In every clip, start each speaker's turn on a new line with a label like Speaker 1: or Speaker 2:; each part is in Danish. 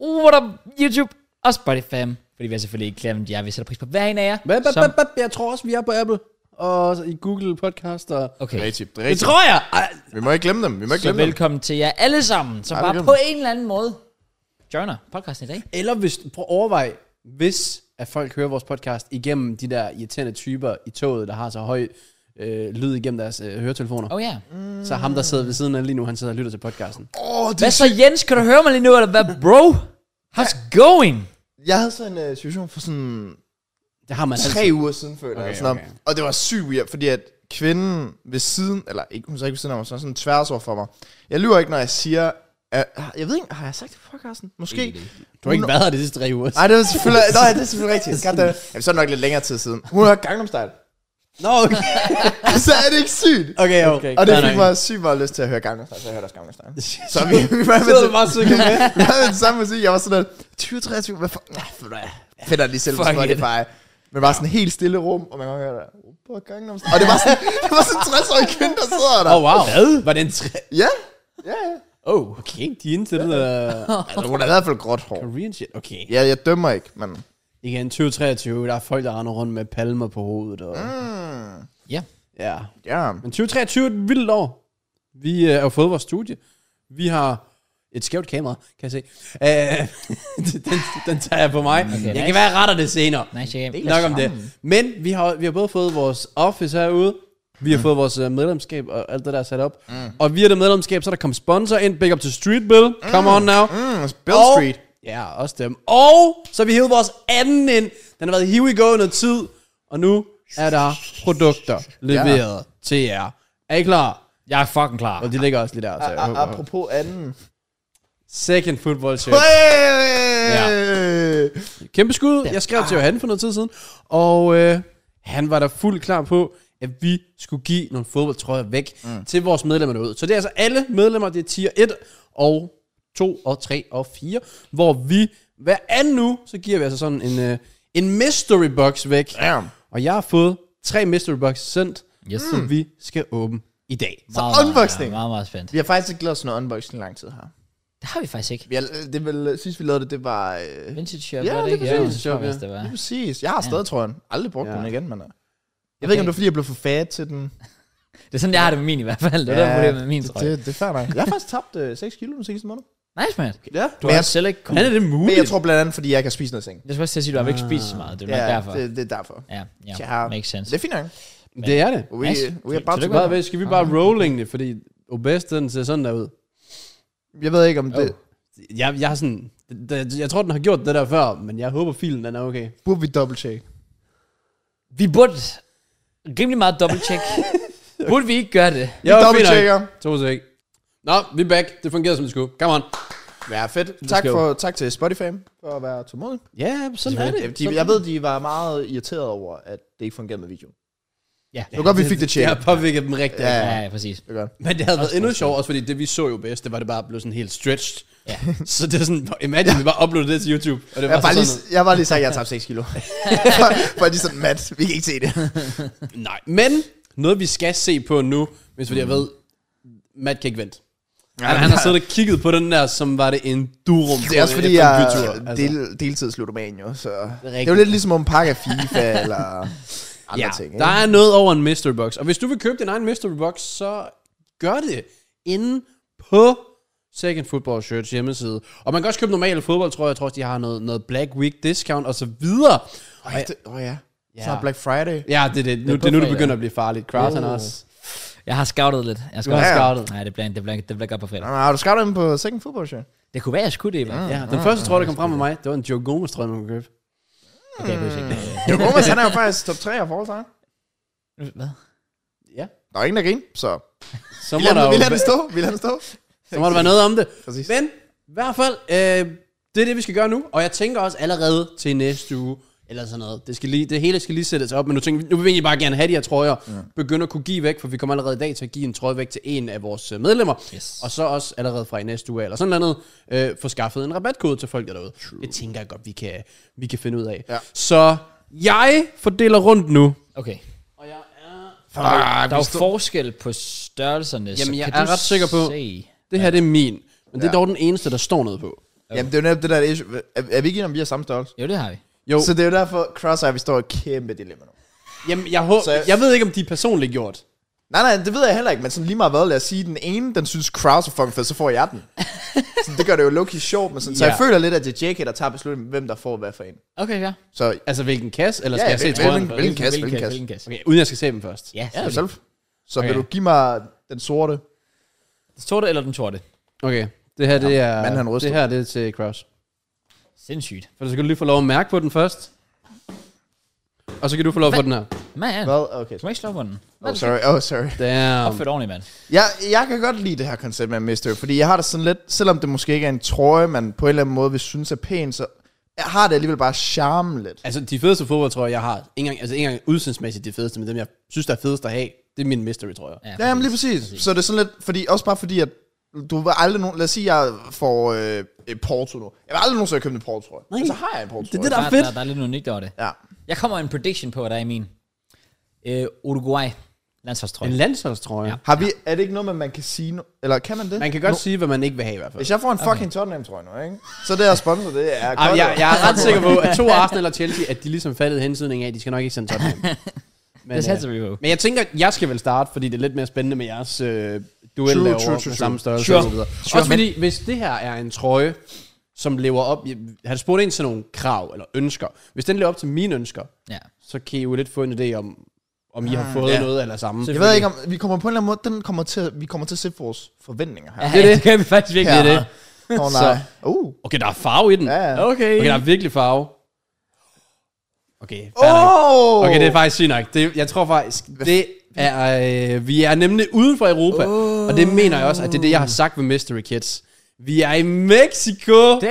Speaker 1: Uh, what up, YouTube og Spotify. Fordi vi har selvfølgelig ikke glemt jer. Vi sætter pris på hver en af jer.
Speaker 2: Bap, bap,
Speaker 1: som-
Speaker 2: bap, bap. Jeg tror også, vi er på Apple og i Google Podcast. Og...
Speaker 1: Okay,
Speaker 3: Rigtigt, det er
Speaker 2: Det
Speaker 3: rigtigt.
Speaker 2: tror jeg! Ej,
Speaker 3: Vi må ikke glemme dem, vi må ikke
Speaker 1: så
Speaker 3: glemme dem.
Speaker 1: velkommen til jer alle sammen, som
Speaker 3: Ej,
Speaker 1: bare
Speaker 3: velkommen.
Speaker 1: på en eller anden måde joiner podcasten i dag.
Speaker 2: Eller hvis, prøv at overvej, hvis at folk hører vores podcast igennem de der irriterende typer i toget, der har så høj øh, lyd igennem deres øh, høretelefoner.
Speaker 1: Oh ja. Yeah.
Speaker 2: Okay. Så ham, der sidder ved siden af lige nu, han sidder og lytter til podcasten.
Speaker 3: Åh, det
Speaker 1: Hvad så, Jens? Kan du høre mig lige nu, eller hvad, bro? How's it going?
Speaker 3: Jeg havde sådan en uh, situation for sådan
Speaker 2: Det har man altid.
Speaker 3: tre uger siden, føler
Speaker 2: Okay,
Speaker 3: jeg. Sådan
Speaker 2: okay.
Speaker 3: Altså- okay. Og det var sygt weird, fordi at kvinden ved siden, eller ikke, hun sagde ikke ved siden af mig, sådan, sådan tværs over for mig. Jeg lyver ikke, når jeg siger, at, jeg ved ikke, har jeg sagt det på podcasten? Måske.
Speaker 2: Du har ikke været her de sidste tre uger.
Speaker 3: Nej, det var selvfølgelig, nej, det er selvfølgelig rigtigt. Godt, det, jamen, så er det nok lidt længere tid siden. Hun har Gangnam Style.
Speaker 2: Nå, okay.
Speaker 3: så er det ikke sygt.
Speaker 2: Okay, jo.
Speaker 1: Okay,
Speaker 3: Og det
Speaker 1: fair
Speaker 3: fik
Speaker 1: nok.
Speaker 3: mig sygt meget lyst til at høre Gangnam Style, så jeg hørte også Gangnam Style. Så vi, vi var med
Speaker 2: Så
Speaker 3: til,
Speaker 2: du bare synge med.
Speaker 3: vi var med til samme musik. Jeg var sådan der, 20-23, hvad for... Nej, for da, fedt at lige selv på
Speaker 1: Fuck it.
Speaker 3: Spotify. Men bare sådan et helt stille rum, og man kan høre der. "Opa, Gangnam Style." Og det var sådan, det var sådan en 60-årig kvinde, der sidder der.
Speaker 2: Oh, wow. Hvad? Var det en tre...
Speaker 3: Ja, ja, ja.
Speaker 2: Oh, okay. De indstillede uh,
Speaker 3: Altså, hun har i hvert fald gråt hår.
Speaker 2: Korean shit. Okay.
Speaker 3: Ja, jeg dømmer ikke, men...
Speaker 2: Igen, 2023, der er folk, der render rundt med palmer på hovedet. Og,
Speaker 3: Mm,
Speaker 1: Ja.
Speaker 2: ja.
Speaker 3: ja. Mm,
Speaker 2: Men 2023 er et vildt år. Vi øh, har fået vores studie. Vi har et skævt kamera, kan jeg se. Øh, den, den tager jeg på mig. Okay, jeg
Speaker 1: nice.
Speaker 2: kan være jeg retter det senere.
Speaker 1: Nice, jeg
Speaker 2: Det er nok om det. Men vi har, vi har både fået vores office herude, vi
Speaker 1: Mm.
Speaker 2: har fået vores øh, medlemskab og alt det der sat op. Mm. Og via det medlemskab, så er der kommet sponsor ind. Big up to Street Bill. Come on now.
Speaker 3: Mm, Bill
Speaker 2: Og-
Speaker 3: Street.
Speaker 2: Ja, også dem. Og så har vi hævet vores anden ind. Den har været hive i går noget tid, og nu er der produkter leveret ja. til jer. Er I klar?
Speaker 1: Jeg er fucking klar.
Speaker 2: Og de ligger også lige der, så jeg
Speaker 3: A-
Speaker 2: håber.
Speaker 3: Apropos anden.
Speaker 2: Second football shirt.
Speaker 3: Hey!
Speaker 2: Kæmpe skud. Jeg skrev til Johan for noget tid siden, og øh, han var da fuldt klar på, at vi skulle give nogle fodboldtrøjer væk mm. til vores medlemmer derude. Så det er altså alle medlemmer, det er tier 1 og 2 og 3 og 4, hvor vi hver anden uge, så giver vi altså sådan en, øh, en mystery box væk.
Speaker 3: Ja.
Speaker 2: Og jeg har fået tre mystery box sendt,
Speaker 1: Yes.
Speaker 2: som vi skal åbne i dag.
Speaker 1: Meget, Meget,
Speaker 3: unboxing.
Speaker 1: meget, meget, meget spændt.
Speaker 3: Vi har faktisk ikke lavet sådan noget unboxing i lang tid her.
Speaker 1: Det har vi faktisk ikke.
Speaker 3: Vi har, det er vel, sidst vi lavede det, det var... Øh,
Speaker 1: Vintage shop,
Speaker 3: Ja,
Speaker 1: var det
Speaker 3: lige
Speaker 1: ikke? Ja,
Speaker 3: præcis.
Speaker 1: det var vist, det var.
Speaker 3: lige præcis. Jeg har stadig trøjen. Aldrig brugt
Speaker 2: Ja.
Speaker 3: ja. den igen, men... øh, Jeg ved ikke, om det var, fordi jeg blev for fat til den.
Speaker 1: Det er sådan, jeg har det med min i hvert fald. Det er ja, der problem med min,
Speaker 3: det,
Speaker 1: tror jeg.
Speaker 3: det, det er fair nok. Jeg har faktisk tabt øh, 6 kilo den seneste måned.
Speaker 1: Nice, man.
Speaker 3: Ja.
Speaker 1: Du
Speaker 3: Men
Speaker 1: har
Speaker 3: jeg,
Speaker 1: også selv ikke
Speaker 2: Hvordan
Speaker 1: kommet.
Speaker 2: er det
Speaker 3: men
Speaker 2: muligt?
Speaker 3: jeg tror blandt andet, fordi jeg ikke har spist noget ting.
Speaker 1: Jeg skulle også til at sige, at du har ikke spist så meget. Det er nok derfor.
Speaker 3: det, det er derfor.
Speaker 1: Ja, ja.
Speaker 3: Ja.
Speaker 1: Makes sense.
Speaker 3: Det er fint nok.
Speaker 2: Det er det.
Speaker 3: We,
Speaker 1: Nice.
Speaker 3: we are about to
Speaker 1: Tillykke.
Speaker 3: go.
Speaker 2: Hvad ved, skal vi bare rolling det, fordi Obest, den ser sådan der ud.
Speaker 3: Jeg ved ikke, om det...
Speaker 2: Jeg, jeg har sådan... det- det- Jeg tror, den har gjort det der før, men jeg håber, filen den er okay.
Speaker 3: Burde vi double check?
Speaker 1: Vi burde rimelig meget double-check. Burde vi ikke gøre det?
Speaker 3: Vi double checker.
Speaker 2: To sek. Nå, vi er back. Det fungerede, som det skulle. Come on.
Speaker 3: Ja, fedt. Tak,
Speaker 2: skal jo-
Speaker 3: for, tak til Spotify for at være tålmodig.
Speaker 2: Ja, sådan er
Speaker 3: Ja, de, jeg ved, de var meget irriteret over, at det ikke fungerede med video.
Speaker 1: Ja.
Speaker 3: Det var godt, vi fik det
Speaker 2: Jeg
Speaker 3: tjekket.
Speaker 2: har påvirket dem rigtigt.
Speaker 3: Ja.
Speaker 2: Ja.
Speaker 1: Ja, ja, præcis.
Speaker 3: Det er godt.
Speaker 2: Men det havde været endnu sjovt, også fordi det, vi så jo bedst, det var, det bare blev sådan helt stretched.
Speaker 1: Ja.
Speaker 2: Så det er sådan, imagine, vi bare uploadede det til YouTube. Og det
Speaker 3: Jeg
Speaker 2: var
Speaker 3: har bare
Speaker 2: så
Speaker 3: lige,
Speaker 2: Altså sådan,
Speaker 3: jeg har bare lige sagt, at jeg har tabt 6 kilo. Bare lige sådan, Matt, vi kan ikke se det.
Speaker 2: nej. Men noget, vi skal se på nu, hvis fordi jeg ved, Matt kan ikke vente. Ja, han har siddet og kigget på den der, som var det en durum.
Speaker 3: Det er også fordi, jeg er
Speaker 2: altså.
Speaker 3: del, deltidsludoman jo, så... Det er jo lidt ligesom om pakke af FIFA eller andre
Speaker 2: ja,
Speaker 3: ting.
Speaker 2: der er noget over en mystery box. Og hvis du vil købe din egen mystery box, så gør det inde på Second Football Shirts hjemmeside. Og man kan også købe normale fodbold, tror jeg. Jeg tror også, de har noget, noget Black Week discount og så videre.
Speaker 3: Åh oh, det, oh, ja.
Speaker 2: Ja.
Speaker 3: ja. Så er Black Friday.
Speaker 2: Ja, det er det. Nu, det er nu, det begynder at blive farligt. Kraus
Speaker 3: Oh.
Speaker 2: han også.
Speaker 1: Jeg har scoutet lidt. Jeg
Speaker 2: Du har
Speaker 3: Ja, ja.
Speaker 2: scoutet.
Speaker 1: Nej, det bliver, det bliver, det bliver godt på fredag.
Speaker 3: Nå, Har du skabt dem på Second Football Show?
Speaker 1: Det kunne være, jeg skulle det. Mm.
Speaker 2: Ja, den første trøje, der kom frem med
Speaker 3: Ah.
Speaker 2: mig, det var en Joe Gomez trøje, man kunne købe.
Speaker 1: Det kan jeg pludselig ikke.
Speaker 3: Jo, Gomes, han er jo faktisk top 3 af forhold til
Speaker 1: Hvad?
Speaker 2: Ja.
Speaker 3: Der er ingen, der griner, så...
Speaker 2: Så
Speaker 3: Vi
Speaker 2: må,
Speaker 3: lader,
Speaker 2: der,
Speaker 3: den-
Speaker 2: jo,
Speaker 3: vi lader den stå, vi lader den stå.
Speaker 2: så må der være noget om det.
Speaker 3: Præcis.
Speaker 2: Men i hvert fald, øh, det er det, vi skal gøre nu. Og jeg tænker også allerede til næste uge, eller sådan noget. Det, skal lige, det hele skal lige sættes op, men nu, tænker, vi- nu vil vi egentlig bare gerne have de her trøjer. Ja. Begynde at kunne give væk, for vi kommer allerede i dag til at give en trøje væk til en af vores øh, medlemmer.
Speaker 1: Yes.
Speaker 2: Og så også allerede fra i næste uge, eller sådan noget, øh, få skaffet en rabatkode til folk derude. True. Det tænker jeg godt, vi kan, vi kan finde ud af.
Speaker 3: Ja.
Speaker 2: Så jeg fordeler rundt nu.
Speaker 1: Okay.
Speaker 2: Og jeg Ah, er...
Speaker 3: Fuck,
Speaker 1: Der er
Speaker 3: vi
Speaker 1: jo forskel på størrelserne, så
Speaker 2: Jamen, jeg
Speaker 1: kan
Speaker 2: er
Speaker 1: du
Speaker 2: ret sikker på-
Speaker 1: se-
Speaker 2: Det her, det er min. Men det er dog den eneste, der står noget på.
Speaker 3: Okay. Jamen, det er jo netop det der det er issue. Er, er vi ikke enige om, vi har samme størrelse?
Speaker 1: Jo, det har vi.
Speaker 2: Jo.
Speaker 3: Så det er jo derfor, Crosseye, vi står i et kæmpe dilemma nu.
Speaker 2: Jamen, jeg, håber,
Speaker 3: Så jeg-
Speaker 2: jeg ved ikke, om de er personligt gjort.
Speaker 3: Nej, nej, det ved jeg heller ikke, men sådan lige meget hvad, lad os sige, den ene, den synes Kraus er fucking fed, så får jeg den. så det gør det jo low-key sjovt, men sådan, så
Speaker 2: Ja.
Speaker 3: jeg føler lidt, at det er JK, der tager beslutningen, hvem der får hvad for en.
Speaker 1: Okay, ja.
Speaker 3: Så
Speaker 2: Altså, hvilken kasse? Eller
Speaker 3: Ja,
Speaker 2: skal jeg se
Speaker 3: hvil-
Speaker 2: trøjen
Speaker 3: hvilken-
Speaker 2: først?
Speaker 3: hvilken- kasse, kasse?
Speaker 1: kasse?
Speaker 2: Okay, uden jeg skal se dem først.
Speaker 1: Ja,
Speaker 3: ja,
Speaker 1: selvfølgelig.
Speaker 3: selv. Så okay.
Speaker 2: Okay.
Speaker 3: vil du give mig den sorte?
Speaker 1: Den sorte eller den sorte?
Speaker 2: Okay, det her, det er,
Speaker 3: manden, han ryster.
Speaker 2: det her det er til Kraus.
Speaker 1: Sindssygt.
Speaker 2: For du skal du lige få lov at mærke på den først. Og så kan du få lov at få den her.
Speaker 1: Man, ja.
Speaker 3: Hvad? Okay.
Speaker 1: Du må ikke slå på den.
Speaker 3: Oh, sorry. Oh, sorry.
Speaker 2: Damn.
Speaker 1: Opført ordentligt, mand.
Speaker 3: Jeg, jeg kan godt lide det her koncept med Mystery, fordi jeg har det sådan lidt, selvom det måske ikke er en trøje, man på en eller anden måde vil synes er pæn, så jeg har det alligevel bare charme lidt.
Speaker 2: Altså, de fedeste fodboldtrøjer, jeg har, ikke engang, altså ikke engang udseendsmæssigt de fedeste, men dem, jeg synes, der er fedest at have, det er min mystery, tror jeg.
Speaker 3: Ja, jamen lige præcis. Så det er sådan lidt, fordi, også bare fordi, at du vil aldrig nogen, lad os sige, jeg får øh, et Porto nu. Jeg vil aldrig nogensinde købe en Porto, tror jeg.
Speaker 2: Nej.
Speaker 3: Men så har jeg en Porto.
Speaker 2: Det er det, der er
Speaker 1: Der,
Speaker 2: fedt.
Speaker 1: der, der er lidt unikt over det.
Speaker 3: Ja.
Speaker 1: Jeg kommer en prediction på, hvad der er i min. Øh, Uruguay. Landsholdstrøje.
Speaker 2: En landsholdstrøje. Ja.
Speaker 1: Ja.
Speaker 3: Har vi, er det ikke noget, med, man kan sige, nu? eller kan man det?
Speaker 2: Man kan godt sige, hvad man ikke vil have i hvert fald.
Speaker 3: Hvis jeg får en fucking Tottenham, tror jeg nu, ikke? Så det her sponsor, det er
Speaker 2: Ej,
Speaker 3: godt.
Speaker 2: Ah, jeg, jeg er ret sikker på, at to Arsenal og Chelsea, at de ligesom faldet i hensydning af, at de skal nok ikke sende Tottenham. Men,
Speaker 1: Det satser
Speaker 2: øh,
Speaker 1: vi på.
Speaker 2: men jeg tænker, at jeg skal vel starte, fordi det er lidt mere spændende med jeres øh, duel
Speaker 3: True,
Speaker 2: derovre
Speaker 3: true,
Speaker 2: med
Speaker 3: true,
Speaker 2: samme
Speaker 3: true.
Speaker 2: størrelse
Speaker 1: Sure.
Speaker 2: og så videre.
Speaker 1: Sure,
Speaker 2: Også fordi, hvis det her er en trøje, som lever op... Jeg, han spurgte ind til nogle krav eller ønsker. Hvis den lever op til mine ønsker,
Speaker 1: Ja.
Speaker 2: så kan I jo lidt få en idé om, om I har fået
Speaker 3: Ah, ja.
Speaker 2: noget eller samme.
Speaker 3: Jeg ved ikke om, vi kommer på en eller anden måde, den kommer til, at- vi kommer til at se vores forventninger her.
Speaker 1: Det, det kan vi faktisk virkelig.
Speaker 3: Ja.
Speaker 1: Det.
Speaker 3: Åh oh, nej. Uh.
Speaker 2: Okay, der er farve i den.
Speaker 3: Ja, ja.
Speaker 2: Okay, der er virkelig farve. Okay, fair nok.
Speaker 3: Oh!
Speaker 2: Okay, det er faktisk sygt nok. Det, jeg tror faktisk, det er, øh, vi er nemlig uden for Europa. Oh. Og det mener jeg også, at det er det, jeg har sagt ved Mystery Kids. Vi er i Mexico,
Speaker 1: Damn.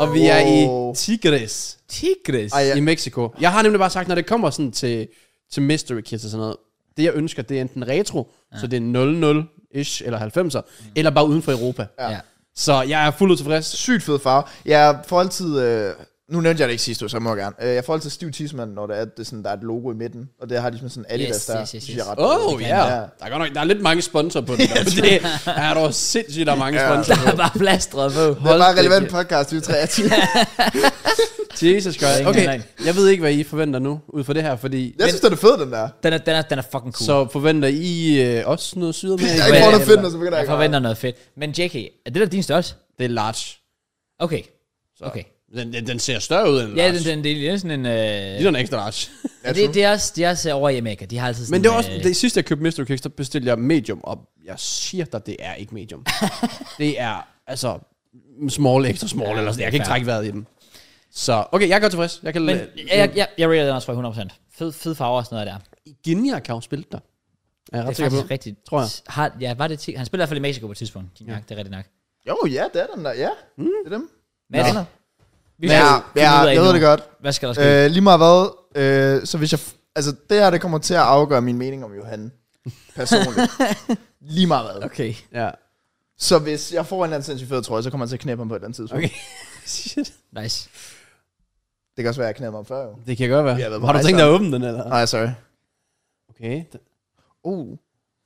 Speaker 2: og vi er i
Speaker 3: Wow.
Speaker 2: Tigres
Speaker 1: Tigris.
Speaker 3: Ej, ja.
Speaker 2: i Mexico. Jeg har nemlig bare sagt, når det kommer sådan til, til Mystery Kids og sådan noget, det jeg ønsker, det er enten retro, ja. så det er 00-ish eller 90'er, mm. eller bare uden for Europa.
Speaker 3: Ja.
Speaker 1: Ja.
Speaker 2: Så jeg er fuldt ud tilfreds.
Speaker 3: Sygt fed farve. Jeg får altid... Øh, nu nævnte jeg det ikke sidste år, så jeg må gerne. Øh, Jeg får altid stiv tidsmand, når der er, det er sådan, der er et logo i midten. Og det har de sådan sådan Adidas,
Speaker 1: Yes,
Speaker 3: der
Speaker 1: yes, yes,
Speaker 3: synes jeg er
Speaker 1: yes.
Speaker 3: ret
Speaker 2: Åh, oh,
Speaker 3: fed.
Speaker 2: ja.
Speaker 3: Ja.
Speaker 2: Yeah. Der er godt nok der er lidt mange sponsorer på den. der, for det er dog sindssygt, der er mange sponsorer.
Speaker 1: Der er bare plastret på.
Speaker 3: Det er
Speaker 2: Hold
Speaker 3: bare
Speaker 2: da
Speaker 3: relevant
Speaker 2: kæft.
Speaker 3: podcast, vi tre er til.
Speaker 2: Jesus Christ.
Speaker 1: ingen
Speaker 2: Okay,
Speaker 1: anelse.
Speaker 2: jeg ved ikke, hvad I forventer nu, ud fra det her, fordi...
Speaker 3: Jeg synes, den er fed, den der.
Speaker 1: Den er, den er, den er fucking cool.
Speaker 2: Så forventer I øh, også noget sydamerika?
Speaker 3: Jeg ikke
Speaker 1: men-
Speaker 3: får noget fedt, og så begynder
Speaker 1: jeg
Speaker 3: jeg ikke.
Speaker 1: forventer noget fedt. Men JK, er det der din størrelse?
Speaker 2: Det er large.
Speaker 1: Okay. Okay.
Speaker 2: Den, den, den ser større ud end
Speaker 1: Ja,
Speaker 2: large.
Speaker 1: den, den, det er sådan en... Øh,
Speaker 2: Det er en ekstra large.
Speaker 3: Ja,
Speaker 1: det,
Speaker 3: true.
Speaker 1: det, er også, det er også øh, over i Amerika. De har altid sådan...
Speaker 2: Men det var også,
Speaker 1: øh,
Speaker 2: det sidste jeg købte Mr. Kicks, der bestilte jeg medium, og jeg siger dig, det er ikke medium. det er, altså, small, ekstra small,
Speaker 1: Ja,
Speaker 2: eller sådan. Jeg kan
Speaker 1: fair.
Speaker 2: ikke trække vejret i den. Så, okay, jeg er godt tilfreds. Jeg kan
Speaker 1: Men
Speaker 2: lade-
Speaker 1: jeg, jeg, jeg, jeg rater den også for 100%. Fed, fed farver og sådan noget der. Det
Speaker 2: Guinea kan jo spille dig. Er jeg
Speaker 1: er
Speaker 2: ret sikker
Speaker 1: faktisk
Speaker 2: på.
Speaker 1: rigtigt.
Speaker 2: tror jeg.
Speaker 1: Har, ja, var det ti- han spiller i hvert fald i Mexico på et tidspunkt. Ja. Det er rigtigt nok.
Speaker 3: Jo, ja, det er den der. Ja, det er dem.
Speaker 1: Mads,
Speaker 3: Nå.
Speaker 1: Mm. vi
Speaker 3: Ja,
Speaker 1: skal finde
Speaker 3: ja,
Speaker 1: ud af
Speaker 3: jeg ved
Speaker 1: nu.
Speaker 3: det godt.
Speaker 1: Hvad skal der ske?
Speaker 3: Øh, lige meget hvad, øh, så hvis jeg... f- Altså, det her, det kommer til at afgøre min mening om Johan. Personligt. lige meget hvad.
Speaker 1: okay.
Speaker 2: Ja.
Speaker 3: Så hvis jeg får en eller anden sindssygt fed trøje, så kommer jeg til at knæppe ham på et eller andet tidspunkt.
Speaker 2: Okay. Shit.
Speaker 1: Nice.
Speaker 3: Det kan også være, at jeg knæpper ham før, jo.
Speaker 2: Det kan godt være.
Speaker 3: Vi har været på
Speaker 2: Har du
Speaker 3: rejse
Speaker 2: tænkt dig at åbne den, eller?
Speaker 3: Nej, sorry.
Speaker 2: Okay.
Speaker 3: Uh.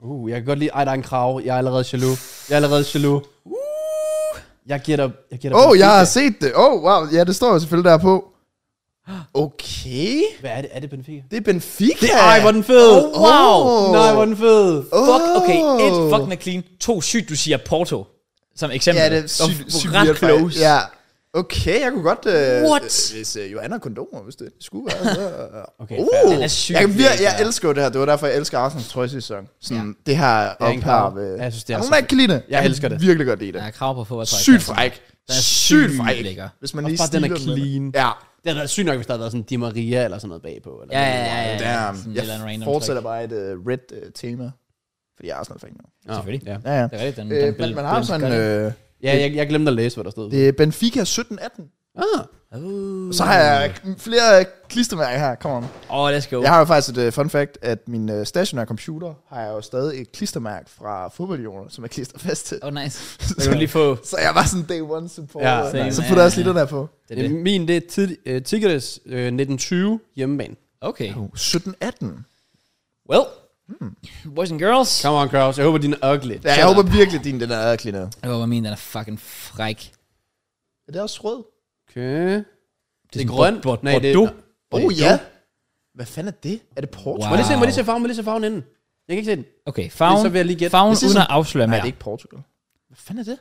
Speaker 2: Uh, jeg kan godt lide, ej, der er en krav. Jeg er allerede jaloux. Jeg er allerede jaloux. Uh. Jeg giver dig, jeg giver dig
Speaker 3: Åh, oh, jeg har
Speaker 2: Benfica.
Speaker 3: set det. Åh, oh, wow. Ja, det står jo selvfølgelig der på. Okay.
Speaker 2: Hvad er det? Er det Benfica?
Speaker 3: Det er Benfica.
Speaker 2: Det, ej, hvor er den fed.
Speaker 1: Oh, wow.
Speaker 3: Åh.
Speaker 2: Nej, hvor er den fed.
Speaker 1: Fuck,
Speaker 3: Oh.
Speaker 1: okay.
Speaker 3: Åh.
Speaker 1: Et, fucking er clean. To, sygt, du siger Porto. Som eksempel.
Speaker 3: Ja, det er
Speaker 1: Hvor-
Speaker 3: sygt,
Speaker 1: hvor
Speaker 3: sygt
Speaker 1: ret
Speaker 3: weird, faktisk.
Speaker 1: close.
Speaker 3: Ja. Okay, jeg kunne godt... Øh,
Speaker 1: What?
Speaker 3: øh, Hvis øh, Johanna har kondomer, hvis det skulle være. Så,
Speaker 2: Okay, fair.
Speaker 3: uh,
Speaker 1: Den er
Speaker 3: er
Speaker 1: sygt
Speaker 3: jeg,
Speaker 1: weird,
Speaker 3: vir- jeg
Speaker 1: ja.
Speaker 3: elsker jo det her. Det var derfor, jeg elsker Arsenals trøje sidste sæson. Sådan ja. det her øh.
Speaker 2: er en
Speaker 3: op her.
Speaker 2: krav.
Speaker 3: Ved.
Speaker 2: Jeg synes, det er
Speaker 3: Nogen,
Speaker 2: så
Speaker 3: der ikke kan lide det.
Speaker 2: Jeg
Speaker 3: kan
Speaker 2: elsker det.
Speaker 3: virkelig godt lide det.
Speaker 1: Der er krav på fodboldtøj.
Speaker 3: Sygt fræk.
Speaker 1: Den er
Speaker 3: Sygt
Speaker 1: sygt
Speaker 3: fræk.
Speaker 1: lækker.
Speaker 3: Hvis man
Speaker 2: Også
Speaker 3: lige
Speaker 2: bare, den er
Speaker 3: stiler med
Speaker 2: clean.
Speaker 3: det. Ja.
Speaker 2: Det havde været sygt nok, hvis der havde været sådan Di Maria eller sådan noget bagpå. Eller
Speaker 1: Ja, ja, ja. ja, ja. Sådan
Speaker 3: Damn.
Speaker 1: et eller andet
Speaker 3: um, Jeg
Speaker 1: random
Speaker 3: fortsætter bare et uh, red uh, tema. Fordi jeg er Arsenal fan nu.
Speaker 2: Nå,
Speaker 1: Selvfølgelig.
Speaker 2: Ja.
Speaker 3: Ja, ja.
Speaker 1: Det er rigtigt, den, den
Speaker 3: Øh, men
Speaker 1: bil-
Speaker 3: man har jo
Speaker 1: bil-
Speaker 3: sådan,
Speaker 1: gør det.
Speaker 3: øh,
Speaker 2: ja jeg, jeg glemte at læse, hvad der stod.
Speaker 3: det er Benfica 17-18.
Speaker 2: Ah.
Speaker 1: Uh.
Speaker 3: Så har jeg k- flere øh, klistermærker her, kom on.
Speaker 1: Åh, oh, let's go.
Speaker 3: Jeg har jo faktisk et uh, fun fact, at min uh, stationære computer har jeg jo stadig et klistermærke fra fodboldjoner, som er klisterfast til.
Speaker 1: Åh, oh, nice. Så kan
Speaker 3: så,
Speaker 1: du lige få...
Speaker 3: så jeg var sådan day one support.
Speaker 2: Ja,
Speaker 3: Ja,
Speaker 1: same,
Speaker 3: så putter jeg også
Speaker 1: ja,
Speaker 3: lige den her på.
Speaker 1: Det er det.
Speaker 2: Min, det er tid, øh, Tigres øh, 1920 hjemmebane.
Speaker 1: Okay.
Speaker 3: Uh, 17-18.
Speaker 1: Well. Boys and girls.
Speaker 2: Come on, Kraus. Jeg håber, din er ugly.
Speaker 3: Ja, jeg håber virkelig, din den er ærgerlig nu.
Speaker 1: Jeg håber, min den er fucking fræk.
Speaker 3: Er det også rød?
Speaker 2: Okay. Det, det
Speaker 1: sådan
Speaker 2: er grøn.
Speaker 1: bor- bor-
Speaker 2: Nej, det er...
Speaker 1: bordeaux.
Speaker 3: Åh oh, ja. Hvad fanden er det? Er det Portugal?
Speaker 2: Må
Speaker 1: Wow.
Speaker 2: jeg lige se, må jeg lige se farven, må jeg lige se farven inden. Jeg kan ikke se den.
Speaker 1: Okay,
Speaker 2: Det
Speaker 1: farven,
Speaker 2: er så ved at lige gætte.
Speaker 1: farven
Speaker 3: Det ser
Speaker 1: uden at
Speaker 3: sådan-
Speaker 1: afsløre
Speaker 3: Nej,
Speaker 1: mere.
Speaker 3: det er ikke Portugal. Hvad fanden er det?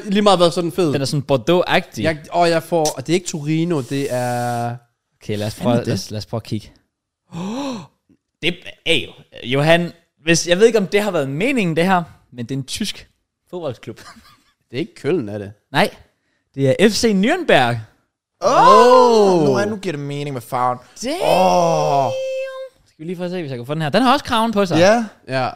Speaker 2: Åh, jeg lige meget været sådan fed.
Speaker 1: Den er sådan Bordeaux-agtig.
Speaker 2: Jeg, og jeg får, og det er ikke Torino, det er...
Speaker 1: Okay, lad os, prøve,
Speaker 3: er
Speaker 1: lad, os, lad os prøve at kigge. Det er jo, Johan, hvis, jeg ved ikke, om det har været meningen, det her, men det er en tysk fodboldklub.
Speaker 2: Det er ikke Køln, er det?
Speaker 1: Nej, det er FC Nürnberg.
Speaker 3: Åh! Oh! Nu, er- nu giver det mening med farven.
Speaker 1: Damn.
Speaker 3: Åh! Oh!
Speaker 1: Skal vi lige få se, hvis jeg kan få den her. Den har også kraven på sig.
Speaker 3: Ja.
Speaker 2: Ja.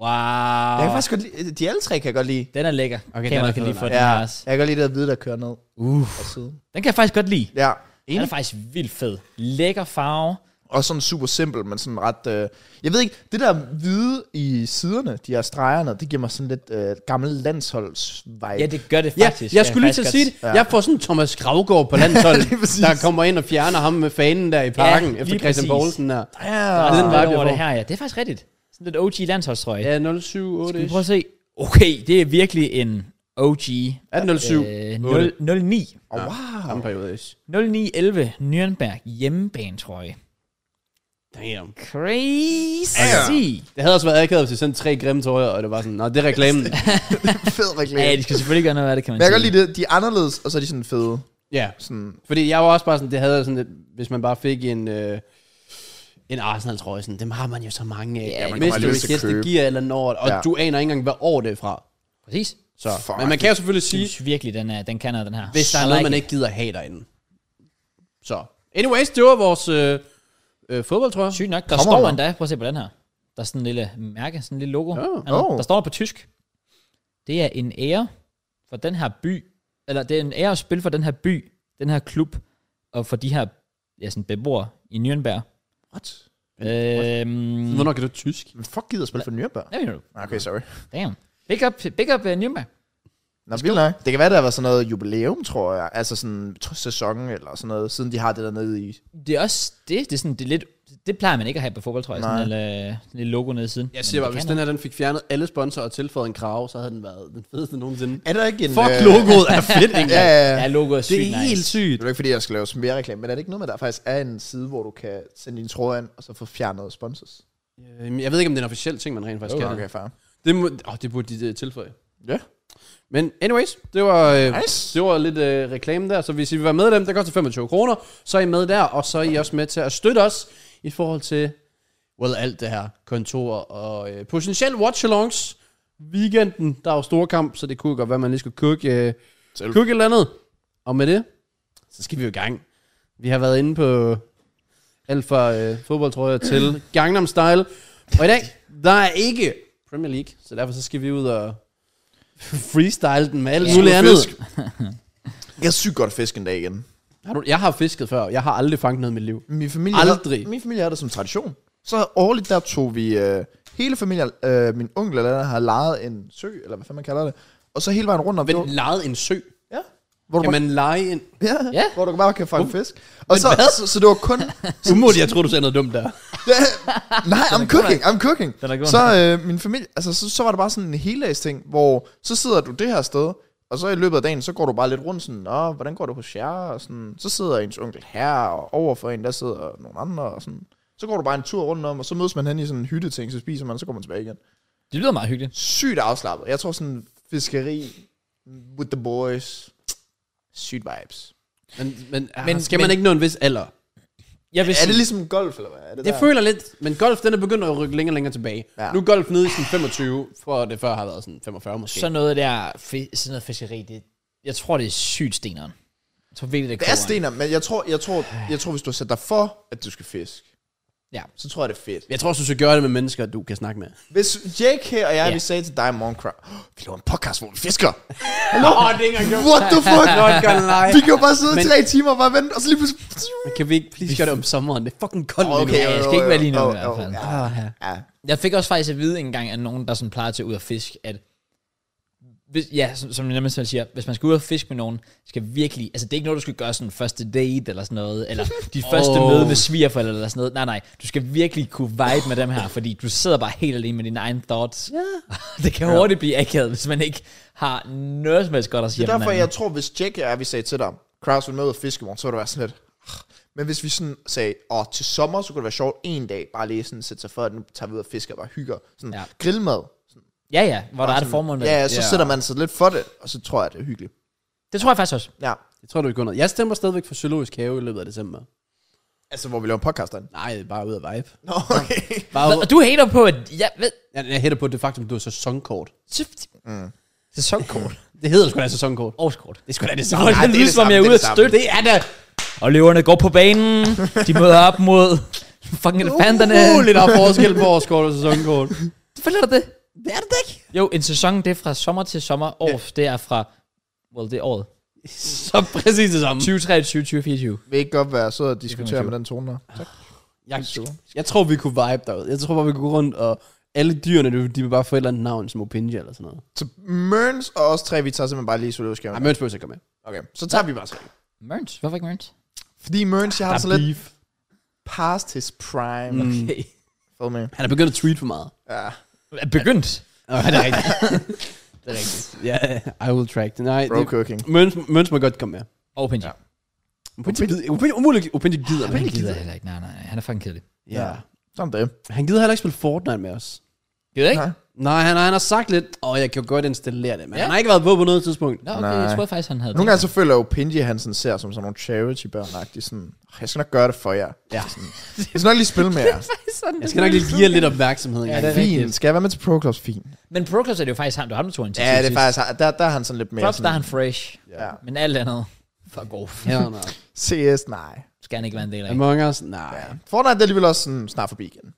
Speaker 1: Wow.
Speaker 3: Jeg kan faktisk godt lide, de alle tre kan jeg godt lide.
Speaker 1: Den er lækker.
Speaker 2: den
Speaker 1: Okay, Kameraet
Speaker 2: er
Speaker 1: kan
Speaker 2: fed,
Speaker 1: lige få
Speaker 2: mand.
Speaker 1: den her også.
Speaker 3: Jeg kan godt lide det hvide, der kører ned. Uff. Fra siden.
Speaker 1: Den kan jeg faktisk godt lide.
Speaker 3: Ja.
Speaker 1: Den er faktisk vildt fed. Lækker farve.
Speaker 3: Og sådan super simpel, men sådan ret... Øh, jeg ved ikke, det der hvide i siderne, de her stregerne, det giver mig sådan lidt øh, gammel landsholds vibe.
Speaker 1: Ja, det gør det
Speaker 2: Ja,
Speaker 1: faktisk.
Speaker 2: jeg skulle lige til
Speaker 1: faktisk
Speaker 2: at sige det.
Speaker 1: godt-
Speaker 2: Jeg får sådan Thomas Gravgaard på landsholdet,
Speaker 3: Lige præcis.
Speaker 2: der kommer ind og fjerner ham med fanen der i parken, ja, efter
Speaker 1: lige
Speaker 2: Christian
Speaker 1: præcis.
Speaker 2: Poulsen der.
Speaker 1: Der
Speaker 3: Ja.
Speaker 1: er
Speaker 2: den
Speaker 1: sådan
Speaker 2: vibe,
Speaker 1: lidt
Speaker 2: jeg
Speaker 1: over det
Speaker 2: får.
Speaker 1: her, ja. Det er faktisk rigtigt. Sådan lidt OG landsholdstrøje.
Speaker 2: Ja, 078.
Speaker 1: Skal vi prøve at se? Okay, det er virkelig en OG.
Speaker 2: Er det 07?
Speaker 1: Øh,
Speaker 2: 8.
Speaker 1: 0- 09.
Speaker 3: Oh, wow.
Speaker 2: Samme periode, ish.
Speaker 1: 0911 Nürnberg hjemmebanetrøje.
Speaker 2: Damn.
Speaker 1: Crazy.
Speaker 2: Det havde også været akavet, hvis de sendte tre grimme tøjer, og det var sådan, nej, det er reklamen.
Speaker 3: Fed reklame.
Speaker 1: Ja, de skal selvfølgelig gøre noget af det, kan man
Speaker 3: Men jeg kan
Speaker 1: sige.
Speaker 3: godt lide det. De er anderledes, og så er de sådan fede.
Speaker 2: ja,
Speaker 3: Sådan,
Speaker 2: fordi jeg var også bare sådan, det havde jeg sådan lidt, hvis man bare fik en, øh, en Arsenal trøje, sådan, dem har man jo så mange af.
Speaker 1: Ja, man
Speaker 2: Ja,
Speaker 1: kommer
Speaker 2: hvis
Speaker 3: aldrig
Speaker 2: du
Speaker 3: til at
Speaker 2: hvis det
Speaker 3: købe.
Speaker 2: giver et eller andet år, og
Speaker 3: Ja.
Speaker 2: ja. du aner ikke engang, hvad år det er fra.
Speaker 1: Præcis.
Speaker 2: Så.
Speaker 3: Fuck.
Speaker 2: Men man kan jo selvfølgelig sige,
Speaker 1: synes virkelig, den, er, den kan noget, den her.
Speaker 2: hvis der
Speaker 1: I
Speaker 2: er noget,
Speaker 1: like
Speaker 2: man
Speaker 1: it.
Speaker 2: ikke gider have derinde. Så. Anyways, det var vores øh, øh, fodboldtrøje.
Speaker 1: Sygt nok. Der
Speaker 3: Kommer
Speaker 1: står
Speaker 3: den?
Speaker 1: endda, prøv at se på den her. Der er sådan en lille mærke, sådan en lille logo.
Speaker 2: Ja.
Speaker 1: Ja.
Speaker 3: Åh.
Speaker 1: Der står der på tysk. Det er en ære for den her by, eller det er en ære at spille for den her by, den her klub, og for de her ja, sådan beboere i Nürnberg.
Speaker 3: What?
Speaker 1: Øhm,
Speaker 2: Hvornår kan du tysk?
Speaker 3: Men fuck gider at spille for Nürnberg?
Speaker 1: hvad mener du?
Speaker 3: Nej, Okay, sorry.
Speaker 1: Damn. Big up, big up uh, Nürnberg.
Speaker 3: Nå, vildt nok. Det kan være, der var sådan noget jubilæum, tror jeg. Altså sådan t- sæson eller sådan noget, siden de har det der nede i.
Speaker 1: Det er også det, det er sådan, det er lidt, det plejer man ikke at have på fodbold, tror jeg. Sådan
Speaker 3: Nej.
Speaker 1: en lille, sådan en lille logo nede i siden.
Speaker 2: Jeg siger
Speaker 1: Men
Speaker 2: bare,
Speaker 1: det
Speaker 2: hvis
Speaker 1: kan
Speaker 2: den her den fik fjernet alle sponsorer og tilføjet en krave, så havde den været den fedeste nogensinde. Øh.
Speaker 3: Er der ikke en... øh,
Speaker 2: Fuck, logoet er fedt, ikke?
Speaker 3: Ja, ja,
Speaker 1: noget.
Speaker 3: ja.
Speaker 1: Ja, logoet er sygt
Speaker 2: Det er helt
Speaker 1: nice.
Speaker 2: sygt.
Speaker 3: Det er jo ikke, fordi jeg skal lave mere reklame, men er det ikke noget med, at der faktisk er en side, hvor du kan sende din tråd ind, og så få fjernet sponsors?
Speaker 2: Øhm, Jeg ved ikke, om det er en officiel ting, man rent faktisk kan.
Speaker 3: okay, far.
Speaker 2: Det, må, oh, det burde de øh, tilføje.
Speaker 3: Ja.
Speaker 2: Men anyways, det var, øh,
Speaker 3: Nice.
Speaker 2: det var lidt øh, reklame der. Så hvis I vil være med dem, der koster 25 kroner, så er I med der, og så er I også med til at støtte os i forhold til well, alt det her kontor og øh, potentielt watchalongs. Weekenden, der er jo store kamp, så det kunne godt være, man lige skulle kukke, øh,
Speaker 3: Selv.
Speaker 2: kukke et eller andet. Og med det, så skal vi jo i gang. Vi har været inde på alt fra øh, fodboldtrøjer til Gangnam Style. Og i dag, der er ikke Premier League, så derfor så skal vi ud og freestyle den med alt
Speaker 1: Ja.
Speaker 2: muligt
Speaker 3: Skud
Speaker 2: andet.
Speaker 3: fisk. Jeg er sygt godt fisk en dag igen.
Speaker 2: Har du, jeg har fisket før, jeg har aldrig fanget noget i mit liv.
Speaker 3: Min familie
Speaker 2: Aldrig.
Speaker 3: Har, min familie har det som tradition. Så årligt der tog vi øh, hele familien, øh, min onkel eller andet, har lejet en sø, eller hvad fanden man kalder det, og så hele vejen rundt om det.
Speaker 2: Men lejede en sø.
Speaker 3: Ja. Hvor du,
Speaker 2: Kan
Speaker 3: bare,
Speaker 2: man lege en...
Speaker 3: ja,
Speaker 1: Ja.
Speaker 3: ja. hvor du bare kan fange fisk. Og så, så, så, det var kun...
Speaker 2: Umuligt, jeg tror du sagde noget dumt der.
Speaker 3: Nej, I'm cooking, I'm cooking.
Speaker 1: Den er god
Speaker 3: Så øh, min familie, altså så, så var det bare sådan en heldags ting, hvor så sidder du det her sted, og så i løbet af dagen, så går du bare lidt rundt sådan, Nå, hvordan går det hos jer? Og sådan, så sidder ens onkel her, og overfor en, der sidder nogle andre, og sådan. Så går du bare en tur rundt om, og så mødes man hen i sådan en hytteting, så spiser man, så går man tilbage igen.
Speaker 1: Det lyder meget hyggeligt.
Speaker 3: Sygt afslappet. Jeg tror sådan fiskeri with the boys. Sygt vibes.
Speaker 2: Men, men, ah,
Speaker 1: Men-
Speaker 2: men skal
Speaker 1: men-
Speaker 2: man ikke nå en vis alder?
Speaker 1: Jeg vil
Speaker 3: Er
Speaker 1: sige-
Speaker 3: det ligesom golf, eller hvad? Er det
Speaker 2: Jeg
Speaker 3: der?
Speaker 2: føler lidt, men golf den er begyndt at rykke længere og længere tilbage.
Speaker 3: Ja.
Speaker 2: Ja. Nu er golf nede i sådan 25, for det før har været sådan 45 måske.
Speaker 1: sådan noget der, fi- sådan noget fiskeri, det, jeg tror, det er sygt steneren. Jeg tror virkelig, det,
Speaker 3: Det er stener, men jeg tror, jeg, tror, jeg tror, hvis du har sat dig for, at du skal fiske,
Speaker 1: Ja.
Speaker 3: så tror jeg, det er fedt.
Speaker 2: Jeg tror også, du skal gøre det med mennesker, du kan snakke med.
Speaker 3: Hvis Jake her og jeg,
Speaker 1: Ja.
Speaker 3: ja. vi sagde til dig i morgenkram, "Åh, vi laver en podcast, hvor vi fisker.
Speaker 2: Nå, det er ikke engang
Speaker 3: What the fuck?
Speaker 2: Not gonna lie.
Speaker 3: vi kan jo bare sidde
Speaker 2: Men-
Speaker 3: men... tre timer og bare vente, og så lige pludselig...
Speaker 2: Men Kan vi ikke please gøre det om sommeren? Det er fucking koldt
Speaker 3: Okay,
Speaker 2: okay.
Speaker 1: Ja, jeg skal ikke være lige nu i hvert fald. Ah,
Speaker 3: Ja, ja.
Speaker 1: Jeg fik også faktisk at vide engang af nogen, der sådan plejer til ud at fiske, at hvis, ja, som, som jeg nemlig selv siger, hvis man skal ud og fiske med nogen, skal virkelig, altså det er ikke noget, du skal gøre sådan første date eller sådan noget, eller dit første
Speaker 2: Åh.
Speaker 1: møde med svigerforældre eller sådan noget. Nej, nej, du skal virkelig kunne vibe med dem her, fordi du sidder bare helt alene med dine egne thoughts. Ja. det kan hurtigt blive akavet, hvis man ikke har noget som helst godt at sige
Speaker 3: Det er
Speaker 1: om
Speaker 3: derfor,
Speaker 1: hinanden.
Speaker 3: jeg tror, hvis Jack og jeg, vi sagde til dig, Kraus vil med ud og fiske i morgen, så ville det være sådan lidt... "Ah." Men hvis vi sådan sagde, åh, til sommer, så kunne det være sjovt en dag, bare lige sådan sætte sig for, at nu tager vi ud og fisker og bare hygger. Sådan
Speaker 1: Ja.
Speaker 3: ja. grillmad.
Speaker 1: Ja, ja, hvor der er et formål med
Speaker 3: Ja, ja,
Speaker 1: det.
Speaker 3: så
Speaker 2: Ja.
Speaker 3: yeah. sætter man sig lidt for det, og så tror jeg, det er hyggeligt.
Speaker 1: Det tror jeg faktisk også.
Speaker 3: Ja,
Speaker 2: Jeg tror, du er under. Jeg stemmer stadigvæk for Zoologisk Have i løbet af december.
Speaker 3: altså hvor vi laver podcast derinde.
Speaker 2: Nej, bare ud af vibe.
Speaker 3: Nå, okay.
Speaker 2: Bare ud.
Speaker 1: Og du hater på, at jeg ved...
Speaker 2: Jeg, jeg hætter på det faktum, at du er sæsonkort.
Speaker 1: Mm. Sæsonkort.
Speaker 2: Det hedder sgu da sæsonkort.
Speaker 1: Årskort.
Speaker 2: Det er sgu da det
Speaker 1: Det var
Speaker 2: samme.
Speaker 3: Nej, det er
Speaker 1: ikke
Speaker 3: det
Speaker 1: som om
Speaker 3: samme,
Speaker 1: jeg er
Speaker 3: det er
Speaker 1: ude at
Speaker 3: det samme.
Speaker 1: støtte. Det er da... Og løverne går på banen. De møder op mod fucking elefanterne.
Speaker 2: Utroligt, der er forskel på årskort og sæsonkort.
Speaker 1: Selvfølgelig er der det.
Speaker 2: Det er det da ikke.
Speaker 1: Jo, en sæson, det er fra sommer til sommer. År, det er fra... Well, det er året.
Speaker 2: Så præcis det samme.
Speaker 1: 2023, 2024.
Speaker 3: Vil ikke godt være sød at diskutere med den tone der. Tak.
Speaker 2: Jeg, jeg tror, vi kunne vibe derude. Jeg tror bare, vi kunne gå rundt, og alle dyrene, de- de vil bare få et eller andet navn, som Opinja eller sådan noget.
Speaker 3: Så Mørns og os tre, vi tager simpelthen bare lige zoologisk
Speaker 2: Nej,
Speaker 3: have.
Speaker 2: Mørns behøver ikke komme med.
Speaker 3: Okay, så tager vi bare tre.
Speaker 1: Mørns? Hvorfor ikke Mørns?
Speaker 3: Fordi Mørns, jeg
Speaker 2: Der
Speaker 3: har
Speaker 2: er
Speaker 3: så lidt
Speaker 2: beef.
Speaker 3: past his prime. Mm.
Speaker 1: Okay.
Speaker 3: Fed med.
Speaker 2: Han er begyndt at tweet for meget.
Speaker 3: Ja.
Speaker 1: Er begyndt.
Speaker 2: Nå, det er rigtigt. det er rigtigt. Ja, yeah, I will track det. Nej,
Speaker 3: Bro
Speaker 2: det,
Speaker 3: cooking.
Speaker 2: Møns, Møns må godt komme med.
Speaker 1: Og Pinji. Ja.
Speaker 2: Opinja gider, Opinja, umuligt, Opinja gider.
Speaker 1: Han gider heller ikke. Nej, nej, nej. Han er fucking kedelig.
Speaker 2: Ja.
Speaker 3: Sådan det.
Speaker 2: Han gider heller ikke spille Fortnite med os.
Speaker 1: Gider ikke?
Speaker 3: Nej.
Speaker 2: Nej, han, han har sagt lidt, og jeg kan jo godt installere det, men
Speaker 1: Ja.
Speaker 2: ja. han har ikke været på på noget tidspunkt.
Speaker 1: Nå, okay. Jeg
Speaker 3: Nej.
Speaker 1: troede faktisk, han havde...
Speaker 3: Nogle gange så føler jeg jo, Pinji, han sådan ser som sådan nogle charity-børn, sådan, "Åh, jeg skal nok gøre det for jer.
Speaker 2: Ja.
Speaker 3: Jeg skal nok lige spille med jer.
Speaker 1: sådan,
Speaker 2: Jeg skal nok lige give jer lidt opmærksomhed. Ja,
Speaker 1: det er
Speaker 3: Fint.
Speaker 1: rigtigt.
Speaker 3: Skal jeg være med til Pro Clubs? Fint.
Speaker 1: Men Pro Clubs er det jo faktisk ham, der har den to initiativ
Speaker 3: Ja, det er
Speaker 1: til.
Speaker 3: faktisk, der, der er han sådan lidt mere
Speaker 1: Props, der er
Speaker 3: sådan,
Speaker 1: han fresh.
Speaker 3: ja.
Speaker 1: Men alt andet. Fuck off.
Speaker 2: ja,
Speaker 1: Ja.
Speaker 2: nej.
Speaker 3: CS, nej.
Speaker 1: Skal han ikke være en del af.
Speaker 2: Among Us? Nej.
Speaker 3: Ja. Fortnite er alligevel også sådan, snart forbi igen.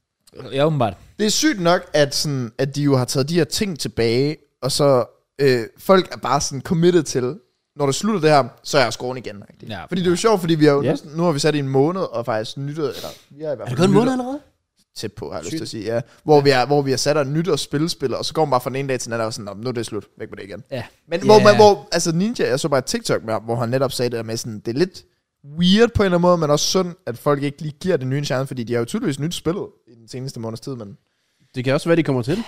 Speaker 1: Ja, åbenbart.
Speaker 3: Det er sygt nok, at, sådan, at de jo har taget de her ting tilbage, og så øh, folk er bare sådan committed til, når det slutter det her, så er jeg scoren igen.
Speaker 1: Ja.
Speaker 3: Ja. Fordi det er jo sjovt, fordi vi har jo
Speaker 2: Ja.
Speaker 3: yeah. nu har vi sat i en måned, og faktisk nyttet, eller vi har i hvert
Speaker 2: Er det
Speaker 3: fald
Speaker 2: gået en
Speaker 3: nyttet-
Speaker 2: måned allerede?
Speaker 3: tæt på, har jeg lyst
Speaker 2: Sygt.
Speaker 3: til at sige, ja. Hvor, ja. Vi er, hvor vi har sat og nyt og spillespil, og så går man bare fra den ene dag til den anden, og sådan, "Nå, nu er det slut, væk med det igen.
Speaker 1: Ja.
Speaker 3: Men
Speaker 1: Ja.
Speaker 3: yeah. hvor, man, hvor, altså Ninja, jeg så bare et TikTok med ham, hvor han netop sagde det der med sådan, det er lidt weird på en eller anden måde, men også synd, at folk ikke lige giver det nye en chance, fordi de har jo tydeligvis nyt spillet i den seneste måneds tid, men
Speaker 2: Det kan også være, de kommer til.
Speaker 3: det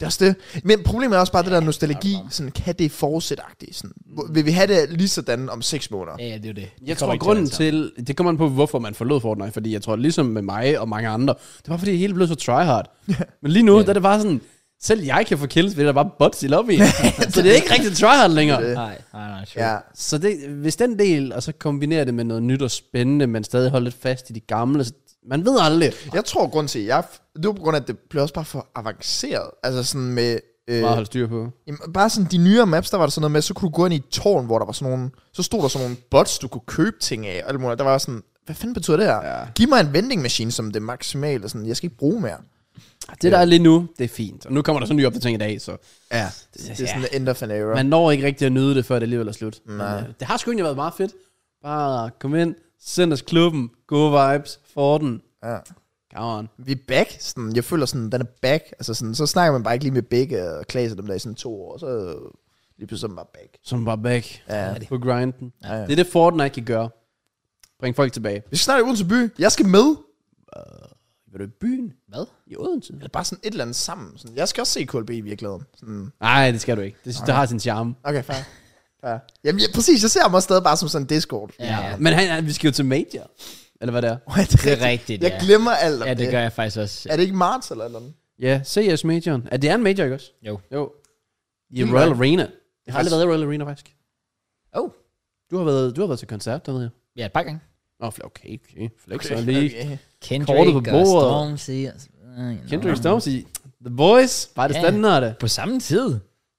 Speaker 3: er også det. Men problemet er også bare det der nostalgi, sådan, kan det fortsætte sådan, hvor- vil vi have det lige sådan om seks måneder?
Speaker 1: Mm. Ja, ja, det er jo det. Det kommer
Speaker 2: Jeg tror,
Speaker 1: ikke at
Speaker 2: grunden
Speaker 1: være det
Speaker 2: til... Det kommer an på, hvorfor man forlod Fortnite, fordi jeg tror, ligesom med mig og mange andre, det var, fordi det hele blev så tryhard. Men lige nu, der er det bare sådan... Selv jeg kan få kills, fordi der bare er bots i lobbyen. så det er ikke rigtig tryhard længere.
Speaker 1: samme. Nej, nej, nej. Sure.
Speaker 3: Ja.
Speaker 2: Så det, hvis den del, og så kombinerer det med noget nyt og spændende, men stadig holder lidt fast i de gamle, så man ved aldrig.
Speaker 3: Jeg tror, grund til, at jeg... Det var på grund af, at det blev også bare for avanceret. Altså sådan med... Øh,
Speaker 2: Bare holde styr på.
Speaker 3: Jamen, bare sådan de nyere maps, der var der sådan noget med, så kunne du gå ind i et tårn, hvor der var sådan nogle, så stod der sådan nogle bots, du kunne købe ting af, og alt muligt. der var sådan, hvad fanden betyder det her?
Speaker 2: Ja.
Speaker 3: Giv mig en vending machine som det maksimale, sådan, jeg skal ikke bruge mere.
Speaker 2: Det, der er lige nu, det er fint. Og nu kommer der sådan en ny opdatering i dag, så
Speaker 3: Ja, det, det er sådan ja. end of an era.
Speaker 2: man når ikke rigtig at nyde det, før det alligevel er slut.
Speaker 3: Nej.
Speaker 2: Men, øh, det har sgu egentlig været meget fedt. Bare kom ind, send os klubben, gode vibes, Forten.
Speaker 3: ja.
Speaker 2: Come on.
Speaker 3: Vi er back, sådan, jeg føler sådan, den er back, altså sådan, så snakker man bare ikke lige med Bække og Klaas og dem der i sådan to år, så øh, lige pludselig er man bare back.
Speaker 2: Som bare back
Speaker 3: Ja.
Speaker 1: det.
Speaker 2: på grinden.
Speaker 3: Ja, ja.
Speaker 2: Det er det, Fortnite kan gøre. Bring folk tilbage.
Speaker 3: Vi skal snart i Odense by, jeg skal med.
Speaker 2: Vil du i byen?
Speaker 1: Hvad?
Speaker 2: I Odense?
Speaker 3: Eller bare sådan et eller andet sammen. Sådan, jeg skal også se KLB i virkeligheden. Sådan,
Speaker 2: Nej, det skal du ikke. Det, det har sin charme.
Speaker 3: okay, fair. fair. Jamen ja, præcis, jeg ser ham også stadig bare som sådan en Discord.
Speaker 1: Ja.
Speaker 2: Men han, han, vi skal jo til Major. Eller hvad det er?
Speaker 3: What?
Speaker 1: Det er rigtigt,
Speaker 3: Jeg
Speaker 1: ja.
Speaker 3: glemmer alt om
Speaker 1: Ja, det
Speaker 3: det.
Speaker 1: gør jeg faktisk også.
Speaker 3: Er det ikke marts eller noget?
Speaker 2: Ja, CS Majoren. Er det er en Major, ikke også?
Speaker 1: Jo.
Speaker 2: Jo. I
Speaker 3: Helt
Speaker 2: Royal
Speaker 3: nok.
Speaker 2: Arena. Jeg har aldrig
Speaker 3: Faktisk-
Speaker 2: været i Royal Arena, faktisk.
Speaker 1: Oh.
Speaker 2: Du har været, du har været til koncert, der ved jeg.
Speaker 1: Ja, et par gange.
Speaker 2: Nå, fl- okay, okay. Flex okay, lige. Okay.
Speaker 3: Okay.
Speaker 1: Kendrick
Speaker 2: Kortet på
Speaker 1: og
Speaker 2: bordet.
Speaker 1: Stormzy. og så- Ej, nå.
Speaker 2: Kendrick Storms i The Boys. Bare det
Speaker 1: Ja.
Speaker 2: yeah. standarde.
Speaker 1: På samme tid.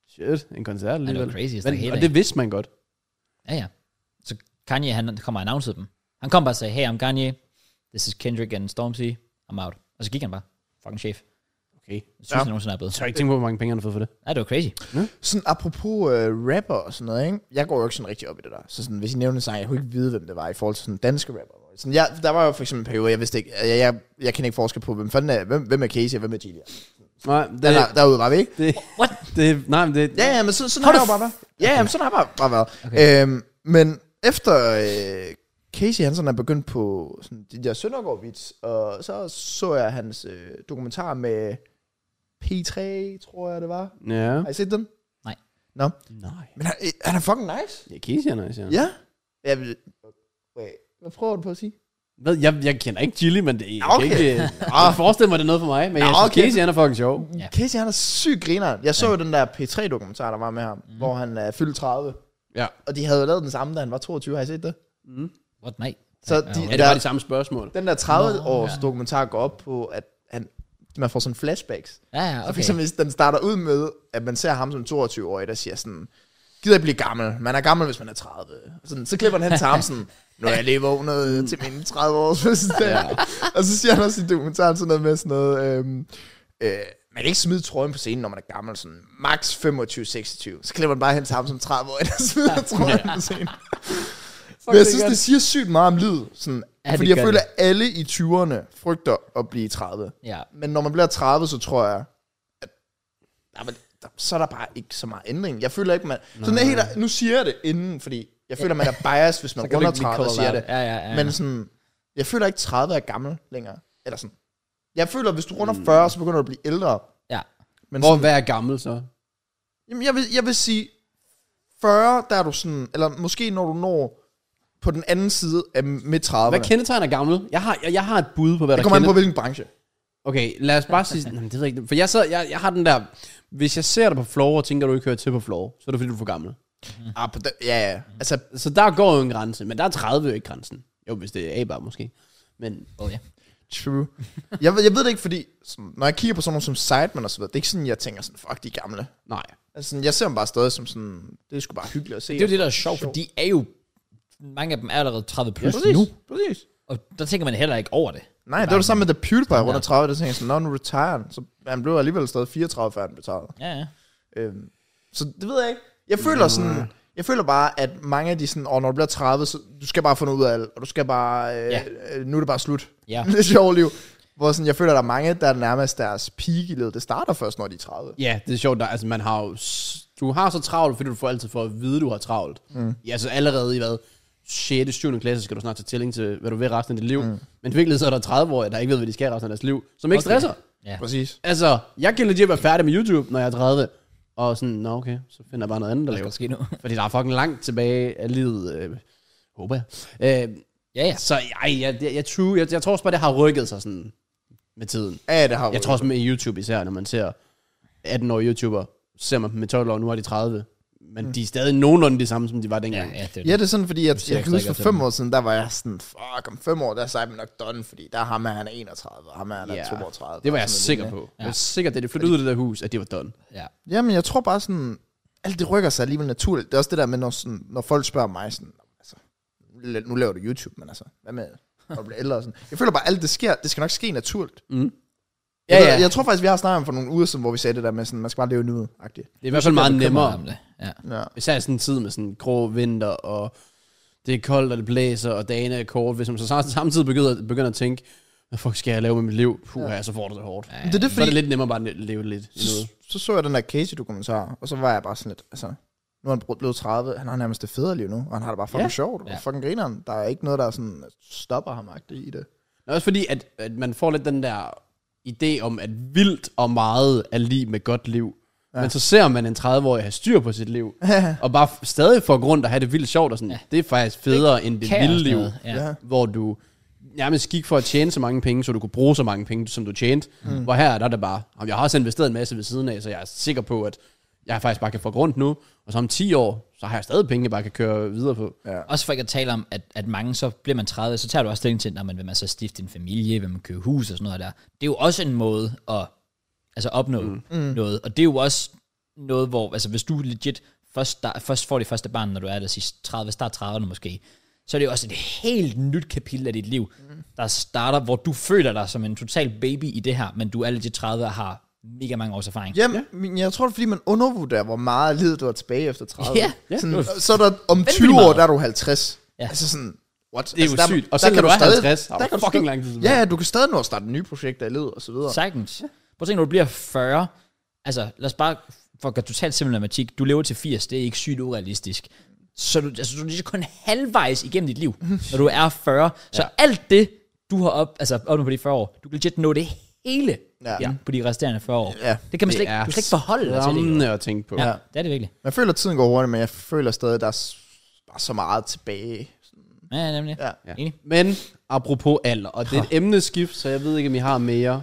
Speaker 2: Shit, en koncert
Speaker 1: Ja, det
Speaker 2: alligevel.
Speaker 1: var crazy.
Speaker 2: Men, og det vidste man godt.
Speaker 1: Ja, ja. Så Kanye, han kom og annoncerede dem. Han kom bare og sagde, hey, I'm Kanye. This is Kendrick and Stormzy. I'm out. Og så gik han bare. Fucking chef.
Speaker 2: Okay.
Speaker 1: Jeg synes, ja. han nogensinde er blevet.
Speaker 2: Så har jeg ikke tænkt på, hvor mange penge han har fået for det.
Speaker 1: Ja, det var crazy.
Speaker 3: Sådan apropos øh, rapper og sådan noget, ikke? Jeg går jo ikke sådan rigtig op i det der. Så sådan, hvis I nævner en sang, jeg kunne ikke vide, hvem det var i forhold til sådan danske rapper. Sådan, jeg, der var jo for eksempel en periode, jeg vidste ikke, jeg, jeg, jeg kender ikke forskel på, hvem fanden er, hvem, hvem er Casey og hvem er Gilia.
Speaker 2: Nej, det,
Speaker 3: Den er, derude var vi ikke.
Speaker 2: det,
Speaker 1: What?
Speaker 2: det, nej, men det,
Speaker 3: Ja, ja, men sådan, sådan
Speaker 1: Har
Speaker 3: har
Speaker 1: du
Speaker 3: det jo bare været. Ja, ja, men sådan har det bare, bare været. Okay. Øhm, men efter øh, Casey Hansen er begyndt på sådan, de der Søndergaard-vits, og så så jeg hans øh, dokumentar med P3, tror jeg det var.
Speaker 2: ja.
Speaker 3: Har I set den?
Speaker 1: Nej.
Speaker 3: Nå,
Speaker 2: Nej.
Speaker 3: men han, øh, han er fucking nice.
Speaker 2: Ja, Casey er nice, ja.
Speaker 3: Ja. ja. men- Wait, hvad prøver du på at sige?
Speaker 2: Hvad, jeg, jeg kender ikke Chili, men det, jeg
Speaker 3: Ja,
Speaker 2: okay.
Speaker 3: okay.
Speaker 2: kan ikke, øh, jeg forestiller mig, det er noget for mig. Men jeg
Speaker 3: Ja,
Speaker 2: synes,
Speaker 3: okay.
Speaker 2: Casey han er fucking sjov.
Speaker 1: Ja.
Speaker 3: Ja. Casey, han er syg griner. Jeg så ja. jo den der P3-dokumentar, der var med ham, mm. hvor han er fyldt 30.
Speaker 2: Ja.
Speaker 3: Og de havde jo lavet den samme, da han var 22. Har I set det?
Speaker 1: What? Nej.
Speaker 3: Så
Speaker 1: Ja,
Speaker 3: de,
Speaker 2: Ja, det var de samme spørgsmål.
Speaker 3: Den der 30-års ja. dokumentar går op på, at han, man får sådan flashbacks.
Speaker 1: Ja, ja,
Speaker 3: Okay. Så for
Speaker 1: okay.
Speaker 3: eksempel, hvis den starter ud med, at man ser ham som 22-årig, der siger sådan, gider ikke blive gammel. Man er gammel, hvis man er 30. Sådan, så klipper han hen til ham sådan, nu er jeg lige vågnet til min 30-års fødselsdag. Ja. Og så siger han også i dokumentaren sådan noget med sådan noget, øhm, øh, man kan ikke smide trøjen på scenen, når man er gammel, sådan max 25-26. Så klipper man bare hen til ham som 30-årig, der smider trøjen på scenen. Men jeg synes, det siger sygt meget om livet. Sådan,
Speaker 1: Ja,
Speaker 3: ja,
Speaker 1: det
Speaker 3: fordi jeg
Speaker 1: gør
Speaker 3: føler, at alle i 20'erne frygter at blive 30.
Speaker 1: Ja.
Speaker 3: Men når man bliver 30, så tror jeg, at, jamen, der, så er der bare ikke så meget ændring. Jeg føler ikke, man... Sådan er helt, nu siger jeg det inden, fordi jeg føler, man er biased, hvis man
Speaker 1: kan du
Speaker 3: runder
Speaker 1: ikke blive
Speaker 3: 30
Speaker 1: called
Speaker 3: og siger
Speaker 1: out.
Speaker 3: det.
Speaker 1: Ja, ja, ja.
Speaker 3: Men sådan, jeg føler ikke, 30 er gammel længere. Eller sådan. Jeg føler, at hvis du runder 40, så begynder du at blive ældre.
Speaker 1: ja.
Speaker 3: Men
Speaker 2: Hvor,
Speaker 3: sådan,
Speaker 2: hvad er gammel så?
Speaker 3: jamen, jeg, vil, jeg vil sige, 40, der er du sådan... Eller måske når du når på den anden side af midt 30'erne.
Speaker 2: Hvad kendetegner gammel? Jeg har, jeg, jeg har et bud på, hvad
Speaker 3: Det
Speaker 2: der
Speaker 3: kommer an
Speaker 2: kendetegner.
Speaker 3: på, hvilken branche.
Speaker 2: Okay, lad os bare sige... Jamen, det ved jeg ikke. For jeg, sad, jeg, jeg har den der... Hvis jeg ser dig på floor og tænker, at du ikke hører til på floor, så er det fordi, du er for gammel.
Speaker 1: Mm.
Speaker 2: Mm.
Speaker 3: Ah, på den, ja, ja. Altså,
Speaker 2: Så der går jo en grænse, men der er 30 jo ikke grænsen. Jo, hvis det er A-bar måske. Men
Speaker 1: Oh, ja.
Speaker 3: true. jeg, ved, jeg ved det ikke, fordi sådan, når jeg kigger på sådan nogle som Sidemen og så videre, det er ikke sådan, jeg tænker sådan, fuck, de er gamle.
Speaker 2: nej.
Speaker 3: Altså, sådan, jeg ser dem bare stadig som sådan, det er sgu bare hyggeligt at se.
Speaker 1: Det er jo det, der er sjovt, for de er jo... Mange af dem er allerede 30 plus
Speaker 3: præcis,
Speaker 1: nu.
Speaker 3: præcis.
Speaker 1: Og der tænker man heller ikke over det.
Speaker 3: Nej, det var det samme med The PewDiePie rundt om 30, der tænker jeg sådan, når nu retire han, så han blev alligevel stadig 34, før han blev 30.
Speaker 1: Ja, ja.
Speaker 3: Øhm, så det ved jeg ikke. Jeg føler sådan, jeg føler bare, at mange af de sådan, og når du bliver 30, så du skal bare få noget ud af alt, og du skal bare,
Speaker 1: Ja.
Speaker 3: øh, ja. øh, nu er det bare slut.
Speaker 1: Ja.
Speaker 3: det er sjovt liv. Hvor sådan, jeg føler, der er mange, der er nærmest deres peak i livet. Det starter først, når de er 30.
Speaker 2: Ja, det er sjovt. Der, altså, man har jo, s- du har så travlt, fordi du får altid for at vide, du har travlt. Mm. Ja, så allerede i hvad? 6. 7. klasse skal du snart tage stilling til, hvad du vil resten af dit liv. Mm. Men i virkeligheden så er der 30 år, der ikke ved, hvad de skal resten af deres liv, som ikke okay. stresser.
Speaker 1: Ja.
Speaker 3: Præcis.
Speaker 2: Altså, jeg kan legit være færdig med YouTube, når jeg er 30. Og sådan, nå okay, så finder jeg bare noget andet, der
Speaker 1: Det
Speaker 2: laver.
Speaker 1: kan ske nu.
Speaker 2: Fordi der er fucking langt tilbage af livet, øh, håber jeg. Øh,
Speaker 1: Ja, ja.
Speaker 2: så ej, jeg, jeg, jeg, tror, jeg, jeg tror også bare, det har rykket sig sådan med tiden.
Speaker 3: Ja, det har
Speaker 2: Jeg tror også med YouTube især, når man ser 18-årige YouTuber, ser man dem med 12 år, nu er de 30. Men mm. de er stadig nogenlunde de samme, som de var
Speaker 1: Ja,
Speaker 2: dengang. Ja,
Speaker 1: ja, det er
Speaker 3: Ja,
Speaker 1: det.
Speaker 3: det er sådan, fordi jeg,
Speaker 1: ser
Speaker 3: jeg kan
Speaker 1: ikke
Speaker 3: huske for
Speaker 1: rigtig
Speaker 3: fem år siden, der var jeg sådan, fuck, om fem år, der er Simon nok done, fordi der er ham her, han er 31, og ham her, han er
Speaker 2: Ja,
Speaker 3: 32.
Speaker 2: Det var jeg
Speaker 3: Sådan noget
Speaker 2: sikker
Speaker 3: lignende.
Speaker 2: på. Ja. Jeg var sikker, da de flyttede ud af det der hus, at det var done.
Speaker 1: Ja.
Speaker 3: Jamen, jeg tror bare sådan, alt det rykker sig alligevel naturligt. Det er også det der med, når, sådan, når folk spørger mig sådan, "Nå, altså, nu laver du YouTube, men altså, hvad med at blive ældre og sådan. Jeg føler bare, alt det sker, det skal nok ske naturligt.
Speaker 2: Mm.
Speaker 3: Ja,
Speaker 2: Ja,
Speaker 3: ja.
Speaker 2: ja.
Speaker 3: Jeg, jeg tror faktisk, vi har snakket om for nogle uger siden, hvor vi sagde det der med sådan, man skal bare leve nu agtigt
Speaker 2: Det er i hvert fald meget
Speaker 1: Jeg er bekymret
Speaker 2: nemmere.
Speaker 1: om det. Ja.
Speaker 3: Ja.
Speaker 2: Især i sådan en tid med sådan grå vinter, og det er koldt, og det blæser, og dagene er kort. Hvis man så sam- samtidig begynder, begynder at tænke, hvad fuck skal jeg lave med mit liv? Puh, ja. så får du det hårdt. Ja.
Speaker 3: Men det er det,
Speaker 2: Så er det
Speaker 3: fordi,
Speaker 2: lidt nemmere bare at leve lidt.
Speaker 3: så, så, så jeg den der Casey-dokumentar, og så var jeg bare sådan lidt, altså, nu er han blevet 30, han har nærmest det federe liv nu, og han har det bare fucking
Speaker 2: Ja.
Speaker 3: ja. sjovt,
Speaker 1: Ja.
Speaker 3: og fucking grineren. Der er ikke noget, der sådan stopper ham agtigt i det.
Speaker 2: Men også fordi, at, at man får lidt den der idé om, at vildt og meget er lige med godt liv. Ja. Men så ser man en 30-årig have styr på sit liv, og bare f- stadig får grund at have det vildt sjovt, og sådan, ja. det er faktisk federe det end det
Speaker 1: Kaos
Speaker 2: vilde liv,
Speaker 1: noget, Ja.
Speaker 3: Ja.
Speaker 2: hvor du nærmest gik for at tjene så mange penge, så du kunne bruge så mange penge, som du tjente. Mm. Hvor her der er det bare, "Jamen, jeg har også investeret en masse ved siden af, så jeg er sikker på, at jeg faktisk bare kan få grund nu, og så om 10 år, så har jeg stadig penge, jeg bare kan køre videre på.
Speaker 3: Ja.
Speaker 1: Også for ikke at tale om, at, at mange, så bliver man 30, så tager du også stilling til, når man vil man så stifte en familie, vil man købe hus og sådan noget der. Det er jo også en måde at altså opnå mm. noget. Og det er jo også noget, hvor, altså hvis du legit først, start, først får det første barn, når du er der sidst 30, start 30'erne måske, så er det jo også et helt nyt kapitel af dit liv, mm. der starter, hvor du føler dig som en total baby i det her, men du er legit 30 og har mega mange års erfaring.
Speaker 3: Jamen, ja. men jeg tror, det er, fordi man undervurderer, hvor meget livet du har tilbage efter 30.
Speaker 1: Ja, ja.
Speaker 3: Sådan, så er der om 20 år,
Speaker 1: meget.
Speaker 3: der er du 50.
Speaker 1: Ja.
Speaker 3: Ja. Altså sådan, what?
Speaker 2: Det er
Speaker 3: altså,
Speaker 2: jo sygt. Og så når du er 50, har du fucking lang tid tilbage.
Speaker 3: Ja, ja, du kan stadig nå at starte nye projekter i livet og så videre.
Speaker 1: Sagtens. Prøv at tænke, når du bliver 40, altså lad os bare, for at gøre totalt simpel matematik, du lever til 80, det er ikke sygt urealistisk. Så du, altså, du er lige så kun halvvejs igennem dit liv, når du er 40. Så ja. alt det, du har op, altså, opnået på de 40 år, du kan legit nå det hele
Speaker 3: Ja.
Speaker 1: ja. Ja, på de resterende 40 år.
Speaker 3: Ja.
Speaker 1: Det kan man
Speaker 2: Det
Speaker 1: slet ikke,
Speaker 2: er
Speaker 1: du kan slet ikke forholde dig til det.
Speaker 2: Rammende at tænke på.
Speaker 1: Ja, det er det virkelig.
Speaker 3: Man føler, at tiden går hurtigt, men jeg føler stadig, at der er s- bare så meget tilbage.
Speaker 1: Ja, ja, nemlig.
Speaker 3: Ja.
Speaker 2: Ja.
Speaker 1: Enig.
Speaker 2: Men apropos alder, og det er et emneskift, så jeg ved ikke, om I har mere.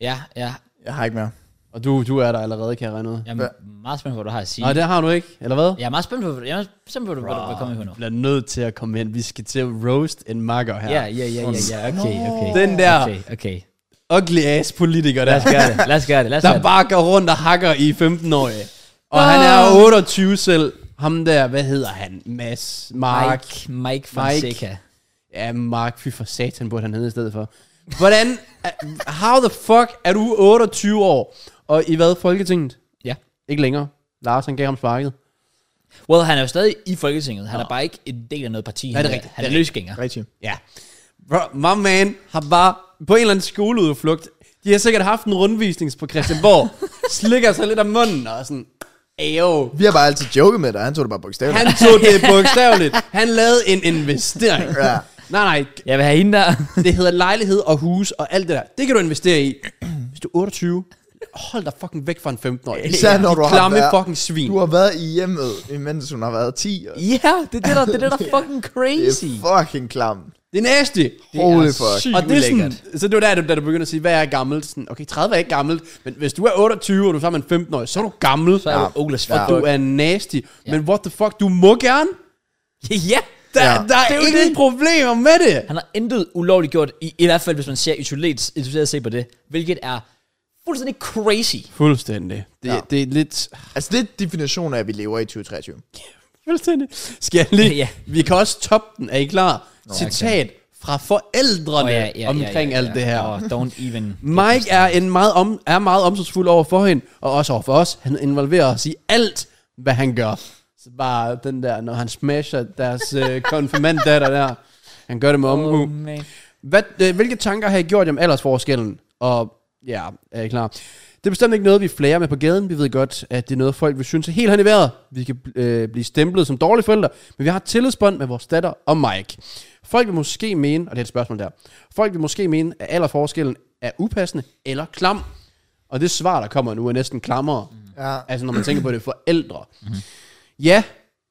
Speaker 1: Ja, ja.
Speaker 3: Jeg har ikke mere.
Speaker 2: Og du, du er der allerede, kan jeg regne ud.
Speaker 1: Jeg er meget spændt på, hvad du har at sige.
Speaker 2: Nej, det har du ikke, eller hvad?
Speaker 1: Jeg er meget spændt på, jeg er spændt på, hvad du er kommet på nu.
Speaker 2: bliver nødt til at komme ind. Vi skal til at roast en makker her.
Speaker 1: Ja, ja, ja, ja, ja, okay, okay.
Speaker 2: Den der
Speaker 1: Okay, okay.
Speaker 2: ugly ass politiker
Speaker 1: Lad
Speaker 2: der,
Speaker 1: os gøre det, lad os gøre det, lad os gøre
Speaker 2: der
Speaker 1: det.
Speaker 2: bare går rundt og hakker i 15-årige. Og han
Speaker 1: Ah.
Speaker 2: er 28 selv. Ham der, hvad hedder han? Mads, Mark.
Speaker 1: Mike, Mike Fonseca.
Speaker 2: Ja, Mark, fy for satan burde han hedde i stedet for. Hvordan, øh, how the fuck er du 28 år, og i hvad, Folketinget?
Speaker 1: Ja.
Speaker 2: Ikke længere. Lars, han gav ham sparket.
Speaker 1: Well, han er jo stadig i Folketinget. Han er bare ikke en del af noget parti.
Speaker 2: er
Speaker 1: Han
Speaker 2: rigtigt,
Speaker 1: Han
Speaker 2: det
Speaker 1: er
Speaker 2: er
Speaker 1: løsgænger.
Speaker 3: Rigtig.
Speaker 2: Ja. Bro, my man har bare på en eller anden skoleudflugt, de har sikkert haft en rundvisning på Christiansborg, slikker sig lidt af munden og er sådan, ayo.
Speaker 3: Vi har bare altid joket med dig, han tog det bare bogstaveligt.
Speaker 2: Han tog det bogstaveligt. Han lavede en investering.
Speaker 3: Ja.
Speaker 2: Nej, nej,
Speaker 1: Jeg vil have hende der.
Speaker 2: det hedder lejlighed og hus og alt det der. Det kan du investere i. Hvis du er 28, hold dig fucking væk fra en 15-årig.
Speaker 3: Især når
Speaker 2: De
Speaker 3: du har
Speaker 2: klamme
Speaker 3: været-
Speaker 2: fucking svin.
Speaker 3: Du har været i hjemmet, imens hun har været 10. Og
Speaker 1: Ja, det er det, der, det er det, der er fucking
Speaker 3: det
Speaker 1: crazy.
Speaker 3: er fucking klam.
Speaker 2: Det er næste.
Speaker 3: Holy fuck.
Speaker 1: Sygt
Speaker 2: Og det er sådan,
Speaker 1: ulækkert.
Speaker 2: så det var der, du- da du begynder at sige, hvad er gammelt? Sådan, okay, 30 er ikke gammelt, men hvis du er 28, og du er sammen med en 15-årig, så er du gammel.
Speaker 1: Så er
Speaker 3: Ja.
Speaker 1: du Olas
Speaker 2: og du er nasty. Men what the fuck, du må gerne.
Speaker 1: Ja,
Speaker 2: Der,
Speaker 3: Ja.
Speaker 2: ja. der er,
Speaker 1: Det er jo
Speaker 2: ikke
Speaker 1: det.
Speaker 2: problemer med det.
Speaker 1: han har intet ulovligt gjort, i, i hvert fald hvis man ser isoleret, isoleret set på det, hvilket er fuldstændig crazy.
Speaker 2: Fuldstændig. Det,
Speaker 3: Ja.
Speaker 2: ja. det er lidt...
Speaker 3: Altså, det er definitionen af, at vi lever i 2023.
Speaker 2: Fuldstændig. Skal jeg lige...
Speaker 1: Ja.
Speaker 2: ja. Vi kan også toppe den, er I klar? Citat fra forældrene
Speaker 1: Åh,
Speaker 2: oh, ja, ja, omkring ja, ja, ja. alt det her.
Speaker 1: Åh, don't even.
Speaker 2: Mike er, en meget om, er meget omsorgsfuld over for hende, og også over for os. Han involverer os i alt, hvad han gør. Så bare den der, når han smasher deres øh, konfirmanddatter der. Han gør det med omhu.
Speaker 1: Oh, man.
Speaker 2: Hvad, øh, hvilke tanker har I gjort jer om aldersforskellen? Og ja, er I klar? Det er bestemt ikke noget, vi flager med på gaden. Vi ved godt, at det er noget, folk vil synes er helt hen i vejret. Vi kan øh, blive stemplet som dårlige forældre, men vi har et tillidsbånd med vores datter og Mike. Folk vil måske mene, og det er et spørgsmål der, folk vil måske mene, at aldersforskellen er upassende eller klam. Og det svar, der kommer nu, er næsten klammere.
Speaker 3: Ja.
Speaker 2: Altså når man tænker på det, forældre. Mm-hmm. Ja,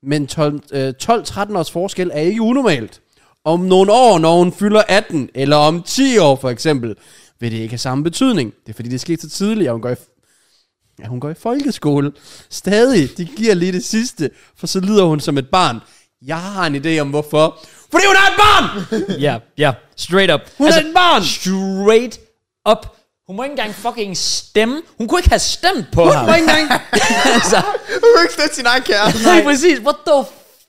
Speaker 2: men 12, øh, 12-13 års forskel er ikke unormalt. Om nogle år, når hun fylder 18, eller om 10 år for eksempel, vil det ikke have samme betydning. Det er fordi, det skete så tidligt, og hun går i, ja, hun går i folkeskole. Stadig, de giver lige det sidste, for så lider hun som et barn. Jeg har en idé om hvorfor. Fordi hun er et barn!
Speaker 1: Ja, ja, straight up. Altså,
Speaker 2: Hun er et barn!
Speaker 1: Straight up. Hun må ikke engang fucking stemme. Hun kunne ikke have stemt på
Speaker 2: Hun
Speaker 1: ham.
Speaker 2: må ikke engang,
Speaker 1: altså,
Speaker 3: Du kan ikke slet sin egen kæreste.
Speaker 1: lige præcis. What the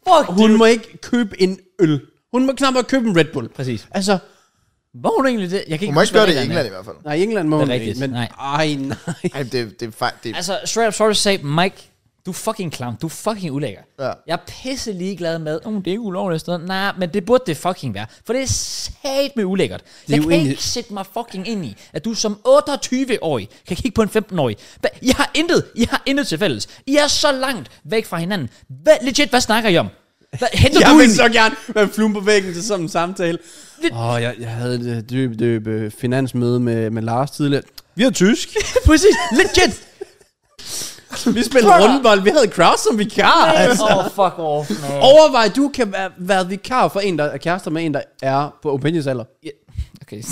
Speaker 1: fuck, dude?
Speaker 2: hun må ikke købe en øl. Hun må knap nok købe en Red Bull.
Speaker 1: Præcis.
Speaker 2: Altså,
Speaker 1: Var hun egentlig det? Jeg kan ikke
Speaker 3: Hun må ikke
Speaker 1: huske,
Speaker 3: gøre det
Speaker 1: hvad
Speaker 3: i
Speaker 1: reglerne
Speaker 3: England
Speaker 1: er.
Speaker 3: i hvert fald.
Speaker 2: nej, i England må
Speaker 1: er
Speaker 2: hun
Speaker 1: rigtigt,
Speaker 2: ikke, men
Speaker 1: nej.
Speaker 2: ej nej.
Speaker 3: Ej, det, det er faktisk... Det,
Speaker 1: Altså, straight up, sorry to say, Mike, du er fucking klam. Du er fucking ulækker.
Speaker 3: Ja.
Speaker 1: Jeg er pisse ligeglad med, om det er ikke ulovligt og sådan noget. Nej, men det burde det fucking være. For det er sat med ulækkert.
Speaker 2: er
Speaker 1: Jeg
Speaker 2: jo
Speaker 1: kan
Speaker 2: egentlig-
Speaker 1: ikke sætte mig fucking ind i, at du som 28-årig kan kigge på en 15-årig. Hva- I har intet, I har intet til fælles. I er så langt væk fra hinanden. Hvad, legit, hvad snakker I om? Hvad, henter
Speaker 2: Jeg
Speaker 1: du
Speaker 2: vil
Speaker 1: en-
Speaker 2: så gerne være en flue på væggen til sådan en samtale. Åh, oh, jeg, jeg havde et dyb, dyb øh, finansmøde med, med Lars tidligere. Vi havde tysk.
Speaker 1: Præcis, legit.
Speaker 2: vi spillede rundbold. Vi havde Kraus som vikar. Altså.
Speaker 1: Åh, oh, fuck off, man.
Speaker 2: Overvej, du kan være, være vikar for en, der er kærester med en, der er på opinions alder.
Speaker 1: Okay.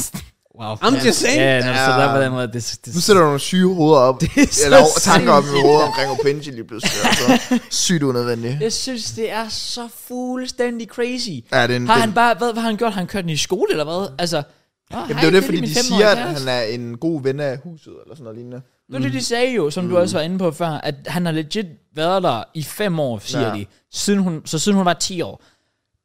Speaker 1: Wow.
Speaker 2: I'm just saying.
Speaker 1: Ja, når du står
Speaker 3: Ja.
Speaker 1: der på den måde, det, det,
Speaker 3: nu sætter du nogle syge hoveder op.
Speaker 1: så
Speaker 3: Eller over- tanker op i
Speaker 1: sindssygt.
Speaker 3: hovedet omkring Opinji lige pludselig. Altså. Sygt unødvendigt.
Speaker 1: Jeg synes, det er så fuldstændig crazy.
Speaker 3: Ja, det er en-
Speaker 1: har
Speaker 3: det-
Speaker 1: han bare, hvad, hvad har han gjort? Har han kørt den i skole, eller hvad? Altså, oh,
Speaker 3: Jamen, det er jo det, fordi de siger, at han er en god ven af huset, eller sådan noget lignende.
Speaker 1: Det er det, de sagde jo, som mm. du også var inde på før, at han har legit været der i fem år, siger
Speaker 3: Ja.
Speaker 1: ja. de. Siden hun, så siden hun var 10 år.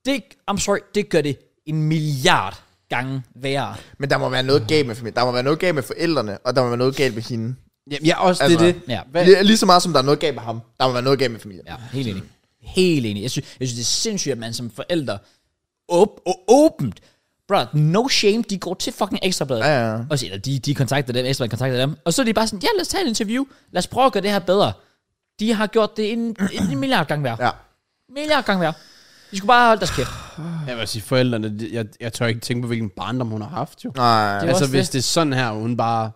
Speaker 1: Det, I'm sorry, det gør det en milliard gange værre.
Speaker 3: Men der må være noget galt med familien. Der må være noget galt med forældrene, og der må være noget galt med hende.
Speaker 2: Ja, ja også altså,
Speaker 3: Altså,
Speaker 2: det er det.
Speaker 1: Ja.
Speaker 2: Hvad,
Speaker 3: Lige, lige så meget som der er noget galt med ham, der må være noget galt med familien.
Speaker 1: Ja, helt enig. Helt enig. Jeg synes, jeg synes det er sindssygt, at man som forældre åb- og åbent Bro, no shame, de går til fucking ekstrabladet.
Speaker 3: Ja, ja, ja.
Speaker 1: Og så, eller de, de kontakter dem, Ekstrabladet kontakter dem. Og så er de bare sådan, ja, lad os tage et interview. Lad os prøve at gøre det her bedre. De har gjort det en, en milliard gang hver.
Speaker 3: Ja.
Speaker 1: Milliard gang hver. De skulle bare holde deres kæft.
Speaker 2: Jeg vil sige, forældrene, de- jeg, jeg tør ikke tænke på, hvilken barndom hun har haft, jo.
Speaker 3: Nej.
Speaker 1: Det var-
Speaker 2: Altså,
Speaker 1: også
Speaker 2: hvis
Speaker 1: det.
Speaker 2: det er sådan her, hun bare...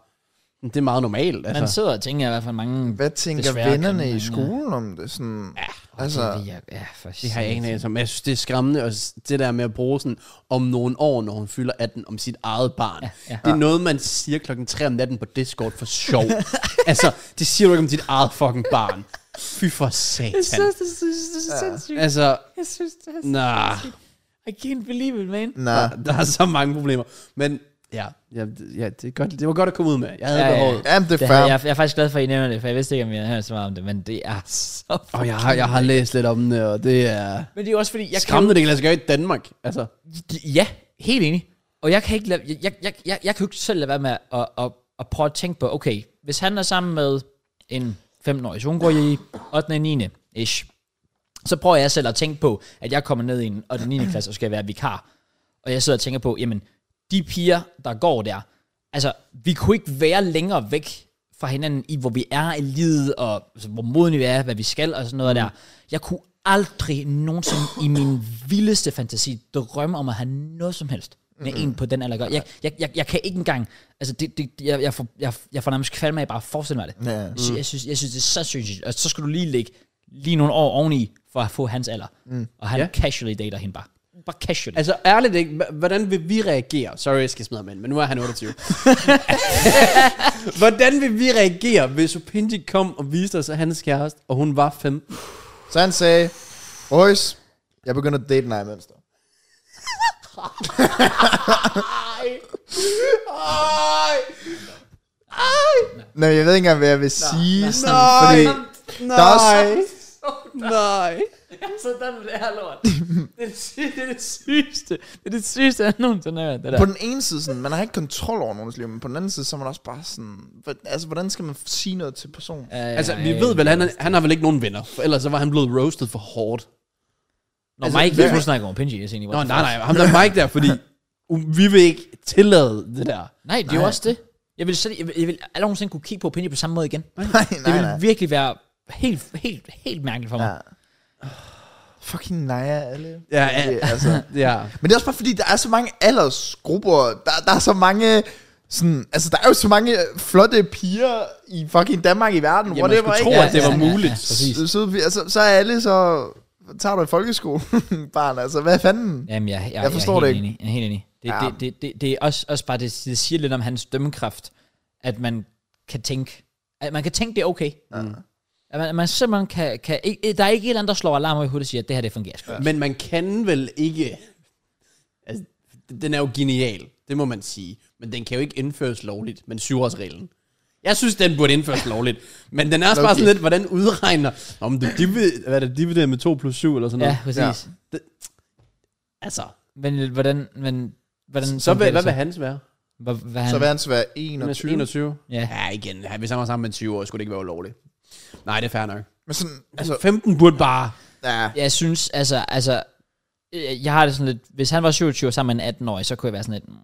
Speaker 2: Det er meget normalt, altså.
Speaker 1: Man sidder og tænker i hvert fald mange...
Speaker 3: Hvad tænker
Speaker 1: Desværre kan
Speaker 3: vennerne
Speaker 1: man, øh,
Speaker 3: i
Speaker 1: ja.
Speaker 3: skolen om det? Sådan, ja, altså,
Speaker 1: Ja, ja, for
Speaker 2: Det har jeg ikke en anelse om. Jeg synes, det er skræmmende, og s- det der med at bruge sådan om nogle år, når hun fylder 18, om sit eget barn. Ja,
Speaker 1: ja.
Speaker 2: ja. Det er noget, man siger klokken 3 om natten på Discord for sjov. altså, det siger du ikke om dit eget fucking barn. Fy for satan.
Speaker 1: det er sindssygt.
Speaker 2: Altså,
Speaker 1: Jeg synes, det er
Speaker 2: nej,
Speaker 1: I can't believe it, man.
Speaker 3: nej.
Speaker 2: der er så mange problemer. Men ja, ja, det- ja det, er godt, det var godt at komme ud med. Jeg havde
Speaker 1: Ja,
Speaker 2: ja,
Speaker 1: ja.
Speaker 2: behovet.
Speaker 3: Jamen, det er
Speaker 1: Det
Speaker 3: fair.
Speaker 1: havde, jeg, jeg er faktisk glad for, at I nævner det, for jeg vidste ikke, om jeg havde hørt så meget om det, men det er så...
Speaker 2: Og jeg har, jeg har læst lidt om det, og det er...
Speaker 1: Men det er også fordi,
Speaker 2: Jeg
Speaker 1: jeg
Speaker 2: skræmmende, det kan lade sig gøre i Danmark. Altså,
Speaker 1: Ja, helt enig. Og jeg kan ikke lade, jeg, jeg, jeg, jeg, jeg kan jo ikke selv lade være med at, at, at, at prøve at tænke på, okay, hvis han er sammen med en 15-årig, så hun går i 8. og 9. ish, så prøver jeg selv at tænke på, at jeg kommer ned i en 8. og 9. klasse og skal være vikar. Og jeg sidder og tænker på, jamen, de piger, der går der, altså, vi kunne ikke være længere væk fra hinanden i, hvor vi er i livet, og altså, hvor modne vi er, hvad vi skal, og sådan noget der. Jeg kunne aldrig nogensinde i min vildeste fantasi drømme om at have noget som helst med en på den alder. at gøre. Jeg, jeg, jeg, jeg kan ikke engang, altså det, det, jeg, jeg, får, jeg, jeg får nærmest kvalme af bare at forestille mig det.
Speaker 3: Ja.
Speaker 1: Jeg, sy- jeg, synes, jeg synes, det er så sygt. Og så skal du lige lægge lige nogle år oveni, for at få hans alder. Mm. Og han
Speaker 2: Ja.
Speaker 1: yeah. casually dater hende bare. Bare casually.
Speaker 2: altså ærligt, ikke? H- hvordan vil vi reagere? Sorry, jeg skal smadre mænd, men nu er han 28. hvordan vil vi reagere, hvis Opinji kom og viste os hans kæreste, og hun var 15?
Speaker 3: Så han sagde, boys, jeg begynder at date Naja Mønster. Nej, jeg ved ikke engang, hvad jeg vil sige. Nej, sådan, fordi der er også,
Speaker 2: nej.
Speaker 1: sådan med det her lort. Det er det, sy- det, er det sygeste. Det er det sygeste, jeg nogensinde har hørt. Det
Speaker 3: på
Speaker 1: der.
Speaker 3: den ene side, sådan, man har ikke kontrol over nogens liv, men på den anden side, så er man også bare sådan, hvor- altså, hvordan skal man sige noget til personen?
Speaker 2: Altså, vi ved vel, han, er- han har vel ikke nogen venner, for ellers så var han blevet roasted for hårdt.
Speaker 1: Nå,
Speaker 2: altså,
Speaker 1: Mike,
Speaker 2: hvad-
Speaker 1: jeg skulle snakke om Pinji. Jeg tænkte,
Speaker 2: Nå, nej, nej, ham der Mike der, fordi u- vi vil ikke tillade det der.
Speaker 1: Nej, det er jo også det. Jeg vil, selv, jeg vil, jeg vil aldrig nogensinde kunne kigge på Pinji på samme måde igen. Nej,
Speaker 3: Nej,
Speaker 1: det
Speaker 3: nej,
Speaker 1: vil
Speaker 3: nej.
Speaker 1: virkelig være helt, helt, helt mærkeligt for mig.
Speaker 3: Ja. Fucking Naja, alle.
Speaker 2: Ja, ja.
Speaker 3: Det, altså.
Speaker 2: Ja.
Speaker 3: Men det er også bare fordi, der er så mange aldersgrupper, der, der er så mange, sådan, altså der er jo så mange flotte piger i fucking Danmark i verden,
Speaker 2: Ja, man
Speaker 3: whatever,
Speaker 2: skulle tro,
Speaker 3: ikke?
Speaker 2: at det var
Speaker 1: ja, ja,
Speaker 2: muligt.
Speaker 1: præcis.
Speaker 3: Så, så, altså, så er alle så, tager du i folkeskolen, barn, altså hvad fanden? Ja.
Speaker 1: Jamen, jeg, jeg,
Speaker 3: Jeg forstår
Speaker 1: jeg er
Speaker 3: det
Speaker 1: helt
Speaker 3: ikke.
Speaker 1: Enig. Jeg er helt enig. Det, ja.
Speaker 3: Ja.
Speaker 1: det, det, det, det er også, også bare, det, det siger lidt om hans dømmekraft, at man kan tænke, at man kan tænke, det er okay. Mm. At man, at man simpelthen kan, kan ikke, der er ikke et eller andet, der slår alarm i hovedet og siger, at det her, det fungerer sgu. Ja.
Speaker 2: Men man kan vel ikke... Altså, den er jo genial, det må man sige. Men den kan jo ikke indføres lovligt, men syvårsreglen. Jeg synes, den burde indføres lovligt. Men den er også bare sådan
Speaker 3: Okay.
Speaker 2: lidt, hvordan udregner... Om det divid, hvad er det, divideret med 2 plus 7 eller sådan noget?
Speaker 1: Ja, præcis. Ja.
Speaker 2: Altså,
Speaker 1: Men hvordan, men, hvordan
Speaker 2: så
Speaker 1: fungerer
Speaker 2: hvad,
Speaker 1: det
Speaker 2: hvad vil hans være?
Speaker 1: Hvad, hvad han,
Speaker 3: Så
Speaker 1: så
Speaker 3: vil
Speaker 1: hvad?
Speaker 3: han så være
Speaker 2: Han er
Speaker 3: 21.
Speaker 2: 21?
Speaker 1: Ja.
Speaker 2: Ja, igen. ja, Hvis han var sammen med en 20 år, skulle det ikke være ulovligt. Nej, det er fair nok.
Speaker 3: Men sådan, altså,
Speaker 2: 15 burde bare...
Speaker 3: ja,
Speaker 1: Jeg synes, altså, altså, øh, jeg har det sådan lidt, hvis han var 27 og sammen med en 18-årig, så kunne jeg være sådan lidt, mm,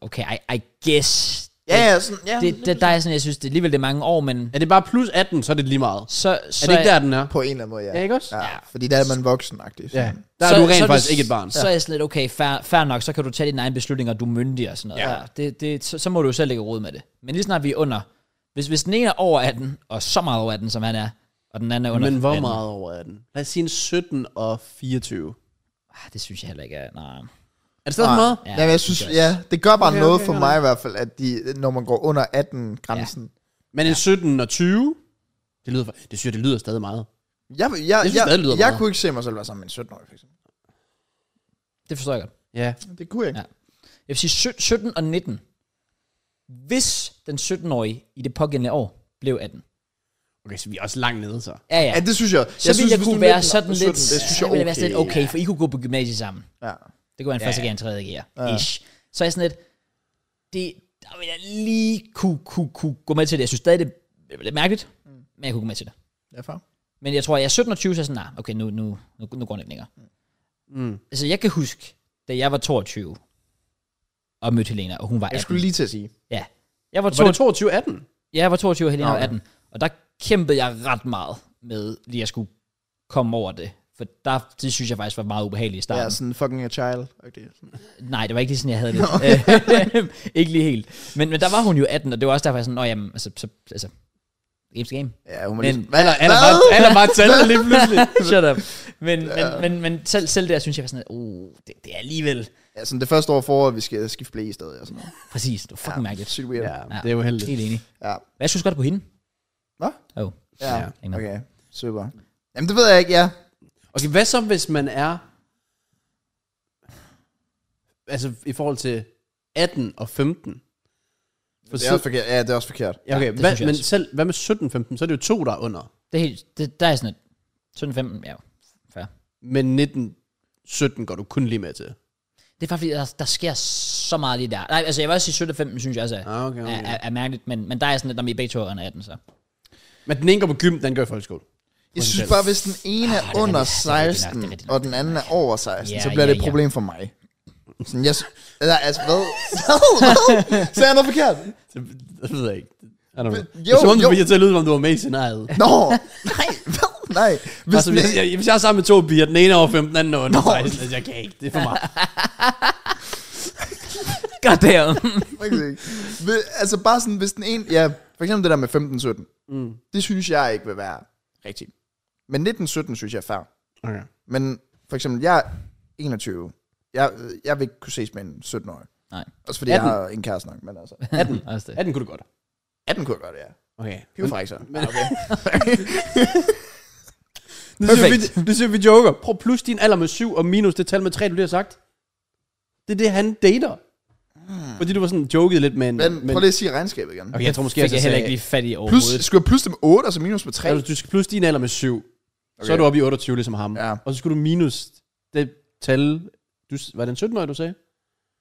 Speaker 1: okay, I, I guess.
Speaker 3: ja, ja, sådan, ja.
Speaker 1: Det, det, der er sådan, jeg synes, det er alligevel det er mange år, men
Speaker 2: Er det bare plus 18, så er det lige meget.
Speaker 1: så, så
Speaker 2: Er det ikke der, den er?
Speaker 3: på en eller anden måde, ja.
Speaker 2: Ja, ikke også?
Speaker 3: Ja, fordi der er man voksenagtig.
Speaker 2: Ja.
Speaker 3: sådan.
Speaker 2: Der er du rent faktisk ikke et barn.
Speaker 1: Så er jeg sådan lidt, okay, fair, fair nok, så kan du tage dine egne beslutninger, du er myndig og sådan noget. Ja.
Speaker 2: Ja.
Speaker 1: Det, det, så, så må du jo selv lægge råd med det. Men lige snart vi er under, hvis, hvis den ene er over 18, og så meget over 18, som han er, og den anden er under
Speaker 2: Men hvor
Speaker 1: 18,
Speaker 2: meget over er den? Lad os sige en 17 og 24.
Speaker 1: Ah, det synes jeg heller ikke er, nej.
Speaker 2: Er det stadig for
Speaker 3: Nej.
Speaker 2: meget?
Speaker 1: Ja,
Speaker 3: Ja, men jeg synes,
Speaker 1: det er
Speaker 3: ja, det gør bare
Speaker 2: Okay,
Speaker 3: noget
Speaker 2: okay,
Speaker 3: for
Speaker 2: okay.
Speaker 3: mig i hvert fald, at de, når man går under 18-grænsen.
Speaker 2: Men en 17 og 20? Det lyder, for- det synes jeg, det lyder stadig meget.
Speaker 3: Jeg, jeg, jeg,
Speaker 2: synes
Speaker 3: jeg,
Speaker 2: stadig, det lyder
Speaker 3: jeg,
Speaker 2: meget.
Speaker 3: kunne ikke se mig selv være sammen med en 17-årig, for eksempel.
Speaker 1: Det forstår jeg godt.
Speaker 2: Ja.
Speaker 3: Det kunne jeg ikke.
Speaker 1: Ja. Jeg vil sige syt- 17 og 19. Hvis den 17-årige i det pågældende år blev 18.
Speaker 2: Okay, så vi er også langt nede, så.
Speaker 1: Ja, ja.
Speaker 3: Ja, det synes jeg.
Speaker 1: så jeg ville
Speaker 3: synes,
Speaker 1: jeg
Speaker 3: hvis
Speaker 1: kunne
Speaker 3: du er
Speaker 1: være
Speaker 3: 19 og
Speaker 1: sådan
Speaker 3: 17,
Speaker 1: lidt,
Speaker 3: Det synes jeg
Speaker 1: ville
Speaker 3: okay.
Speaker 1: være sådan lidt, okay, for I kunne gå på gymnasiet sammen.
Speaker 3: Ja.
Speaker 1: Det kunne være en første
Speaker 2: Ja.
Speaker 1: gear og en tredje gear. Ish. Så er jeg sådan lidt, det, der vil jeg lige kunne, kunne, kunne gå med til det. Jeg synes stadig, det er lidt mærkeligt, men jeg kunne gå med til det.
Speaker 3: Ja, far.
Speaker 1: Men jeg tror, at jeg er 17 og 20, så er jeg sådan, nej, okay, nu, nu, nu, nu går det ikke længere.
Speaker 2: Mm.
Speaker 1: Altså, jeg kan huske, da jeg var 22, og mødte Helena, og hun var 18.
Speaker 3: Jeg skulle lige til at sige.
Speaker 1: Ja. Jeg var,
Speaker 2: Var
Speaker 1: 22,
Speaker 2: det 22 18?
Speaker 1: ja, jeg var 22, og Helena
Speaker 3: Nå,
Speaker 1: var
Speaker 3: okay.
Speaker 1: 18. Og der kæmpede jeg ret meget med, lige at skulle komme over det. For der, det synes jeg faktisk var meget ubehageligt i starten.
Speaker 3: Ja, sådan fucking a child. Okay.
Speaker 1: Nej, det var ikke lige sådan, jeg havde det. Øh, ikke lige helt. Men, men der var hun jo 18, og det var også derfor, jeg sådan, nå jamen, altså, så, altså, game's game.
Speaker 3: Ja, hun var
Speaker 1: Men-
Speaker 3: lige...
Speaker 2: Hvad? Han er bare, han Ah, er bare tallet lige pludselig.
Speaker 1: Shut up. Men, men, men, men selv, selv der synes jeg var sådan, at, uh, det, det er alligevel.
Speaker 3: Ja, sådan det første år forår, vi skal skifte blæ i stedet og sådan noget.
Speaker 1: Præcis, det var fucking mærkeligt.
Speaker 3: Sygt weird.
Speaker 2: Ja,
Speaker 3: Ja.
Speaker 2: det er jo heldigt.
Speaker 1: Helt enig.
Speaker 3: ja.
Speaker 1: Men jeg synes godt på hende.
Speaker 3: Hvad?
Speaker 1: Åh, oh,
Speaker 2: Ja.
Speaker 3: Ja.
Speaker 1: ingen
Speaker 3: Okay, super. Jamen, det ved jeg ikke, ja.
Speaker 2: Okay, hvad så hvis man er... Altså i forhold til 18 og 15? For
Speaker 3: Det er også
Speaker 2: så,
Speaker 3: forkert. Ja, det er også forkert.
Speaker 2: ja, okay,
Speaker 1: Ja, det
Speaker 2: hvad,
Speaker 1: synes jeg
Speaker 2: men
Speaker 1: også.
Speaker 2: selv, hvad med 17-15? Så er det jo to, der er under.
Speaker 1: det er helt, det, der er sådan et, 17-15, ja, fair.
Speaker 2: Men 19-17 går du kun lige med til.
Speaker 1: Det er faktisk, fordi der, der sker så meget lige der. Nej, altså jeg vil også sige 17-15, synes jeg også er,
Speaker 2: Ah, okay,
Speaker 1: er,
Speaker 2: okay.
Speaker 1: er, er mærkeligt, men, men der er sådan lidt, når vi er begge to er under 18, så.
Speaker 2: Men den ene går på gym, den gør i folkeskole.
Speaker 3: Jeg
Speaker 2: Undtagen.
Speaker 3: synes bare, hvis den ene er
Speaker 1: Ah, det er
Speaker 3: under
Speaker 1: rigtigt, det er rigtigt nok, det er
Speaker 3: 16,
Speaker 1: rigtigt nok,
Speaker 3: og den anden er over 16,
Speaker 1: Ja,
Speaker 3: så bliver
Speaker 1: ja,
Speaker 3: det et
Speaker 1: ja.
Speaker 3: problem for mig. Sådan, jeg... s- Eller, altså, hvad? Hvad? Så jeg noget forkert?
Speaker 2: Det, det ved jeg ikke. I don't know.
Speaker 3: Men-
Speaker 2: Jo, det er som om,
Speaker 3: jo.
Speaker 2: du fik til at lyde, som om du var med i scenariet.
Speaker 3: Nå, nej, hvad? Nej. Hvis
Speaker 2: Altså, hvis, jeg, hvis jeg er sammen med to piger, den ene er over 15, den anden er under 16, altså, jeg kan ikke, det er for meget.
Speaker 1: Goddamn.
Speaker 3: Faktisk ikke. Ved- altså bare sådan, hvis den ene... Ja, for eksempel det der med 15-17. Mm. Det synes jeg ikke vil være rigtigt. Men 19-17 synes jeg er fair.
Speaker 2: Okay.
Speaker 3: Men for eksempel, jeg er 21. Jeg, jeg vil ikke kunne ses med en 17-årig.
Speaker 1: Nej.
Speaker 3: Også fordi
Speaker 2: 18.
Speaker 3: jeg har en kæreste nok, men altså...
Speaker 2: 18.
Speaker 1: Også det.
Speaker 2: 18 kunne du godt.
Speaker 3: 18 kunne jeg godt, ja.
Speaker 2: Okay.
Speaker 3: Piv fra så.
Speaker 2: Men,
Speaker 3: okay.
Speaker 2: Nu siger,
Speaker 1: Perfekt.
Speaker 2: vi, nu siger vi joker. Prøv plus din alder med 7 og minus det tal med 3, du lige har sagt. Det er det, han dater. Fordi du var sådan joket lidt med en...
Speaker 3: Men
Speaker 2: med
Speaker 3: prøv
Speaker 2: en-
Speaker 3: lige at sige regnskabet igen.
Speaker 2: Okay, jeg tror måske,
Speaker 1: Fik jeg
Speaker 2: sagde-
Speaker 1: heller ikke lige fat i
Speaker 3: Plus,
Speaker 1: overhovedet.
Speaker 3: skulle jeg plus det med 8, og så minus med 3?
Speaker 2: Altså, du skal plus din alder med 7. Okay. Så er
Speaker 3: Okay.
Speaker 2: du oppe i 28, ligesom ham.
Speaker 3: Ja.
Speaker 2: Og så skulle du minus det tal... Du, s- var det en 17 årig du sagde?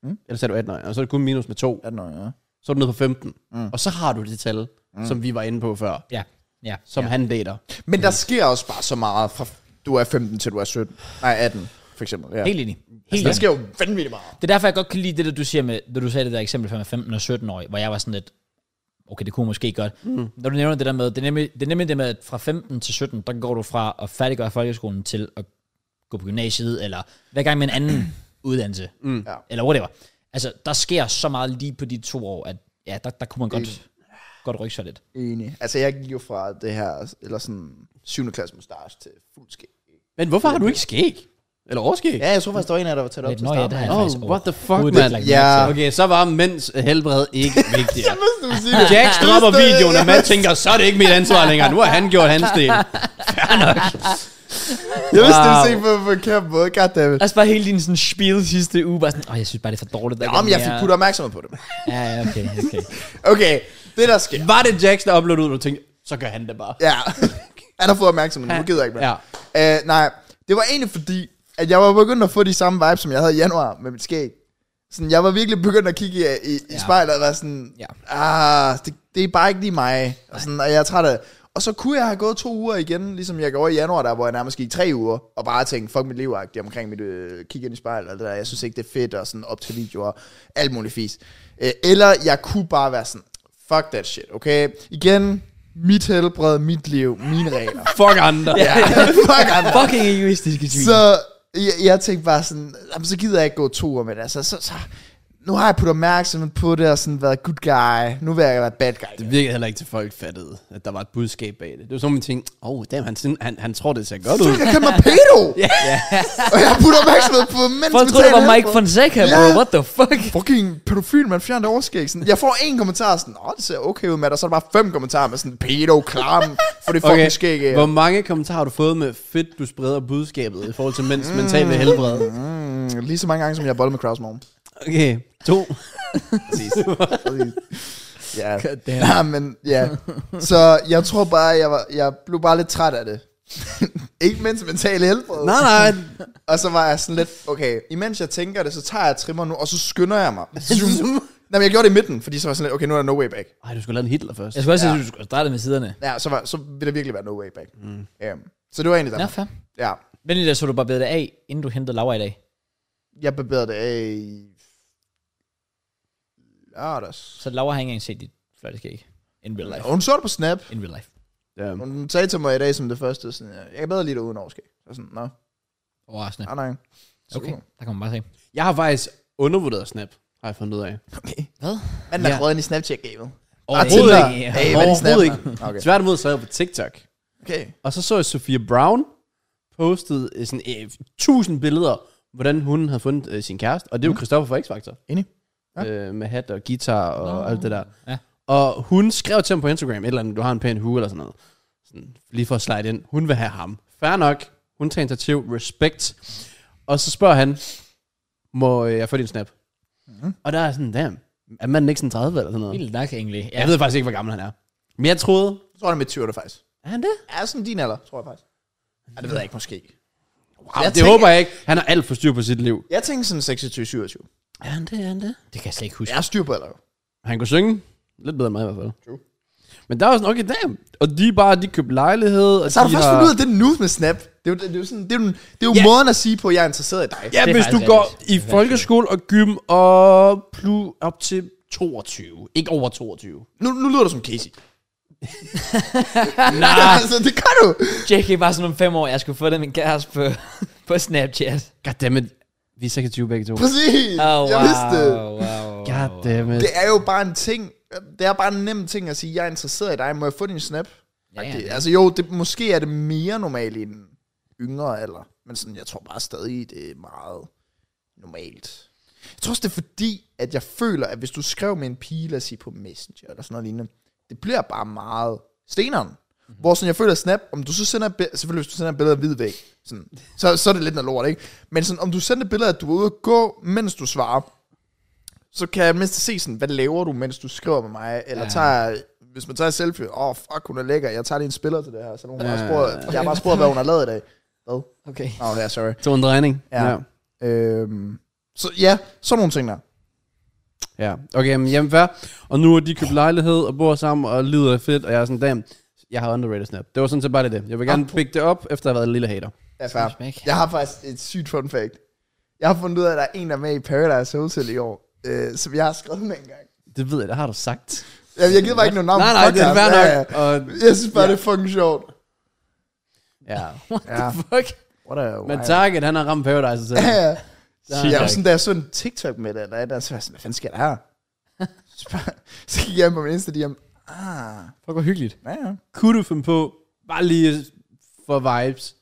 Speaker 2: Mm.
Speaker 3: Mm.
Speaker 2: Eller sagde du 18 årig Og så er det kun minus med 2.
Speaker 3: 18 år, ja.
Speaker 2: Så er du nede på 15. Mm.
Speaker 3: Mm.
Speaker 2: Og så har du det tal, mm. som vi var inde på før.
Speaker 1: Ja, ja.
Speaker 2: Som
Speaker 1: ja.
Speaker 2: ja. han dater.
Speaker 3: Men der sker også bare så meget fra du er 15 til du er 17. Nej, 18 for eksempel. Ja.
Speaker 1: Helt enig. Helt
Speaker 3: altså, der
Speaker 1: enig.
Speaker 3: sker jo vanvittigt meget.
Speaker 1: Det er derfor, jeg godt kan lide det, der du siger med, da du sagde det der eksempel før med 15 og 17 år, hvor jeg var sådan lidt, okay, det kunne måske godt. Mm. Når du nævner det der med, det er, nemlig, det er nemlig det med, at fra 15 til 17, der går du fra at færdiggøre folkeskolen til at gå på gymnasiet, eller hver gang med en anden uddannelse, mm.
Speaker 3: Ja.
Speaker 1: eller whatever. Altså, der sker så meget lige på de to år, at ja, der, der kunne man godt, godt rykke sig lidt.
Speaker 3: Enig. Altså, jeg gik jo fra det her, eller sådan 7. klasse mustache til fuld skæg.
Speaker 2: Men hvorfor har du ikke skæg? Eller overskæg?
Speaker 3: Ja, jeg tror faktisk, der var en af jer, der var tæt op
Speaker 1: Lidt,
Speaker 3: til
Speaker 1: nå ja, det har jeg
Speaker 2: Oh,
Speaker 1: faktisk
Speaker 2: what the fuck,
Speaker 1: overhovedet
Speaker 2: mand.
Speaker 1: ikke lagt
Speaker 3: Ja.
Speaker 1: mærke til.
Speaker 2: Okay, så var mænds helbred ikke vigtigere.
Speaker 3: du sige det.
Speaker 2: Jack dropper videoen, og Matt tænker, så er det ikke mit ansvar længere. Nu har han gjort hans del.
Speaker 3: Jeg vidste, det ville se på, på en kæmpe måde. Goddammit.
Speaker 1: Altså bare hele din sådan spiel sidste uge, bare sådan, åh, jeg synes bare, det er for dårligt. der ikke
Speaker 3: Jamen,
Speaker 1: er
Speaker 3: jeg fik
Speaker 1: mere."
Speaker 3: puttet opmærksomhed på det.
Speaker 1: Ja, ja, okay, okay.
Speaker 3: Okay, det der sker.
Speaker 2: Var det Jacks, der uploadede ud, og du tænkte, så gør han det bare.
Speaker 3: Ja. Han har fået opmærksomhed, nu gider jeg ikke mere.
Speaker 2: Ja.
Speaker 3: Uh, nej, det var egentlig fordi, at jeg var begyndt at få de samme vibes, som jeg havde i januar med mit skæg. Sådan, jeg var virkelig begyndt at kigge i, i, i
Speaker 1: Ja.
Speaker 3: spejlet og være sådan,
Speaker 1: Ja.
Speaker 3: ah, det, det er bare ikke lige mig. Og, sådan, og jeg er træt af Og så kunne jeg have gået to uger igen, ligesom jeg gjorde i januar, der, hvor jeg nærmest gik tre uger, og bare tænkte, fuck mit liv agtigt omkring mit øh, kig ind i spejlet, og det der, jeg synes ikke, det er fedt, og sådan op til videoer, alt muligt fis. Øh, eller jeg kunne bare være sådan, fuck that shit, okay? Igen, mit helbred, mit liv, mine regler.
Speaker 2: Fuck andre.
Speaker 3: ja, fuck andre.
Speaker 1: Fucking egoistiske tvivl.
Speaker 3: Så jeg, jeg tænkte bare sådan, jamen, så gider jeg ikke gå tur, men altså, så, så, nu har jeg puttet opmærksomhed på det, og sådan været good guy. Nu vil jeg være bad guy.
Speaker 2: Det virkede heller ikke til folk fattede, at der var et budskab bag det. Det var som om, man tænkte, åh, oh, damn, han, syn- han, han tror, det ser godt ud.
Speaker 3: Fuck, jeg kalder mig pedo! yeah. og jeg har puttet opmærksomhed på mens
Speaker 1: Folk
Speaker 3: vi
Speaker 1: troede, det var
Speaker 3: taler
Speaker 1: Mike
Speaker 3: her.
Speaker 1: Fonseca,
Speaker 3: Ja.
Speaker 1: bro. What the fuck?
Speaker 3: Fucking pædofil, man fjerner overskæg. Sådan, jeg får en kommentar sådan, åh, det ser okay ud, med og så er der bare fem kommentarer med sådan, pedo, klam, for det fucking okay. skæg af.
Speaker 2: hvor mange kommentarer har du fået med fedt, du spreder budskabet i forhold til mænds mentale helbred?
Speaker 3: Mm, Lige så mange gange, som jeg har boldet med Kraus morgen.
Speaker 2: Okay, to.
Speaker 3: Præcis. Præcis. ja. Nej, men ja. Så jeg tror bare, jeg, var, jeg blev bare lidt træt af det. ikke mindst mentale helbred.
Speaker 2: Nej, nej.
Speaker 3: Og så var jeg sådan lidt, okay, imens jeg tænker det, så tager jeg trimmer nu, og så skynder jeg mig. Zoom. Nej, men jeg gjorde det i midten, fordi så var jeg sådan lidt, okay, nu er der no way back.
Speaker 2: Ej, du skulle lave en Hitler først.
Speaker 1: Jeg skulle også sige, at du skulle starte med siderne.
Speaker 3: Ja, så, var, så ville der virkelig være no way back. Mm. Um, så det var egentlig
Speaker 1: Nå,
Speaker 3: der.
Speaker 1: fair.
Speaker 3: Ja.
Speaker 1: Men lige der så du bare bedre af, inden du hentede Laura i dag.
Speaker 3: Jeg barberede det af i Ja, das.
Speaker 1: Så Laura har ikke engang set dit flotte skæg. In real life.
Speaker 3: Og hun så det på Snap.
Speaker 1: In real life.
Speaker 2: Ja.
Speaker 3: Hun sagde til mig i dag som det første, sådan, jeg kan bedre lide det uden overskæg. Så sådan, nå,
Speaker 1: Overraskende.
Speaker 3: Ah, nej, nej. Super.
Speaker 1: Okay, der kan man bare se.
Speaker 2: Jeg har faktisk undervurderet Snap, har jeg fundet ud af.
Speaker 3: okay.
Speaker 1: Hvad?
Speaker 3: Han har
Speaker 2: Ja.
Speaker 3: røget ind i Snapchat-gamet.
Speaker 2: Overhovedet
Speaker 3: Tinder.
Speaker 1: ikke.
Speaker 3: Hey, hvad er det, Snap?
Speaker 2: Overhovedet ikke.
Speaker 3: Nå, Okay.
Speaker 2: Tværtimod så er jeg på TikTok.
Speaker 3: okay.
Speaker 2: Og så så jeg Sofia Brown postede øh, sådan øh, 1000 billeder, hvordan hun havde fundet øh, sin kæreste. Og det er jo
Speaker 3: Mm.
Speaker 2: Christoffer fra X-Factor.
Speaker 3: Enig.
Speaker 2: Ja. Øh, med hat og guitar og
Speaker 1: Nå.
Speaker 2: alt det der.
Speaker 1: Ja.
Speaker 2: Og hun skrev til ham på Instagram, et eller andet, du har en pæn hue eller sådan noget. Sådan, lige for at slide ind. Hun vil have ham. Fair nok. Hun tager initiativ. Respekt. Og så spørger han, må øh, jeg få din snap? Mm. Og der er sådan, damn, er manden ikke sådan 30 eller sådan noget?
Speaker 1: Vildt nok egentlig. Ja.
Speaker 2: Jeg ved faktisk ikke, hvor gammel han er. Men jeg troede,
Speaker 3: Så er det med 20'erne faktisk.
Speaker 2: er han det?
Speaker 3: Er sådan din alder, tror jeg faktisk. Ja, det ved jeg ikke, måske.
Speaker 2: Wow, det
Speaker 3: tænker-
Speaker 2: håber jeg ikke. Han har alt for styr på sit liv.
Speaker 3: Jeg tænker sådan 26-27.
Speaker 2: Er han det, er han det?
Speaker 1: Det kan jeg slet ikke huske.
Speaker 3: Jeg er styr på alder. jo.
Speaker 2: Han kunne synge lidt bedre end mig i hvert fald.
Speaker 3: True.
Speaker 2: Men der er jo sådan, okay, damn. Og de er bare, de købte lejlighed. Og
Speaker 3: Så har
Speaker 2: de
Speaker 3: du først fundet ud af det nu med Snap. Det er jo, det er jo, sådan, det er jo, det er jo
Speaker 2: Ja.
Speaker 3: måden at sige på, at jeg er interesseret i dig.
Speaker 2: Ja,
Speaker 1: Det er
Speaker 2: hvis du
Speaker 1: faktisk
Speaker 2: går
Speaker 1: rigtigt.
Speaker 2: i
Speaker 1: Det er
Speaker 2: folkeskole og gym og plu op til 22. Ikke over 22.
Speaker 3: Nu, nu lyder du som Casey. Nej. altså, det kan du.
Speaker 1: JK var sådan om fem år, jeg skulle få det min kæreste på, på Snapchat.
Speaker 2: Goddammit. Vi er 26 begge to.
Speaker 3: Præcis.
Speaker 1: Oh, wow,
Speaker 3: Jeg vidste det.
Speaker 1: Wow, wow, wow.
Speaker 2: Goddammit.
Speaker 3: Det er jo bare en ting. Det er bare en nem ting at sige, jeg er interesseret i dig. Må jeg få din Snap?
Speaker 1: Ja, ja,
Speaker 3: Okay,
Speaker 1: det-
Speaker 3: altså jo, det, måske er det mere normalt i den yngre alder, men sådan, jeg tror bare stadig, det er meget normalt. Jeg tror også, det er fordi, at jeg føler, at hvis du skrev med en pige, lad os sige på Messenger eller sådan noget lignende, det bliver bare meget steneren.
Speaker 1: Mhm.
Speaker 3: Mm-hmm. Hvor sådan, jeg føler snap, om du så sender, et bi- selvfølgelig hvis du sender et billede af hvid væg, sådan, så, så er det lidt noget lort, ikke? Men sådan, om du sender et billede af, at du er ude at gå, mens du svarer, så kan jeg mindst se sådan, hvad laver du, mens du skriver med mig, eller
Speaker 1: Ja.
Speaker 3: ja. tager, hvis man tager et selfie, åh, oh, fuck, hun er lækker, jeg tager lige en spiller til det her, så hun
Speaker 2: Ja.
Speaker 3: har spurgt, jeg har bare spurgt, hvad hun har lavet i dag. Hvad?
Speaker 1: Okay.
Speaker 3: Åh, oh, ja, sorry.
Speaker 2: To en drejning.
Speaker 3: Ja. Øhm, så ja, sådan nogle ting der.
Speaker 2: Ja, okay, men jamen fair. Og nu har de købt lejlighed og bor sammen og lider af fedt, og jeg er sådan, damn, jeg har underrated Snap. Det var sådan set bare det. Jeg vil gerne pick det op, efter at have været en lille hater.
Speaker 3: Ja, fair.
Speaker 1: Respekt.
Speaker 3: Jeg har faktisk et sygt fun fact. Jeg har fundet ud af, at der er en, der er med i Paradise Hotel i år, øh, som jeg har skrevet med engang.
Speaker 2: Det ved jeg, det har du sagt.
Speaker 3: Jeg, jeg gider bare ikke noget navn.
Speaker 2: Nej,
Speaker 3: på
Speaker 2: nej, det er
Speaker 3: podcasten.
Speaker 2: fair
Speaker 3: Ja,
Speaker 2: nok. Og,
Speaker 3: ja. Jeg synes bare, det er fucking sjovt.
Speaker 2: ja.
Speaker 3: Ja,
Speaker 1: Fuck.
Speaker 3: what a
Speaker 2: Men Target, han har ramt Paradise selv.
Speaker 3: Ja, ja.
Speaker 1: Sygt
Speaker 3: Jeg var
Speaker 1: nok.
Speaker 3: sådan, da jeg så en TikTok med det, eller et eller andet, så var jeg sådan, hvad fanden sker der her? Så bare- så gik jeg ind på min Insta, de hjem. Ah,
Speaker 1: Fuck, hvor hyggeligt.
Speaker 3: ja, ja.
Speaker 2: Kunne du finde på, bare lige for vibes,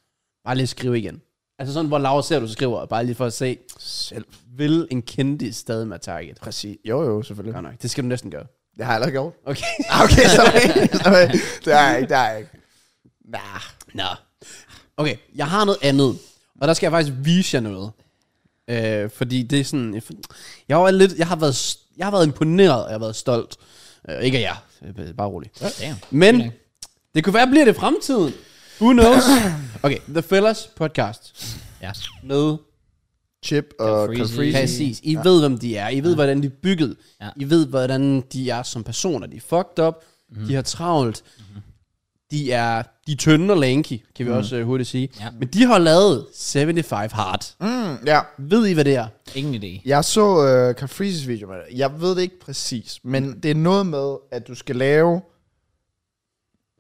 Speaker 2: bare lige skrive igen. Altså sådan, hvor Laura ser, du skriver, bare lige for at se,
Speaker 3: Selv.
Speaker 2: vil en kendis stadig med Target?
Speaker 3: Præcis. Jo, jo, selvfølgelig.
Speaker 2: Godt nok, det skal du næsten gøre.
Speaker 3: Det har jeg allerede gjort.
Speaker 2: Okay.
Speaker 3: Ah, Okay, sorry. sorry. Det har jeg ikke, det har jeg ikke. Nah.
Speaker 2: Nå. Okay, jeg har noget andet. Og der skal jeg faktisk vise jer noget. Øh, fordi det er sådan... Jeg, var lidt, jeg, har været, s- jeg har været imponeret, og jeg har været stolt. Øh, ikke af jer. øh, Bare rolig.
Speaker 1: Damn.
Speaker 2: Men det kunne være, bliver det fremtiden. Who knows? Okay, The Fellas podcast
Speaker 1: Ja.
Speaker 2: med...
Speaker 3: Chip og
Speaker 1: Calfreezy.
Speaker 3: Calfreezy.
Speaker 2: Præcis. I ved, hvem de er. I ved, hvordan de er bygget.
Speaker 1: Ja.
Speaker 2: I ved, hvordan de er som personer. De er fucked up. De har travlt. De er, de er tynde og lanky, kan vi også øh, hurtigt sige.
Speaker 1: Ja.
Speaker 2: Men de har lavet 75 Hard.
Speaker 3: Mm, ja.
Speaker 2: Ved I, hvad det er?
Speaker 1: Ingen idé.
Speaker 3: Jeg så uh, Calfreezys video med det. Jeg ved det ikke præcis, men det er noget med, at du skal lave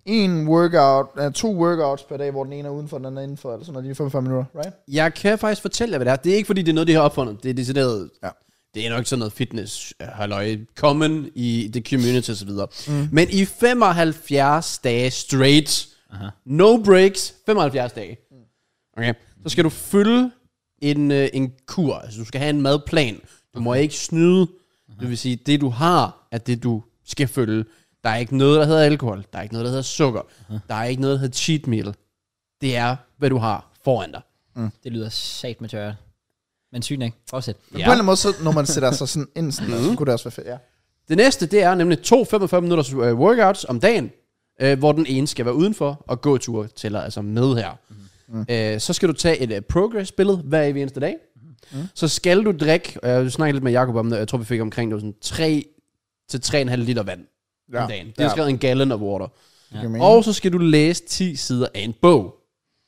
Speaker 3: en workout, uh, to workouts per dag, hvor den ene er udenfor, den anden er indenfor, eller sådan noget, lige 45 minutter, right?
Speaker 2: Jeg kan faktisk fortælle jer, hvad det er. Det er ikke, fordi det er noget, de har opfundet. Det er decideret...
Speaker 3: Ja.
Speaker 2: Det er nok sådan noget fitness, øh, halløj, common i the community osv. Mm. Men i 75 dage straight, Aha. no breaks, 75 dage, okay, så skal du følge en, øh, en kur. Altså, du skal have en madplan. Du må ikke snyde. Det vil sige, det du har, er det, du skal følge. Der er ikke noget, der hedder alkohol. Der er ikke noget, der hedder sukker. Der er ikke noget, der hedder cheat meal. Det er, hvad du har foran dig.
Speaker 1: Det lyder sat med tørret. Men sygt nok. Fortsæt.
Speaker 3: Ja. På en eller anden måde, så, når man sætter sig sådan ind, sådan,
Speaker 1: Mm-hmm.
Speaker 3: mm. så kunne det også være fedt, ja.
Speaker 2: Det næste, det er nemlig to 45 minutters øh, workouts om dagen, øh, hvor den ene skal være udenfor, og gåture tæller altså med her. Mm. Øh, så skal du tage et øh, progress-billede hver evig eneste dag. Mm. Så skal du drikke, og jeg snakkede lidt med Jacob om det, og jeg tror, vi fik omkring det var sådan 3-3,5 liter vand ja. om dagen. Det er
Speaker 3: ja. Mm.
Speaker 2: skrevet en gallon of water.
Speaker 1: Ja.
Speaker 3: Giver mening.
Speaker 2: Og så skal du læse 10 sider af en bog.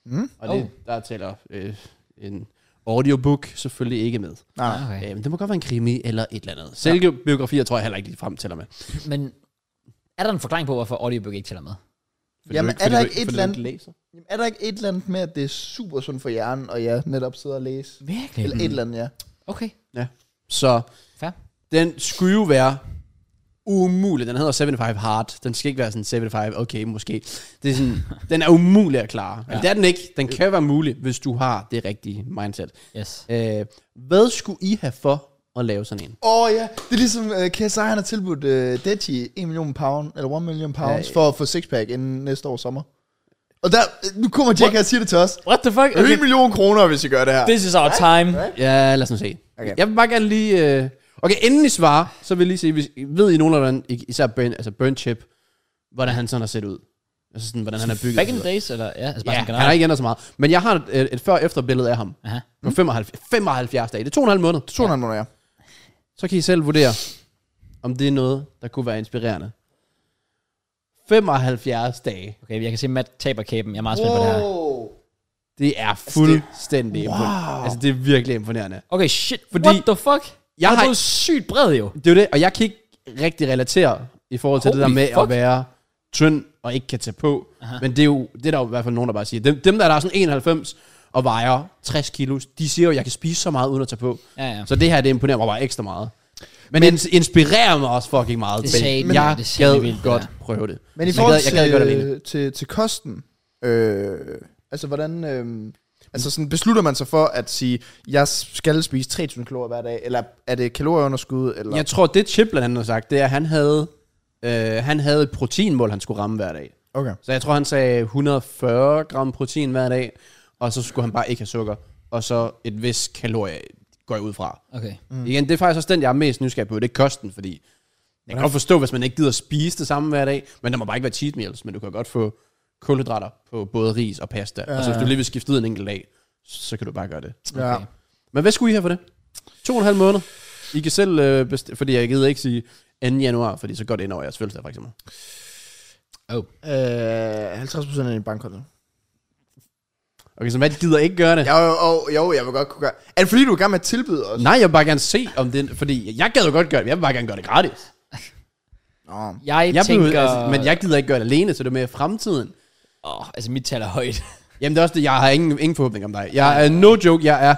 Speaker 3: Mm.
Speaker 2: Og det,
Speaker 1: Oh.
Speaker 2: der tæller øh, en Audiobook selvfølgelig ikke med.
Speaker 3: Nej, nej.
Speaker 1: Okay.
Speaker 2: Øh, men det må godt være en krimi eller et eller andet. Selvbiografier tror jeg heller ikke, de fremtæller med. Fordi
Speaker 1: Men er der en forklaring på, hvorfor audiobook ikke tæller med?
Speaker 2: du
Speaker 3: Jamen,
Speaker 2: ikke-
Speaker 3: er
Speaker 2: fordi
Speaker 3: der
Speaker 2: du
Speaker 3: ikke et
Speaker 2: fordi du
Speaker 3: eller andet-
Speaker 2: læser?
Speaker 3: Jamen, er der ikke et eller andet med, at det er super sundt for hjernen, og jeg netop sidder og læser?
Speaker 1: Virkelig?
Speaker 2: Mm. Mm-hmm.
Speaker 3: Eller et eller andet, ja.
Speaker 1: Okay,
Speaker 2: Så
Speaker 1: fair.
Speaker 2: den skulle jo være umulig. Den hedder 75 Hard. Den skal ikke være sådan 75, okay, måske. Det er sådan, den er umulig at klare. Ja. Det er den ikke. Den kan være mulig, hvis du har det rigtige mindset.
Speaker 1: Yes.
Speaker 2: Øh, hvad skulle I have for at lave sådan en?
Speaker 3: Åh oh, ja, det er ligesom uh, KSI, han har tilbudt uh, Deji 1 million pound, eller 1 million pounds, ja, for at få sixpack inden næste års sommer. Og der, øh, nu kommer Jack her og siger det til os.
Speaker 1: What the fuck?
Speaker 3: 1 million kroner, hvis I gør det her.
Speaker 1: This is our time.
Speaker 2: Ja, lad os nu se.
Speaker 3: Okay.
Speaker 2: Okay. Jeg vil bare gerne lige... Øh... Okay, inden I svarer, så vil jeg lige se, hvis, ved I nogenlunde, ik- især Burn, altså Burn Chip, hvordan han sådan har set ud? Altså sådan, hvordan han er bygget.
Speaker 1: Back in
Speaker 2: og
Speaker 1: the
Speaker 2: så videre.
Speaker 1: days, eller? Ja, altså bare
Speaker 2: Ja,
Speaker 1: sådan
Speaker 2: han har
Speaker 1: generelt.
Speaker 2: ikke ændret så meget. Men jeg har et, et før-efter-billede af ham.
Speaker 1: Aha.
Speaker 2: På 75, 75 dage. Det er Mm. to og en halv måned.
Speaker 3: 200 måneder, ja.
Speaker 2: Så kan I selv vurdere, om det er noget, der kunne være inspirerende. 75 dage.
Speaker 1: Okay, jeg kan se, Matt taber kæben. Jeg er meget spændt på det her.
Speaker 2: Altså, Det er fuldstændig altså, det, wow. altså, det er virkelig imponerende.
Speaker 1: Okay, shit. Fordi
Speaker 2: Fordi-
Speaker 1: What the fuck? Jeg har
Speaker 2: har-
Speaker 1: blevet sygt bred, jo.
Speaker 2: Det er jo det, og jeg kan ikke rigtig relatere i forhold til Holy det
Speaker 1: Holy
Speaker 2: der med fuck.
Speaker 1: fuck.
Speaker 2: at være tynd og ikke kan tage på. Aha. Men det er jo det er der jo i hvert fald nogen, der bare siger. Dem, dem der, der er sådan 91 og vejer 60 kilo, de siger jo, at jeg kan spise så meget uden at tage på.
Speaker 1: Ja, ja.
Speaker 2: Så det her, det imponerer mig bare ekstra meget. Men, men det inspirerer mig også fucking meget.
Speaker 1: Det
Speaker 2: Men
Speaker 1: sagde- men-
Speaker 2: jeg
Speaker 1: det sagde
Speaker 2: gad
Speaker 1: vildt,
Speaker 2: vildt,
Speaker 1: det
Speaker 2: godt
Speaker 1: der.
Speaker 2: prøve det.
Speaker 3: Men i
Speaker 2: jeg gad,
Speaker 3: forhold
Speaker 2: jeg gad gøre det
Speaker 3: til,
Speaker 2: alene.
Speaker 3: til, til, til kosten, øh, altså hvordan, øh, altså sådan beslutter man sig for at sige, jeg skal spise 3000 kalorier hver dag, eller er det kalorieunderskud, eller...
Speaker 2: Jeg tror, det Chip blandt andet har sagt, det er, at han havde, øh, han havde et proteinmål, han skulle ramme hver dag.
Speaker 3: Okay.
Speaker 2: Så jeg tror, han sagde 140 gram protein hver dag, og så skulle han bare ikke have sukker, og så et vis kalorie, går jeg ud fra.
Speaker 1: Okay.
Speaker 2: Mm. Igen, det er faktisk også den, jeg er mest nysgerrig på, det er kosten, fordi jeg kan godt forstå, hvis man ikke gider spise det samme hver dag, men der må bare ikke være cheat meals, men du kan godt få kulhydrater på både ris og pasta, ja. og så hvis du lige vil skifte ud en enkelt dag, så kan du bare gøre det.
Speaker 3: Ja.
Speaker 1: Okay.
Speaker 2: Men hvad skulle I have for det? To og en halv måned. I kan selv, øh, besti- fordi jeg gider ikke sige 2. januar, fordi så går det ind over jeres fødselsdag, for eksempel. Oh.
Speaker 3: Øh, 50% af din bankkonto.
Speaker 2: Okay, så hvad gider ikke gøre det?
Speaker 3: Jo, jo, jo, jo, jeg vil godt kunne gøre... Er det fordi, du er i gang med at tilbyde os?
Speaker 2: Nej, jeg vil bare gerne se om det, fordi jeg gad jo godt gøre det, jeg vil bare gerne gøre det gratis.
Speaker 3: Nå.
Speaker 1: Jeg,
Speaker 2: Jeg
Speaker 1: tænker...
Speaker 2: blev, altså, men jeg gider ikke gøre det alene, så det er mere fremtiden.
Speaker 1: Åh, altså, mit tal er højt.
Speaker 2: Jamen det er også det, jeg har ingen, ingen forhåbning om dig. Jeg er, no joke, jeg er,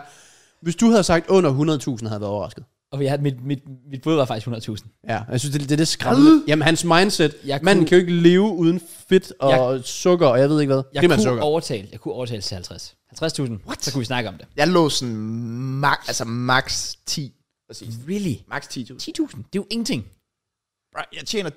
Speaker 2: hvis du havde sagt under 100.000, havde jeg været overrasket.
Speaker 1: Og jeg, mit, mit, mit bud var faktisk 100.000.
Speaker 2: Ja, jeg synes, det, det er det skræmmende. Jamen, hans mindset.
Speaker 1: Jeg
Speaker 2: Manden
Speaker 1: kunne-
Speaker 2: kan jo ikke leve uden fedt og sukker, og jeg ved ikke hvad.
Speaker 1: Jeg
Speaker 2: Primært
Speaker 1: kunne
Speaker 2: sukker.
Speaker 1: overtale, jeg kunne overtale til 50. 50.000, så kunne vi snakke om det.
Speaker 3: Jeg lå sådan max, altså max 10. Præcis.
Speaker 1: Really?
Speaker 3: Max 10.000.
Speaker 1: 10.000, det er jo ingenting.
Speaker 3: Bro, Jeg tjener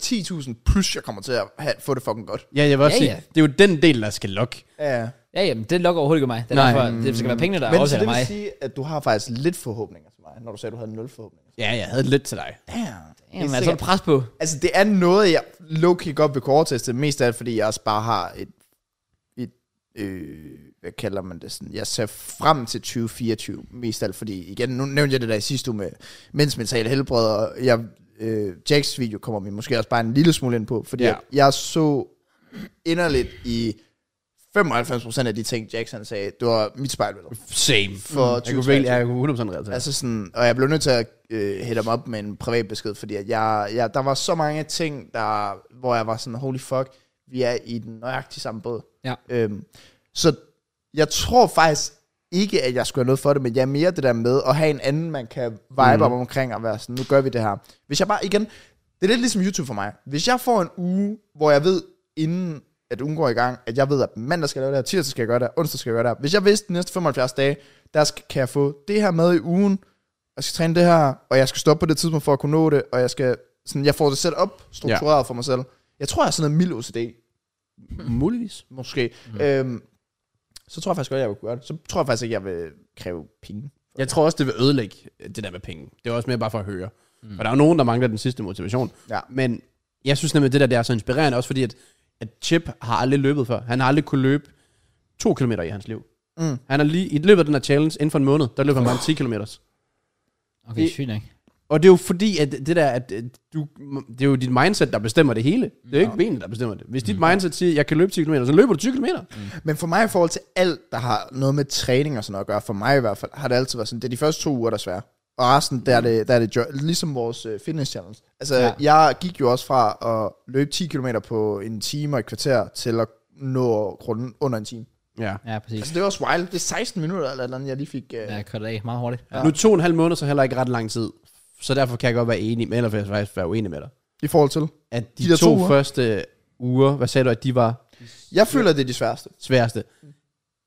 Speaker 3: 10.000 plus, jeg kommer til at have, få det fucking godt.
Speaker 2: Ja, jeg vil også
Speaker 1: Ja,
Speaker 2: ja, sige,
Speaker 1: ja.
Speaker 2: det er jo den del, der skal lokke.
Speaker 3: Ja.
Speaker 1: Ja, jamen, det lokker overhovedet ikke mig. Det, er
Speaker 2: Nej.
Speaker 1: derfor, det skal være pengene, der
Speaker 3: Men så
Speaker 1: overtaler
Speaker 3: det vil
Speaker 1: mig.
Speaker 3: sige, at du har faktisk lidt forhåbninger til mig, når du sagde, at du havde 0 forhåbninger.
Speaker 2: Ja, jeg havde lidt til dig.
Speaker 3: Damn.
Speaker 1: Jamen, altså, er der pres på.
Speaker 3: Altså, det er noget, jeg low-key godt vil kunne overteste, mest af alt, fordi jeg også bare har et, et øh, hvad kalder man det sådan, jeg ser frem til 2024, mest af alt, fordi igen, nu nævnte jeg det der i sidste uge med mænds mentale helbred, og jeg, øh, Jacks video kommer vi måske også bare en lille smule ind på, fordi
Speaker 2: Ja.
Speaker 3: ja. jeg så inderligt i 95% af de ting, Jackson sagde, det var mit spejlbillede.
Speaker 2: Same.
Speaker 3: For
Speaker 2: jeg kunne, virkelig, jeg kunne 100% relatere. Altså,
Speaker 3: Altså sådan, og jeg blev nødt til at øh, hælde ham op med en privat besked, fordi at jeg, jeg, der var så mange ting, der, hvor jeg var sådan, holy fuck, vi er i den nøjagtige samme båd.
Speaker 1: Ja.
Speaker 3: Øhm, så jeg tror faktisk ikke, at jeg skulle have noget for det, men jeg er mere det der med at have en anden, man kan vibe mm. op omkring og være sådan, nu gør vi det her. Hvis jeg bare, igen, det er lidt ligesom YouTube for mig. Hvis jeg får en uge, hvor jeg ved, inden at ugen går i gang, at jeg ved, at mandag skal jeg lave det her, tirsdag skal jeg gøre det her, onsdag skal jeg gøre det her. Hvis jeg vidste de næste 75 dage, der skal, kan jeg få det her med i ugen, jeg skal træne det her, og jeg skal stoppe på det tidspunkt for at kunne nå det, og jeg skal, sådan, jeg får det selv op, struktureret ja. for mig selv. Jeg tror, jeg er sådan en mild OCD
Speaker 2: muligvis.
Speaker 3: måske. Mm. Øhm, så tror jeg faktisk godt, jeg vil kunne gøre det. Så tror jeg faktisk ikke, jeg vil kræve penge.
Speaker 2: Jeg tror også, det vil ødelægge øh, det der med penge. Det er også mere bare for at høre. Mm. Og der er jo nogen, der mangler den sidste motivation.
Speaker 3: Ja.
Speaker 2: Men jeg synes nemlig, det der det er så inspirerende, også fordi at, at Chip har aldrig løbet før. Han har aldrig kunne løbe to kilometer i hans liv.
Speaker 3: Mm.
Speaker 2: Han er lige, i løbet af den her challenge, inden for en måned, der løber han bare en 10 kilometer.
Speaker 1: Okay, sygt nok.
Speaker 2: Og det er jo fordi, at det der, at øh, du, det er jo dit mindset, der bestemmer det hele. Det er jo ikke benene, der bestemmer det. Hvis dit mindset siger, jeg kan løbe 10 km, så løber du 20 km.
Speaker 3: Men for mig i forhold til alt, der har noget med træning og sådan noget at gøre, for mig i hvert fald, har det altid været sådan, det er de første to uger, der er svære. Og resten, der er det, der er det jo- ligesom vores øh, fitness challenge. Altså, ja. jeg gik jo også fra at løbe 10 km på en time og et kvarter, til at nå grunden under en time.
Speaker 2: Ja.
Speaker 1: Ja, præcis.
Speaker 3: Altså, det var også wild. Det er 16 minutter eller et eller andet, jeg lige fik... Øh,
Speaker 1: Ja,
Speaker 3: ja.
Speaker 1: jeg det af meget hurtigt. Ja.
Speaker 2: Nu er to og en halv måned, så heller ikke ret lang tid. Så derfor kan jeg godt være enig, men ellers vil jeg faktisk være uenig med dig.
Speaker 3: I forhold til...
Speaker 2: At de,
Speaker 3: De
Speaker 2: de
Speaker 3: der
Speaker 2: to,
Speaker 3: to uger.
Speaker 2: første uger, hvad sagde du, at de var
Speaker 3: Jeg føler, det er de sværeste.
Speaker 2: sværeste?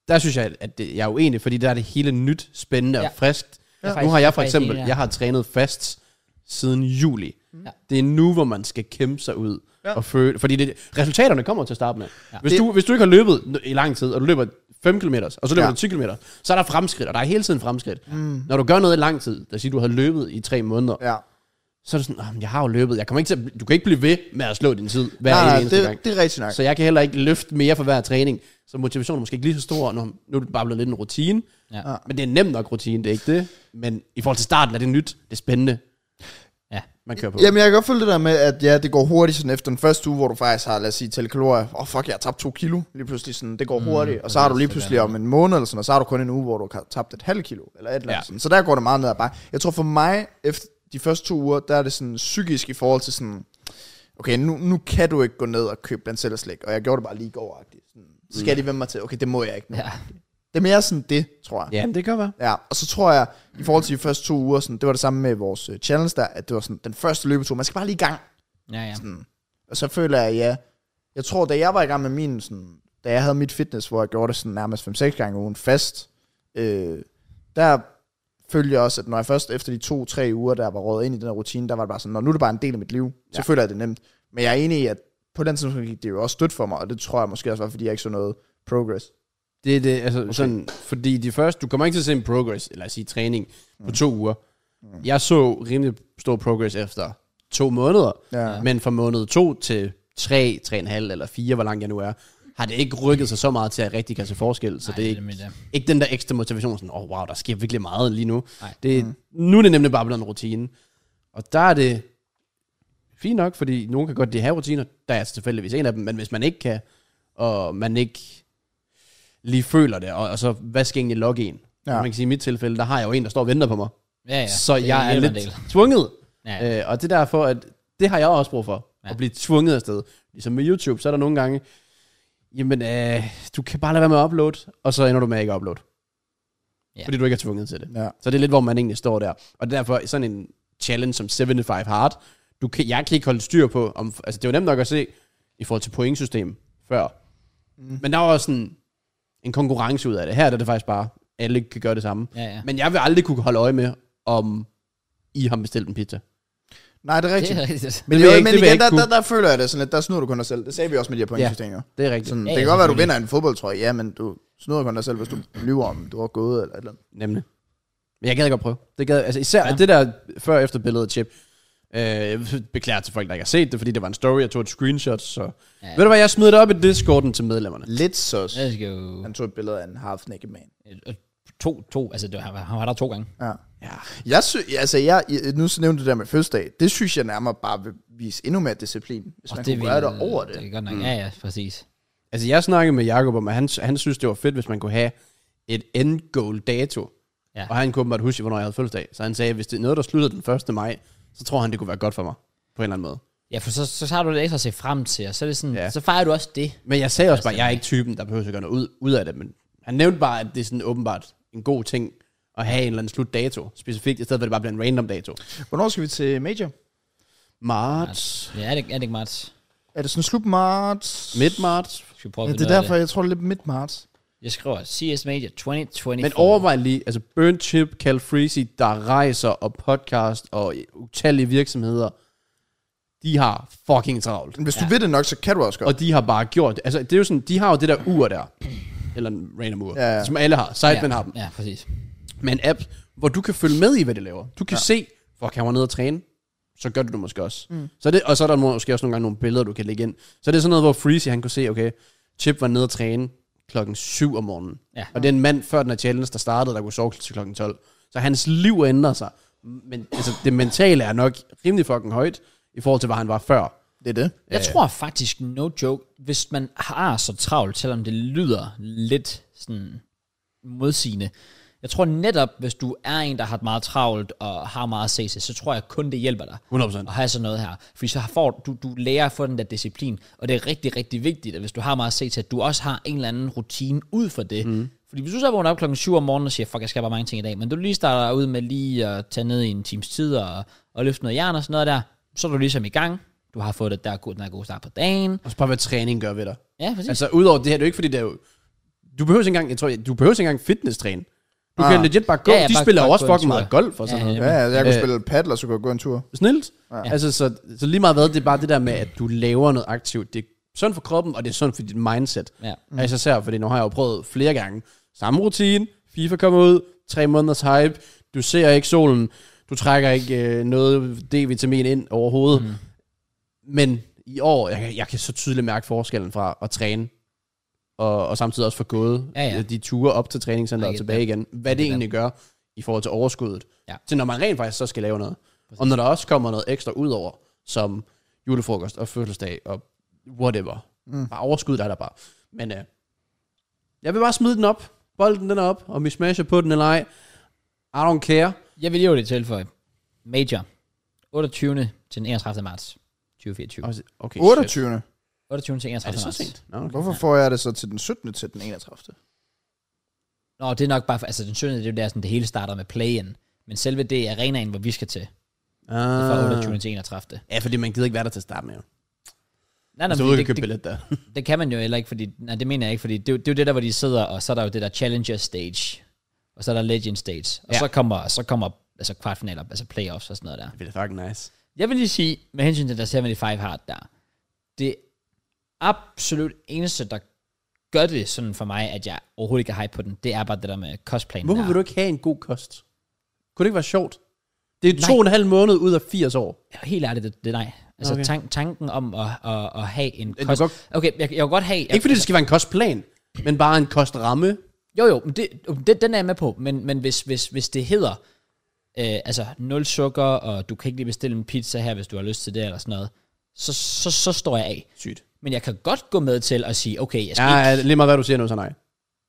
Speaker 2: Der synes jeg, at det, jeg er uenig, fordi der er det hele nyt, spændende
Speaker 1: Ja.
Speaker 2: og friskt.
Speaker 1: Jeg er
Speaker 2: Nu
Speaker 1: faktisk-
Speaker 2: har
Speaker 1: jeg er
Speaker 2: jeg for
Speaker 1: faktisk
Speaker 2: eksempel,
Speaker 1: enig, ja. Mhm.
Speaker 2: jeg har trænet fast siden juli.
Speaker 1: Ja.
Speaker 2: Det er nu, hvor man skal kæmpe sig ud.
Speaker 3: Ja.
Speaker 2: Ja. Og føle, fordi det, resultaterne kommer til at starte med. Ja. Hvis,
Speaker 3: Det-
Speaker 2: du, hvis du ikke har løbet n- i lang tid, og du løber 5 km, og så løber
Speaker 3: Ja.
Speaker 2: ja. du 10 km, så er der fremskridt, og der er hele tiden fremskridt. Mm. Når du gør noget i lang tid, lad os sige, du har løbet i 3 måneder, ja.
Speaker 3: Ja.
Speaker 2: så er det sådan, "Åh, men jeg har jo løbet, jeg kommer ikke til at, du kan ikke blive ved med at slå din tid hver
Speaker 3: Nej, nej,
Speaker 2: eneste
Speaker 3: det,
Speaker 2: gang.
Speaker 3: det er rigtigt nok.
Speaker 2: Så jeg kan heller ikke løfte mere for hver træning. Så motivationen er måske ikke lige så stor, når nu er det bare blevet lidt en rutine.
Speaker 1: Ja.
Speaker 2: Men det er nemt nok rutine, det er ikke det. Men i forhold til starten er det nyt, det er spændende.
Speaker 1: Ja.
Speaker 2: Man kører på.
Speaker 3: Jamen, jeg kan godt følge det der med, at ja, det går hurtigt sådan efter den første uge, hvor du faktisk har, lad os sige, tælle kalorier. Åh, oh, fuck, jeg har tabt to kilo. Lige pludselig sådan, det går hurtigt. Og så har du lige pludselig om en måned eller sådan, og så har du kun en uge, hvor du har tabt et halvt kilo. Eller et eller andet
Speaker 2: Ja.
Speaker 3: sådan. Så der går det meget ned ad bare. Jeg tror for mig, efter de første to uger, der er det sådan psykisk i forhold til sådan, okay, nu, nu kan du ikke gå ned og købe den selv og slik. Og jeg gjorde det bare lige i går -agtigt. Sådan, Så skal jeg lige vende mig til, okay, det må jeg ikke nu.
Speaker 1: Ja.
Speaker 3: Det er mere sådan det, tror jeg.
Speaker 2: Jamen, det kan være.
Speaker 3: Ja, og så tror jeg, i forhold til de første to uger, sådan, det var det samme med vores øh, challenge der, at det var sådan, den første løbetur, man skal bare lige i gang.
Speaker 1: Ja, ja.
Speaker 3: Og så føler jeg, ja, jeg tror, da jeg var i gang med min, sådan, da jeg havde mit fitness, hvor jeg gjorde det sådan nærmest 5-6 gange om ugen fast, øh, der følte jeg også, at når jeg først efter de to-tre uger, der var råd ind i den her rutine, der var det bare sådan, når nu er det bare en del af mit liv, så føler jeg det er nemt. Men jeg er enig i, at på den tidspunkt gik det jo også stødt for mig, og det tror jeg måske også var, fordi jeg ikke så noget progress.
Speaker 2: Det er det, altså okay. sådan, fordi de første, du kommer ikke til at se en progress, eller at sige træning, på to uger. Jeg så rimelig stor progress efter to måneder,
Speaker 3: Ja.
Speaker 2: men fra måned to til tre, tre og en halv eller fire, hvor langt jeg nu er, har det ikke rykket sig så meget til, at jeg rigtig kan se forskel, så
Speaker 1: Nej,
Speaker 2: det er
Speaker 1: det er
Speaker 2: ikke,
Speaker 1: nemlig det.
Speaker 2: ikke den der ekstra motivation, sådan, åh oh, wow, der sker virkelig meget lige nu.
Speaker 1: Nej.
Speaker 2: Det, mm. Nu er det nemlig bare blevet en rutine, og der er det fint nok, fordi nogen kan godt lide at have rutiner, der er jeg tilfældigvis en af dem, men hvis man ikke kan, og man ikke lige føler det, og, og så hvad skal egentlig logge en?
Speaker 3: Ja.
Speaker 2: Ja. Man kan sige, i mit tilfælde, der har jeg jo en, der står og venter på mig.
Speaker 1: ja, ja.
Speaker 2: Ja, så
Speaker 1: Det
Speaker 2: jeg er
Speaker 1: hjælper
Speaker 2: lidt
Speaker 1: en del.
Speaker 2: tvunget.
Speaker 1: Ja.
Speaker 2: Ja. Øh, og det er derfor, at det har jeg også brug for. Ja.
Speaker 1: Ja.
Speaker 2: At blive tvunget afsted. Ligesom med YouTube, så er der nogle gange, jamen, øh, du kan bare lade være med at uploade, og så ender du med at ikke at uploade.
Speaker 1: Ja.
Speaker 2: Ja. Fordi du ikke er tvunget til det.
Speaker 3: Ja.
Speaker 2: Så det er lidt, hvor man egentlig står der. Og derfor sådan en challenge som 75 Hard, du kan, jeg kan ikke holde styr på, om, altså det var nemt nok at se i forhold til pointsystem før. Mm. Men der var også sådan en konkurrence ud af det. Her er det faktisk bare, alle kan gøre det samme.
Speaker 1: Ja, ja.
Speaker 2: Men jeg vil aldrig kunne holde øje med, om I har bestilt en pizza.
Speaker 3: Nej, det er
Speaker 1: Det
Speaker 3: rigtigt.
Speaker 1: er rigtigt.
Speaker 3: Men,
Speaker 2: Det vil
Speaker 3: jo,
Speaker 2: jeg ikke-
Speaker 3: men
Speaker 2: det vil jeg
Speaker 3: igen, der,
Speaker 2: ikke
Speaker 3: der, der, føler jeg det sådan lidt, der snyder du kun dig selv. Det sagde vi også med de her pointsystemer. Ja.
Speaker 2: Det er rigtigt.
Speaker 3: Sådan,
Speaker 1: Ja,
Speaker 3: ja, det kan
Speaker 1: ja,
Speaker 3: godt være, du
Speaker 1: selvfølgelig.
Speaker 3: vinder en fodboldtrøje, ja, men du snyder kun dig selv, hvis du lyver om, du har gået eller et eller andet.
Speaker 2: Nemlig. Men jeg gad godt prøve. Det gad, altså især ja. det der før og efter billede af Chip. Øh, jeg beklager til folk, der ikke har set det, fordi det var en story. Jeg tog et screenshot, så... Ja. Ved du hvad, jeg smed det op i Discorden til medlemmerne.
Speaker 3: Lidt sus.
Speaker 1: Det skal jo...
Speaker 3: Han tog et billede af en half naked man.
Speaker 1: To, to, altså det, var- han var der to gange.
Speaker 3: Ja.
Speaker 2: Ja.
Speaker 3: Jeg sy- altså, jeg, jeg- nu så nævnte du det der med fødselsdag. Det synes jeg nærmere bare vil vise endnu mere disciplin, hvis man kunne gøre det over det.
Speaker 1: Det er godt nok. Mm. Ja, ja, præcis.
Speaker 2: Altså jeg snakkede med Jacob om, at han, han synes, det var fedt, hvis man kunne have et end goal dato.
Speaker 1: Ja.
Speaker 2: Ja. Og han kunne åbenbart huske, hvornår jeg havde fødselsdag. Så han sagde, hvis det er noget, der slutter den 1. maj, så tror han, det kunne være godt for mig. På en eller anden måde.
Speaker 1: Ja, for så, så har du det ekstra at se frem til, og så, er det sådan, ja.
Speaker 2: Ja.
Speaker 1: så fejrer du også det.
Speaker 2: Men jeg sagde også bare, at jeg er ikke typen, der behøver at gøre noget ud, ud af det, men han nævnte bare, at det er sådan åbenbart en god ting at have en eller anden slutdato specifikt, i stedet for at det bare bliver en random dato.
Speaker 3: Hvornår skal vi til major?
Speaker 2: Marts,
Speaker 1: Ja, er det, er det ikke meget?
Speaker 3: Er det sådan slut marts?
Speaker 2: midt marts.
Speaker 1: Skal vi prøve
Speaker 3: Ja,
Speaker 1: at
Speaker 3: det
Speaker 1: finde
Speaker 3: er
Speaker 1: ud af
Speaker 3: derfor, jeg tror, det er lidt midt marts.
Speaker 1: Jeg skriver CS Media 2024.
Speaker 2: Men overvej lige, altså Burn Chip, Cal Freezy, der rejser og podcast og utallige virksomheder, de har fucking travlt.
Speaker 3: Hvis ja. du ved det nok, så kan du også godt.
Speaker 2: Og de har bare gjort det. Altså, det er jo sådan, de har jo det der ur der, eller en random ur,
Speaker 3: Ja, ja.
Speaker 2: som alle har. Sidemen ja. har dem.
Speaker 1: Ja, præcis.
Speaker 2: med en app, hvor du kan følge med i, hvad det laver. Du kan ja. se, fuck, han var nede og træne. Så gør du det måske også. Mm. Så det, og så er der måske også nogle gange nogle billeder, du kan lægge ind. Så det er sådan noget, hvor Freezy, han kunne se, okay, Chip var nede og træne klokken 7 om morgenen.
Speaker 1: Ja.
Speaker 2: Og det er en mand før den her challenge, der startede, der kunne sove til klokken 12. Så hans liv ændrer sig. men altså, det mentale er nok rimelig fucking højt, i forhold til, hvad han var før.
Speaker 3: Det er det.
Speaker 1: Jeg tror faktisk, no joke, hvis man har så travlt, selvom det lyder lidt sådan modsigende, jeg tror netop, hvis du er en, der har meget travlt og har meget at se til, så tror jeg kun, det hjælper dig
Speaker 2: 100%.
Speaker 1: at have sådan noget her. Fordi så får du, du lærer at få den der disciplin, og det er rigtig, rigtig vigtigt, at hvis du har meget at se til, at du også har en eller anden rutine ud for det. Mm. Fordi hvis du så vågner op klokken 7 om morgenen og siger, fuck, jeg skal bare mange ting i dag, men du lige starter ud med lige at tage ned i en times tid og, og løfte noget jern og sådan noget der, så er du ligesom i gang. Du har fået det der, god- den der gode start på dagen.
Speaker 2: Og så bare, hvad træning gør ved dig.
Speaker 1: Ja, præcis. Altså,
Speaker 2: Altså, udover det her, det er jo ikke, fordi det er jo... Du behøver ikke engang, jeg tror, du behøver ikke engang fitness-træne. Du ah. kan legit bare gå. Ja, ja, de bare, spiller bare jo også
Speaker 1: gå en
Speaker 2: fucking
Speaker 1: tur.
Speaker 2: meget golf og sådan
Speaker 1: Ja,
Speaker 2: ja, noget.
Speaker 1: ja.
Speaker 3: Ja, jeg kunne
Speaker 2: Øh.
Speaker 3: spille paddler, så kunne jeg gå en tur.
Speaker 2: Snilt. Ja. Altså, så, så lige meget hvad, det er bare det der med, at du laver noget aktivt. Det er sådan for kroppen, og det er sådan for dit mindset.
Speaker 1: Ja.
Speaker 2: Mm. Altså især, fordi nu har jeg jo prøvet flere gange. Samme rutine, FIFA kommer ud, tre måneders hype, du ser ikke solen, du trækker ikke øh, noget D-vitamin ind overhovedet. Mm. Men i år, jeg, kan- jeg kan så tydeligt mærke forskellen fra at træne, og, og samtidig også få gået
Speaker 1: Ja, ja.
Speaker 2: øh, de ture op til
Speaker 1: I
Speaker 2: træningscenteret og
Speaker 1: get
Speaker 2: tilbage igen. Hvad det egentlig gør i forhold til overskuddet.
Speaker 1: Ja.
Speaker 2: Til når man rent faktisk så skal lave noget. Og når der også kommer noget ekstra ud over, som julefrokost og fødselsdag og whatever. Mm. Bare overskud der er der bare. Men øh, jeg vil bare smide den op. Bolden den er op, og vi smasher på den eller ej. I don't care.
Speaker 1: jeg vil lige jo det tilføje. Major. 28. til den 31. marts 2024.
Speaker 2: Og så- Okay, shit.
Speaker 3: 28.
Speaker 1: 28. til 31.
Speaker 2: Er det så
Speaker 1: marts.
Speaker 2: sent? No, okay.
Speaker 3: Hvorfor får jeg det så til den 17. til den 31.
Speaker 1: Nå, det er nok bare, for, altså den 17. det er jo der, sådan, det hele starter med play-in. Men selve det er arenaen, hvor vi skal til, det er fra 28.
Speaker 2: Ah.
Speaker 1: til 31.
Speaker 2: Ja, fordi man gider ikke være der til at starte med. Jo.
Speaker 1: Nej, nej,
Speaker 2: Altså,
Speaker 1: men
Speaker 2: du kan
Speaker 1: det,
Speaker 2: købe
Speaker 1: det, det,
Speaker 2: billet der.
Speaker 1: det, kan man jo heller ikke, fordi, nej, det mener jeg ikke, fordi det, er jo- det er jo det der, hvor de sidder, og så er der jo det der Challenger stage, og så er der Legend stage, og
Speaker 2: Ja.
Speaker 1: ja. så kommer, så kommer altså kvartfinaler, altså playoffs og sådan noget der.
Speaker 2: det er fucking nice.
Speaker 1: Jeg vil lige sige, med hensyn til der 75 Hard der, det absolut eneste, der gør det sådan for mig, at jeg overhovedet ikke er hype på den, det er bare det der med cosplayen
Speaker 2: Hvorfor
Speaker 1: der.
Speaker 2: vil du ikke have en god kost? Kunne det ikke være sjovt? Det er to og en halv måned ud af 80 år.
Speaker 1: Helt ærligt, det, det er nej. Altså
Speaker 2: Okay.
Speaker 1: okay. tank, tanken om at, at, at have en
Speaker 2: du
Speaker 1: kost...
Speaker 2: godt-
Speaker 1: Okay, jeg, jeg vil godt have... Jeg,
Speaker 2: Ikke fordi det skal være en kostplan, men bare en kostramme.
Speaker 1: Jo, jo, men det, jo, det, den er jeg med på, men, men hvis, hvis, hvis det hedder, øh, altså, nul sukker, og du kan ikke lige bestille en pizza her, hvis du har lyst til det, eller sådan noget, så, så, så står jeg af.
Speaker 2: Sygt.
Speaker 1: Men jeg kan godt gå med til at sige, okay, jeg skal
Speaker 2: Ja,
Speaker 1: ikke... Øh.
Speaker 2: ja, lige meget hvad du siger nu, så nej.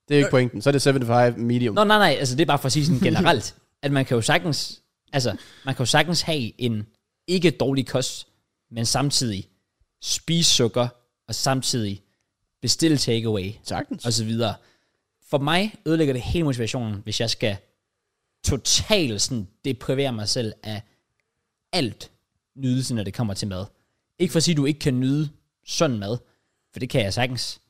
Speaker 2: Det er ikke pointen. Så er det 75 medium.
Speaker 1: Nå, nej, nej, altså, det er bare for at sige sådan generelt, at man kan jo sagtens, altså, man kan jo sagtens have en ikke dårlig kost, men samtidig spise sukker, og samtidig bestille takeaway,
Speaker 2: Sagtens.
Speaker 1: og så videre. For mig ødelægger det hele motivationen, hvis jeg skal totalt sådan deprivere mig selv af alt nydelse, når det kommer til mad. Ikke for at sige, at du ikke kan nyde sund mad, for det kan jeg sagtens.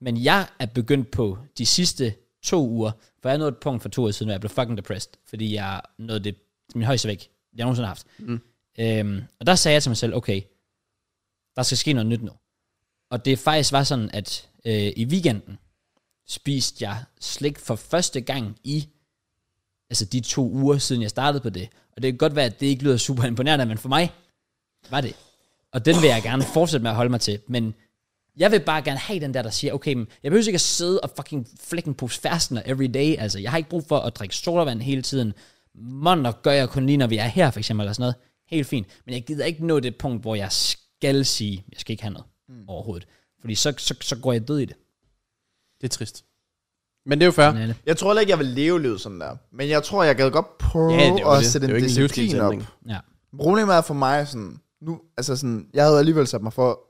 Speaker 1: Men jeg er begyndt på de sidste to uger, for jeg nåede et punkt for to uger siden, hvor jeg blev fucking depressed, fordi jeg nåede det, min højeste væk, jeg nogensinde har haft. Mm. Øhm, og der sagde jeg til mig selv, okay, der skal ske noget nyt nu. Og det faktisk var sådan, at øh, i weekenden spiste jeg slik for første gang i altså de to uger, siden jeg startede på det. Og det kan godt være, at det ikke lyder super imponerende, men for mig var det. Og den vil jeg gerne fortsætte med at holde mig til. Men jeg vil bare gerne have den der, der siger, okay, men jeg behøver ikke at sidde og fucking flække en pose fastener every day. Altså, jeg har ikke brug for at drikke sodavand hele tiden. Monder gør jeg kun lige, når vi er her, for eksempel, eller sådan noget. Helt fint. Men jeg gider ikke nå det punkt, hvor jeg skal sige, jeg skal ikke have noget mm. overhovedet. Fordi så, så, så går jeg død i det.
Speaker 2: Det er trist. Men det er jo fair.
Speaker 1: Nalle.
Speaker 3: Jeg tror heller ikke, jeg vil leve livet sådan der. Men jeg tror, jeg gad godt prøve
Speaker 2: Ja, det er jo
Speaker 3: ja, at
Speaker 2: det.
Speaker 3: sætte
Speaker 2: Det er jo
Speaker 3: en
Speaker 2: ikke en
Speaker 3: disciplin op.
Speaker 2: livsstilsændring.
Speaker 1: Ja.
Speaker 3: Problemet er for mig sådan, nu, altså sådan, jeg havde alligevel sat mig for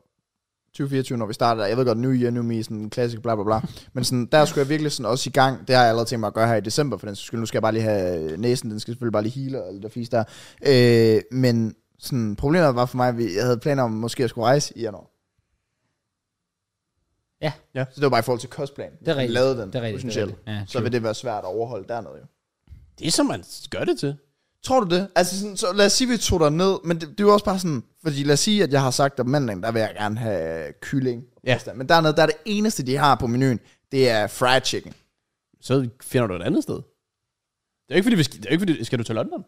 Speaker 3: 2024, når vi startede, jeg ved godt, New Year, New Me, sådan klassisk, bla bla bla, men sådan, der skulle jeg virkelig sådan også i gang, det har jeg allerede tænkt mig at gøre her i december, for den sags skyld, nu skal jeg bare lige have næsen, den skal selvfølgelig bare lige heale, og alt det fisk der, øh, men sådan, problemet var for mig, at vi- jeg havde planer om, måske at skulle rejse i januar.
Speaker 1: Ja.
Speaker 2: Ja.
Speaker 3: Så det var bare i forhold til kostplan. Hvis
Speaker 1: Det er
Speaker 3: man
Speaker 1: rigtigt.
Speaker 3: lavede den,
Speaker 1: Det er rigtigt, det er
Speaker 3: potentielt,
Speaker 1: rigtigt. Ja,
Speaker 3: så
Speaker 1: true.
Speaker 3: vil det være svært at overholde dernede jo.
Speaker 2: Det er som man gør det til.
Speaker 3: Tror du det? Altså sådan, så lad os sige, at vi tog dig ned, men det, det er jo også bare sådan, fordi lad os sige, at jeg har sagt, at mandagen, der vil jeg gerne have kylling. og
Speaker 2: Ja.
Speaker 3: pasta. Men dernede, der er det eneste, de har på menuen, det er fried chicken.
Speaker 2: Så finder du et andet sted. Det er ikke fordi, vi skal, det er ikke fordi skal du til London?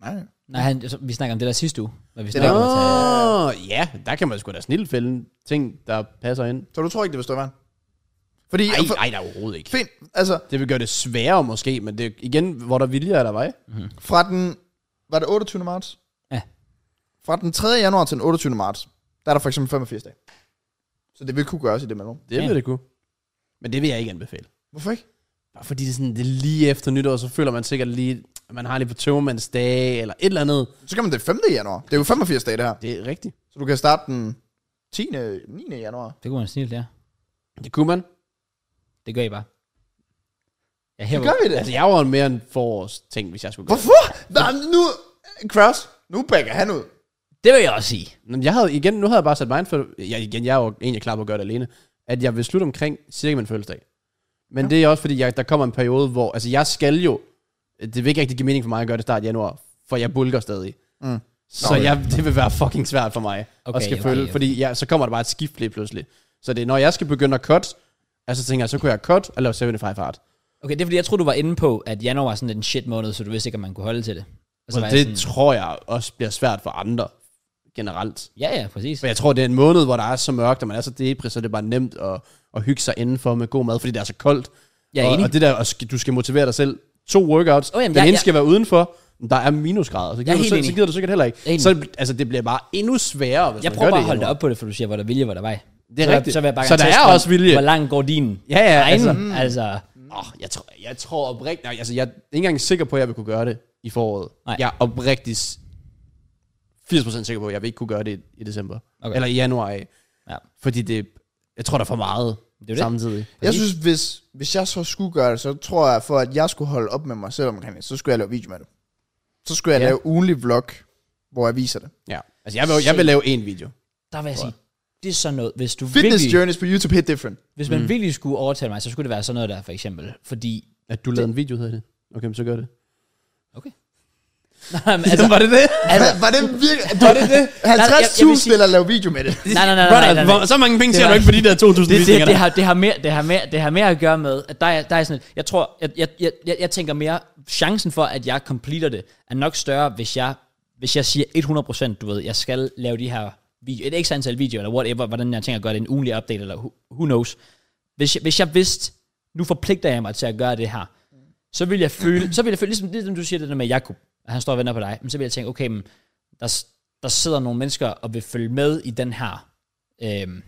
Speaker 3: Nej.
Speaker 1: Nej, han, så- vi snakker om det der sidste uge. Hvad vi
Speaker 3: Det
Speaker 1: snakker om at tage...
Speaker 2: Åh, ja, der kan man sgu da snildt fælde ting, der passer ind.
Speaker 3: Så du tror ikke, det vil stå i vejen? Fordi,
Speaker 2: Ej,
Speaker 3: for,
Speaker 2: ej, der er overhovedet ikke.
Speaker 3: fint, altså,
Speaker 2: Det vil gøre det sværere måske, men det er igen, hvor der vilje er der vej.
Speaker 3: fra den, var det 28. marts?
Speaker 1: Ja.
Speaker 3: Fra den 3. januar til den 28. marts, der er der for eksempel 85 dage. Så det vil kunne gøres i det mellemrum.
Speaker 2: Det vil det kunne. Men det vil jeg ikke anbefale.
Speaker 3: Hvorfor ikke?
Speaker 2: Bare fordi det er, sådan, det er lige efter nytår, så føler man sikkert lige, at man har lige på tømmermandsdag, eller et eller andet.
Speaker 3: Så kan man det 5. januar. Det er jo 85 dage, det her.
Speaker 2: Det er rigtigt.
Speaker 3: Så du kan starte den 10. 9. januar.
Speaker 1: Det kunne man snilt, ja.
Speaker 2: Det kunne man.
Speaker 1: Det gør I bare. Ja, her
Speaker 3: Det gør vi det.
Speaker 2: Altså, jeg var mere en forårs ting, hvis jeg skulle gøre det.
Speaker 3: Hvorfor? Der er nu... Kraus, nu backer han ud.
Speaker 1: Det vil jeg også sige.
Speaker 2: Men jeg havde igen, nu havde jeg bare sat mig ind for, jeg, igen, jeg er jo egentlig klar på at gøre det alene, at jeg vil slutte omkring cirka min fødselsdag. Men ja. det er også fordi, jeg, der kommer en periode, hvor, altså jeg skal jo, det vil ikke rigtig give mening for mig at gøre det start januar, for jeg bulker stadig.
Speaker 3: Mm.
Speaker 2: Så
Speaker 3: Nå, ja.
Speaker 2: jeg, det vil være fucking svært for mig okay,
Speaker 1: Okay,
Speaker 2: at skal
Speaker 1: ja,
Speaker 2: følge,
Speaker 1: ja.
Speaker 2: fordi jeg, så kommer der bare et skift lige pludselig. Så det er, når jeg skal begynde at cut, altså tænker jeg, så kunne jeg cut og lave 75 fart.
Speaker 1: Okay, det er fordi, jeg tror du var inde på, at januar var sådan en shit måned, så du vidste ikke, om man kunne holde til det. Og så
Speaker 2: Og
Speaker 1: var
Speaker 2: det
Speaker 1: jeg sådan,
Speaker 2: tror jeg også bliver svært for andre generelt.
Speaker 1: ja, ja, præcis.
Speaker 2: For jeg tror, det er en måned, hvor der er så mørkt, og man er så depris, så det er bare nemt at, at hygge sig indenfor med god mad, fordi det er så koldt.
Speaker 1: Jeg er
Speaker 2: og,
Speaker 1: enig.
Speaker 2: og det der, og sk- du skal motivere dig selv. To workouts,
Speaker 1: Åh,
Speaker 2: oh,
Speaker 1: jamen,
Speaker 2: jamen, den
Speaker 1: jeg-
Speaker 2: ene
Speaker 1: jeg-
Speaker 2: skal være udenfor, men der er minusgrader, så gider,
Speaker 1: er
Speaker 2: du,
Speaker 1: helt
Speaker 2: selv,
Speaker 1: enig.
Speaker 2: så gider du sikkert heller
Speaker 1: Jeg er
Speaker 2: ikke. Så altså, det bliver bare endnu sværere, hvis
Speaker 1: Jeg
Speaker 2: man
Speaker 1: prøver
Speaker 2: gør
Speaker 1: bare
Speaker 2: det
Speaker 1: at holde
Speaker 2: endnu.
Speaker 1: dig op på det, for du siger, hvor der er vilje, hvor der er vej.
Speaker 2: Det
Speaker 1: så,
Speaker 2: er rigtigt.
Speaker 1: Så vil jeg bare
Speaker 2: Så
Speaker 1: gerne
Speaker 2: der
Speaker 1: teste,
Speaker 2: er også
Speaker 1: hvor-
Speaker 2: vilje.
Speaker 1: Hvor langt går din
Speaker 2: Ja, ja,
Speaker 1: egen,
Speaker 2: altså.
Speaker 1: altså. altså.
Speaker 2: Oh, jeg, tror, jeg tror oprigtigt, nej, altså jeg er ikke engang sikker på, at jeg vil kunne gøre det i foråret.
Speaker 1: Nej.
Speaker 2: Jeg er oprigtigt s- 80% sikker på, at jeg vil ikke kunne gøre det i, i december.
Speaker 1: Okay.
Speaker 2: Okay. Eller i januar af.
Speaker 1: Ja.
Speaker 2: Fordi det, jeg tror, der er for meget
Speaker 1: er jo det.
Speaker 2: samtidig.
Speaker 3: Jeg synes, hvis, hvis jeg så skulle gøre det, så tror jeg, for at jeg skulle holde op med mig selv omkring det, så skulle jeg lave video med det. Så skulle jeg
Speaker 2: Ja.
Speaker 3: ja. lave ugenlig vlog, hvor jeg viser det.
Speaker 2: Ja. Altså, jeg vil, jeg vil lave en video.
Speaker 1: Der vil jeg sige, det er sådan noget, hvis du
Speaker 3: Fitness
Speaker 1: virkelig,
Speaker 3: journeys på YouTube hit different.
Speaker 1: hvis
Speaker 2: Mm.
Speaker 1: man virkelig skulle overtale mig, så skulle det være sådan noget der, for eksempel. Fordi,
Speaker 2: At du lavede en video, hedder det. Okay, men så gør det.
Speaker 1: okay. Nej, men altså,
Speaker 2: var det det?
Speaker 1: altså,
Speaker 3: Var det virkelig... Var det det?
Speaker 1: jeg vil sige-
Speaker 3: 50.000 til at lave video med det.
Speaker 1: nej, nej, nej, nej, nej, nej.
Speaker 2: Hvor- Så mange penge
Speaker 1: Det
Speaker 2: tjener
Speaker 1: var-
Speaker 2: du ikke på de der 2.000
Speaker 1: det, det,
Speaker 2: visninger.
Speaker 1: det, det, har, det, har mere, det, har mere, det har mere at gøre med, at der er, der er sådan et, jeg tror, jeg, jeg, jeg, jeg, jeg tænker mere, chancen for, at jeg completer det, er nok større, hvis jeg, hvis jeg siger 100%, du ved, jeg skal lave de her video, et ekstra antal videoer, eller whatever, hvordan jeg tænker at gøre det, en ugenlig update, eller who, who knows. Hvis jeg, hvis jeg vidste, nu forpligter jeg mig til at gøre det her, så vil jeg føle, så vil jeg føle ligesom, ligesom du siger det der med Jakob, at han står og venter på dig, men så vil jeg tænke, okay, men der, s- der sidder nogle mennesker og vil følge med i den her, øhm,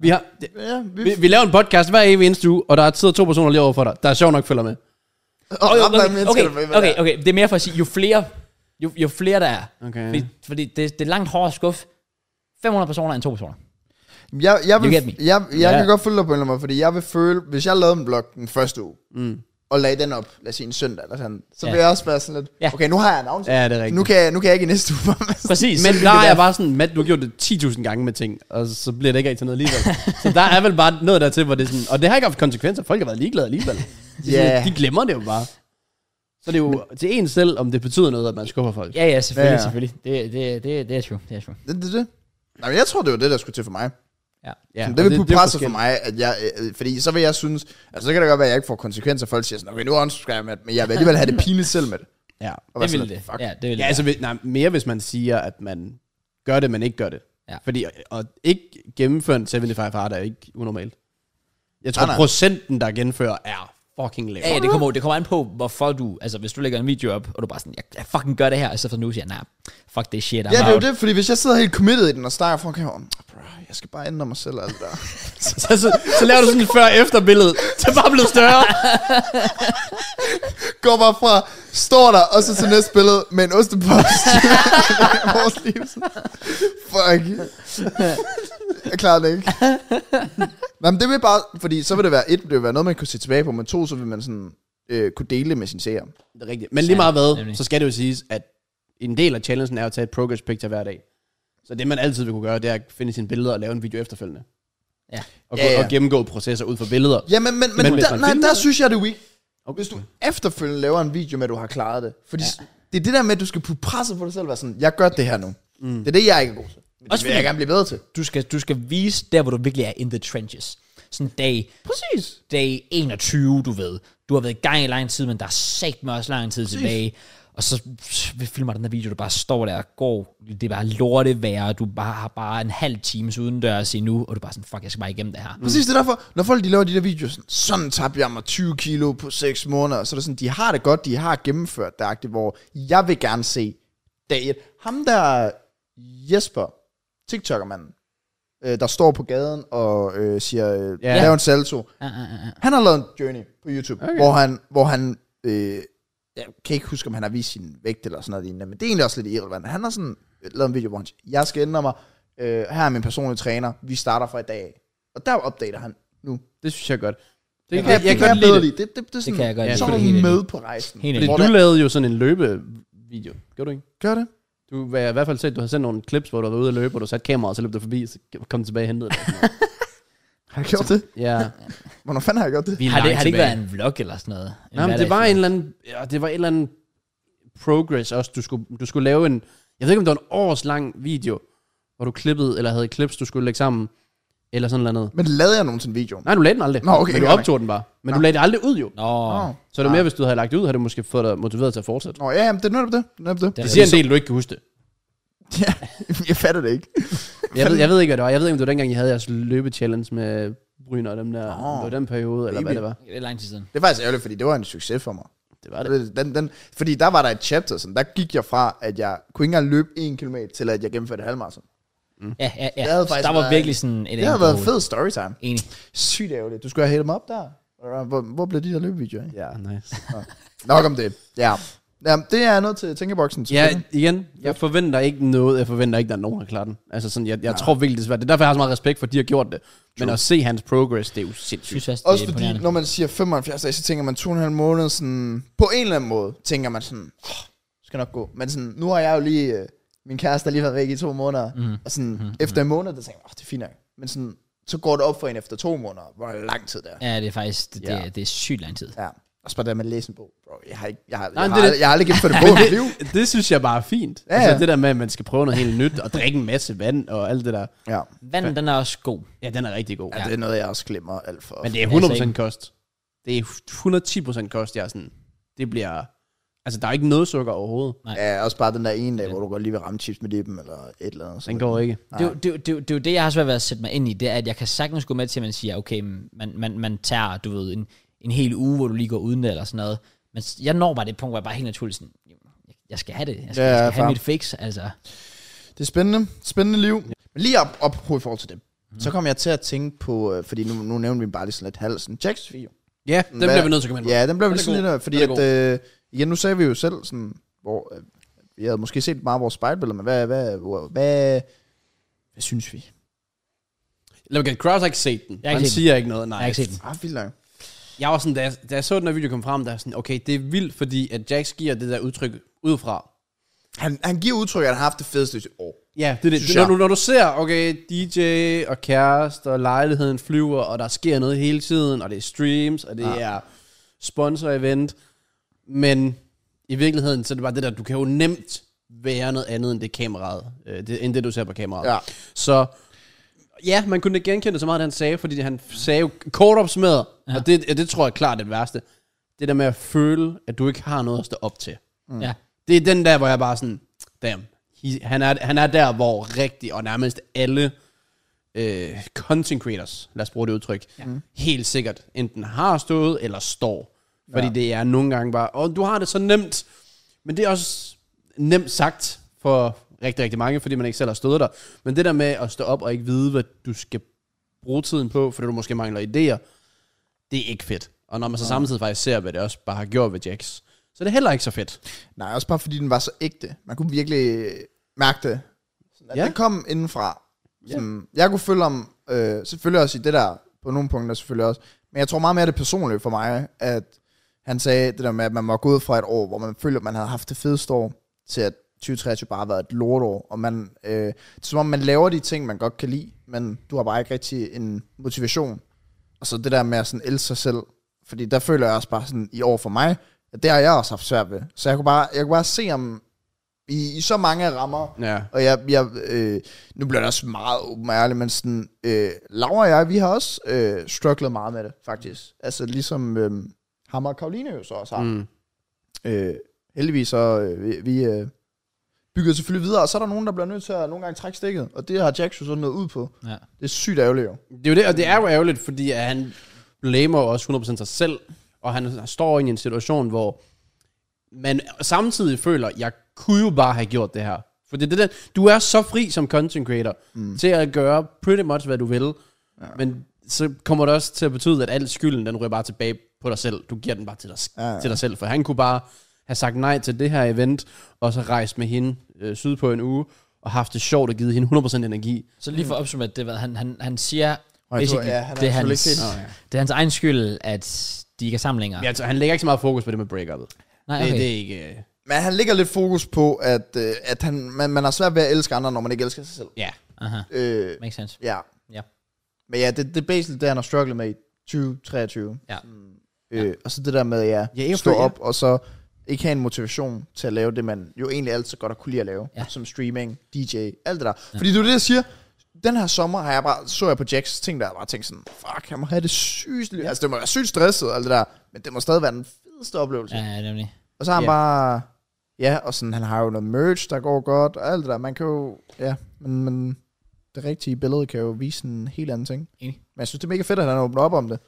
Speaker 2: Vi, har, det,
Speaker 3: Ja, vi...
Speaker 2: vi, vi laver en podcast hver evig eneste uge, og der sidder to personer lige over for dig. Der er sjovt nok følger med.
Speaker 3: og
Speaker 1: Okay,
Speaker 3: andre
Speaker 1: okay,
Speaker 3: mennesker,
Speaker 1: okay,
Speaker 3: der ved, hvad
Speaker 1: okay,
Speaker 3: det er.
Speaker 1: okay, det er mere for at sige, jo flere, jo, jo flere der er.
Speaker 2: Okay.
Speaker 1: Fordi, fordi det, det er langt hårdere skuff. 500 personer end to personer.
Speaker 3: Jeg, jeg, vil,
Speaker 1: You get me.
Speaker 3: jeg, jeg
Speaker 1: Ja.
Speaker 3: kan godt følge dig på en eller anden måde, fordi jeg vil føle, hvis jeg lavede en vlog den første uge,
Speaker 2: Mm.
Speaker 3: og lagde den op, lad os sige en søndag eller sådan, så
Speaker 1: Ja.
Speaker 3: vil jeg også være sådan lidt,
Speaker 1: Ja.
Speaker 3: okay, nu har jeg en aftale.
Speaker 2: Ja, det er rigtigt.
Speaker 3: nu, kan jeg, nu kan jeg ikke i næste uge.
Speaker 1: Præcis.
Speaker 2: Men
Speaker 1: Så-
Speaker 2: der er jeg bare sådan, Matt, du har gjort det 10.000 gange med ting, og så bliver det ikke rigtig til noget alligevel. så der er vel bare noget dertil, hvor det er sådan, og det har ikke haft konsekvenser, folk har været ligeglade alligevel. Det er sådan,
Speaker 3: Ja.
Speaker 2: at De glemmer det jo bare. Så det er jo til en selv, om det betyder noget, at man skuffer folk.
Speaker 1: Ja, ja, selvfølgelig,
Speaker 3: Ja.
Speaker 1: selvfølgelig. Det, det, det, det er true, det er true.
Speaker 3: det, det, det. Nej, men jeg tror, det var det, der skulle til for mig.
Speaker 1: Ja.
Speaker 2: Ja,
Speaker 3: Sådan,
Speaker 2: og
Speaker 3: det vil putte
Speaker 2: er jo
Speaker 3: presset for
Speaker 2: forskelligt.
Speaker 3: mig, at jeg, øh, fordi så vil jeg synes, altså så kan det godt være, at jeg ikke får konsekvenser, folk siger sådan, okay, nu unsubscriber jeg, Matt, men jeg vil alligevel have det pinligt selv med det.
Speaker 2: Ja.
Speaker 3: Og være
Speaker 1: Det
Speaker 3: sådan
Speaker 1: ville det.
Speaker 3: lidt, fuck.
Speaker 1: Ja, det ville
Speaker 2: Ja,
Speaker 1: det.
Speaker 2: altså hvis- nej, mere hvis man siger, at man gør det, men ikke gør det.
Speaker 1: Ja.
Speaker 2: Fordi at ikke gennemføre en 75 hard er jo ikke unormalt. Jeg tror,
Speaker 3: Nej, nej.
Speaker 2: procenten, der genfører, er fucking lav.
Speaker 1: Ja, ja, det kommer, det kommer an på, hvorfor du, altså hvis du lægger en video op, og du bare sådan, jeg, jeg fucking gør det her, og så for nu siger jeg, nej, fuck det shit, I'm
Speaker 3: Ja, det er
Speaker 1: out.
Speaker 3: jo det, fordi hvis jeg sidder helt committed i den og snakker for, okay, oh, bro, jeg skal bare ændre mig selv og alt der.
Speaker 2: så, så, så laver du sådan et før-efter-billede. Det er bare blevet større.
Speaker 3: Går bare fra, står der, og så til næste billede med en ostepost. Vores liv. Fuck. Jeg klarer det ikke. Nå, men det vil bare, fordi så vil det være et, det vil være noget, man kan se tilbage på, men to, så vil man sådan øh, kunne dele det med sin seer.
Speaker 2: Det er rigtigt. Men lige meget hvad,
Speaker 1: nemlig.
Speaker 2: så skal det jo siges, at en del af challengen er at tage et progress picture hver dag. Så det, man altid vil kunne gøre, det er at finde sine billeder og lave en video efterfølgende.
Speaker 1: Ja.
Speaker 2: Og,
Speaker 3: Ja, ja.
Speaker 2: og gennemgå processer ud fra billeder.
Speaker 3: Ja, men, men, men,
Speaker 2: Men
Speaker 3: men
Speaker 2: hvis
Speaker 3: der,
Speaker 2: man
Speaker 3: nej,
Speaker 2: filmer
Speaker 3: der
Speaker 2: det-
Speaker 3: synes jeg, det er weak.
Speaker 2: Okay.
Speaker 3: Hvis du efterfølgende laver en video med, at du har klaret det. Fordi ja. det er det der med, at du skal putte presset på dig selv. Være sådan, jeg gør det her nu. Mm. Det er det, jeg ikke er god til. Men
Speaker 1: Også
Speaker 3: det vil jeg
Speaker 1: fordi-
Speaker 3: gerne blive bedre til.
Speaker 1: Du skal, du skal vise der, hvor du virkelig er in the trenches. Sådan dag,
Speaker 3: Præcis.
Speaker 1: dag 21, du ved. Du har været i gang i lang tid, men der er sagt mig også lang tid tilbage. Og så filmer den der video, du bare står der og går. Det er bare lortevejr, og du bare har bare en halv times udendørs endnu, og du er bare sådan, fuck, jeg skal bare igennem det her.
Speaker 3: Præcis, det er derfor, når folk de laver de der videoer, sådan, sådan tabte jeg mig 20 kilo på 6 måneder, så er det sådan, de har det godt, de har gennemført det, agtigt, hvor jeg vil gerne se dag et. Ham der Jesper, TikToker-manden, øh, der står på gaden og øh, siger, øh,
Speaker 2: Ja.
Speaker 3: yeah. lav en salto.
Speaker 1: Ja, ja, ja, ja.
Speaker 3: Han har lavet en journey på YouTube,
Speaker 2: Okay.
Speaker 3: okay. hvor han, hvor han øh, jeg kan ikke huske, om han har vist sin vægt eller sådan noget lignende, men det er egentlig også lidt irrelevant. Han har sådan øh, lavet en video, hvor han siger, jeg skal ændre mig, øh, her er min personlige træner, vi starter fra i dag af. Og der opdater han nu.
Speaker 2: Det synes jeg er godt. Det,
Speaker 1: Jeg
Speaker 2: jeg,
Speaker 1: kan-
Speaker 2: jeg,
Speaker 3: Det
Speaker 2: jeg kan godt lide det.
Speaker 3: Det, det, det, er sådan,
Speaker 1: kan jeg godt
Speaker 2: lide.
Speaker 3: Så
Speaker 2: Ja,
Speaker 3: er
Speaker 2: det er
Speaker 3: du
Speaker 1: helt
Speaker 3: med på rejsen.
Speaker 1: Helt
Speaker 2: Fordi
Speaker 3: Hvor
Speaker 2: du
Speaker 3: der-
Speaker 2: lavede jo sådan en løbevideo. Gjorde du ikke?
Speaker 3: Gør det.
Speaker 2: Du hvad jeg i hvert fald set, du har sendt nogle clips, hvor du var ude at løbe, og du satte kameraet, og så løb du forbi, og så kom tilbage og hentede det.
Speaker 3: Har jeg gjort det?
Speaker 2: Ja.
Speaker 3: Hvornår fanden har jeg gjort det?
Speaker 1: Vi har, det, har det ikke været en vlog eller sådan noget? En
Speaker 2: Nej, men det var
Speaker 1: hverdags-
Speaker 2: en eller anden, ja, det var en eller anden progress også. Du skulle, du skulle lave en, jeg ved ikke om det var en års lang video, hvor du klippede, eller havde clips, du skulle lægge sammen, eller sådan noget.
Speaker 3: Men lavede jeg nogensinde videoen?
Speaker 2: Nej, du lagde den aldrig.
Speaker 3: Nå, okay,
Speaker 2: men du
Speaker 3: godt nok.
Speaker 2: optog den bare. Men
Speaker 3: Nå.
Speaker 2: du lagde det aldrig ud jo.
Speaker 1: Nå,
Speaker 3: Nå.
Speaker 2: Så er det mere, hvis du havde lagt det ud, havde du måske fået dig motiveret til at fortsætte.
Speaker 3: Nå, ja, jamen, det er netop det. Det, er netop
Speaker 1: Det
Speaker 3: det.
Speaker 2: Det
Speaker 1: er
Speaker 2: siger en del, du ikke kan huske det.
Speaker 3: Ja, jeg fatter det ikke.
Speaker 2: Jeg ved, jeg ved ikke, hvad det var. Jeg ved ikke, om det var dengang, I havde jeres løbe-challenge med Bryn og dem der.
Speaker 3: Nå.
Speaker 2: Oh, det var den periode, eller hvad
Speaker 3: Baby.
Speaker 2: det var.
Speaker 1: det er lang tid siden.
Speaker 3: Det er faktisk ærgerligt, fordi det var en succes for mig.
Speaker 2: Det var det.
Speaker 3: Den, den, fordi der var der et chapter, sådan, der gik jeg fra, at jeg kunne ikke engang løbe en kilometer, til at jeg gennemførte halvmarathon.
Speaker 1: Ja, ja, ja.
Speaker 3: Det havde
Speaker 1: Så
Speaker 3: faktisk
Speaker 1: der var
Speaker 3: været-
Speaker 1: virkelig sådan et
Speaker 3: Det har
Speaker 1: angle.
Speaker 3: været fed storytime.
Speaker 1: Enig.
Speaker 3: Sygt ærgerligt. Du skulle have hældt mig op der. Hvor, hvor blev de der løbevideoer af?
Speaker 2: Ja, nice.
Speaker 3: Nok om det. Ja. Jamen, det er noget til tænkeboksen.
Speaker 2: Ja, igen, jeg forventer ikke noget. Jeg forventer ikke, der er nogen, der klarer den. Altså sådan, jeg, jeg tror virkelig, det er svært. Det er derfor, jeg har så meget respekt for, at de har gjort det. Men at se hans progress, det er jo
Speaker 1: Jeg synes
Speaker 2: sindssygt.
Speaker 1: også, det
Speaker 3: Også
Speaker 1: er
Speaker 3: fordi,
Speaker 1: imponerende.
Speaker 3: når man siger 75 dage, så tænker man 2,5 måneder sådan... På en eller anden måde tænker man sådan, åh, det skal nok gå. Men sådan, nu har jeg jo lige... øh, Min kæreste har lige været væk i to måneder.
Speaker 2: Mhm.
Speaker 3: Mm. Og sådan, mm. efter en måned, der tænker jeg, åh, det er fint nok. Men sådan, så går det op for en efter to måneder, hvor lang tid det er.
Speaker 1: Ja, det er faktisk, det, det,
Speaker 2: Ja.
Speaker 1: er, det er sygt lang tid.
Speaker 3: Ja. Og så bare det med at læse en bog. Bro, jeg har ikke, jeg har,
Speaker 2: Nej,
Speaker 3: jeg
Speaker 2: men
Speaker 3: har,
Speaker 2: det er
Speaker 3: aldrig,
Speaker 2: det.
Speaker 3: jeg har aldrig gennemført en bog i mit liv.
Speaker 2: Det synes jeg bare er fint. Ja,
Speaker 3: Ja,
Speaker 2: altså
Speaker 3: ja.
Speaker 2: det der med, at man skal prøve noget helt nyt, og drikke en masse vand, og alt det der.
Speaker 3: Ja.
Speaker 1: Vandet, den er også god.
Speaker 2: Ja, den er rigtig god.
Speaker 3: ja, det er noget, jeg også glemmer alt for.
Speaker 2: Men det er
Speaker 1: Altså
Speaker 2: 100%
Speaker 1: ikke-
Speaker 2: kost. Det er 110% kost, jeg er sådan. Det bliver... Altså, der er ikke noget sukker overhovedet.
Speaker 3: Ja, også bare den der ene dag, hvor du godt lige vil ramme chips med dippen, eller et eller andet. Så
Speaker 2: Den går ikke.
Speaker 1: Det, er jo- det, er jo- det, er jo- det er jo det, jeg har svært ved at sætte mig ind i, det er, at jeg kan sagtens gå med til, at man siger, okay, man, man, man tager, du ved, en, en hel uge, hvor du lige går uden det, eller sådan noget. Men s- jeg når bare det punkt, hvor jeg bare helt naturligt sådan, "Jamen, jeg skal have det, jeg skal,
Speaker 3: Ja,
Speaker 1: jeg skal have
Speaker 3: fair.
Speaker 1: mit fix, altså.
Speaker 3: Det er spændende. Spændende liv. Men lige op, op på i forhold til det.
Speaker 2: Mhm.
Speaker 3: Mm. Så kom jeg til at tænke på, øh, fordi nu, nu nævnte vi bare lige sådan lidt halsen. Jacks video.
Speaker 2: Ja, den
Speaker 3: Hvad-
Speaker 2: bliver vi nødt til at komme ind på.
Speaker 3: Ja, den blev
Speaker 2: Den
Speaker 3: vi
Speaker 2: er
Speaker 3: sådan
Speaker 2: god.
Speaker 3: lidt, øh, fordi
Speaker 2: Den er
Speaker 3: at, øh, igen, nu sagde vi jo selv sådan, hvor øh, vi havde måske set meget vores spejlbilleder, men hvad, hvad, hvad, hvad, hvad synes vi?
Speaker 2: Lad mig gætte, Kraus har ikke set den.
Speaker 1: har ikke
Speaker 2: Han
Speaker 1: set den.
Speaker 2: siger ikke noget, nej.
Speaker 1: Jeg har ikke set den.
Speaker 3: Ah, vildt langt.
Speaker 2: Jeg var sådan, da jeg, da jeg så den her video komme frem, der var sådan, okay, det er vildt, fordi at Jax giver det der udtryk udefra.
Speaker 3: Han, han giver udtryk, at han har haft det fedeste år.
Speaker 2: Ja, det er det.
Speaker 3: Synes
Speaker 2: Når
Speaker 3: jeg.
Speaker 2: du, når du ser, okay, DJ og kæreste og lejligheden flyver, og der sker noget hele tiden, og det er streams, og det ja. er sponsor-event, men i virkeligheden, så er det bare det der, du kan jo nemt være noget andet end det kameraet, øh, det, end det du ser på kameraet.
Speaker 3: Ja.
Speaker 2: Så ja, man kunne ikke genkende så meget, det han sagde, fordi han sagde jo kort opsmad, ja. og det, det tror jeg er klart det værste, det der med at føle, at du ikke har noget at stå op til.
Speaker 1: Mm. Ja.
Speaker 2: Det er den der, hvor jeg bare sådan, damn, he, han, er, han er der, hvor rigtig og nærmest alle øh, content creators, lad os bruge det udtryk, ja. helt sikkert enten har stået eller står. Fordi ja. det er nogle gange bare, åh, du har det så nemt. Men det er også nemt sagt for rigtig, rigtig mange, fordi man ikke selv har stået der. Men det der med at stå op og ikke vide, hvad du skal bruge tiden på, fordi du måske mangler idéer, det er ikke fedt. Og når man så samtidig faktisk ser, hvad det også bare har gjort ved Jax, så er det heller ikke så fedt.
Speaker 3: Nej, også bare fordi den var så ægte. Man kunne virkelig øh, mærke det. Sådan, at
Speaker 2: Ja.
Speaker 3: ja. Den kom indenfra. Sådan, Jeg kunne følge om, øh, selvfølgelig også i det der, på nogle punkter selvfølgelig også, men jeg tror meget mere det personlige for mig, at han sagde det der med, at man var gået ud fra et år, hvor man følte, at man havde haft det fedeste år, til at 2023 bare har været et lortår, og man, øh, det er som om, man laver de ting, man godt kan lide, men du har bare ikke rigtig en motivation. Og så det der med at sådan elske sig selv, fordi der føler jeg også bare sådan, i år for mig, at det har jeg også haft svært ved. Så jeg kunne bare, jeg kunne bare se om, i, i så mange rammer,
Speaker 2: Ja.
Speaker 3: og jeg, jeg øh, nu bliver det også meget åben og ærlig, men sådan, øh, Laura og jeg, vi har også øh, strugglet meget med det, faktisk. Altså ligesom øh, ham og Karoline jo så også har. Mm. Øh, heldigvis så øh, vi, vi øh, bygger selvfølgelig videre, og så er der nogen, der bliver nødt til at nogle gange trække stikket, og det har Jax jo sådan noget ud på.
Speaker 1: Ja.
Speaker 3: Det er sygt ærgerligt jo.
Speaker 2: Det er jo det, og det er jo ærgerligt, fordi at han blamer også 100% sig selv, og han står i en situation, hvor man samtidig føler, jeg kunne jo bare have gjort det her. For det, er det der, du er så fri som content creator mm. til at gøre pretty much, hvad du vil, ja. men så kommer det også til at betyde, at al skylden, den ryger bare tilbage på dig selv. Du giver den bare til dig, ja,
Speaker 3: Ja,
Speaker 2: ja.
Speaker 3: ja.
Speaker 2: til dig selv, for han kunne bare have sagt nej til det her event, og så rejst med hende øh, syd på en uge, og haft det sjovt og givet hende 100% energi.
Speaker 1: Så lige for
Speaker 2: Mm.
Speaker 1: at opsummere det, hvad han, han, han siger,
Speaker 3: tror,
Speaker 1: basically,
Speaker 3: ja, han er
Speaker 1: det, er
Speaker 3: selvfølgelig
Speaker 1: hans,
Speaker 3: ikke
Speaker 2: helt- Nå, ja.
Speaker 1: det er hans egen skyld, at de ikke er sammen længere.
Speaker 2: Men altså, han lægger ikke så meget fokus på det med breakuppet.
Speaker 1: Nej,
Speaker 2: Okay.
Speaker 1: okay.
Speaker 2: Det, det er ikke... øh,
Speaker 3: Men han ligger lidt fokus på, at, øh, at han, man, man har svært ved at elske andre, når man ikke elsker sig selv.
Speaker 2: Ja.
Speaker 1: Aha,
Speaker 3: Øh,
Speaker 1: makes sense.
Speaker 3: ja.
Speaker 1: Ja.
Speaker 3: Men ja, det, det er basically det, han har strugglet med i 2023.
Speaker 1: Ja.
Speaker 3: Øh, Og så det der med, ja,
Speaker 2: Ja, jeg
Speaker 3: stå
Speaker 2: føler-
Speaker 3: op, og så ikke have en motivation til at lave det, man jo egentlig altid godt har kunne lide at lave,
Speaker 1: Ja.
Speaker 3: ja. som streaming, DJ, alt det der. Ja. Fordi det er jo det, jeg siger, den her sommer har jeg bare, så jeg på Jacks ting, der jeg bare tænkte sådan, fuck, jeg må have det sygt, ja. altså det må være sygt stresset og alt det der, men det må stadig være den fedeste oplevelse.
Speaker 1: Ja, ja, nemlig.
Speaker 3: Og så har han
Speaker 2: Ja.
Speaker 3: ja. bare... Ja, og sådan, han har jo noget merch, der går godt, og alt det der. Man kan jo... Ja, men, men det rigtige billede kan jo vise en helt anden ting.
Speaker 1: Enig.
Speaker 3: Men jeg synes, det er mega fedt, at han åbner op om det.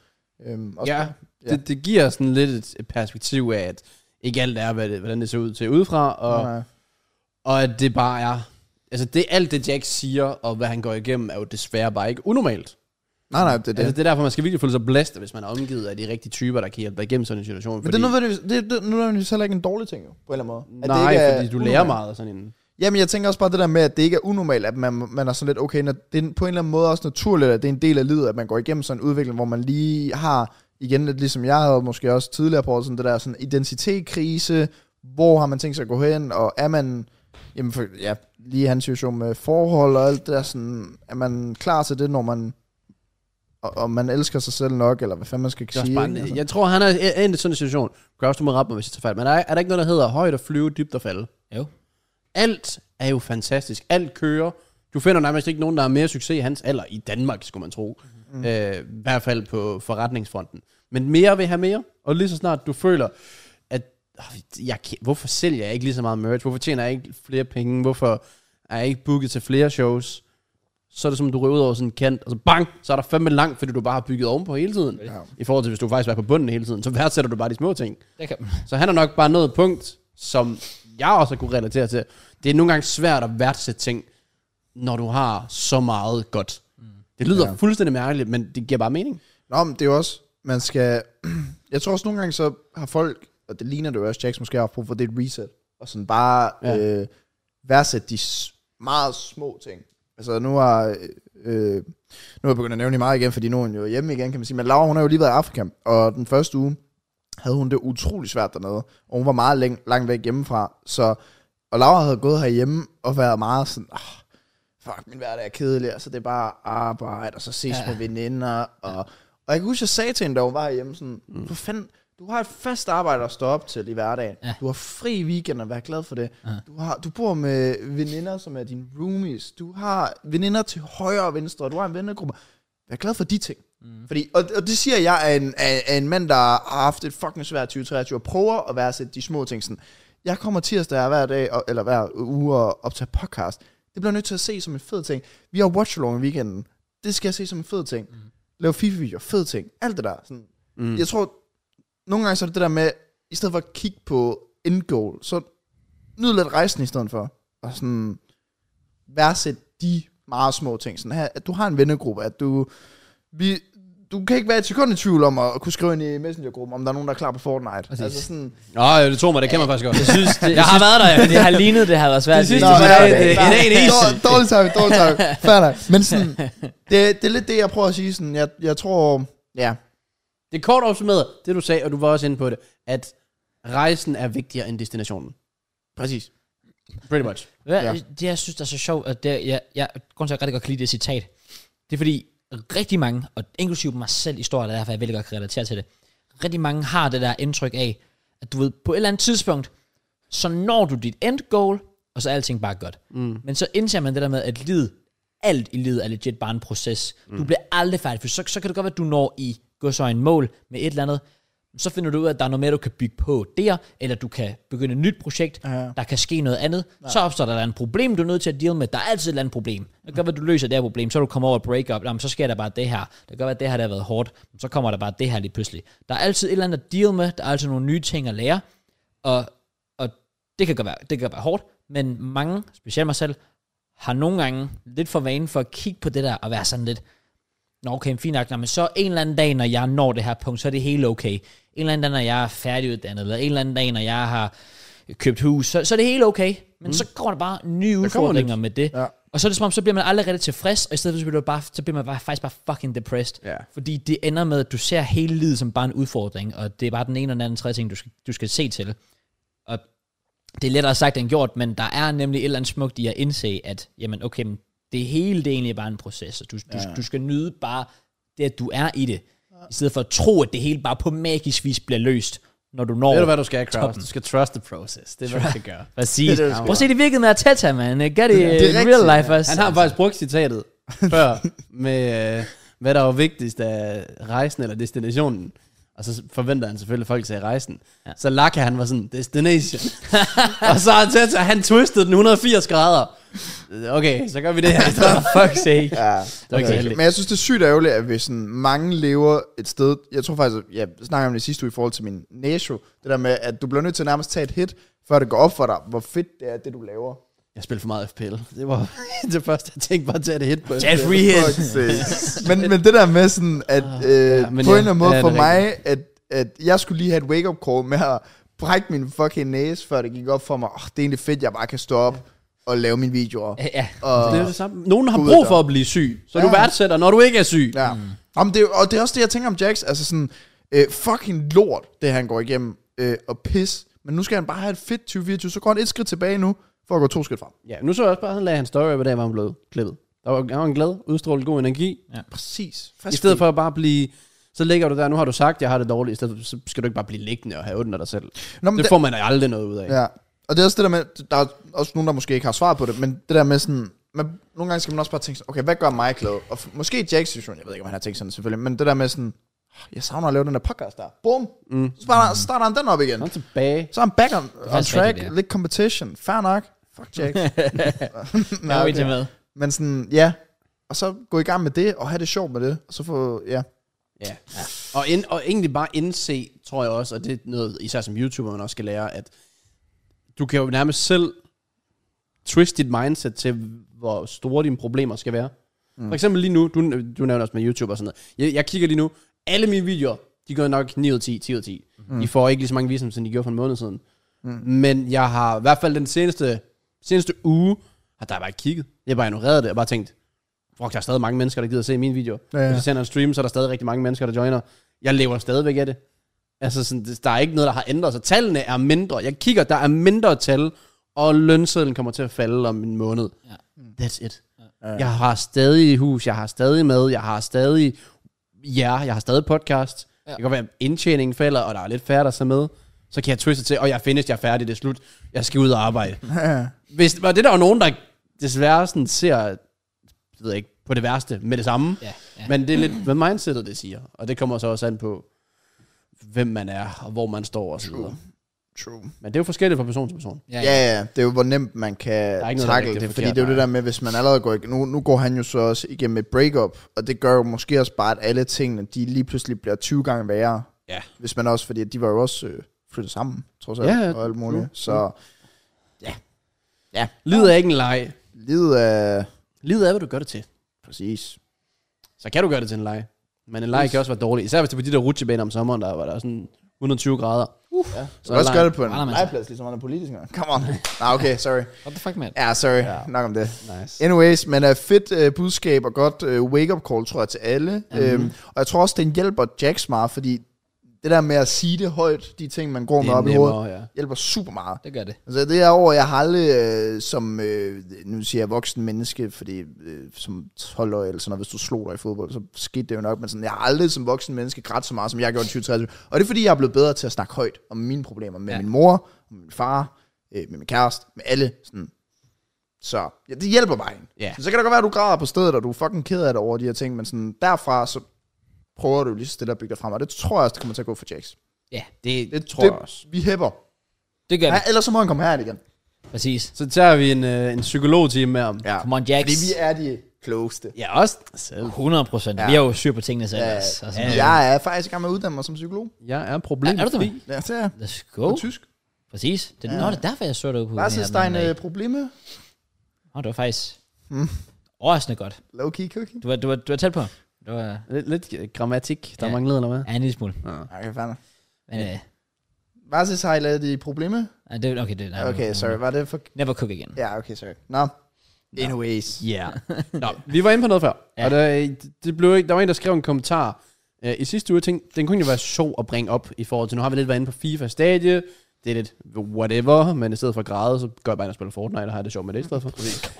Speaker 3: Øhm, også
Speaker 2: ja.
Speaker 3: Ja.
Speaker 2: Det, det giver sådan lidt et- et perspektiv af, at ikke alt er, hvad det, hvordan det ser ud til udefra, og,
Speaker 3: Og,
Speaker 2: og at det bare er... Altså, det, alt det Jack siger, og hvad han går igennem, er jo desværre bare ikke unormalt.
Speaker 3: nej, nej, det er det.
Speaker 2: Det. Altså, det er derfor, man skal virkelig føle sig blæst, hvis man er omgivet af de rigtige typer, der kan hjælpe dig igennem sådan en situation.
Speaker 3: men det er nødvendigvis, det, det, nødvendigvis heller ikke en dårlig ting, jo, på en eller anden måde. At det
Speaker 2: Nej,
Speaker 3: ikke er
Speaker 2: fordi du lærer
Speaker 3: unormalt.
Speaker 2: meget af sådan en...
Speaker 3: Jamen, jeg tænker også bare det der med, at det ikke er unormalt, at man, man er sådan lidt, okay, når det er på en eller anden måde også naturligt, at det er en del af livet, at man går igennem sådan en udvikling, hvor man lige har, igen lidt ligesom jeg havde måske også tidligere på, året, sådan det der sådan identitetskrise, hvor har man tænkt sig at gå hen, og er man, jamen for, ja, lige hans situation med forhold og alt det der sådan, er man klar til det, når man, og, og man elsker sig selv nok, eller hvad fanden man skal
Speaker 2: Det er også
Speaker 3: sige.
Speaker 2: bare,
Speaker 3: ikke?
Speaker 2: en-
Speaker 3: Altså.
Speaker 2: jeg tror, han er er endt i sådan en situation. Kraus, du må rette mig, hvis jeg tager fejl. Men er, er der ikke noget, der hedder højt at flyve, dybt at falde?
Speaker 1: Jo.
Speaker 2: Alt er jo fantastisk. Alt kører. Du finder nærmest ikke nogen, der har mere succes i hans alder i Danmark, skulle man tro. Mm. Øh, I hvert fald på forretningsfronten. Men mere vil have mere. Og lige så snart du føler, at "Ah, jeg, kan- hvorfor sælger jeg ikke lige så meget merch? Hvorfor tjener jeg ikke flere penge? Hvorfor er jeg ikke booket til flere shows? Så er det som, du ryger ud over sådan en kant, og så bang, så er der fandme langt, fordi du bare har bygget ovenpå hele tiden. Ja. I forhold til, hvis du faktisk er på bunden hele tiden, så værdsætter du bare de små ting.
Speaker 1: Det kan,
Speaker 2: Så han er nok bare nået et punkt, som jeg også har kunne relatere til. Det er nogle gange svært at værdsætte ting, når du har så meget godt. Det lyder Mm. ja.
Speaker 3: Ja.
Speaker 2: fuldstændig mærkeligt, men det giver bare mening.
Speaker 3: Nå, men det er jo også, man skal... Jeg tror også nogle gange, så har folk, og det ligner det jo også, Jax måske har haft brug for, det er et reset. Og sådan bare
Speaker 2: Ja.
Speaker 3: ja. øh, værdsætte de s- meget små ting. Altså nu har... øh, Øh, nu er jeg begyndt at nævne hende meget igen, fordi nu er hun jo hjemme igen, kan man sige. Men Laura, hun har jo lige været i Afrika, og den første uge havde hun det utrolig svært dernede. Og hun var meget læng, langt væk hjemmefra. Så, og Laura havde gået herhjemme og været meget sådan, ah, fuck, min hverdag er kedelig, altså det er bare arbejde, og så ses
Speaker 1: Ja.
Speaker 3: ja. med veninder, og, og jeg kan huske, jeg sagde til hende, da hun var hjemme, sådan, mm. for fanden, du har et fast arbejde at stå op til i hverdagen.
Speaker 1: Ja.
Speaker 3: Ja. Du har fri i weekenden, vær glad for det. Du, har, du bor med veninder, som er dine roomies. Du har veninder til højre og venstre, og du har en vennegruppe. Vær glad for de ting. Mm. Fordi, og, og det siger jeg af en, af, af en mand, der har haft et fucking svært 2023, og prøver at værdsætte de små ting. Sådan, jeg kommer tirsdag hver dag, og, eller hver uge og optager podcast. Det bliver nødt til at se som en fed ting. Vi har watch along i weekenden. Det skal jeg se som en fed ting. Mm. Lave FIFA-videoer, fed ting. Alt det der. Sådan. Mm. Jeg tror, nogle gange så er det det der med, i stedet for at kigge på end goal, så nyd lidt rejsen i stedet for. Og sådan værdsæt de meget små ting. Sådan her, at du har en vennegruppe, at du... Vi, du kan ikke være et sekund i tvivl om at kunne skrive ind i Messenger-gruppen, om der er nogen, der er klar på Fortnite.
Speaker 1: Præcis.
Speaker 3: Altså sådan,
Speaker 2: Nå, ja, det tog mig, det kan man faktisk godt.
Speaker 1: jeg synes, det, jeg har været der, men det har lignet, det har været svært.
Speaker 2: Det sidste
Speaker 3: Nå,
Speaker 2: var
Speaker 3: nej,
Speaker 2: et-
Speaker 3: nej,
Speaker 2: et-
Speaker 3: nej.
Speaker 2: en- en- en-
Speaker 3: Dår- Dårlig timing, dårlig timing. Fair nok. Men sådan, det, det er lidt det, jeg prøver at sige. Sådan, jeg, jeg tror, ja,
Speaker 2: Det er kort opsummeret, det du sagde, og du var også inde på det, at rejsen er vigtigere end destinationen.
Speaker 3: præcis.
Speaker 2: Pretty much.
Speaker 1: Hvad, ja.
Speaker 3: Ja.
Speaker 1: Det, jeg synes, der er så sjovt, og det, jeg, jeg, grunden til, at jeg rigtig godt kan lide det citat, det er fordi rigtig mange, og inklusive mig selv i stor, del, derfor jeg virkelig godt kan relatere til det, rigtig mange har det der indtryk af, at du ved, på et eller andet tidspunkt, så når du dit end goal, og så er alting bare godt. Mm. Men så indser man det der med, at livet, alt i livet er legit bare en proces. Mm. Du bliver aldrig færdig, for så, så kan det godt være, at du når i gå så en mål med et eller andet, så finder du ud af, at der er noget mere, du kan bygge på der, eller du kan begynde et nyt projekt, ja. der kan ske noget andet. Ja. Så opstår der et eller andet problem, du er nødt til at deal med. Der er altid et eller andet problem. Det gør, at du løser det her problem, så er du kommer over et breakup, Jamen, så sker der bare det her. Det gør, at det her der har været hårdt, så kommer der bare det her lige pludselig. Der er altid et eller andet at deal med, der er altid nogle nye ting at lære, og, og det, kan godt være, det kan godt være hårdt, men mange, specielt mig selv, har nogle gange lidt for vane for at kigge på det der og være sådan lidt, Nå okay, fint nok, Nå, men så en eller anden dag, når jeg når det her punkt, så er det hele okay. En eller anden dag, når jeg er færdiguddannet, eller en eller anden dag, når jeg har købt hus, så, så er det hele okay. Men mm. så går der bare nye udfordringer med det.
Speaker 3: Ja.
Speaker 1: Og så er det som om, så bliver man aldrig rigtig tilfreds, og i stedet for, så bliver, du bare, så bliver man bare, faktisk bare fucking depressed.
Speaker 2: Ja.
Speaker 1: Fordi det ender med, at du ser hele livet som bare en udfordring, og det er bare den ene og den anden tredje ting, du skal, du skal se til. Og det er lettere sagt end gjort, men der er nemlig et eller andet smukt i at indse, at jamen, okay, men det hele det er egentlig bare en proces, og du, du, ja. du skal nyde bare det, at du er i det, i stedet for at tro, at det hele bare på magisk vis bliver løst, når du når
Speaker 2: Ved du, hvad du skal, Kraus?
Speaker 1: toppen.
Speaker 2: Du skal trust the process. Det er, hvad du skal gøre.
Speaker 1: Præcis.
Speaker 3: Det er det, du skal
Speaker 1: Prøv at se, det virkede med Arteta, man. Gør det,
Speaker 3: er
Speaker 1: det in
Speaker 3: rigtigt,
Speaker 1: real life altså. også.
Speaker 2: Han har faktisk brugt citatet før med, øh, hvad der var vigtigst af rejsen eller destinationen. Og så forventer han selvfølgelig, at folk sagde rejsen. Ja. Så Laka, han var sådan, destination. og så har han han twistede den 180 grader. Okay, så gør vi det her. For fuck's sake.
Speaker 3: Ja,
Speaker 2: var ikke så heldigt.
Speaker 3: men jeg synes, det er sygt ærgerligt, at hvis sådan, mange lever et sted, jeg tror faktisk, at jeg snakker om det sidste uge i forhold til min næsho, det der med, at du bliver nødt til nærmest at tage et hit, før det går op for dig, hvor fedt det er, det du laver.
Speaker 2: Jeg spillede for meget FPL. Det var det første, jeg tænkte bare at tage det hit på.
Speaker 1: Jeffrey Hill.
Speaker 3: Fuck sake. men, men det der med sådan, at øh, ja, på en
Speaker 2: men
Speaker 3: eller
Speaker 2: Ah, ja,
Speaker 3: anden måde
Speaker 2: ja, det
Speaker 3: for
Speaker 2: er
Speaker 3: mig, at, at jeg skulle lige have et wake-up call med at brække min fucking næse, før det gik op for mig, oh, det er egentlig fedt, jeg bare kan stå op og lave mine videoer.
Speaker 1: Ja, ja.
Speaker 3: Og,
Speaker 2: Det er jo det samme. Nogen har
Speaker 3: Gud,
Speaker 2: brug
Speaker 3: der.
Speaker 2: for at blive syg, så du
Speaker 3: Ja.
Speaker 2: værdsætter, når du ikke er syg.
Speaker 3: Ja. Mm. Om det, er- og det er også det, jeg tænker om Jax. Altså sådan, øh, fucking lort, det han går igennem. Øh, og pis. Men nu skal han bare have et fedt 2024. Så går han et skridt tilbage nu, for at gå to skridt frem.
Speaker 2: Ja, nu så jeg også bare, at han lagde hans story op i dag, hvor han blev klippet. Der var, han var en glad, udstrålet god energi.
Speaker 3: Præcis.
Speaker 2: I stedet for at bare blive... Så ligger du der, nu har du sagt, jeg har det dårligt, i stedet for, så skal du ikke bare blive liggende og have ondt af dig selv.
Speaker 3: Nå, men
Speaker 2: det
Speaker 3: det-
Speaker 2: får man aldrig noget ud af.
Speaker 3: Ja. Og det er også det der med, der er også nogen, der måske ikke har svar på det, men det der med sådan, man, nogle gange skal man også bare tænke sådan, okay, hvad gør mig glad? Og f- måske Jacks situation, jeg ved ikke, om han har tænkt sådan selvfølgelig, men det der med sådan, "Ah, jeg savner at lave den der podcast der. Bum! Mm. Så starter, starter han den op igen.
Speaker 2: Kom tilbage.
Speaker 3: Så er han back on, on
Speaker 1: faktisk rigtigt,
Speaker 3: track,
Speaker 1: det er.
Speaker 3: lidt competition. Fair nok. Fuck Jax.
Speaker 1: Der er jo ikke med.
Speaker 3: Men sådan, ja. Og så gå i gang med det, og have det sjovt med det. Og så få, ja.
Speaker 2: Ja. ja. Og, ind, og egentlig bare indse, tror jeg også, og det er noget, især som YouTuber, man også skal lære, at du kan jo nærmest selv twist dit mindset til, hvor store dine problemer skal være. Mm. For eksempel lige nu, du, du nævner også med YouTube og sådan noget. Jeg, jeg kigger lige nu, alle mine videoer, de går nok 9 ud af 10, 10 ud af 10. Mm. De får ikke lige så mange visninger, som de gjorde for en måned siden. Mm. Men jeg har i hvert fald den seneste, seneste uge, har der bare ikke kigget. Jeg har bare ignoreret det, og bare tænkt, fuck, der er stadig mange mennesker, der gider se mine videoer.
Speaker 3: Ja,
Speaker 2: Ja,
Speaker 3: ja.
Speaker 2: ja. Hvis jeg sender en stream, så er der stadig rigtig mange mennesker, der joiner. Jeg lever stadigvæk af det. Altså, sådan, det- der er ikke noget, der har ændret sig. Tallene er mindre. Jeg kigger, der er mindre tal, og lønsedlen kommer til at falde om en måned.
Speaker 1: Ja.
Speaker 2: That's it. Ja. Jeg har stadig hus, jeg har stadig mad, jeg har stadig jer, jeg har stadig podcast. Ja. Det kan godt være, at indtjeningen falder, og der er lidt færre, der ser med. Så kan jeg twiste til, og jeg er finished, jeg er færdig, det er slut. Jeg skal ud og arbejde. Hvis, og det er der jo nogen, der desværre sådan ser, jeg ved ikke, på det værste med det samme.
Speaker 1: Ja, ja.
Speaker 2: Men det er lidt, hvad mindsetet det siger. Og det kommer så også an på, hvem man er, og hvor man står og så videre.
Speaker 3: True.
Speaker 2: Men det er jo forskelligt fra person til person.
Speaker 1: Ja, ja.
Speaker 3: Ja, ja, det er jo, hvor nemt man kan
Speaker 2: er ikke noget, der er
Speaker 3: takle
Speaker 2: rigtigt
Speaker 3: det,
Speaker 2: og
Speaker 3: fordi
Speaker 2: forkert,
Speaker 3: det er jo det
Speaker 2: nej.
Speaker 3: der med, hvis man allerede går ikke, nu, nu går han jo så også igennem et breakup, og det gør jo måske også bare, at alle tingene, de lige pludselig bliver 20 gange værre,
Speaker 2: Ja.
Speaker 3: hvis man også, fordi de var jo også øh, flyttet sammen, trods alt,
Speaker 2: Ja, ja,
Speaker 3: og alt muligt,
Speaker 2: true,
Speaker 3: så
Speaker 2: Livet er ikke en leg.
Speaker 3: livet er,
Speaker 2: Livet er, hvad du gør det til.
Speaker 3: præcis,
Speaker 2: Så kan du gøre det til en leg. Men en leg kan også være dårlig. Især hvis det er på de der rutsjebaner om sommeren, der var der sådan 120 grader. Uh, ja.
Speaker 3: så også gøre det på en
Speaker 1: Render man sig.
Speaker 3: legeplads, ligesom andre politikere, come on, nej, okay, sorry,
Speaker 1: What the fuck, man?
Speaker 3: ja, sorry, ja. nok om det.
Speaker 2: Nice.
Speaker 3: Anyways, men er fedt øh, budskab og godt øh, wake-up call, tror jeg, til alle. Mm-hmm. Øhm, og jeg tror også, den hjælper Jax meget, fordi det der med at sige det højt, de ting, man går
Speaker 2: Det
Speaker 3: med
Speaker 2: er
Speaker 3: op i
Speaker 2: nemmere,
Speaker 3: hovedet,
Speaker 2: ja.
Speaker 3: hjælper super meget.
Speaker 1: Det gør det.
Speaker 3: Altså det er over, jeg har aldrig øh, som, øh, nu siger jeg voksen menneske, fordi øh, som 12 år eller sådan noget, hvis du slog dig i fodbold, så skete det jo nok, men sådan, jeg har aldrig som voksen menneske grædt så meget, som jeg gjorde i 2030. Og det er fordi, jeg er blevet bedre til at snakke højt om mine problemer med
Speaker 1: Ja.
Speaker 3: ja. min mor, med min far, øh, med min kæreste, med alle. Sådan. Så ja, det hjælper mig.
Speaker 2: Ja.
Speaker 3: Så, så kan det godt være, at du græder på stedet, og du er fucking ked af det over de her ting, men sådan, derfra så prøver du lige så stille at bygge dig frem, og det tror jeg også, det kommer til at gå for Jax.
Speaker 1: Ja,
Speaker 2: Det, det tror
Speaker 3: det,
Speaker 2: jeg også.
Speaker 3: Vi hæpper.
Speaker 1: det gør
Speaker 3: Ja,
Speaker 1: vi.
Speaker 3: ellers så må han komme her igen.
Speaker 1: Præcis.
Speaker 2: Så tager vi en, øh, en psykologtime med om.
Speaker 3: Ja.
Speaker 1: Come on, Jax.
Speaker 3: Fordi vi er de klogeste.
Speaker 2: ja også selv.
Speaker 1: 100 procent. Ja.
Speaker 3: Ja.
Speaker 1: Vi er jo syr på tingene selv.
Speaker 3: Ja,
Speaker 1: Ja, altså, sådan, ja.
Speaker 3: Jeg er faktisk i gang med at uddanne mig som psykolog.
Speaker 2: Jeg er problem.
Speaker 1: Er, er du det?
Speaker 3: Ja, det er jeg.
Speaker 1: Let's go.
Speaker 3: På tysk.
Speaker 1: Præcis. Det, ja. Nå, det er derfor, jeg så dig ud på
Speaker 3: Hvad
Speaker 1: den
Speaker 3: synes
Speaker 1: her
Speaker 3: der er
Speaker 1: den
Speaker 3: en
Speaker 1: anden
Speaker 3: øh, probleme?
Speaker 1: dag. Nå, det var faktisk
Speaker 3: Mm.
Speaker 1: overraskende godt.
Speaker 3: Low-key cooking.
Speaker 1: Du var, du var, du var tæt på. Det var
Speaker 2: Lidt, lidt grammatik, der
Speaker 1: Ja.
Speaker 2: ja. manglede, eller hvad?
Speaker 1: ja, en lille smule.
Speaker 3: Okay, fanden.
Speaker 1: Men, øh,
Speaker 3: Hvad synes har I lavet de probleme?
Speaker 1: nej, det, okay, det, nej,
Speaker 3: Okay, sorry. Var det for...
Speaker 1: Never cook again.
Speaker 3: Ja, okay, sorry. Nå. Anyways.
Speaker 2: Ja. Nå, vi var inde på noget før.
Speaker 1: Ja.
Speaker 2: Ja. Og der, det blev ikke, der var en, der skrev en kommentar øh, i sidste uge, jeg tænkte, den kunne egentlig være sjov at bringe op i forhold til, nu har vi lidt været inde på FIFA-stadie, det er lidt whatever, men i stedet for at græde, så går jeg bare ind og spiller Fortnite, og har det sjovt med det i stedet for.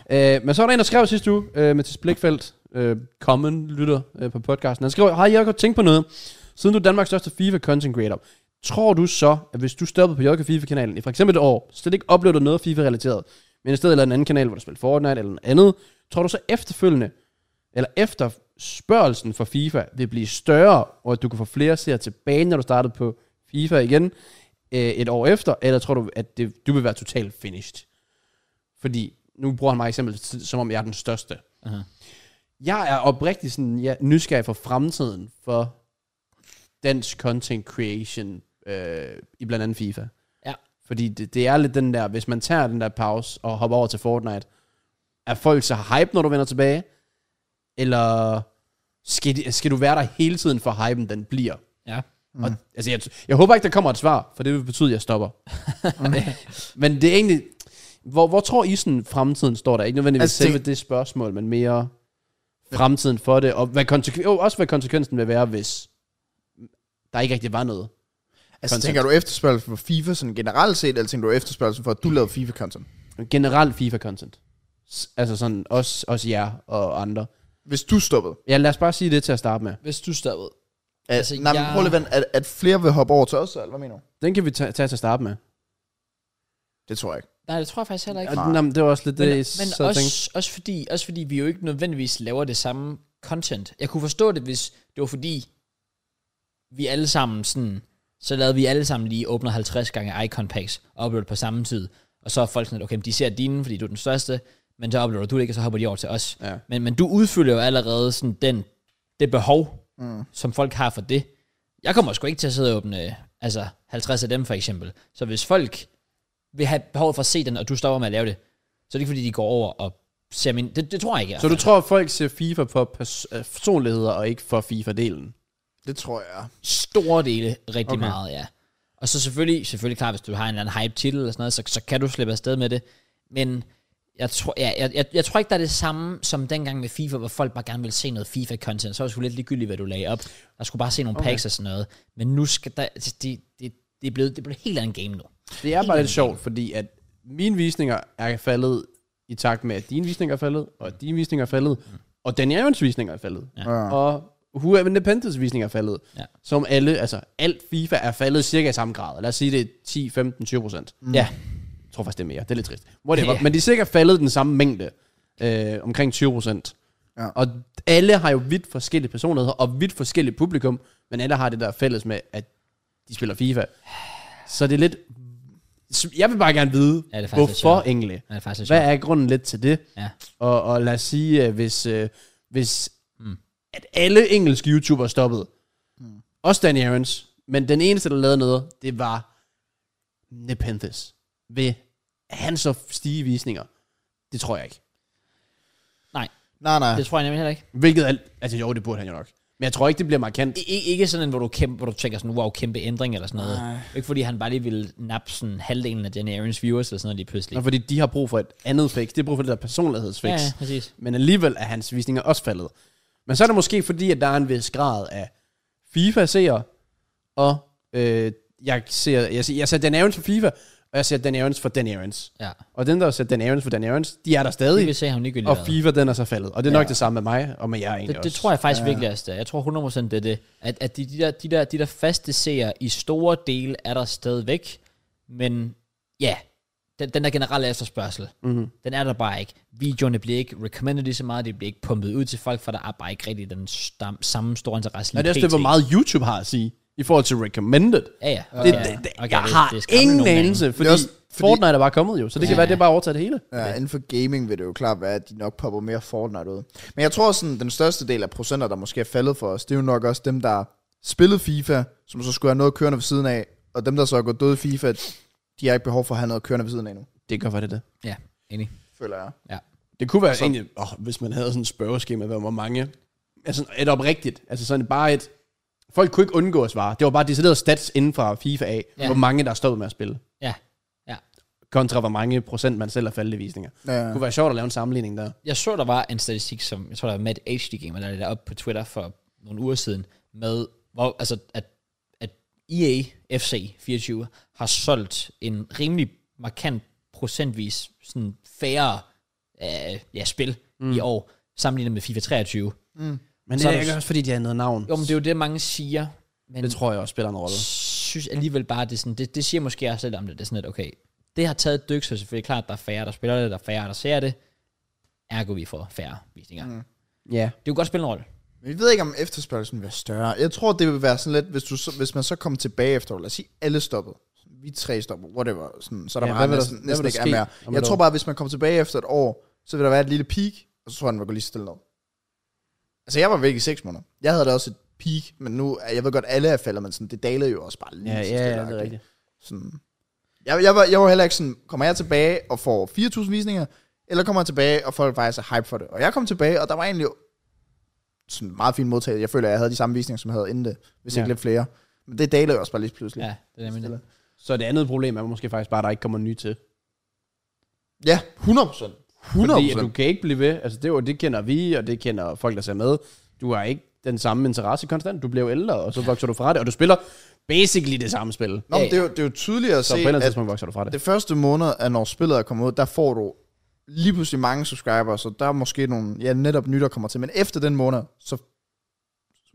Speaker 2: Øh, men så var der en, der skrev sidste uge, øh, Mathis Blikfeldt, øh, common lytter øh, på podcasten, han skrev, har jeg godt tænkt på noget? Siden du er Danmarks største FIFA-content creator, tror du så, at hvis du stoppede på JK FIFA-kanalen i for eksempel et år, slet ikke oplevede noget FIFA-relateret, men i stedet eller en anden kanal, hvor du spiller Fortnite eller noget andet, tror du så efterfølgende, eller efter spørgelsen for FIFA, vil blive større, og at du kan få flere seere tilbage, når du startede på FIFA igen øh, et år efter, eller tror du, at det, du vil være totalt finished? Fordi, nu bruger han mig eksempel, som om jeg er den største.
Speaker 1: Aha.
Speaker 2: Jeg er oprigtigt sådan, ja, nysgerrig for fremtiden for dansk content creation øh, i blandt andet FIFA.
Speaker 1: Ja.
Speaker 2: Fordi det, det er lidt den der, hvis man tager den der pause og hopper over til Fortnite, er folk så hype, når du vender tilbage? Eller skal, de, skal du være der hele tiden for hypen, den bliver?
Speaker 1: Ja.
Speaker 2: Mm. Og, altså, jeg, jeg håber ikke, der kommer et svar, for det vil betyde, at jeg stopper. men det er egentlig... Hvor, hvor tror I sådan, fremtiden står der? Ikke nødvendigvis altså,
Speaker 3: Altså, det-
Speaker 2: selve det spørgsmål, men mere fremtiden for det, og hvad konsekven, oh, også hvad konsekvensen vil være, hvis der ikke rigtig var noget.
Speaker 3: Altså,
Speaker 2: Content.
Speaker 3: tænker du efterspørgsel for FIFA sådan generelt set, eller tænker du efterspørgsel for, at du lavede FIFA-content?
Speaker 2: Generelt FIFA-content. S- Altså sådan, også, også jer og andre.
Speaker 3: Hvis du stoppede.
Speaker 2: Ja, lad os bare sige det til at starte med.
Speaker 1: Hvis du stoppede. Altså,
Speaker 3: Altså, nej, men
Speaker 1: jeg-
Speaker 3: prøv lige at vente. at, at flere vil hoppe over til os, eller hvad mener du?
Speaker 2: Den kan vi tage, tage til at starte med.
Speaker 3: Det tror jeg ikke.
Speaker 1: Nej, det tror jeg faktisk heller ikke.
Speaker 2: Og, nej, men det var også lidt
Speaker 1: Men,
Speaker 2: det,
Speaker 1: men
Speaker 2: jeg sad og tænkte.
Speaker 1: også, også, fordi, også fordi vi jo ikke nødvendigvis laver det samme content. Jeg kunne forstå det, hvis det var fordi, vi alle sammen sådan, så lavede vi alle sammen lige åbner 50 gange icon packs og uploader på samme tid. Og så er folk sådan, at okay, men de ser dine, fordi du er den største, men så uploader du det ikke, og så hopper de over til os.
Speaker 2: Ja.
Speaker 1: Men, men du udfylder jo allerede sådan den, det behov, mm. som folk har for det. Jeg kommer sgu ikke til at sidde og åbne altså 50 af dem for eksempel. Så hvis folk vil have behov for at se den, og du stopper med at lave det, så er det ikke fordi, de går over og ser min... Det, det tror jeg ikke.
Speaker 2: Så du tror, at folk ser FIFA for pers- øh, personligheder, og ikke for FIFA-delen?
Speaker 3: Det tror jeg.
Speaker 1: store dele rigtig okay. meget, ja. Og så selvfølgelig, selvfølgelig klart, hvis du har en eller anden hype titel eller sådan noget, så, så kan du slippe afsted med det. Men jeg tror, ja, jeg, jeg, jeg tror ikke, der er det samme som dengang med FIFA, hvor folk bare gerne ville se noget FIFA-content. Så var det sgu lidt ligegyldigt, hvad du lagde op. Der skulle bare se nogle okay. packs og sådan noget. Men nu skal der... altså, Det, det, det, er blevet, det er blevet et helt andet game nu.
Speaker 2: Det er bare lidt sjovt, fordi at mine visninger er faldet i takt med, at dine visninger er faldet, og at dine visninger er faldet, og Dan Jørgens visninger er faldet, Mm. ja. og Who Have Independence visninger er faldet,
Speaker 1: Ja.
Speaker 2: som alle, altså alt FIFA er faldet cirka i samme grad. Lad os sige, det er 10, 15, 20 procent.
Speaker 1: Mm. Ja,
Speaker 2: Jeg tror faktisk, det er mere. Det er lidt trist. Whatever.
Speaker 1: Ja.
Speaker 2: Yeah. Men de er sikkert faldet den samme mængde. Øh, omkring 20 procent.
Speaker 3: Ja.
Speaker 2: Og alle har jo vidt forskellige personligheder og vidt forskellige publikum, men alle har det der fælles med, at de spiller FIFA. Så det er lidt... Jeg vil bare gerne vide,
Speaker 1: Ja, det er faktisk lidt
Speaker 2: hvorfor
Speaker 1: sjovt.
Speaker 2: egentlig?
Speaker 1: det er faktisk lidt
Speaker 2: Hvad
Speaker 1: sjovt.
Speaker 2: er grunden lidt til det?
Speaker 1: Ja.
Speaker 2: Og, og lad os sige, øh, hvis, øh, hvis
Speaker 1: Mm.
Speaker 2: at alle engelske YouTubere stoppede, også Dan Aarons, men den eneste, der lavede noget, det var Nepenthes. Ved han så stige i visninger? Det tror jeg ikke.
Speaker 3: Nej, nej.
Speaker 1: Det tror jeg nemlig heller ikke.
Speaker 2: Hvilket er, altså jo, det burde han jo nok. Men jeg tror ikke, det bliver markant.
Speaker 1: I, ikke- ikke sådan en, hvor du, kæmpe, hvor du tænker sådan, wow, kæmpe ændring eller sådan noget. Nej. Ikke fordi han bare lige ville nappe sådan halvdelen af Jenny Aarons viewers eller sådan noget lige pludselig.
Speaker 2: Nå, fordi de har brug for et andet fix. De har brug for det der personlighedsfix.
Speaker 1: ja, ja, præcis.
Speaker 2: Men alligevel er hans visninger også faldet. Men så er det måske fordi, at der er en vis grad af FIFA-seere, og øh, jeg ser, jeg, ser, jeg ser Dan Aarons for FIFA, og jeg ser Dan Aarons for Dan Aarons.
Speaker 1: Ja.
Speaker 2: Og den, der ser Dan Aarons for Dan Aarons, de er der
Speaker 1: Det
Speaker 2: stadig,
Speaker 1: vil se ham ligegyldigt.
Speaker 2: og
Speaker 1: hvad.
Speaker 2: FIFA, den er så faldet. Og det er nok det samme med mig, og med jer egentlig
Speaker 1: Det,
Speaker 2: også.
Speaker 1: det tror jeg faktisk ja. virkelig også, det er. Jeg tror 100% det er det. At, at de, de, der, de, der, de der faste seere i store dele er der stadigvæk, men ja, den, den der generelle efterspørgsel,
Speaker 2: Mhm.
Speaker 1: mm-hmm. den er der bare ikke. Videoerne bliver ikke recommended lige så meget, de bliver ikke pumpet ud til folk, for der er bare ikke rigtig den stam, samme store interesse lige
Speaker 2: Og det er også det, hvor
Speaker 1: pt.
Speaker 2: meget YouTube har at sige. i forhold til recommended.
Speaker 1: Ja, ja.
Speaker 2: Det,
Speaker 1: ja.
Speaker 2: det, det,
Speaker 1: Okay,
Speaker 2: jeg har
Speaker 1: det er skræmmende
Speaker 2: ingen
Speaker 1: nogle gange.
Speaker 2: anelse, fordi,
Speaker 3: Det er også- fordi-
Speaker 2: Fortnite er bare kommet jo, så det kan
Speaker 1: Ja.
Speaker 2: være, det bare overtager det hele.
Speaker 3: Ja, inden for gaming vil det jo klart være, at de nok popper mere Fortnite ud. Men jeg tror sådan, den største del af procenter, der måske er faldet for os, det er jo nok også dem, der spillede FIFA, som så skulle have noget kørende ved siden af, og dem, der så er gået døde i FIFA, de har ikke behov for at have noget kørende ved siden af nu,
Speaker 2: Det kan godt være, det er det.
Speaker 1: Ja, enig.
Speaker 3: føler jeg.
Speaker 2: Det kunne være så, egentlig, åh, hvis man havde sådan et spørgeskema, hvor mange, altså et oprigtigt, altså sådan bare et, folk kunne ikke undgå at svare. Det var bare decideret stats inden fra FIFA af,
Speaker 1: Ja.
Speaker 2: ja. hvor mange der er stoppet med at spille,
Speaker 1: Ja.
Speaker 2: kontra hvor mange procent man selv har faldet i visninger.
Speaker 3: Ja.
Speaker 2: Det kunne være sjovt at lave en sammenligning der.
Speaker 1: Jeg så, der var en statistik, som jeg tror, der var Matt HD Gamer, der lagde det op på Twitter for nogle uger siden, med, hvor, altså, at, at E EA FC 24 har solgt en rimelig markant procentvis sådan færre øh, ja, spil mm. i år, sammenlignet med FIFA 23.
Speaker 2: Men det
Speaker 1: Så
Speaker 2: er
Speaker 1: er der-
Speaker 2: ikke også, fordi de har noget navn.
Speaker 1: Jo, men det er jo det, mange siger, men
Speaker 2: Det tror jeg også spiller en rolle.
Speaker 1: synes alligevel bare, det, er sådan, det, det siger måske også lidt om det, det er sådan lidt, okay, det har taget et dyk, så selvfølgelig klart, der er færre, der spiller det, der er færre, der ser det, ergo vi får færre visninger. Mm.
Speaker 2: Ja.
Speaker 1: Det kunne godt spille en rolle.
Speaker 3: Men jeg ved ikke, om efterspørgselen vil være større. Jeg tror, det vil være sådan lidt, hvis, du, så- hvis man så kommer tilbage efter, lad os sige, alle stoppede. Vi tre stopper, whatever. Sådan, så er der
Speaker 2: Ja,
Speaker 3: ja,
Speaker 2: hvad
Speaker 3: meget,
Speaker 2: vil der-
Speaker 3: næsten,
Speaker 2: hvad vil
Speaker 3: næsten
Speaker 2: der
Speaker 3: ikke er
Speaker 2: ske
Speaker 3: mere.
Speaker 2: om
Speaker 3: Jeg
Speaker 2: et
Speaker 3: tror
Speaker 2: år?
Speaker 3: bare, at hvis man kommer tilbage efter et år, så vil der være et lille peak, og så tror jeg, den vil gå lige stille ned. Altså, jeg var væk i seks måneder. Jeg havde da også et peak, men nu, jeg ved godt, alle er faldet, men sådan, det dalede jo også bare lige
Speaker 2: Ja,
Speaker 3: så
Speaker 2: ja,
Speaker 3: stille,
Speaker 2: ja, det er
Speaker 3: agtigt.
Speaker 2: rigtigt.
Speaker 3: Sådan. Jeg, jeg, var, jeg var heller ikke sådan, kommer jeg tilbage og får 4.000 visninger, eller kommer jeg tilbage, og folk faktisk er hype for det. Og jeg kom tilbage, og der var egentlig sådan en meget fin modtagelse. Jeg føler, at jeg havde de samme visninger, som jeg havde inden det, hvis
Speaker 2: Ja.
Speaker 3: ja. ikke lidt flere. Men det dalede jo også bare lige pludselig.
Speaker 1: Ja, det er nemlig det.
Speaker 2: Så det andet problem er måske faktisk bare, at der ikke kommer nye til.
Speaker 3: ja 100 procent. 100
Speaker 2: Fordi at du
Speaker 3: procent.
Speaker 2: kan ikke blive ved. Altså det, er jo- det kender vi, og det kender folk, der ser med. Du har ikke den samme interesse konstant. Du bliver jo ældre, og så vokser du fra det. Og du spiller basically det samme spil.
Speaker 3: Nå, men det er, jo, det er jo tydeligt at
Speaker 2: Så på et
Speaker 3: se,
Speaker 2: eller andet
Speaker 3: at
Speaker 2: tidspunkt vokser du fra det.
Speaker 3: det første måned, at når spillet er kommet ud, der får du lige pludselig mange subscribers, så der er måske nogle, ja, netop nye, der kommer til. Men efter den måned, så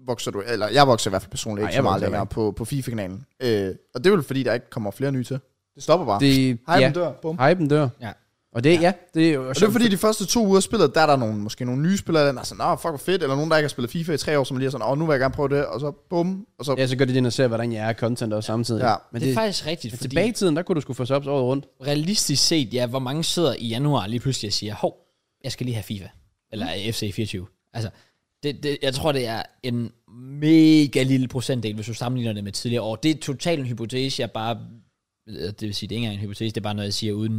Speaker 3: vokser du, eller jeg vokser i hvert fald personligt
Speaker 2: Nej,
Speaker 3: ikke
Speaker 2: jeg
Speaker 3: så meget
Speaker 2: vokser
Speaker 3: længere på, på FIFA-kanalen. Øh, og det er vel fordi, der ikke kommer flere nye til. Det stopper bare. Det,
Speaker 2: det
Speaker 3: Hej,
Speaker 2: ja.
Speaker 3: ja. dør. Bum.
Speaker 2: Hypen dør.
Speaker 1: Ja.
Speaker 2: Og det, ja, ja det er jo
Speaker 3: Og det er fordi, de første to uger af spillet, der er der nogle, måske nogle nye spillere, der er sådan, nah, fuck hvor fedt, eller nogen, der ikke har spillet FIFA i tre år, som lige er sådan, åh, nu vil jeg gerne prøve det, og så bum, og så...
Speaker 2: Ja, så gør det det, når ser, hvordan jeg er content også samtidig.
Speaker 3: Ja.
Speaker 2: Men
Speaker 1: det,
Speaker 2: det,
Speaker 1: er faktisk rigtigt,
Speaker 2: men
Speaker 1: fordi
Speaker 2: tilbage i tiden, der kunne du skulle få subs året rundt.
Speaker 1: realistisk set, ja, hvor mange sidder i januar lige pludselig og siger, hov, jeg skal lige have FIFA, eller FC 24. Altså, det, det, jeg tror, det er en mega lille procentdel, hvis du sammenligner det med tidligere år. Det er totalt en hypotese, jeg bare, eller det vil sige, det er ikke engang en hypotese, det er bare noget, jeg siger uden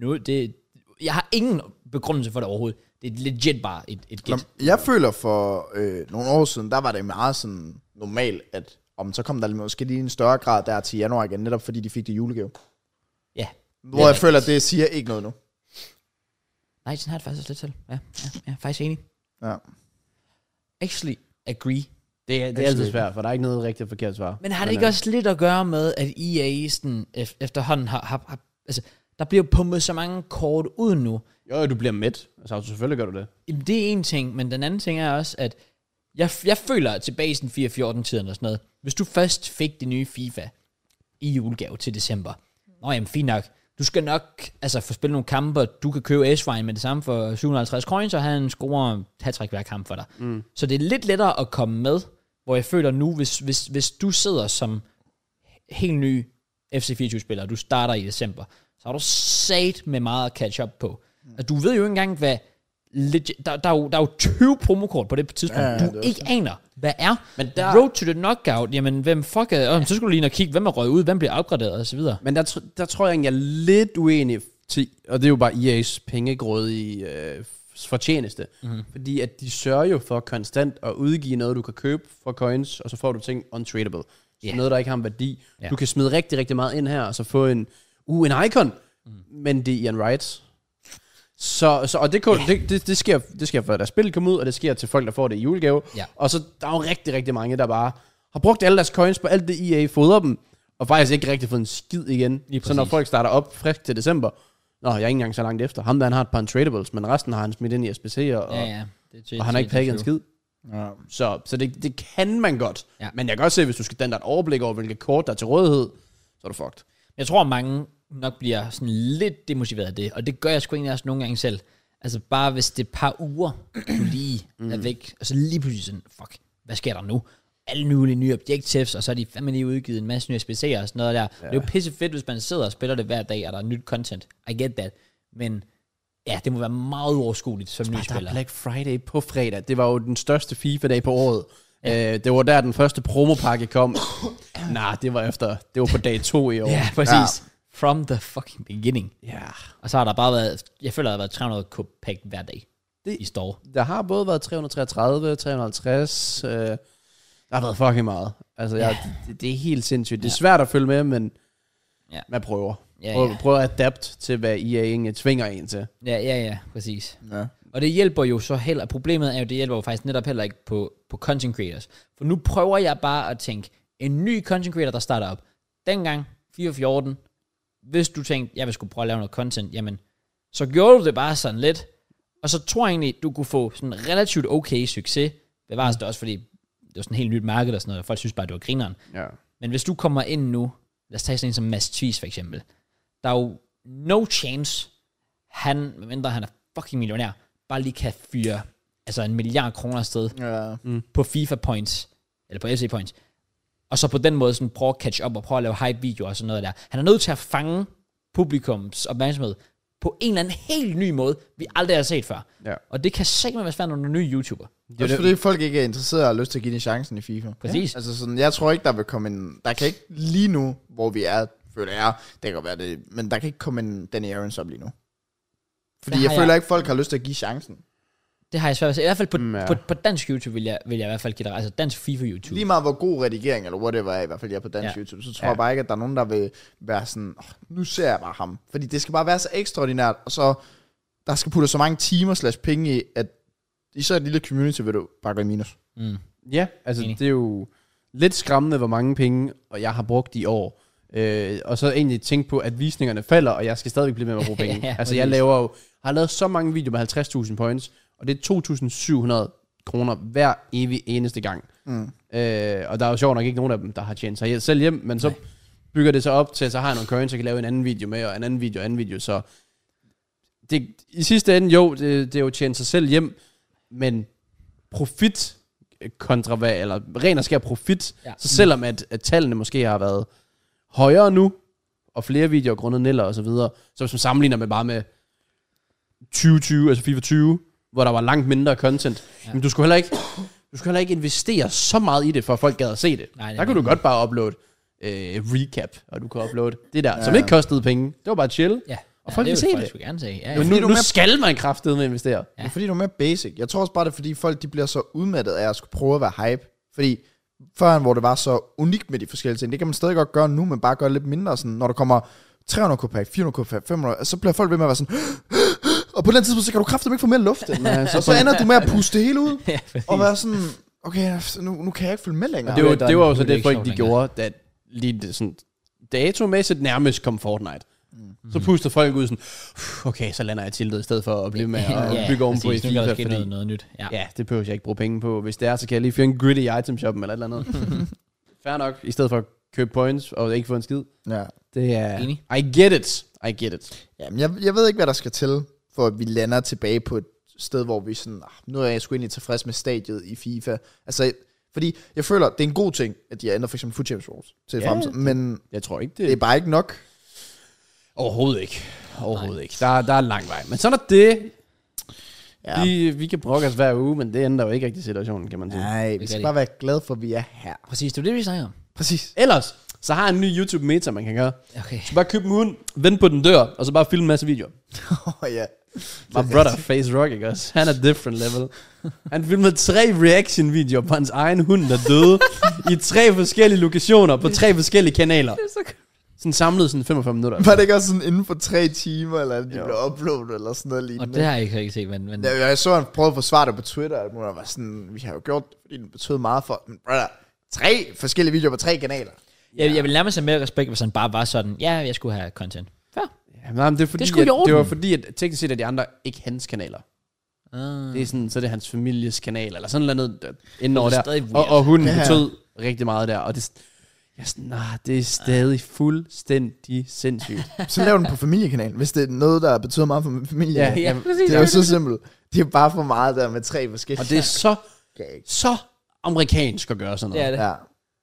Speaker 1: noget. Det, jeg har ingen begrundelse for det overhovedet. Det er legit bare et, et
Speaker 3: Nå,
Speaker 1: gæt.
Speaker 3: jeg føler for øh, nogle år siden, der var det meget sådan normalt, at om så kom der måske lige en større grad der til januar igen, netop fordi de fik det i julegave.
Speaker 1: Ja.
Speaker 3: Hvor jeg føler, at det siger ikke noget nu.
Speaker 1: Nej, sådan har jeg det faktisk også lidt til. Ja, ja, jeg er faktisk enig.
Speaker 3: Ja.
Speaker 1: Actually, agree.
Speaker 2: Det, er- det er altid svært, for der er ikke noget rigtigt forkert svar.
Speaker 1: Men har det ikke også lidt at gøre med, at EA sådan, ef- efterhånden har, har, har... Altså, der bliver jo pumpet så mange kort ud nu.
Speaker 2: Jo, jo, du bliver mæt. Altså, selvfølgelig gør du det.
Speaker 1: Jamen, det er en ting, men den anden ting er også, at jeg, jeg føler at tilbage i sådan 4-14-tiden og sådan noget, hvis du først fik det nye FIFA i julegave til december, nå jamen, fint nok, du skal nok altså, få spillet nogle kampe, og du kan købe s med det samme for 750 coins, og han scorer hat hver kamp for dig. Mm. Så det er lidt lettere at komme med, hvor jeg føler nu, hvis, hvis, hvis du sidder som helt ny FC24-spiller, du starter i december, så har du sat med meget at catch up på. Og du ved jo ikke engang, hvad... Legit, der, der, er jo, der er jo 20 promokort på det tidspunkt, ja,
Speaker 3: Ja,
Speaker 1: ja,
Speaker 3: ja,
Speaker 1: du
Speaker 3: det er
Speaker 1: ikke aner, hvad er.
Speaker 2: Men
Speaker 1: Men
Speaker 2: der-
Speaker 1: der... Road to the knockout, jamen hvem fuck er... Ja. Så skulle du lige ind og kigge, hvem er røget ud, hvem bliver opgraderet og så videre.
Speaker 2: Men der, tr- der tror jeg egentlig, jeg er lidt uenig til, og det er jo bare E EA's pengegrådige øh, fortjeneste.
Speaker 1: Mhm.
Speaker 2: Mm. Fordi at de sørger jo for konstant at udgive noget, du kan købe for coins, og så får du ting untradable. Så
Speaker 1: Ja.
Speaker 2: yeah. noget, der ikke har en værdi.
Speaker 1: Ja.
Speaker 2: Du kan smide rigtig, rigtig meget ind her, og så få en, uh, en icon,
Speaker 1: Mhm.
Speaker 2: mm. men det er Ian Wright. Så, så og det, kunne, yeah. det, det, det, sker, det sker for, at spillet kommer ud, og det sker til folk, der får det i julegave.
Speaker 1: Ja.
Speaker 2: Og så der er jo rigtig, rigtig mange, der bare har brugt alle deres coins på alt det, EA fodrer dem, og faktisk ikke rigtig fået en skid igen.
Speaker 1: Lige
Speaker 2: Så når
Speaker 1: præcis.
Speaker 2: folk starter op frisk til december, nå, jeg er ikke engang så langt efter. Ham der, han har et par tradables, men resten har han smidt ind i SBC'er, og,
Speaker 1: Ja, ja. Det er til-
Speaker 2: og han har ikke
Speaker 1: til-
Speaker 2: pakket en
Speaker 1: til-
Speaker 2: skid.
Speaker 3: Ja.
Speaker 2: Så, så det, det kan man godt.
Speaker 1: Ja.
Speaker 2: Men jeg kan godt se, hvis du skal danne dig et overblik over, hvilke kort der er til rådighed, så er du fucked.
Speaker 1: Jeg tror, mange nok bliver sådan lidt demotiveret af det, og det gør jeg sgu egentlig også nogle gange selv. Altså
Speaker 2: Mm.
Speaker 1: bare hvis det er et par uger, du lige er væk, og så lige pludselig sådan, fuck, hvad sker der nu? alle mulige nye objectives, og så er de fandme lige udgivet en masse nye SBC'er og sådan noget der. Ja. Det er jo pisse fedt, hvis man sidder og spiller det hver dag, og der er nyt content. I get that. Men ja, det må være meget uoverskueligt som ny
Speaker 2: Ah, der
Speaker 1: spiller.
Speaker 2: er Black Friday på fredag. Det var jo den største FIFA-dag på året. Ja. Øh, det var der, den første promopakke kom. Nej, det var efter. Det var på dag to i år.
Speaker 1: Ja, præcis. Ja. From the fucking beginning.
Speaker 2: ja.
Speaker 1: Og så har der bare været, jeg føler, der har været 300 k pack hver dag det,
Speaker 2: Det-
Speaker 1: i store.
Speaker 2: Der har både været 333, 350. Øh, der har været fucking meget. Altså, jeg, det, det er helt sindssygt. Det er svært at følge med, men
Speaker 1: Ja.
Speaker 2: man prøver.
Speaker 1: Ja,
Speaker 2: Prøver,
Speaker 1: ja.
Speaker 2: prøver at adapte til, hvad EA egentlig tvinger en til.
Speaker 1: Ja, ja, ja, præcis.
Speaker 3: Ja.
Speaker 1: Og det hjælper jo så heller, problemet er jo, det hjælper jo faktisk netop heller ikke på, på content creators. For nu prøver jeg bare at tænke, en ny content creator, der starter op. Dengang, 414, hvis du tænkte, jeg vil skulle prøve at lave noget content, jamen, så gjorde du det bare sådan lidt. Og så tror jeg egentlig, du kunne få sådan relativt okay succes. Det var det også, fordi det var sådan et helt nyt marked og sådan noget, og folk synes bare, det var grineren.
Speaker 2: Ja.
Speaker 1: Men hvis du kommer ind nu, lad os tage sådan en som Mads Thies for eksempel. Der er jo no chance, han, medmindre han er fucking millionær, bare lige kan fyre altså en milliard kroner afsted
Speaker 3: Ja. Mm.
Speaker 1: på FIFA points, eller på FC points, og så på den måde sådan prøve at catch up og prøve at lave hype videoer og sådan noget der. Han er nødt til at fange publikums opmærksomhed på en eller anden helt ny måde, vi aldrig har set før.
Speaker 2: Ja.
Speaker 1: Og det kan sikkert være svært, når du er ny YouTuber.
Speaker 3: Det er også fordi folk ikke er interesseret og har lyst til at give den chancen i FIFA.
Speaker 1: Præcis.
Speaker 3: Ja. Altså sådan, jeg tror ikke, der vil komme en... Der kan ikke lige nu, hvor vi er, føler jeg, det kan godt være det, men der kan ikke komme en Danny Aarons op lige nu. Fordi
Speaker 1: har
Speaker 3: jeg
Speaker 1: jeg-
Speaker 3: føler ikke, folk har lyst til at give chancen.
Speaker 1: Det har jeg svært ved at se. I hvert fald på,
Speaker 2: Mm,
Speaker 1: ja.
Speaker 2: ja.
Speaker 1: på, på dansk YouTube vil jeg, vil jeg i hvert fald give dig, altså dansk FIFA YouTube.
Speaker 3: Lige meget hvor god redigering, eller whatever, er, i hvert fald jeg er på dansk
Speaker 1: Ja.
Speaker 3: ja. YouTube, så tror
Speaker 2: Ja.
Speaker 3: ja. jeg bare ikke, at der er nogen, der vil være sådan, oh, nu ser jeg bare ham. Fordi det skal bare være så ekstraordinært, og så der skal putte så mange timer slash penge i, at især et lille community vil du bare gå i minus.
Speaker 1: Mm.
Speaker 2: Ja, altså
Speaker 1: Enig.
Speaker 2: Enig. det er jo lidt skræmmende, hvor mange penge og jeg har brugt i år. Øh, og så egentlig tænke på, at visningerne falder, og jeg skal stadigvæk blive med at bruge
Speaker 1: Ja,
Speaker 2: penge.
Speaker 1: ja,
Speaker 2: altså jeg
Speaker 1: præcis.
Speaker 2: laver jo, har lavet så mange videoer med 50.000 points, og det er 2.700 kroner hver evig eneste gang. Mm. Øh, og der er jo sjovt nok ikke nogen af dem, der har tjent sig selv hjem, men så Nej. bygger det sig op til, at så har jeg nogle coins, jeg kan lave en anden video med, og en anden video, og en anden video, så det, i sidste ende, jo, det, det er jo tjent sig selv hjem, men profit kontra hvad, eller ren og skær profit,
Speaker 1: Ja.
Speaker 2: ja. så selvom at, at tallene måske har været højere nu, og flere videoer grundet Niller og så videre, så hvis man sammenligner med bare med 2020, altså FIFA 20, hvor der var langt mindre content, ja. men du skulle heller ikke, du skulle heller ikke investere så meget i det, for at folk gad at se det.
Speaker 1: Nej, det er
Speaker 2: der kunne du godt bare uploade øh, recap, og du kunne uploade det der, ja. som ikke kostede penge. Det var bare chill.
Speaker 1: Ja.
Speaker 2: Og folk
Speaker 1: ja,
Speaker 2: vil
Speaker 1: det
Speaker 2: se
Speaker 1: vil
Speaker 2: det.
Speaker 1: folk sgu gerne se. Ja,
Speaker 2: Men
Speaker 1: ja.
Speaker 2: nu,
Speaker 3: du
Speaker 2: nu
Speaker 3: er med-
Speaker 2: skal man kraftedeme investere.
Speaker 3: Ja. Det er fordi, du er mere basic. Jeg tror også bare, det er fordi, folk de bliver så udmattet af at skulle prøve at være hype. Fordi førhen, hvor det var så unikt med de forskellige ting, det kan man stadig godt gøre nu, men bare gøre det lidt mindre. Sådan, når der kommer 300 kopak, 400 kopak, 500, altså, så bliver folk ved med at være sådan... Og på den tidspunkt, så kan du kraftigt ikke få mere luft. End.
Speaker 2: Nej, så
Speaker 3: og så ender du med at puste det hele ud.
Speaker 1: Ja, præcis.
Speaker 3: og være sådan, okay, nu, nu kan jeg ikke følge med længere.
Speaker 2: Det var,
Speaker 1: der er
Speaker 2: det var
Speaker 1: en
Speaker 2: jo så
Speaker 1: mulighed
Speaker 2: det, folk de
Speaker 1: ekstraordinær.
Speaker 2: gjorde, da lige det sådan, datomæssigt nærmest kom Fortnite.
Speaker 1: Mm-hmm.
Speaker 2: Så pustede folk ud sådan, "Puh, okay, så lander jeg tiltet i stedet for at blive med at
Speaker 1: Ja,
Speaker 2: bygge ovenpå i
Speaker 1: præcis. Nu kan
Speaker 2: FIFA,
Speaker 1: der ske
Speaker 2: fordi
Speaker 1: noget, noget nyt. Ja.
Speaker 2: ja, det behøver jeg ikke bruge penge på. Hvis det er, så kan jeg lige fyre en gritty item shoppen eller et eller andet. Fair nok, i stedet for at købe points og ikke få en skid.
Speaker 3: Ja.
Speaker 2: Det er,
Speaker 1: Enig.
Speaker 2: I get it, I get it.
Speaker 3: Jamen, jeg, jeg ved ikke, hvad der skal til, for at vi lander tilbage på et sted, hvor vi sådan, "Ah, nu er jeg sgu egentlig tilfreds med stadiet i FIFA. Altså, fordi jeg føler, det er en god ting, at de har ændret for eksempel Food Champions Wars til
Speaker 2: Ja,
Speaker 3: ja, fremtiden, men
Speaker 2: Jeg tror ikke,
Speaker 3: det er
Speaker 2: det
Speaker 3: bare ikke nok.
Speaker 2: Overhovedet ikke. Overhovedet ikke. Der, der er lang vej. Men sådan er det.
Speaker 3: Ja.
Speaker 2: Vi, vi kan brokke os hver uge, men det ændrer jo ikke rigtig situationen, kan man sige.
Speaker 3: Nej, vi
Speaker 1: kan det
Speaker 3: skal bare være glade for, at vi er her.
Speaker 1: Præcis, det er det, vi snakker om.
Speaker 3: Præcis.
Speaker 2: Ellers, så har jeg en ny YouTube-meta, man kan gøre.
Speaker 1: Okay.
Speaker 2: Så bare køb en hund, vend på den dør, og så bare filme en masse videoer.
Speaker 3: Oh, ja.
Speaker 2: My brother, Face Rock, ikke også? Han er different level. Han filmede tre reaction-videoer på hans egen hund, der døde i tre forskellige lokationer på tre forskellige kanaler. Sådan samlet sådan 45 minutter.
Speaker 3: Var det ikke også sådan inden for tre timer, eller at de
Speaker 2: Jo.
Speaker 3: blev uploadet, eller sådan noget
Speaker 1: Og
Speaker 3: lignende?
Speaker 1: det har jeg ikke rigtig set, men, men
Speaker 3: Ja, jeg så, han prøvede at forsvare det på Twitter, og alt muligt, og var sådan, vi har jo gjort det, fordi den betød meget for... Men brother, tre forskellige videoer på tre kanaler.
Speaker 1: jeg, jeg vil nærmest have mere respekt, hvis han bare var sådan, ja, jeg skulle have content. Fair.
Speaker 2: Jamen, nej, men det, er fordi,
Speaker 1: Det er sgu i
Speaker 2: at,
Speaker 1: orden.
Speaker 2: det var fordi, at teknisk set er de andre ikke hans kanaler. Ah.
Speaker 1: Uh,
Speaker 2: Det er sådan, så er det hans families kanal, eller sådan noget der, indover
Speaker 1: Det er
Speaker 2: der.
Speaker 1: stadig
Speaker 2: Og,
Speaker 1: weird.
Speaker 2: og hun
Speaker 3: Ja.
Speaker 2: betød rigtig meget der, og det, er sådan- jeg er sådan, nah, det er
Speaker 1: Ah.
Speaker 2: stadig fuldstændig sindssygt.
Speaker 3: Så lav den på familiekanalen, hvis det er noget, der betyder meget for familien.
Speaker 2: Ja,
Speaker 1: ja, præcis.
Speaker 3: Det er jo så simpelt. Det er bare for meget der med tre forskellige.
Speaker 2: Og det er så,
Speaker 3: Okay.
Speaker 2: så amerikansk at gøre sådan
Speaker 1: Det
Speaker 2: noget.
Speaker 1: er det.
Speaker 3: Ja.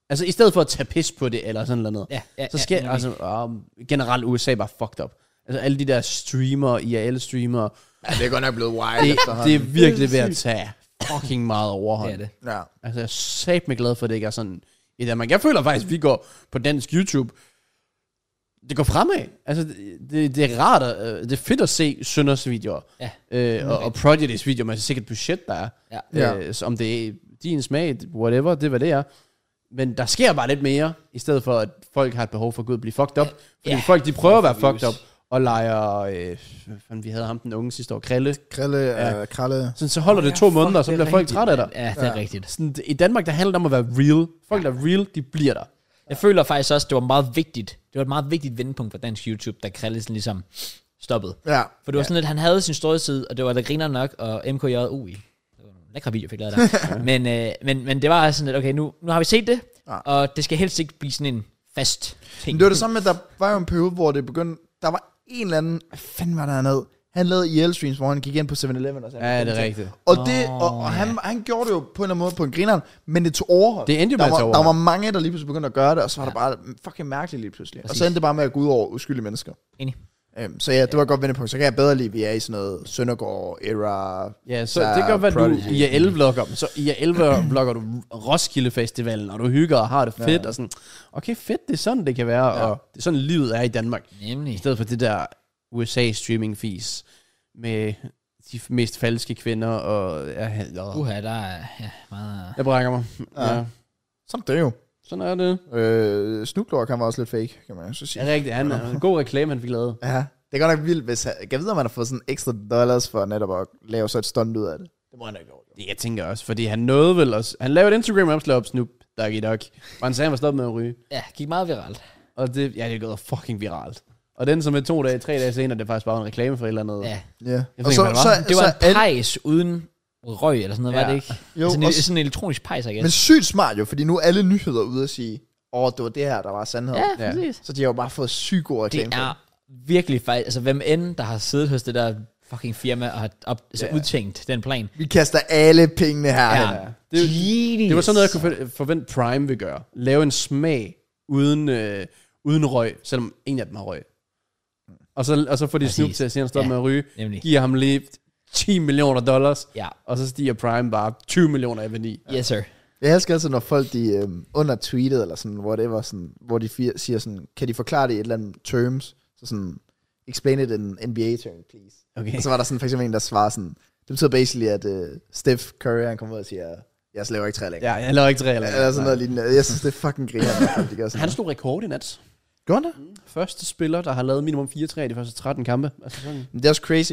Speaker 2: Altså i stedet for at tage pis på det eller sådan noget.
Speaker 1: Ja, ja,
Speaker 2: så
Speaker 1: ja,
Speaker 2: skal
Speaker 1: nemlig.
Speaker 2: altså um, generelt USA bare fucked up. Altså alle de der streamer, IRL streamer,
Speaker 3: ja, det er godt nok blevet wild
Speaker 2: det, det
Speaker 3: efterhånden.
Speaker 2: er virkelig ved at tage fucking meget overhånd.
Speaker 1: Det er det.
Speaker 3: Ja.
Speaker 2: Altså jeg er sat mig glad for at det ikke er sådan i Danmark. Jeg føler faktisk, at vi går på dansk YouTube. Det går fremad. Altså det, det, det er rart, at, øh, det er fedt at se Sønders videoer.
Speaker 1: Ja.
Speaker 2: Øh, og, og Prodigy's videoer, men det er sikkert budget, der er.
Speaker 1: Ja.
Speaker 3: Ja.
Speaker 2: Øh, så om det er din smag, whatever, det er, hvad det er. Men der sker bare lidt mere, i stedet for, at folk har et behov for at gå ud og blive fucked up. Fordi
Speaker 1: Ja.
Speaker 2: folk, de prøver at være
Speaker 1: For views.
Speaker 2: fucked up, og leger, øh, hvad fanden, vi havde ham den unge sidste år, Krille.
Speaker 3: Krille, ja. Øh, kralle.
Speaker 2: Sådan, så holder det to måneder, så bliver folk trætte af dig.
Speaker 1: Ja, det er rigtigt.
Speaker 2: Sådan, I Danmark, der handler det om at være real. Folk, der er real, de bliver der.
Speaker 1: Jeg føler faktisk også, det var meget vigtigt. Det var et meget vigtigt vendepunkt for dansk YouTube, da Krillesen ligesom stoppede.
Speaker 3: Ja.
Speaker 1: For det var sådan lidt, han havde sin storhedstid, og det var der griner nok, og MKJU i. Det var nogle lækre video, jeg fik lavet der. men, øh, men, men det var sådan lidt, okay, nu, nu har vi set det,
Speaker 3: Ja.
Speaker 1: og det skal helst ikke blive sådan en fast ting.
Speaker 3: Men det var det samme med, at der var jo en periode, hvor det begyndte... Der var en eller anden... Hvad fanden var der hernede? Han lavede IL-streams, hvor han gik ind på 7-Eleven og sagde...
Speaker 2: rigtigt.
Speaker 3: Og, det, og, og han, han gjorde det jo på en eller anden måde på en grineren, men det tog overhånd.
Speaker 2: Det endte jo med
Speaker 3: der,
Speaker 2: at
Speaker 3: var,
Speaker 2: tage
Speaker 3: der var
Speaker 2: overhånd.
Speaker 3: mange, der lige pludselig begyndte at gøre det, og så var ja. det bare fucking mærkeligt lige pludselig. Præcis. Og så endte det bare med at gå ud over uskyldige mennesker.
Speaker 1: Enig.
Speaker 3: Øhm, så ja, det var et godt vendepunkt. Så kan jeg bedre lide, at vi er i sådan noget Søndergaard-era.
Speaker 2: Ja, så det kan godt være, at du
Speaker 3: Prodigy.
Speaker 2: IRL-vlogger. dem. Så IRL-vlogger du Roskilde Festivalen, og du hygger og har det fedt, og sådan, okay, fedt, det er sådan, det kan være, ja. og det er sådan, livet er i Danmark. I
Speaker 1: Nemlig.
Speaker 2: stedet for det der USA-streaming-fis med de mest falske kvinder, og ja, ja.
Speaker 1: Uha, der er ja, meget...
Speaker 2: jeg brækker mig. Uh. Ja. ja.
Speaker 3: Sådan er det jo.
Speaker 2: Sådan er det.
Speaker 3: Øh, Snoop Dogg, han var også lidt fake, kan man jo så sige.
Speaker 2: Ja, rigtigt. Han er en god reklame, han fik lavet.
Speaker 3: Ja, det er godt nok vildt, hvis han, jeg ved, om han har fået sådan ekstra dollars for netop at lave så et stunt ud af det. Det må han da ikke
Speaker 2: Det jeg tænker også, fordi han nåede vel også... Han lavede et Instagram-opslag op, Snoop Doggy Dog, hvor han sagde, han var stoppet med at ryge.
Speaker 1: Ja, gik meget viralt.
Speaker 2: Og det, ja, det er gået fucking viralt. Og den som er to dage, tre dage senere, det er faktisk bare en reklame for et eller andet.
Speaker 1: Ja.
Speaker 3: Ja.
Speaker 2: Jeg
Speaker 3: Og
Speaker 2: ved ikke,
Speaker 3: så,
Speaker 2: hvad det
Speaker 3: så,
Speaker 2: var.
Speaker 1: Det var
Speaker 3: så
Speaker 1: en pejs uden røg eller sådan noget, ja. var
Speaker 2: Ja.
Speaker 1: det ikke?
Speaker 3: Jo,
Speaker 1: sådan, en,
Speaker 3: også-
Speaker 1: sådan en elektronisk pejs, I guess.
Speaker 3: men sygt smart jo, fordi nu er alle nyheder ude at sige, åh, oh, det var det her, der var sandhed.
Speaker 1: ja,
Speaker 2: Ja.
Speaker 1: ja, præcis.
Speaker 3: Så de har jo bare fået sygt god
Speaker 1: Det
Speaker 3: reklame. for
Speaker 1: er virkelig fejl. Altså, hvem end, der har siddet hos det der fucking firma og har op, altså,
Speaker 2: Ja.
Speaker 1: udtænkt den plan.
Speaker 3: Vi kaster alle pengene her. Ja.
Speaker 2: Det,
Speaker 1: Genius.
Speaker 2: det var sådan noget, jeg kunne for- forvente Prime vil gøre. Lave en smag uden, øh, uden røg, selvom en af dem har røg. Og så, og så får de
Speaker 1: Præcis.
Speaker 2: Snoop til at sige, at han
Speaker 1: Ja,
Speaker 2: stoppet med at ryge.
Speaker 1: nemlig.
Speaker 2: Giver ham lige 10 millioner dollars.
Speaker 1: Ja.
Speaker 2: Og så stiger Prime bare 20 millioner af værdi.
Speaker 1: Yes, sir.
Speaker 3: Jeg elsker altid, når folk de øhm, under tweetet eller sådan, whatever, sådan, hvor de fir- siger sådan, kan de forklare det i et eller andet terms? Så sådan, explain it in NBA term, please.
Speaker 2: Okay.
Speaker 3: Og så var der sådan for eksempel en, der svarer sådan, det betyder basically, at uh, Steph Curry, han kommer ud og siger, jeg slæver ikke træ længere.
Speaker 2: Ja, jeg laver ikke tre eller,
Speaker 3: Ja, altså- eller sådan noget lignende. Jeg synes, det er fucking griner, når folk de gør sådan.
Speaker 2: Han slog rekord i nat.
Speaker 3: Gjorde han det?
Speaker 2: Første spiller, der har lavet minimum 4 3 i de første 13 kampe. Altså sådan.
Speaker 3: Men Mm. Det er også crazy.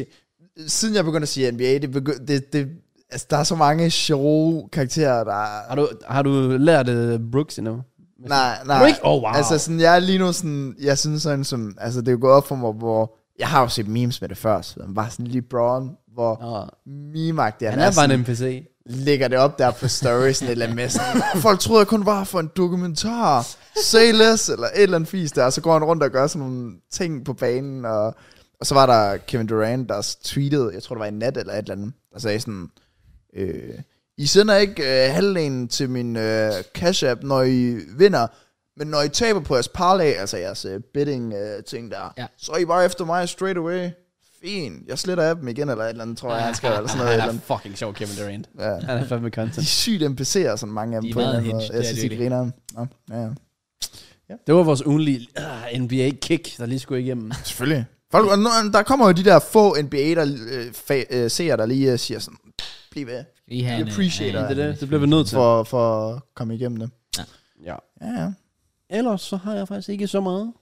Speaker 3: Siden jeg begyndte at sige NBA, det, begy- det, det altså, der er så mange sjove karakterer, der...
Speaker 2: Har du, har du lært uh, Brooks endnu?
Speaker 3: Nej,
Speaker 2: Har du
Speaker 3: nej.
Speaker 2: ikke? Åh, oh, wow.
Speaker 3: Altså, sådan, jeg er lige nu sådan, jeg synes sådan, som, altså, det er jo gået op for mig, hvor, jeg har jo set memes med det før, så den var sådan lige Braun, hvor
Speaker 2: Nå,
Speaker 3: meme-agtig
Speaker 2: han er bare
Speaker 3: sådan,
Speaker 2: en NPC.
Speaker 3: lægger det op der på stories, sådan et eller andet med sådan, folk troede, jeg kun var for en dokumentar, say less, eller et eller andet fis der, og så går han rundt og gør sådan nogle ting på banen, og, og så var der Kevin Durant, der tweetede, jeg tror det var i nat eller et eller andet, der sagde sådan, øh, I sender ikke øh, halvdelen til min øh, cash app, når I vinder, men når I taber på jeres parlay, altså jeres øh, betting øh, ting der,
Speaker 1: Ja.
Speaker 3: ja. så er I bare efter mig straight away. Fint, jeg sletter af dem igen, eller et eller andet, tror jeg, han skal, eller sådan noget. et
Speaker 2: Han
Speaker 3: eller
Speaker 2: er
Speaker 3: andet.
Speaker 2: fucking sjov, Kevin Durant.
Speaker 3: Ja.
Speaker 2: Han er fandme
Speaker 3: De er
Speaker 2: content.
Speaker 3: sygt NPC'er, sådan mange af dem
Speaker 1: De er
Speaker 3: på en
Speaker 1: meget
Speaker 3: eller anden
Speaker 1: hinged,
Speaker 3: måde. Jeg
Speaker 1: det er
Speaker 3: synes,
Speaker 1: de
Speaker 3: de griner. Nå, ja, ja.
Speaker 2: Det var vores ugenlige uh, NBA-kick, der lige skulle igennem.
Speaker 3: Selvfølgelig. Folk, og nu- der kommer jo de der få NBA, der øh, fa- øh, seere, der lige øh, siger sådan, bliv ved
Speaker 1: Vi har
Speaker 3: We
Speaker 1: en, øh,
Speaker 3: appreciate
Speaker 1: en-
Speaker 2: Det, er det, det bliver vi nødt til.
Speaker 3: for, for at komme igennem det.
Speaker 2: Ja.
Speaker 3: Ja, ja.
Speaker 2: Ellers så har jeg faktisk ikke så meget.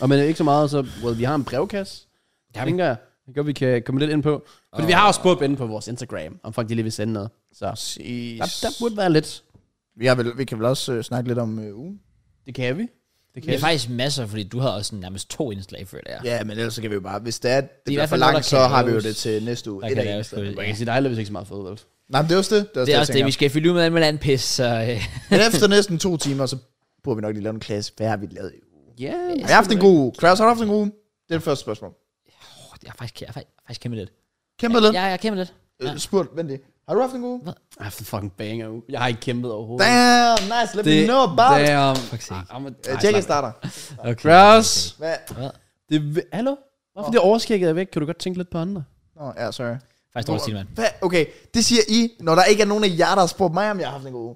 Speaker 2: Og men ikke så meget, så well, vi har en brevkasse. Det
Speaker 1: har vi.
Speaker 2: tænker jeg. Det gør, vi kan komme lidt ind på. Fordi vi har også spurgt inde på vores Instagram, om folk de lige vil sende noget. Så der, der burde være lidt.
Speaker 3: Vi, har vel, vi kan vel også øh, snakke lidt om øh, ugen.
Speaker 2: Det kan vi. Det kan
Speaker 1: Det er
Speaker 2: vi.
Speaker 1: faktisk masser, fordi du havde også sådan nærmest to indslag før det her.
Speaker 3: Ja, men ellers så kan vi jo bare, hvis det er, det, det
Speaker 1: i
Speaker 3: bliver
Speaker 1: hvert
Speaker 3: for
Speaker 1: fald noget,
Speaker 3: langt,
Speaker 1: der
Speaker 3: så
Speaker 1: kan
Speaker 3: har vi jo
Speaker 1: laves.
Speaker 3: det til næste uge.
Speaker 1: Der
Speaker 3: Et
Speaker 1: kan
Speaker 3: af
Speaker 1: laves
Speaker 3: eneste.
Speaker 1: på-
Speaker 2: Man kan sige, der er heldigvis ikke så meget fodbold.
Speaker 3: Nej, men det er også det. Det er også
Speaker 1: Det
Speaker 3: det,
Speaker 1: er
Speaker 3: jeg
Speaker 1: også det, vi
Speaker 3: tænker.
Speaker 1: skal fylde ud med alt muligt andet pis, så... øh,
Speaker 3: Men efter næsten to timer, så burde vi nok lige lave en klasse. Hvad har vi lavet i ugen?
Speaker 2: Ja. Yeah,
Speaker 3: Har jeg haft en god uge? Klaus, har du haft en god uge? Det er det første spørgsmål.
Speaker 1: Åh, jeg er faktisk, jeg er faktisk, jeg er faktisk kæmpe lidt.
Speaker 3: Kæmpe lidt.
Speaker 1: Ja, jeg er kæmpe lidt.
Speaker 3: øh, spurgt, vent lige, har du haft en god uge?
Speaker 2: Jeg har haft en fucking banger uge. Jeg har ikke kæmpet overhovedet.
Speaker 3: Damn, nice, let me know about it.
Speaker 2: Damn.
Speaker 1: sake.
Speaker 2: Ah, men- nej,
Speaker 3: Øh, Jackie
Speaker 2: slap af.
Speaker 3: starter.
Speaker 1: Okay.
Speaker 2: Kraus.
Speaker 3: Hvad?
Speaker 2: Det, vi- hallo? Hvorfor det overskægget er væk? Kan du godt tænke lidt på andre?
Speaker 3: Nå, ja, sorry.
Speaker 1: Faktisk dårlig stil, mand.
Speaker 3: Hvad? Okay, det siger I, når der ikke er nogen af jer, der har spurgt mig, om jeg har haft en god uge.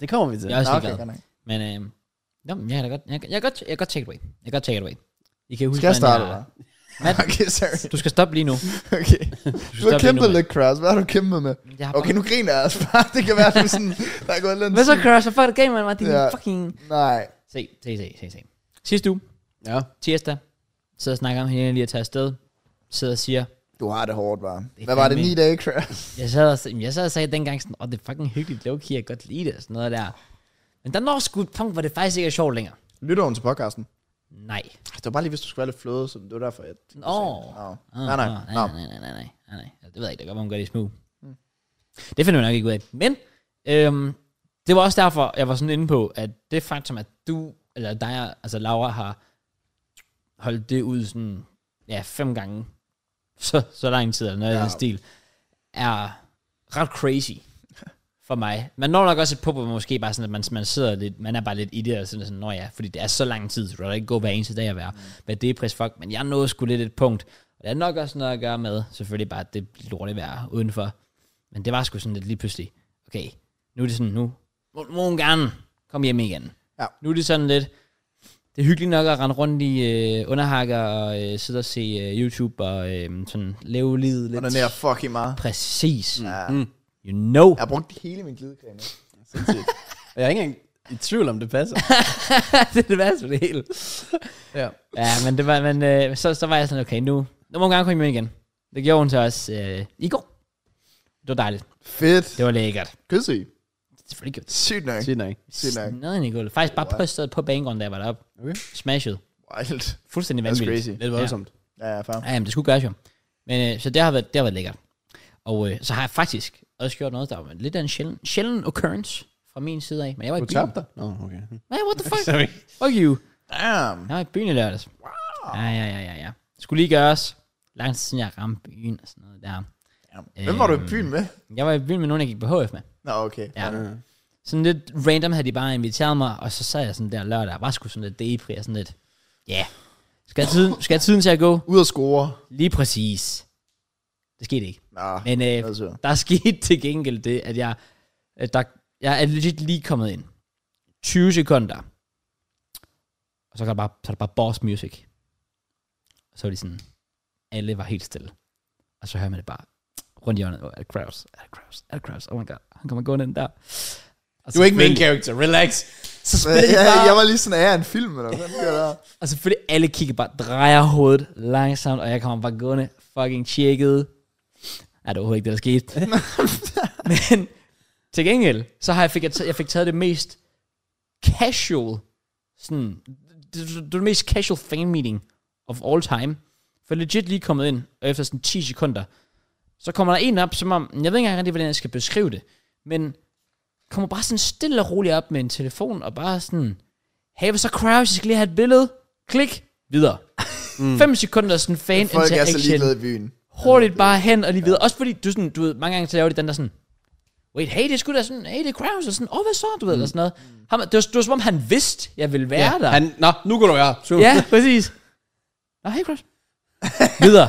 Speaker 2: Det kommer vi til.
Speaker 1: Jeg er også
Speaker 3: Nå,
Speaker 1: okay,
Speaker 3: godt
Speaker 1: glad.
Speaker 3: nok.
Speaker 1: Men øh, jo, men jeg kan da godt, jeg, kan- jeg, kan godt, jeg kan godt take it away. Jeg kan godt take it away. I kan huske,
Speaker 3: Skal jeg
Speaker 1: hvordan
Speaker 3: starte, eller?
Speaker 1: Matt,
Speaker 3: Okay, sorry.
Speaker 1: du skal stoppe lige nu.
Speaker 3: Okay.
Speaker 1: Du
Speaker 3: Du har
Speaker 1: stopper lige
Speaker 3: kæmpet
Speaker 1: nu,
Speaker 3: lidt, Kraus. Hvad har du kæmpet med?
Speaker 1: Jeg har
Speaker 3: Okay, nu griner jeg altså bare. Det kan være, at du sådan, der er gået lidt...
Speaker 1: Hvad så, Crush? Hvad fuck gav man mig? Din
Speaker 3: Ja.
Speaker 1: fucking...
Speaker 3: Nej.
Speaker 1: Se, se, se, se, se. Sidste uge,
Speaker 2: Ja.
Speaker 1: tirsdag, sidder og snakker om hende lige at tage afsted. Sidder og siger,
Speaker 3: Du har det hårdt, bare.
Speaker 1: er
Speaker 3: Hvad var det,
Speaker 1: fandme-
Speaker 3: ni dage, Kraus?
Speaker 1: jeg sad og, jamen, jeg sad og sagde dengang sådan, åh, oh, det er fucking hyggeligt, low-key, jeg kan godt lide det, og sådan noget der. Men der når sgu et punkt, hvor det faktisk ikke er sjovt længere.
Speaker 3: Lytter hun til podcasten?
Speaker 1: Nej.
Speaker 3: Det var bare lige, hvis du skulle være lidt fløde, så det var derfor, jeg...
Speaker 1: Åh. Oh.
Speaker 3: Nå.
Speaker 1: Ah,
Speaker 3: Nej, nej,
Speaker 1: ah, nej,
Speaker 3: nå.
Speaker 1: nej, nej, nej, nej, nej, nej. Det ved jeg ikke, det gør, hun gør det i smug. Det finder man nok ikke ud af. Men øhm, det var også derfor, jeg var sådan inde på, at det faktum, at du, eller dig, altså Laura, har holdt det ud sådan, ja, fem gange, så, så lang tid, eller noget ja. i
Speaker 3: Ja.
Speaker 1: den stil, er ret crazy for mig. Man når nok også et punkt, hvor man måske bare sådan, at man, man sidder lidt, man er bare lidt i det, og sådan, sådan, nå ja, fordi det er så lang tid, så du kan da ikke gå hver eneste dag at være, mm. være depres, fuck, men jeg nåede sgu lidt et punkt, og det er nok også noget at gøre med, selvfølgelig bare det lorte vejr udenfor, men det var sgu sådan lidt lige pludselig, okay, nu er det sådan, nu må, må hun gerne komme hjem igen.
Speaker 3: Ja.
Speaker 1: Nu er det sådan lidt, det er hyggeligt nok at rende rundt i øh, underhakker og øh, sidde og se øh, YouTube og øh, sådan leve livet lidt.
Speaker 3: Og den der fucking meget.
Speaker 1: Præcis.
Speaker 3: Ja.
Speaker 1: You know.
Speaker 3: Jeg har brugt hele min glidecreme.
Speaker 2: Sindssygt. Og jeg er ikke engang i tvivl om, det passer.
Speaker 1: det er det værste ved det hele.
Speaker 2: ja.
Speaker 1: Ja, men, det var, men øh, så, så var jeg sådan, okay, nu, nu må hun gerne komme hjem igen. Det gjorde hun til os øh, i går. Det var dejligt.
Speaker 3: Fedt.
Speaker 1: Det var lækkert.
Speaker 3: Kysse i.
Speaker 1: Selvfølgelig gjorde
Speaker 3: Sygt nok.
Speaker 2: Sygt nok.
Speaker 3: Sygt nok.
Speaker 1: det noget i gulvet. Faktisk bare på stedet på banegården, da jeg var deroppe.
Speaker 2: Okay.
Speaker 1: Smashed.
Speaker 3: Wild.
Speaker 1: Fuldstændig
Speaker 3: That's
Speaker 1: vanvittigt.
Speaker 3: crazy.
Speaker 2: Lidt voldsomt.
Speaker 3: Ja, ja, fair.
Speaker 1: Ja, jamen, det skulle gøres jo. Men øh, så det har, været, det har været lækkert. Og øh, så har jeg faktisk også gjort noget, der var lidt af en sjælden, sjælden occurrence fra min side af. Men jeg var i
Speaker 2: Du
Speaker 1: byen.
Speaker 2: tabte dig? Nå, okay.
Speaker 1: Nej, what the fuck?
Speaker 2: Sorry.
Speaker 1: Fuck you.
Speaker 3: Damn.
Speaker 1: Jeg var i byen i lørdags. Wow. Ja, ja, ja, ja, ja. Skulle lige gøres. Lang tid siden jeg ramte byen og sådan noget der.
Speaker 3: Damn. Hvem var du i byen med?
Speaker 1: Jeg var i byen med nogen, jeg gik på HF med.
Speaker 3: Nå, okay.
Speaker 1: Ja. Sådan lidt random havde de bare inviteret mig, og så sad jeg sådan der lørdag, og var sgu sådan lidt depri og sådan lidt, ja, yeah. skal, tiden, skal tiden til at gå?
Speaker 3: Ud at score.
Speaker 1: Lige præcis. Det skete ikke.
Speaker 3: Nå,
Speaker 1: Men øh,
Speaker 3: altså.
Speaker 1: der skete til gengæld det, at jeg, at der, jeg er legit lige kommet ind. 20 sekunder. Og så er der bare, så er der bare boss music. Og så var de sådan, alle var helt stille. Og så hører man det bare rundt i hjørnet. Oh, er det Kraus? Er det Kraus? Er det Kraus? Oh my god, han kommer gående ind der. Og
Speaker 2: Du er ikke main character, relax.
Speaker 1: Så
Speaker 3: Men,
Speaker 1: spiller de
Speaker 3: ja,
Speaker 1: bare,
Speaker 3: jeg var lige sådan, er jeg en film, eller hvad fanden gør der?
Speaker 1: og selvfølgelig alle kigger bare, drejer hovedet langsomt, og jeg kommer bare gående, fucking tjekket. Nej, det var overhovedet ikke det, der skete. Men til gengæld, så har jeg fik, jeg, ta- jeg fik taget det mest casual, sådan, det, det, det, det mest casual fan meeting of all time. For legit lige kommet ind, og efter sådan 10 sekunder, så kommer der en op, som om, jeg ved ikke engang rigtig, hvordan jeg skal beskrive det, men kommer bare sådan stille og roligt op med en telefon, og bare sådan, hey, hvad så Kraus, jeg skal lige have et billede, klik, videre. 5 sekunder sådan fan
Speaker 3: Folk er så
Speaker 1: interaction
Speaker 3: ligeglade i byen.
Speaker 1: hurtigt bare hen og lige videre. Også fordi, du, sådan, du ved, mange gange så laver de den der sådan, wait, hey, det er sgu da sådan, hey, det er Kraus, og sådan, åh, oh, hvad så, du ved, mm. eller sådan noget. Ham, det, var, det var som om, han vidste, jeg ville være der.
Speaker 2: Han, nå, nu går du være. Super.
Speaker 1: Ja, præcis. Nå, hey, Kraus. videre.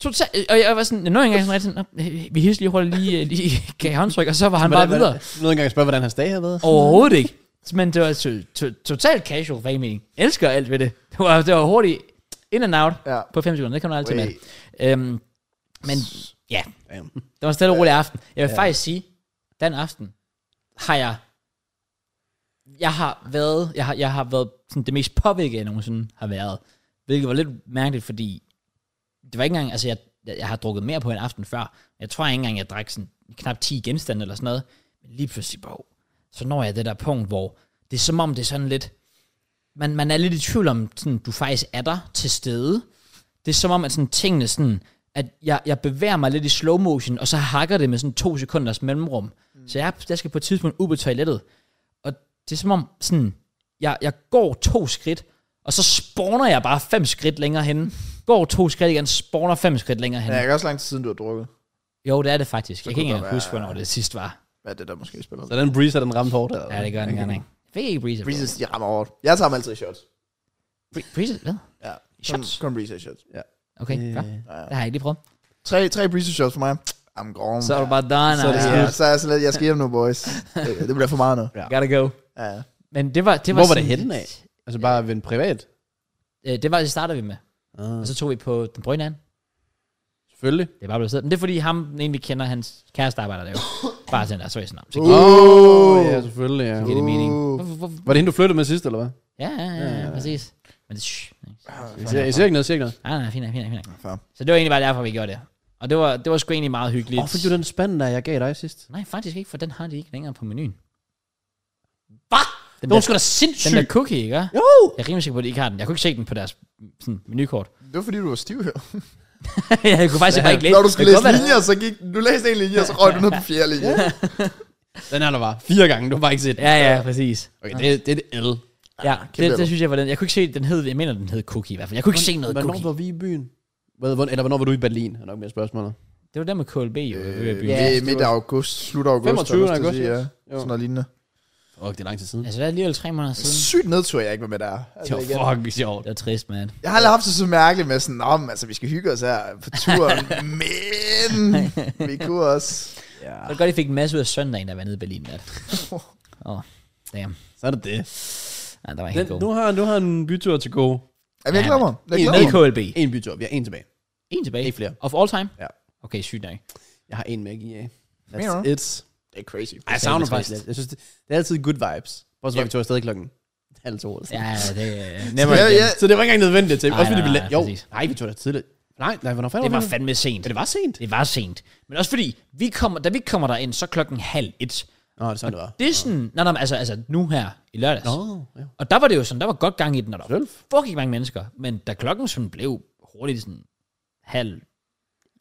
Speaker 1: Total, og jeg var sådan, jeg nåede ikke engang sådan rigtig sådan, "Nå, vi hilste lige hurtigt lige, øh, lige gav håndtryk, og så var han bare videre.
Speaker 2: Nu engang spørge, hvordan hans dag har været.
Speaker 1: Overhovedet ikke. Men det var to, to, totalt casual fan meeting. Elsker alt ved det. Det var, det var hurtigt in and out
Speaker 3: Ja.
Speaker 1: ja. på 5 sekunder. Det kan man altid med.
Speaker 3: Wait.
Speaker 1: Øhm, men ja,
Speaker 2: Damn.
Speaker 1: det var en stille og rolig aften. Jeg vil ja. faktisk sige, den aften har jeg... Jeg har været, jeg har, jeg har været sådan det mest påvirket, jeg nogensinde har været. Hvilket var lidt mærkeligt, fordi det var ikke engang, altså jeg, jeg, jeg har drukket mere på en aften før. Jeg tror ikke engang, jeg drak sådan knap 10 genstande eller sådan noget. Men lige pludselig, bro, så når jeg det der punkt, hvor det er som om, det er sådan lidt, man, man er lidt i tvivl om, sådan, du faktisk er der til stede. Det er som om, at sådan tingene sådan, at jeg, jeg bevæger mig lidt i slow motion, og så hakker det med sådan to sekunders mellemrum. Mm. Så jeg, jeg skal på et tidspunkt ud på toilettet, og det er som om, sådan, jeg, jeg går to skridt, og så spawner jeg bare fem skridt længere hen. Går to skridt igen, spawner fem skridt længere hen.
Speaker 3: Ja, jeg er også lang tid siden, du har drukket.
Speaker 1: Jo, det er det faktisk. Jeg kan
Speaker 3: kunne
Speaker 1: ikke
Speaker 3: det
Speaker 1: engang
Speaker 3: godt
Speaker 1: huske,
Speaker 3: være-
Speaker 1: hvornår det sidste var.
Speaker 3: Hvad er det, der måske spiller?
Speaker 2: Så den breezer, den ramte hårdt.
Speaker 1: Ja, det gør den gerne, ikke? Jeg fik ikke Breezer.
Speaker 3: Breezes, de rammer over. Jeg tager dem altid i shots.
Speaker 1: Bre- Breezer, hvad?
Speaker 3: Ja.
Speaker 1: Shots?
Speaker 3: Kun, kun Breezer i shots. Ja.
Speaker 1: Okay,
Speaker 2: Øh,
Speaker 1: godt. Det har jeg ikke lige prøvet.
Speaker 3: Tre, tre Breezer shots for mig. I'm gone.
Speaker 1: Så er du bare done.
Speaker 2: Så er det
Speaker 1: altså.
Speaker 3: ja, så er jeg, slet, jeg skal hjem nu, boys. Det, det bliver for meget nu.
Speaker 1: Gotta go.
Speaker 3: Ja.
Speaker 1: Men det var, det var
Speaker 2: Hvor var det
Speaker 1: sådan-
Speaker 2: henne af? Altså bare ved en privat?
Speaker 1: Øh, Det var, det startede vi med.
Speaker 2: Ah.
Speaker 1: Og så tog vi på den brøgne anden.
Speaker 2: Selvfølgelig.
Speaker 1: Det er bare blevet siddet. Men det er fordi, ham den ene, vi kender, hans kæreste arbejder der jo. Bare sådan der, så er jeg sådan, "Nå, så
Speaker 2: Åh,
Speaker 1: giver
Speaker 2: oh, ja, selvfølgelig, ja.
Speaker 1: giver det mening.
Speaker 3: Uh.
Speaker 1: Hvorfor- hvorfor-
Speaker 2: Var det hende, du flyttede med sidst, eller hvad?
Speaker 1: Ja, ja, ja, ja, præcis. Men det, shh,
Speaker 2: Jeg siger, jeg siger ikke noget, jeg siger ikke noget.
Speaker 1: nej, nej, nej, fint, nok, fint, nok, fint. nok.
Speaker 3: Fair.
Speaker 1: Så det var egentlig bare derfor, vi gjorde det. Og det var, det var sgu egentlig meget hyggeligt.
Speaker 2: Åh, oh, fik du den spand, der jeg gav dig sidst?
Speaker 1: Nej, faktisk ikke, for den har de ikke længere på menuen.
Speaker 2: Hvad?
Speaker 1: Den,
Speaker 2: Det
Speaker 1: der,
Speaker 2: var sgu da
Speaker 1: den
Speaker 2: sindssygt.
Speaker 1: der cookie, ikke?
Speaker 2: Jo!
Speaker 1: Jeg er rimelig sikker på, at de ikke har den. Jeg kunne ikke se den på deres sådan, menukort.
Speaker 3: Det var fordi, du var stiv her.
Speaker 1: jeg kunne faktisk bare ikke læse.
Speaker 3: Når du skulle
Speaker 1: Det
Speaker 3: læse
Speaker 1: kunne godt være,
Speaker 3: linjer, så gik, du læste en linje, og så røg du ned på fjerde linje.
Speaker 2: Den har du bare fire gange, du har bare ikke set
Speaker 1: det- Ja, ja, præcis.
Speaker 2: Okay, det, det er det L.
Speaker 1: Ja,
Speaker 3: kæmpe
Speaker 1: det, det, synes jeg var den. Jeg kunne ikke se, den hed, jeg mener, den hed Cookie i hvert fald. Jeg kunne ikke se noget
Speaker 2: Hvornår
Speaker 1: Cookie.
Speaker 2: var vi i byen? Hvad, hvor, eller hvornår var du i Berlin? Er nok mere spørgsmålet.
Speaker 1: Det var der med KLB, jo. Øh,
Speaker 3: Ja,
Speaker 1: ja.
Speaker 3: midt, midt af august, slut af august.
Speaker 2: 25.
Speaker 3: har jeg lyst til at
Speaker 2: august,
Speaker 3: sige,
Speaker 2: ja.
Speaker 3: ja. Sådan noget lignende.
Speaker 2: Åh, det er lang tid siden.
Speaker 1: Altså, det er alligevel tre måneder siden.
Speaker 3: Sygt nedtur, jeg ikke var med der.
Speaker 1: Det var fucking sjovt. Det var trist, mand.
Speaker 3: Altså, Jeg har aldrig haft det så mærkeligt med sådan, om altså, vi skal hygge os her på turen, men vi kunne også.
Speaker 2: Ja.
Speaker 1: Det var godt, jeg fik en masse ud af søndagen, der var nede i Berlin. Der. Åh, oh, damn.
Speaker 2: Så er det det.
Speaker 1: Nej, der var
Speaker 2: Den,
Speaker 1: helt god.
Speaker 2: nu, har, nu har en bytur til gode.
Speaker 3: Jamen, jeg glæder mig. Jeg
Speaker 1: En
Speaker 3: glæder
Speaker 1: med
Speaker 3: mig.
Speaker 1: KLB.
Speaker 2: En bytur. Vi har en tilbage.
Speaker 1: En tilbage.
Speaker 2: Ikke flere.
Speaker 1: Of all time?
Speaker 2: Ja.
Speaker 1: Okay, sygt nok.
Speaker 2: Jeg har en med at give af.
Speaker 3: Mener
Speaker 2: That's
Speaker 3: du?
Speaker 2: it.
Speaker 3: Det er crazy.
Speaker 2: Ej, jeg savner faktisk lidt. Jeg synes, det, det er altid good vibes. Også når vi tog afsted klokken halv to. eller sådan.
Speaker 1: Ja, det er
Speaker 3: Ja,
Speaker 1: never
Speaker 3: ja,
Speaker 1: again.
Speaker 3: ja.
Speaker 2: Så det var ikke engang nødvendigt til.
Speaker 1: Nej,
Speaker 2: Også fordi
Speaker 1: nej,
Speaker 2: vi
Speaker 1: nej,
Speaker 2: la- Jo,
Speaker 1: præcis.
Speaker 2: nej, vi tog da tidligt. Nej, nej, hvornår fanden
Speaker 1: Det var
Speaker 2: vi-
Speaker 1: fandme sent.
Speaker 2: Ja, det var sent.
Speaker 1: Det var sent. Men også fordi, vi kommer, da vi kommer derind, så klokken halv et.
Speaker 2: Nå, det er sådan, det var.
Speaker 1: Det er sådan, nej, nej, men altså, altså nu her i lørdags.
Speaker 2: Nå, ja.
Speaker 1: Og der var det jo sådan, der var godt gang i den, og der var
Speaker 2: Selvfølgelig.
Speaker 1: fucking mange mennesker. Men da klokken sådan blev hurtigt sådan halv,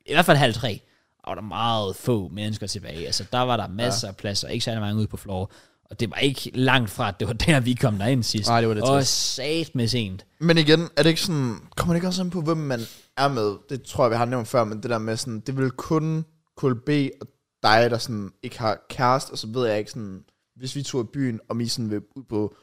Speaker 1: i hvert fald halv tre, og der var meget få mennesker tilbage. Altså, der var der masser af plads, og ikke særlig mange ude på floor. Og det var ikke langt fra, at det var der, vi kom derind sidst.
Speaker 2: Nej, det var lidt
Speaker 1: Og
Speaker 2: trist.
Speaker 1: sat med sent.
Speaker 3: Men igen, er det ikke sådan, kommer det ikke også an på, hvem man er med? Det tror jeg, vi har nævnt før, men det der med sådan, det vil kun KLB og dig, der sådan ikke har kæreste, og så ved jeg ikke sådan, hvis vi tog i byen, og I sådan vil ud på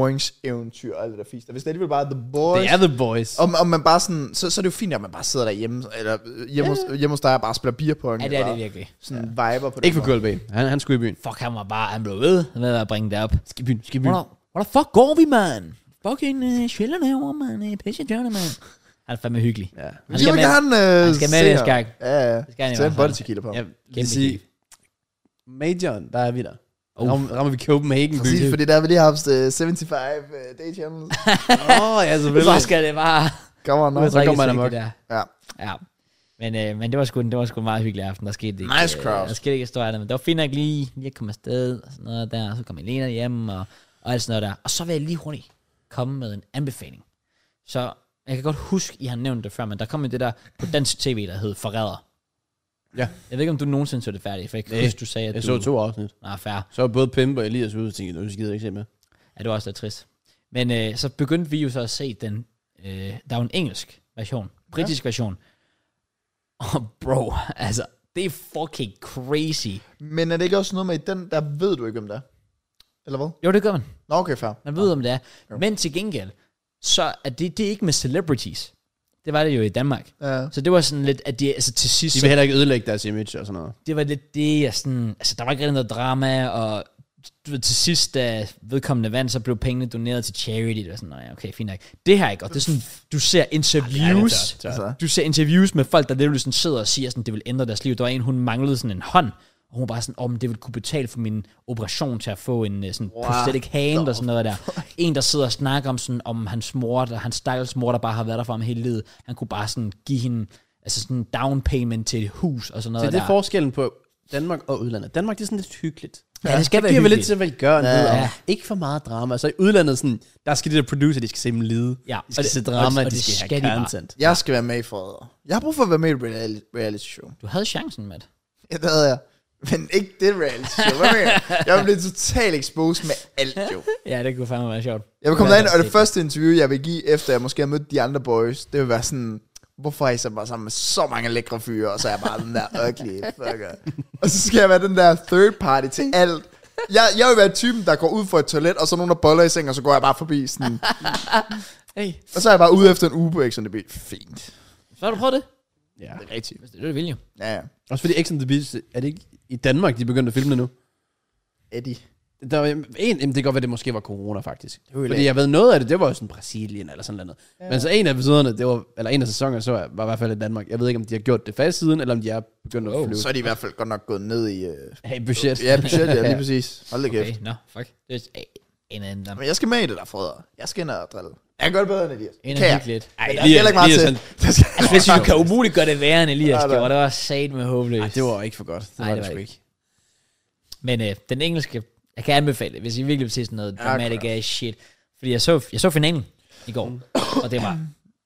Speaker 3: scoringseventyr og alt det der fisk. Hvis det alligevel bare er The Boys,
Speaker 2: Det er The Boys.
Speaker 3: Om, om man bare sådan, så, så er det jo fint, at man bare sidder derhjemme, eller øh, hjemme, hos, hjemme hos dig og bare spiller beerpong,
Speaker 1: Ja, det er det
Speaker 3: eller
Speaker 1: virkelig.
Speaker 3: sådan viber på det.
Speaker 2: Ikke for KLB. Han, han skulle i byen.
Speaker 1: Fuck, han var bare, han blev ved med at bringe det op.
Speaker 2: Skal i byen, skal i byen.
Speaker 1: Hvor, hvor the fuck går vi, mand? Fucking uh, sjældent herovre, mand. Uh, Pisse dørene, mand. Han er fandme hyggelig.
Speaker 2: Ja.
Speaker 1: Han
Speaker 3: Jeg
Speaker 1: skal
Speaker 3: vil
Speaker 1: med.
Speaker 3: gerne øh,
Speaker 1: han skal med
Speaker 3: se
Speaker 1: næste
Speaker 3: jer.
Speaker 1: gang.
Speaker 3: Ja, ja.
Speaker 1: skal han i
Speaker 3: Tag
Speaker 1: hvert
Speaker 3: en
Speaker 1: fald.
Speaker 3: body tequila på.
Speaker 2: Jeg
Speaker 3: Ja,
Speaker 2: vil
Speaker 1: Kæmpe
Speaker 2: sige,
Speaker 1: kæft.
Speaker 2: majoren, der er vi der.
Speaker 1: Uh.
Speaker 2: Rammer, rammer vi Copenhagen by.
Speaker 3: Præcis, fordi der har vi lige haft øh, 75 øh, day channels.
Speaker 2: Åh, ja,
Speaker 1: Så
Speaker 2: selvfølgelig.
Speaker 1: skal det bare
Speaker 3: Kom on, no.
Speaker 2: Så
Speaker 1: drikkes
Speaker 2: kommer han
Speaker 1: ikke,
Speaker 2: amok.
Speaker 1: det der.
Speaker 3: Ja.
Speaker 1: Ja. Men, øh, men det var sgu, det var sgu en meget hyggelig aften. Der skete ikke,
Speaker 3: Nice crowd.
Speaker 1: Øh, der skete ikke stort andet, men det var fint nok lige, lige at komme afsted og sådan noget der. Og så kom Elena hjem og, og alt sådan noget der. Og så vil jeg lige hurtigt komme med en anbefaling. Så jeg kan godt huske, I har nævnt det før, men der kom jo det der på dansk tv, der hed Forræder.
Speaker 2: Ja.
Speaker 1: Jeg ved ikke, om du nogensinde så det færdigt, for jeg kan
Speaker 2: Nej,
Speaker 1: huske, du sagde, at
Speaker 2: Jeg
Speaker 1: du...
Speaker 2: så to afsnit.
Speaker 1: Nej, fair.
Speaker 2: Så var både Pimp og Elias ude og tænkte, nu skider jeg ikke se med.
Speaker 1: Ja, det var også lidt trist. Men øh, så begyndte vi jo så at se den, øh, der er jo en engelsk version, britisk ja. version. Og bro, altså, det er fucking crazy.
Speaker 3: Men er det ikke også noget med, i den der ved du ikke, hvem det er? Eller hvad?
Speaker 1: Jo, det gør man.
Speaker 3: Nå, okay, fair.
Speaker 1: Man ved, om det er. Men til gengæld, så er det, det er ikke med celebrities. Det var det jo i Danmark.
Speaker 3: Ja.
Speaker 1: Så det var sådan lidt, at de, altså til sidst,
Speaker 2: De
Speaker 1: så
Speaker 2: vil heller ikke ødelægge deres image og sådan noget.
Speaker 1: det var lidt det, jeg sådan, altså der var ikke rigtig noget drama, og du ved, til sidst, da vedkommende vandt, så blev pengene doneret til charity, det var sådan, nej, okay, fint nok. Det her ikke, og det er sådan, du ser interviews,
Speaker 2: tørt,
Speaker 3: tørt.
Speaker 1: du ser interviews med folk, der lidt sådan sidder og siger sådan, det vil ændre deres liv. Der var en, hun manglede sådan en hånd, og hun var bare sådan, om det vil kunne betale for min operation til at få en øh, sådan wow. prosthetic hand og sådan noget der. En, der sidder og snakker om sådan, om hans mor, der, hans stakkels mor, der bare har været der for ham hele livet. Han kunne bare sådan give hende, altså sådan en down payment til et hus og sådan
Speaker 2: Så
Speaker 1: noget
Speaker 2: det er
Speaker 1: der.
Speaker 2: forskellen på Danmark og udlandet. Danmark det er sådan lidt hyggeligt.
Speaker 1: Ja, det skal
Speaker 2: Det
Speaker 1: være
Speaker 2: giver vel lidt
Speaker 1: hyggeligt.
Speaker 2: til velgørenhed,
Speaker 1: Ja.
Speaker 2: ja. ikke for meget drama. Så i udlandet, sådan, der skal de der producer, de skal se dem lide.
Speaker 1: Ja,
Speaker 2: De skal
Speaker 1: og det-
Speaker 2: se
Speaker 1: og
Speaker 2: drama,
Speaker 1: det-
Speaker 2: og
Speaker 1: og
Speaker 2: de
Speaker 1: det
Speaker 2: skal,
Speaker 1: skal de
Speaker 2: have
Speaker 1: bare.
Speaker 2: content.
Speaker 3: Jeg skal være med i forræder. Jeg har brug for at være med i et reali- reality show.
Speaker 1: Du havde chancen, Matt.
Speaker 3: Ja, det havde jeg. Men ikke det reality show. Hvad mener jeg? Jeg blev totalt exposed med alt, jo.
Speaker 1: Ja, det kunne fandme være sjovt.
Speaker 3: Jeg vil komme
Speaker 1: Hvad er
Speaker 3: derind,
Speaker 1: der
Speaker 3: og det
Speaker 1: sikkert?
Speaker 3: første interview, jeg vil give, efter jeg måske har mødt de andre boys, det vil være sådan, hvorfor er I så bare sammen med så mange lækre fyre, og så er jeg bare den der ugly fucker. Og så skal jeg være den der third party til alt. Jeg, jeg vil være typen, der går ud for et toilet, og så er nogen, der boller i seng, og så går jeg bare forbi sådan.
Speaker 2: Hey.
Speaker 3: Og så er jeg bare ude efter en uge på X on the Beach. Fint.
Speaker 1: Så har du prøvet det?
Speaker 2: Ja.
Speaker 3: Det er rigtigt.
Speaker 1: Det er det, vil jo.
Speaker 3: Ja, ja.
Speaker 2: Også fordi X on the Beach, er det ikke i Danmark, de er begyndt at filme det nu?
Speaker 3: Eddie.
Speaker 2: Der var en, jamen, det kan godt være, det måske var corona, faktisk.
Speaker 3: var i
Speaker 2: Fordi
Speaker 3: lag.
Speaker 2: jeg ved, noget af det, det var jo sådan Brasilien eller sådan noget. Ja. Men så en af episoderne, det var, eller en af sæsonerne, så jeg, var i hvert fald i Danmark. Jeg ved ikke, om de har gjort det fast siden, eller om de er begyndt at
Speaker 1: Wow.
Speaker 2: flyve.
Speaker 3: Så er de i hvert fald godt nok gået ned i... Øh,
Speaker 2: Hey, budget.
Speaker 3: ja, budget, ja, lige
Speaker 2: Ja.
Speaker 3: præcis. Hold da kæft.
Speaker 1: Okay, nå, fuck. Det er a- en anden der.
Speaker 3: Men jeg skal med i det der, Frederik. Jeg skal ind og drille. Jeg kan godt bedre end Elias.
Speaker 1: En
Speaker 3: Kan jeg?
Speaker 1: anden lidt.
Speaker 3: Ej,
Speaker 2: Ej,
Speaker 3: der er heller ikke meget
Speaker 2: Elias,
Speaker 3: til. Der skal...
Speaker 1: Altså, hvis du kan umuligt gøre det værre end Elias
Speaker 3: Ja, da.
Speaker 1: gjorde, det var sat med håbløst.
Speaker 2: Ej, det var ikke for godt. Det
Speaker 1: Ej,
Speaker 2: var Ej,
Speaker 1: det
Speaker 2: det,
Speaker 1: var
Speaker 2: sgu
Speaker 1: ikke.
Speaker 2: ikke.
Speaker 1: Men øh, den engelske, jeg kan anbefale det, hvis I virkelig vil se sådan noget
Speaker 3: Ja,
Speaker 1: dramatic ass shit. Fordi jeg så, jeg så finalen i går,
Speaker 2: Mm.
Speaker 1: og det var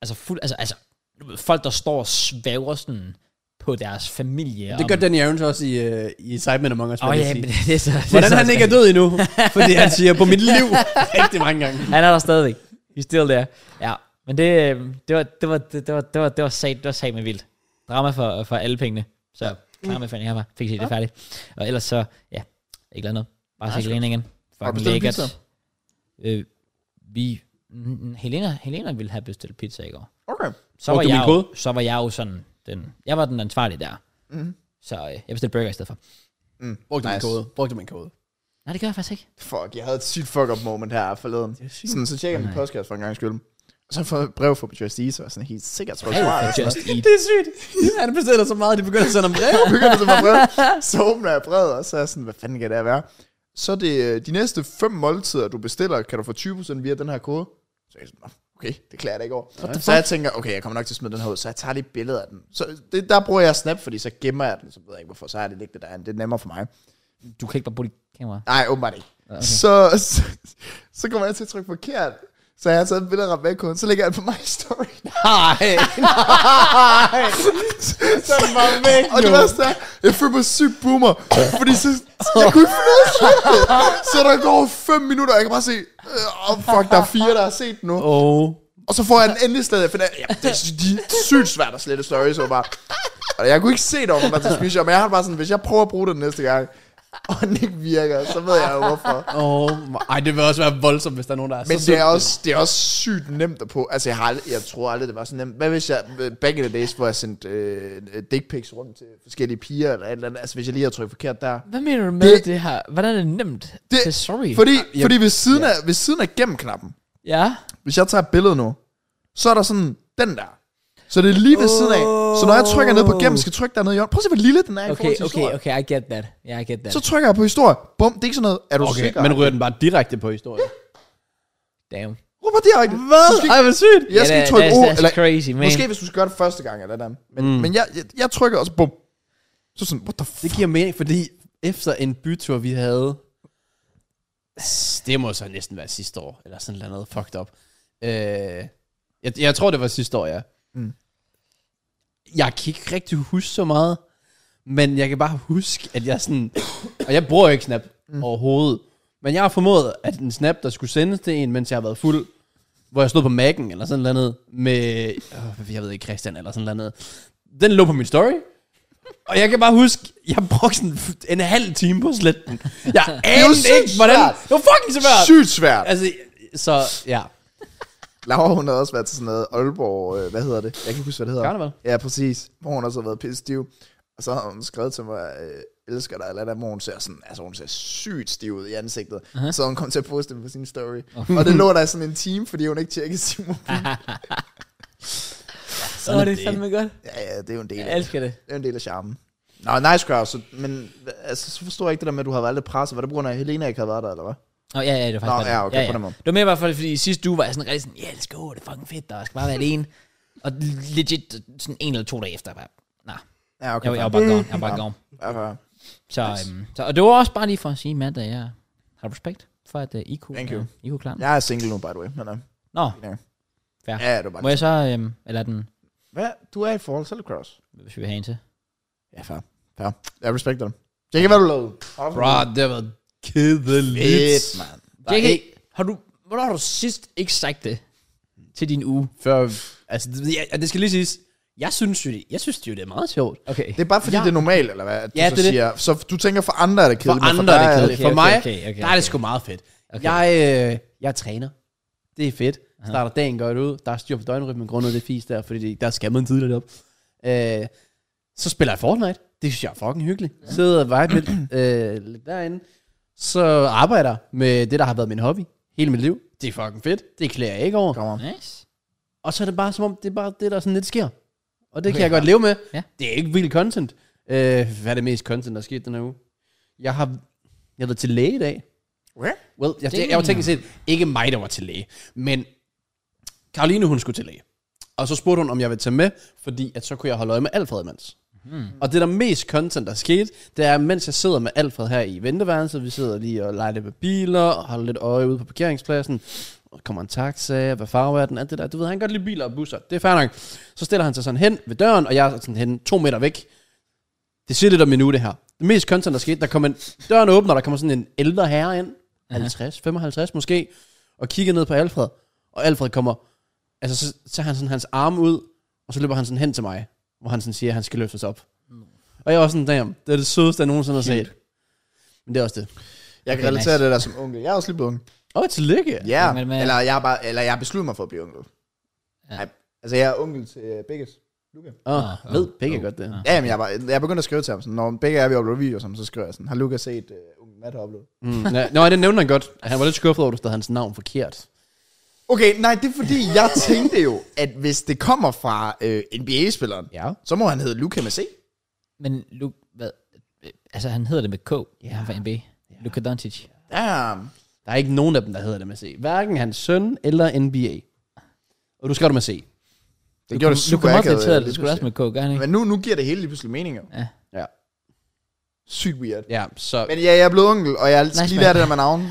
Speaker 1: altså fuld, altså, altså du ved, folk, der står og svæver sådan på deres familie.
Speaker 2: Det gør Danny Aarons også i, uh, i Sidemen Among Us.
Speaker 1: Åh oh,
Speaker 2: vil jeg
Speaker 1: ja,
Speaker 2: sige.
Speaker 1: men det, det er så... det er
Speaker 2: Hvordan
Speaker 1: så
Speaker 2: han ikke er
Speaker 1: spændende.
Speaker 2: død endnu, fordi han siger på mit liv rigtig mange gange.
Speaker 1: Han er der stadigvæk. He's still there. Ja, men det, øh, det var, det var, det var, det var, det var sat, det var sat med vildt. Drama for, for alle pengene. Så klar med fanden, jeg var. Fik set det færdigt. Og ellers så, ja, ikke lavet noget. Bare se Helena igen.
Speaker 3: Har du
Speaker 1: Fucking
Speaker 3: bestilt
Speaker 1: lækkert. Øh, vi, mm, Helena, Helena ville have bestilt pizza i går.
Speaker 3: Okay.
Speaker 1: Så
Speaker 2: Brugte
Speaker 1: var,
Speaker 2: du min
Speaker 1: jeg jo,
Speaker 2: kode?
Speaker 1: så var jeg jo sådan, den, jeg var den ansvarlige der.
Speaker 3: Mhm.
Speaker 1: Så øh, jeg bestilte burger i stedet for.
Speaker 3: Mm.
Speaker 2: Brugte nice. min
Speaker 3: Nice.
Speaker 2: kode. Brugte min kode.
Speaker 1: Nej, det gør jeg faktisk ikke.
Speaker 3: Fuck, jeg havde et sygt fuck up moment her forleden. Sådan, så tjekker jeg min
Speaker 1: Nej.
Speaker 3: postkasse for en gang skyld. Og så får jeg et brev fra Just Eat, så var jeg sådan helt sikkert, tror jeg,
Speaker 1: Brev
Speaker 3: svaret
Speaker 1: fra
Speaker 3: er sådan
Speaker 1: Just Eat.
Speaker 2: Det er sygt. Han bestiller så meget, at de begynder at sende ham brev.
Speaker 3: noget. Begynder så på brev. Så åbner jeg brevet, og så er jeg sådan, hvad fanden kan det her være? Så er det øh, de næste fem måltider, du bestiller, kan du få 20% via den her kode. Så er jeg sådan, "Nå, okay, det klarer jeg da ikke over. Så jeg tænker, okay, jeg kommer nok til at smide den her ud, så jeg tager lige billeder af den. Så det, der bruger jeg Snap, fordi så gemmer jeg den, så ved jeg ikke hvorfor, så har jeg det liggende derinde. Det er nemmere for mig.
Speaker 1: Du kan ikke bare bruge dit kamera.
Speaker 3: Nej, åbenbart ikke.
Speaker 1: okay.
Speaker 3: Okay. Så, så, så kommer jeg til at trykke forkert. Så jeg har taget et billede af rabatkoden, så lægger jeg den på my story.
Speaker 2: Nej.
Speaker 3: så er den bare væk, Og det
Speaker 2: jo.
Speaker 3: værste er, jeg føler mig sygt boomer, fordi så, så jeg kunne ikke finde ud af det. Så der går 5 minutter, og jeg kan bare se, øh, oh, fuck, der er fire, der har set den nu.
Speaker 2: Oh.
Speaker 3: Og så får jeg den endelig slet, jeg finder, ja, det er sy- de er sygt svært at slette stories, så bare. Og jeg kunne ikke se det, om den var til special, men jeg har det bare sådan, hvis jeg prøver at bruge det næste gang, og den ikke virker, så ved jeg jo hvorfor.
Speaker 2: Oh. my- Ej, det vil også være voldsomt, hvis der er nogen, der er
Speaker 3: Men
Speaker 2: så
Speaker 3: det er,
Speaker 2: sulten.
Speaker 3: også, det er også sygt nemt at på. Altså, jeg, har aldrig, jeg tror aldrig, det var så nemt. Hvad hvis jeg, back in the days, hvor jeg sendte øh, dick pics rundt til forskellige piger, eller et eller andet. Altså, hvis jeg lige havde trykket forkert der.
Speaker 1: Hvad mener du med det,
Speaker 3: Det-
Speaker 1: det her? Hvordan er det nemt?
Speaker 3: Det-
Speaker 1: Det, sorry.
Speaker 3: Fordi,
Speaker 2: jeg-
Speaker 3: fordi ved, siden af, ved siden af gem-knappen,
Speaker 1: ja.
Speaker 3: hvis jeg tager et billede nu, så er der sådan den der. Så det er lige ved siden af. Så når jeg trykker ned på gem, skal jeg trykke dernede i hjørnet. Prøv at se, hvor lille den er i forhold
Speaker 1: Okay,
Speaker 3: til
Speaker 1: okay,
Speaker 3: historie.
Speaker 1: okay, I get that. Yeah, I get that.
Speaker 3: Så trykker jeg på historie. Bum, det er ikke sådan noget. Er du
Speaker 2: Okay,
Speaker 3: sikker?
Speaker 2: men rører den bare direkte på historien.
Speaker 1: Damn.
Speaker 3: Rupper direkte. Hvad?
Speaker 2: Ej, hvor sygt.
Speaker 3: Jeg skal
Speaker 1: Yeah,
Speaker 3: ikke trykke
Speaker 1: that's,
Speaker 3: O,
Speaker 1: that's
Speaker 3: eller
Speaker 1: crazy, man.
Speaker 3: Måske hvis du skal gøre det første gang, eller den. Men, mm. men jeg, jeg, jeg trykker, og så bum. Så sådan, what the
Speaker 2: Det
Speaker 3: fuck?
Speaker 2: giver mening, fordi efter en bytur, vi havde, s- det må så næsten være sidste år, eller sådan noget andet fucked up. Øh, jeg, jeg tror, det var sidste år, ja.
Speaker 3: Mm.
Speaker 2: Jeg kan ikke rigtig huske så meget, men jeg kan bare huske, at jeg sådan, og jeg bruger ikke Snap mm. overhovedet, men jeg har formået, at en Snap, der skulle sendes til en, mens jeg har været fuld, hvor jeg stod på Mac'en eller sådan noget med, øh, jeg ved ikke, Christian eller sådan noget, den lå på min story, og jeg kan bare huske, jeg brugte sådan en halv time på sletten. Jeg anede
Speaker 3: sygt
Speaker 2: ikke, hvordan...
Speaker 3: svært.
Speaker 2: Det var fucking svært!
Speaker 3: Sygt svært.
Speaker 2: Altså, så ja.
Speaker 3: Laura, hun havde også været til sådan noget Aalborg, øh, hvad hedder det? Jeg kan ikke huske, hvad det hedder.
Speaker 2: Karneval.
Speaker 3: Ja, præcis. Hvor hun også har været pisse stiv. Og så har hun skrevet til mig, øh, elsker dig, eller der, hvor hun ser sådan, altså hun ser sygt stiv ud i ansigtet. Uh-huh. Så hun kom til at poste det på sin story. Uh-huh. Og det lå der i sådan en time, fordi hun ikke tjekkede sin mobil.
Speaker 1: Åh, oh, det er fandme godt.
Speaker 3: Ja, ja, det er jo en del
Speaker 1: Jeg
Speaker 3: af det.
Speaker 1: elsker det.
Speaker 3: Det er jo en del af charmen. Nå, nice crowd, så, men altså, så forstår jeg ikke det der med, at du havde valgt det presse. Var det på grund af, at Helena ikke havde været der, eller hvad?
Speaker 1: Nå, ja, ja, det var faktisk
Speaker 3: Nå,
Speaker 1: godt.
Speaker 3: ja, okay, på den måde.
Speaker 1: Det var mere i hvert fald, fordi sidste uge var jeg sådan rigtig sådan, ja, yeah, let's go, det er fucking fedt, og jeg skal bare være alene. Og legit, sådan en eller to dage efter, jeg bare, nej,
Speaker 3: Ja, okay.
Speaker 1: jeg, var- jeg var
Speaker 3: fair.
Speaker 1: bare gone, jeg var bare gone.
Speaker 3: Okay.
Speaker 1: Så, øhm, så, og det var også bare lige for at sige, Matt, at jeg har respekt for, at uh, I kunne,
Speaker 3: Thank you.
Speaker 1: øh, I kunne klare den.
Speaker 3: Jeg er single nu, by the way. Men, uh,
Speaker 1: Nå,
Speaker 3: ja, det var bare
Speaker 1: må jeg så, øhm, eller er den,
Speaker 3: Hvad? Du er i et forhold til lacrosse?
Speaker 1: hvis vi vil have en til.
Speaker 3: Ja, fair. Fair. Jeg respekter dig. Jeg kan hvad du lavede.
Speaker 2: Bro, det har været kedeligt.
Speaker 3: Fedt, mand.
Speaker 2: Der er
Speaker 1: JK,
Speaker 2: ikke-
Speaker 1: har du, hvornår har du sidst ikke sagt det til din uge?
Speaker 2: Før, altså, det, ja, det skal lige siges, Jeg synes jo, det- jeg synes jo, det er meget sjovt.
Speaker 1: Okay.
Speaker 3: Det er bare fordi, ja.
Speaker 2: Ja.
Speaker 3: det er normalt, eller hvad? At du
Speaker 2: Ja,
Speaker 3: så
Speaker 2: det er det.
Speaker 3: siger, det. så du tænker, for andre er det
Speaker 2: For
Speaker 3: kedeligt. men
Speaker 2: andre
Speaker 3: dig
Speaker 2: er det kedeligt.
Speaker 1: okay,
Speaker 2: For
Speaker 1: okay,
Speaker 2: mig,
Speaker 1: okay,
Speaker 2: der er
Speaker 1: okay.
Speaker 2: det sgu meget fedt.
Speaker 1: Okay.
Speaker 2: Jeg, øh, jeg træner. Det er fedt. Starter dagen godt ud. Der er styr på døgnrytmen grundet det fis der, fordi det, der skal man tidligt op. Øh, så spiller jeg Fortnite. Det synes jeg er fucking hyggeligt. Sidder og vibe lidt, øh, lidt derinde. Så arbejder jeg med det, der har været min hobby hele mit liv. Det er fucking fedt. Det klæder jeg ikke over.
Speaker 3: Kommer.
Speaker 1: Nice.
Speaker 2: Og så er det bare som om, det er bare det, der sådan lidt sker. Og det kan jeg godt leve med.
Speaker 1: Ja.
Speaker 2: Det er ikke vildt content. Øh, hvad er det mest content, der er sket den her uge? Jeg har jeg har været til læge i dag.
Speaker 3: What?
Speaker 2: Well, jeg, det, jeg var teknisk set ikke mig, der var til læge. Men Karoline, hun skulle til læge. Og så spurgte hun, om jeg ville tage med, fordi at så kunne jeg holde øje med Alfred imens. Mm. Og det der mest content, der skete, det er, mens jeg sidder med Alfred her i venteværelset, vi sidder lige og leger lidt med biler, og holder lidt øje ude på parkeringspladsen, og kommer en taxa, hvad farve er den, alt det der. Du ved, han kan godt lide biler og busser, det er fair nok. Så stiller han sig sådan hen ved døren, og jeg er sådan hen to meter væk. Det siger lidt om min uge, det her. Det mest content, der skete, der kommer en, døren åbner, og der kommer sådan en ældre herre ind, 50, 55 måske, og kigger ned på Alfred. Og Alfred kommer, altså så tager han sådan hans arme ud, og så løber han sådan hen til mig, hvor han sådan siger, at han skal løftes op. Og jeg var sådan, damn, det er det sødeste, jeg nogensinde har set. Men det er også det.
Speaker 3: Jeg kan
Speaker 1: Okay,
Speaker 3: relatere
Speaker 1: nice.
Speaker 3: det der som onkel. Jeg er også lige blevet onkel.
Speaker 2: Åh, oh, tillykke.
Speaker 3: Ja,
Speaker 1: Men- men-
Speaker 3: eller jeg, er bare, eller jeg har besluttet mig for at blive onkel.
Speaker 1: Ja.
Speaker 3: Ja. Nej, altså jeg er onkel til øh, begge.
Speaker 2: Åh,
Speaker 1: Ah,
Speaker 2: oh, ved
Speaker 1: oh,
Speaker 2: begge
Speaker 1: oh,
Speaker 2: godt det.
Speaker 1: ah.
Speaker 3: Ja, men jeg, er bare, jeg er begyndt at skrive til ham, sådan, når begge er vi uploader video, sammen, så skriver jeg sådan, har Lukas set øh, onkel Matt har uploadet?
Speaker 2: Mm, ja. Nå, det nævnte han godt. Han var lidt skuffet over, at du stod hans navn forkert.
Speaker 3: Okay, nej, det er fordi, jeg tænkte jo, at hvis det kommer fra øh, NBA-spilleren,
Speaker 2: Ja.
Speaker 3: så må han hedde Luca med C.
Speaker 1: Men Luke, hvad? øh, Altså, han hedder det med K. Ja. Han er fra NB. Luka Doncic.
Speaker 3: Damn.
Speaker 2: Der er ikke nogen af dem, der hedder det med C. Hverken hans søn eller NBA. Og du skal det med C.
Speaker 3: Det gjorde det super
Speaker 1: Luka
Speaker 3: akavet,
Speaker 1: Doncic hedder det.
Speaker 3: lige
Speaker 1: Det skulle også med K, gør han ikke?
Speaker 3: Men nu, nu giver det hele lige pludselig mening. jo.
Speaker 2: Ja.
Speaker 3: Sygt weird.
Speaker 2: Ja, så
Speaker 3: Men ja, jeg er blevet onkel, og jeg skal
Speaker 1: Nice,
Speaker 3: lige
Speaker 1: man.
Speaker 3: lære det der med navnen.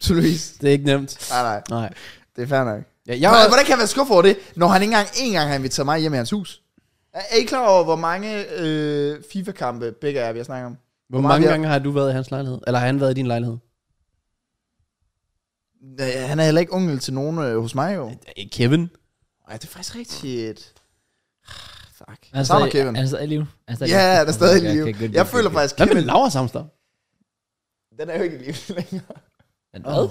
Speaker 3: Tydeligvis.
Speaker 2: det er ikke nemt.
Speaker 3: Nej, nej,
Speaker 2: Nej.
Speaker 3: det er fair nok.
Speaker 2: Ja,
Speaker 3: Jeg
Speaker 2: jeg
Speaker 3: Hvordan,
Speaker 2: var,
Speaker 3: hvordan kan jeg være skuffet over det, når han ikke engang, en gang har inviteret mig hjem i hans hus? Er, er I klar over, hvor mange øh, FIFA-kampe begge er, vi har snakket om?
Speaker 2: hvor
Speaker 3: meget
Speaker 2: mange
Speaker 3: vi har-
Speaker 2: gange har du været i hans lejlighed? Eller har han været i din lejlighed?
Speaker 3: Øh, Han er heller ikke onkel til nogen øh, hos mig, jo.
Speaker 2: Kevin.
Speaker 3: Ej, det er faktisk rigtigt. Ah, Fuck.
Speaker 1: Han
Speaker 3: Jeg savner Kevin.
Speaker 1: Han er stadig i live. Han er stadig i
Speaker 3: Ja, han er stadig i
Speaker 1: Okay,
Speaker 3: live.
Speaker 1: okay, good,
Speaker 3: Jeg
Speaker 1: good,
Speaker 3: føler
Speaker 1: good,
Speaker 3: faktisk,
Speaker 2: Hvad med
Speaker 3: Kevin,
Speaker 2: Laura Samster?
Speaker 3: den er jo ikke i live længere.
Speaker 1: good. Men Hvad?
Speaker 3: Åh,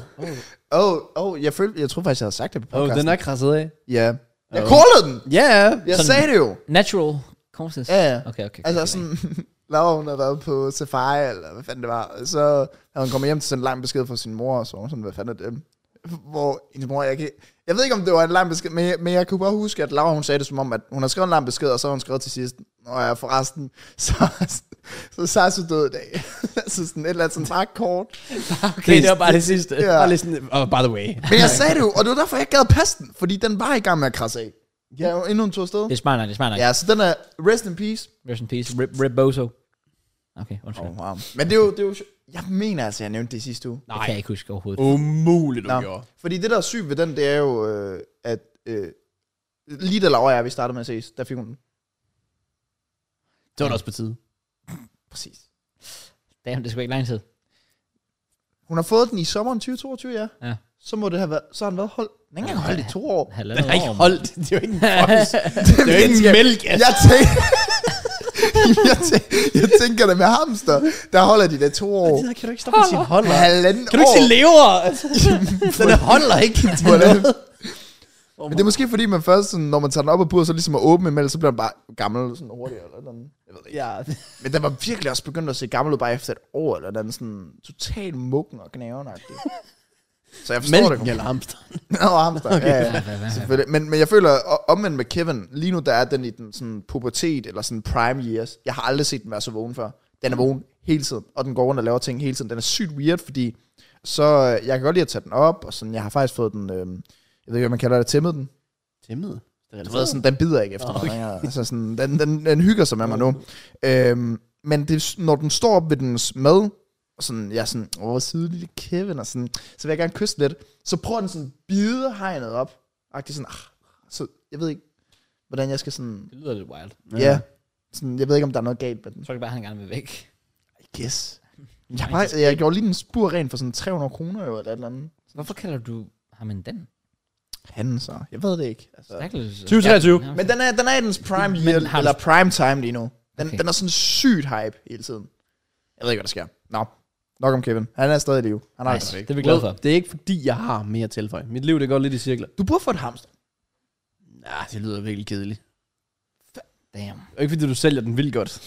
Speaker 3: oh, oh, jeg, følte, jeg troede faktisk, jeg havde sagt det på
Speaker 2: Åh, oh, den
Speaker 3: podcasten.
Speaker 2: er krasset af.
Speaker 3: Ja. Jeg
Speaker 2: Oh.
Speaker 3: callede den!
Speaker 2: Ja, ja.
Speaker 3: Jeg
Speaker 1: Sådan-
Speaker 3: sagde det jo.
Speaker 1: Natural causes.
Speaker 3: Ja, ja.
Speaker 1: Okay, okay.
Speaker 3: Altså
Speaker 1: okay.
Speaker 3: sådan, Laura hun havde været på safari, eller hvad fanden det var. Så havde hun kommet hjem til sådan en lang besked fra sin mor, og så var hun sådan, hvad fanden er det? Hvor hendes mor, jeg, kan, jeg ved ikke, om det var en lang besked, men jeg, men jeg kunne bare huske, at Laura hun sagde det som om, at hun har skrevet en lang besked, og så har hun skrevet til sidst, og jeg forresten, så, så Sasu død i dag. så sådan et eller andet sådan bare kort.
Speaker 2: Okay, det var bare det sidste.
Speaker 3: Ja.
Speaker 2: Bare lige sådan, oh, by the way.
Speaker 3: Men jeg sagde det jo, og det var derfor, jeg ikke gad passe den, fordi den var i gang med at krasse af. Ja, endnu en to sted.
Speaker 1: Det er smart nok, det er smart nok.
Speaker 3: Ja, så den er rest in peace.
Speaker 1: Rest in peace. Rip, rip Bozo. Okay, undskyld.
Speaker 3: Oh, wow. Men det er jo, det er jo sjo- jeg mener altså, jeg nævnte det sidste uge.
Speaker 1: Det kan jeg ikke huske overhovedet.
Speaker 2: Umuligt, du
Speaker 3: Nå,
Speaker 2: gjorde.
Speaker 3: fordi det der er sygt ved den, det er jo, øh, at øh, lige da Laura og jeg, vi startede med at ses, der fik hun den.
Speaker 2: Det var da også på tide.
Speaker 3: Præcis.
Speaker 1: Damn, det skulle ikke lang tid.
Speaker 3: Hun har fået den i sommeren 2022, ja.
Speaker 1: Ja.
Speaker 3: Så må det have været, så har den været holdt. Den har ikke engang holdt i to år.
Speaker 1: Halvandet
Speaker 2: Den har ikke
Speaker 1: år.
Speaker 2: holdt. Det er jo ikke en fucking- Det er jo ikke en mælk. altså.
Speaker 3: Jeg tænker, jeg, tænker, jeg tænker det med hamster, der holder de der to år.
Speaker 2: Det der kan du ikke stoppe med at sige holder.
Speaker 3: Halvanden
Speaker 2: Kan du ikke sige lever? Altså, Den er holder ikke. til
Speaker 3: Hvordan-
Speaker 2: noget.
Speaker 3: Men det er måske fordi, man først, sådan, når man tager den op af bordet, så ligesom at åbne imellem, så bliver den bare gammel sådan hurtigt. Eller sådan. Jeg ved det ikke.
Speaker 2: Ja.
Speaker 3: Men den var virkelig også begyndt at se gammel ud, bare efter et år, eller den sådan totalt muggen og gnaven Så jeg forstår
Speaker 2: Mælken
Speaker 3: det.
Speaker 2: eller hamster.
Speaker 3: Nå, hamster. Okay.
Speaker 1: Hvad,
Speaker 3: Ja, ja,
Speaker 1: hvad, hvad, hvad?
Speaker 3: selvfølgelig. Men, men jeg føler, o- omvendt med Kevin, lige nu der er den i den sådan pubertet, eller sådan prime years. Jeg har aldrig set den være så vågen før. Den er vågen hele tiden, og den går rundt og laver ting hele tiden. Den er sygt weird, fordi så øh, jeg kan godt lide at tage den op, og sådan, jeg har faktisk fået den, øh, jeg ved ikke, hvad man kalder det, tæmmet den.
Speaker 2: Timmet.
Speaker 3: Du ved, sådan, den bider ikke efter
Speaker 2: Okay.
Speaker 3: okay. mig. Altså, sådan, den, den, den hygger sig med mig nu. Øhm, men det, når den står op ved dens mad, og sådan, jeg er sådan, åh, søde lille Kevin, og sådan, så vil jeg gerne kysse lidt. Så prøver den sådan, bide hegnet op. Og sådan, ah, så jeg ved ikke, hvordan jeg skal sådan,
Speaker 1: Det lyder lidt wild.
Speaker 3: ja. ja. Sådan, jeg ved ikke, om der er noget galt med den.
Speaker 1: Jeg tror ikke bare, han gerne vil væk.
Speaker 3: I guess. Jeg, bare, jeg gjorde lige den spur ren for sådan 300 kroner jo, eller et eller andet.
Speaker 1: Hvorfor kalder du ham en den?
Speaker 3: han så? Jeg ved det ikke. Altså.
Speaker 1: Stakkels-
Speaker 2: 2023.
Speaker 1: Ja,
Speaker 3: Men den er, den er i dens prime year,
Speaker 1: har
Speaker 3: eller
Speaker 1: du-
Speaker 3: prime time lige nu. Den,
Speaker 1: Okay.
Speaker 3: okay. den er sådan sygt hype hele tiden. Jeg ved ikke, hvad der sker. Nå, nok om Kevin. Han er stadig i live. Han har
Speaker 1: nice.
Speaker 3: nice.
Speaker 1: Det er vi glade for.
Speaker 2: Det er ikke fordi, jeg har mere tilføj. Mit liv, det går lidt i cirkler.
Speaker 3: Du burde få et hamster.
Speaker 2: Nej, det lyder virkelig kedeligt.
Speaker 1: Damn.
Speaker 2: Og ikke fordi, du sælger den vildt godt.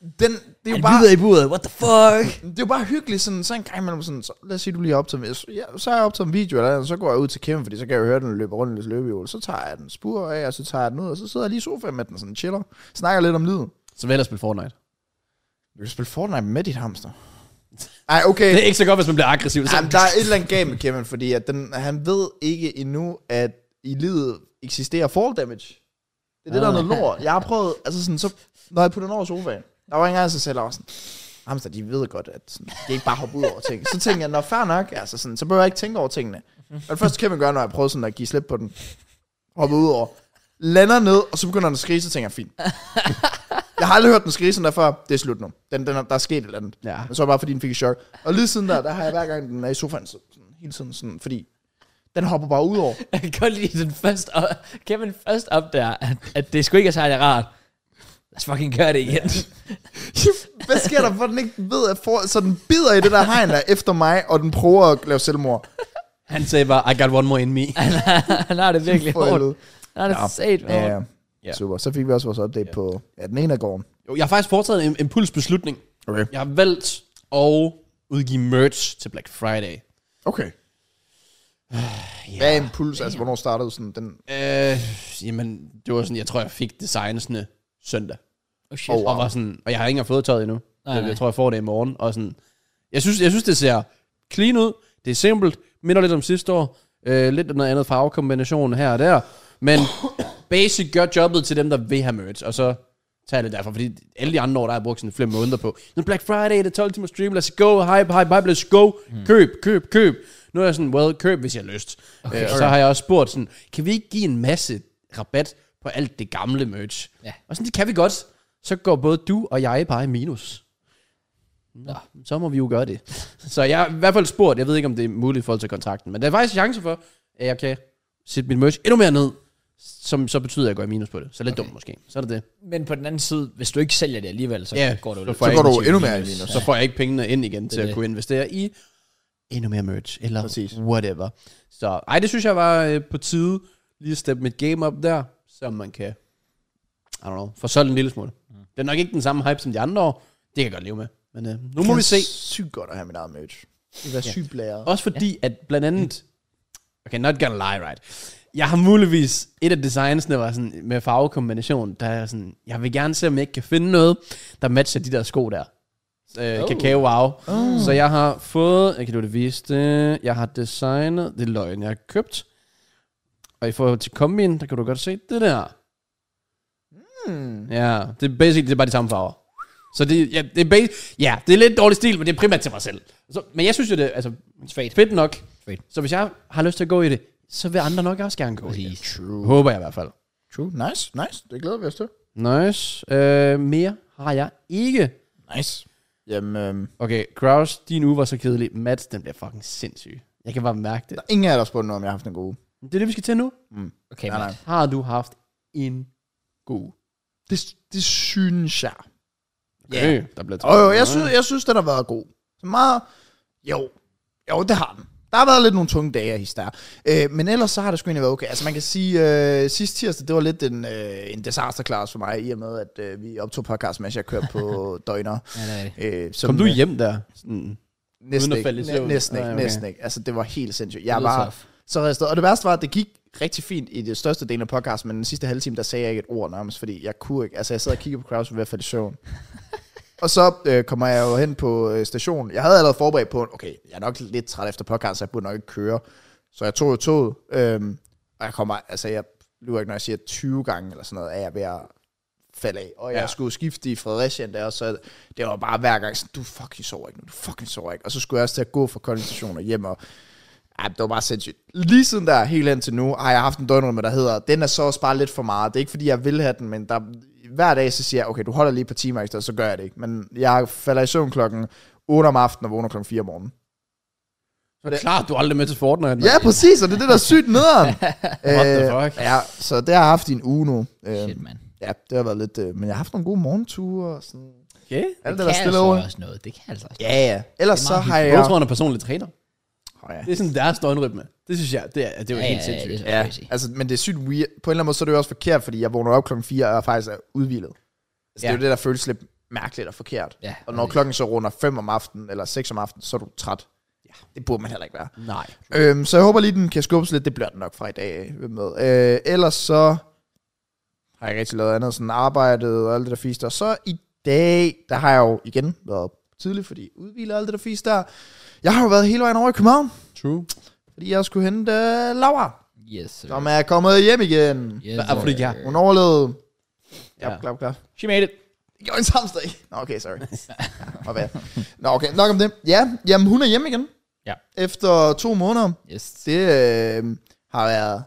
Speaker 3: Den, det er jo
Speaker 1: Han
Speaker 3: bare...
Speaker 1: lyder i buret. What the fuck?
Speaker 3: Det er jo bare hyggeligt, sådan, så en gang imellem, sådan, så, lad os sige, du lige har optaget, ja, så har jeg optaget en video, eller andet, så går jeg ud til Kevin, fordi så kan jeg jo høre, den løber rundt i lidt løbehjul, så tager jeg den spur af, og så tager jeg den ud, og så sidder jeg lige i sofaen med den, sådan chiller, snakker lidt om livet.
Speaker 2: Så vil jeg hellere spille Fortnite.
Speaker 3: Du kan spille Fortnite med dit hamster. Ej, okay.
Speaker 2: Det er ikke så godt, hvis man bliver aggressiv. Så
Speaker 3: Jamen, der er et eller andet galt med Kevin, fordi at den, han ved ikke endnu, at i livet eksisterer fall damage. Det er det, der er noget lort. Jeg har prøvet, altså sådan, så, når jeg putter den over sofaen, der var ikke engang, så selv var sådan, hamster, de ved godt, at sådan, det ikke bare hopper ud over ting. Så tænkte jeg, når fair nok, altså sådan, så behøver jeg ikke tænke over tingene. Og det første Kevin gør, når jeg prøver sådan at give slip på den, hopper ud over, lander ned, og så begynder den at skrige, så tænker jeg, fint. Jeg har aldrig hørt den skrige sådan der før, det er slut nu. Den, den, er- der er sket et eller andet.
Speaker 2: Ja.
Speaker 3: Men så var det bare fordi, den fik et chok. Og lige siden der, der har jeg hver gang, den er i sofaen, så, sådan, hele tiden sådan, fordi den hopper bare ud over.
Speaker 1: Jeg kan godt lide den først op, Kevin først op der, at, at det sgu ikke er særlig rart. Lad os fucking gøre det igen.
Speaker 3: Hvad sker der, for den ikke ved, at for, så den bider i det der hegn der efter mig, og den prøver at lave selvmord.
Speaker 2: Han sagde bare, I got one more in me.
Speaker 1: Han har det virkelig
Speaker 3: For
Speaker 1: hårdt.
Speaker 3: helvede.
Speaker 1: Han har det
Speaker 3: Nå.
Speaker 1: sat hårdt.
Speaker 3: Ja,
Speaker 2: Ja.
Speaker 3: ja. Super. Så fik vi også vores update ja. på ja, den ene af gården.
Speaker 2: Jo, jeg har faktisk foretaget en impulsbeslutning.
Speaker 3: Okay.
Speaker 2: Jeg har valgt at udgive merch til Black Friday.
Speaker 3: Okay. Hvad er en puls? Altså, hvornår startede sådan den?
Speaker 2: Øh, jamen, det var sådan, jeg tror, jeg fik designsene søndag.
Speaker 1: Oh, shit.
Speaker 2: Wow. Og, var sådan, og jeg har ikke engang fået tøjet endnu.
Speaker 1: Nej,
Speaker 2: Nej, jeg,
Speaker 1: nej.
Speaker 2: jeg tror, jeg får det i morgen. Og sådan, jeg, synes, jeg synes, det ser clean ud. Det er simpelt. Minder lidt om sidste år. Øh, lidt om noget andet farvekombination her og der. Men basic gør jobbet til dem, der vil have merch. Og så tager jeg det derfor. Fordi alle de andre år, der har jeg brugt sådan flere måneder på. Nu Black Friday, det er 12 timer stream. Let's go. Hype, hype, hype. Let's go. Køb, køb, køb. Nu er jeg sådan, well, køb, hvis jeg har lyst. Okay, øh, og så har jeg også spurgt sådan, kan vi ikke give en masse rabat på alt det gamle merch?
Speaker 1: Ja.
Speaker 2: Og sådan, det kan vi godt. Så går både du og jeg bare i minus. Nå, så må vi jo gøre det. Så jeg har i hvert fald spurgt, jeg ved ikke, om det er muligt i forhold til kontrakten, men der er faktisk chance for, at jeg kan sætte mit merch endnu mere ned, som så betyder, at jeg går i minus på det. Så lidt okay. dumt måske. Så er det det.
Speaker 1: Men på den anden side, hvis du ikke sælger det alligevel, så
Speaker 2: Ja,
Speaker 1: går det jo
Speaker 2: så
Speaker 1: lidt.
Speaker 2: får
Speaker 3: Så
Speaker 2: jeg
Speaker 3: går
Speaker 2: ikke
Speaker 3: du
Speaker 2: til
Speaker 3: endnu mere i
Speaker 2: minus.
Speaker 3: minus.
Speaker 2: Så får jeg ikke pengene ind igen til
Speaker 1: er
Speaker 2: at
Speaker 1: det.
Speaker 2: kunne investere i endnu mere merch, eller
Speaker 3: Præcis.
Speaker 2: whatever. Så ej, det synes jeg var øh, på tide, lige at steppe mit game op der, så man kan, I don't know, få solgt en lille smule.
Speaker 1: Mm.
Speaker 2: Det er nok ikke den samme hype som de andre år, det kan jeg godt leve med. Men øh, nu må vi se.
Speaker 3: Sygt godt at have min eget merch. Det vil være sygt blæret.
Speaker 2: Også fordi, ja. at blandt andet... Okay, not gonna lie, right? Jeg har muligvis... Et af designsene var sådan med farvekombination, der er sådan... Jeg vil gerne se, om jeg ikke kan finde noget, der matcher de der sko der. Øh,
Speaker 1: Oh.
Speaker 2: oh. Kakao Wow. Oh. Så jeg har fået... Jeg kan du det vise det. Jeg har designet... Det er løgn, jeg har købt. Og i forhold til kombin, der kan du godt se det der.
Speaker 3: Hmm.
Speaker 2: Ja, det er basically det er bare de samme farver. Så det, ja, det er bas- ja, det er lidt dårlig stil, men det er primært til mig selv. Så, men jeg synes jo, det er altså,
Speaker 1: Straight.
Speaker 2: fedt nok.
Speaker 1: Fedt.
Speaker 2: Så hvis jeg har lyst til at gå i det, så vil andre nok også gerne gå i det.
Speaker 1: Præcis.
Speaker 3: True.
Speaker 2: Håber jeg i hvert fald.
Speaker 3: True. Nice, nice. Det glæder vi os til.
Speaker 2: Nice. Øh, mere har jeg ikke.
Speaker 3: Nice. Jamen, øhm,
Speaker 2: Okay, Kraus, din uge var så kedelig. Mads, den bliver fucking sindssyg. Jeg kan bare mærke det.
Speaker 3: der er ingen af jer, der spurgte noget, om jeg har haft en god uge.
Speaker 2: Det er det, vi skal til nu.
Speaker 1: Okay,
Speaker 3: Nej, nej.
Speaker 2: Har du haft en god uge?
Speaker 3: Det, det synes jeg.
Speaker 2: Okay, der bliver
Speaker 3: Og jo, jeg synes, jeg synes, den har været god. Så meget... Jo, jo, det har den. Der har været lidt nogle tunge dage af der. Øh, men ellers så har det sgu egentlig været okay. Altså man kan sige, øh, sidste tirsdag, det var lidt en, øh, en disaster class for mig, i og med, at øh, vi optog podcast, mens jeg kørte på døgner.
Speaker 1: Ja, det er det.
Speaker 3: Øh, som,
Speaker 2: Kom du
Speaker 3: øh,
Speaker 2: hjem der? Sådan. uden
Speaker 3: Næsten
Speaker 2: at
Speaker 3: ikke,
Speaker 2: falde i
Speaker 3: næ-
Speaker 2: søvn?
Speaker 3: næsten ikke,
Speaker 2: Ah, okay.
Speaker 3: næsten ikke. Altså det var helt sindssygt. Jeg
Speaker 1: lyder
Speaker 3: var
Speaker 1: tough.
Speaker 3: så restet. Og det værste var, at det gik rigtig fint i det største del af podcasten, men den sidste halve time, der sagde jeg ikke et ord nærmest, fordi jeg kunne ikke. Altså jeg sad og kiggede på Kraus ved at falde i søvn. Og så øh, kommer jeg jo hen på øh, stationen. Jeg havde allerede forberedt på, okay, jeg er nok lidt træt efter podcasten, så jeg burde nok ikke køre. Så jeg tog jo toget, øhm, og jeg kommer, altså jeg lyver ikke, når jeg siger 20 gange eller sådan noget, at jeg er ved at falde af. Og jeg
Speaker 2: Ja.
Speaker 3: ja. skulle skifte i Fredericia der, og så det var bare hver gang sådan, du fucking sover ikke nu, du fucking sover ikke. Og så skulle jeg også til at gå fra Kolding Station og hjem, og ej, det var bare sindssygt. Lige siden der, helt indtil nu, har jeg haft en døgnrymme, der hedder, den er så også bare lidt for meget. Det er ikke, fordi jeg vil have den, men der, hver dag så siger jeg, okay, du holder lige et par timer ekstra, så gør jeg det ikke. Men jeg falder i søvn klokken 8 om aftenen og vågner klokken 4 om morgenen.
Speaker 2: Så Det er klart, du er aldrig med til Fortnite. mand.
Speaker 3: Ja, præcis, og det er det, der er sygt nederen. Øh,
Speaker 2: What the fuck?
Speaker 3: Ja, så det har jeg haft i en uge nu. Øh,
Speaker 1: Shit, mand.
Speaker 3: ja, det har været lidt... Øh, men jeg har haft nogle gode morgenture og sådan...
Speaker 2: Okay.
Speaker 3: Alt det,
Speaker 1: Det
Speaker 3: der
Speaker 1: kan
Speaker 3: stille
Speaker 1: altså
Speaker 3: over.
Speaker 1: også noget. Det kan altså også
Speaker 3: Ja, ja. Ellers så
Speaker 1: meget
Speaker 3: har jeg...
Speaker 2: Jeg tror, han er personlig træner.
Speaker 3: Åh, ja.
Speaker 2: Det er sådan deres døgnrytme. Det synes jeg, det er, det er jo
Speaker 1: Ja,
Speaker 2: helt
Speaker 1: ja,
Speaker 2: sindssygt.
Speaker 1: det er så
Speaker 3: Ja,
Speaker 1: crazy.
Speaker 3: altså, men det er sygt weird. På en eller anden måde, så er det jo også forkert, fordi jeg vågner op klokken 4 og faktisk er udvildet. Altså, ja. det er
Speaker 2: Ja.
Speaker 3: jo det, der føles lidt mærkeligt og forkert.
Speaker 1: Ja,
Speaker 3: og når klokken så runder 5 om aftenen, eller 6 om aftenen, så er du træt. Ja. Det burde man heller ikke være.
Speaker 2: Nej.
Speaker 3: Øhm, så jeg håber lige, den kan skubbes lidt. Det bliver den nok fra i dag. øh, Med. Øh, ellers så har jeg ikke rigtig lavet andet, sådan arbejdet og alt det der fisk der. Så i dag, der har jeg jo igen været tidlig, fordi udvildet og alt det der fisk der. Jeg har jo været hele vejen over i København,
Speaker 2: True.
Speaker 3: fordi jeg skulle hente øh, Laura,
Speaker 1: Yes, sir.
Speaker 3: som er kommet hjem igen.
Speaker 1: Yes,
Speaker 2: Hvad er fordi,
Speaker 1: sir.
Speaker 2: ja.
Speaker 3: Hun overlevede. Ja,
Speaker 2: Ja.
Speaker 3: klap, klap.
Speaker 1: She made it.
Speaker 3: Det gjorde en hamster Nå, okay, sorry. Nå, hvad? Nå, okay, nok om det. Ja, jamen hun er hjemme igen.
Speaker 1: Ja.
Speaker 3: Efter to måneder.
Speaker 1: Yes.
Speaker 3: Det øh, har været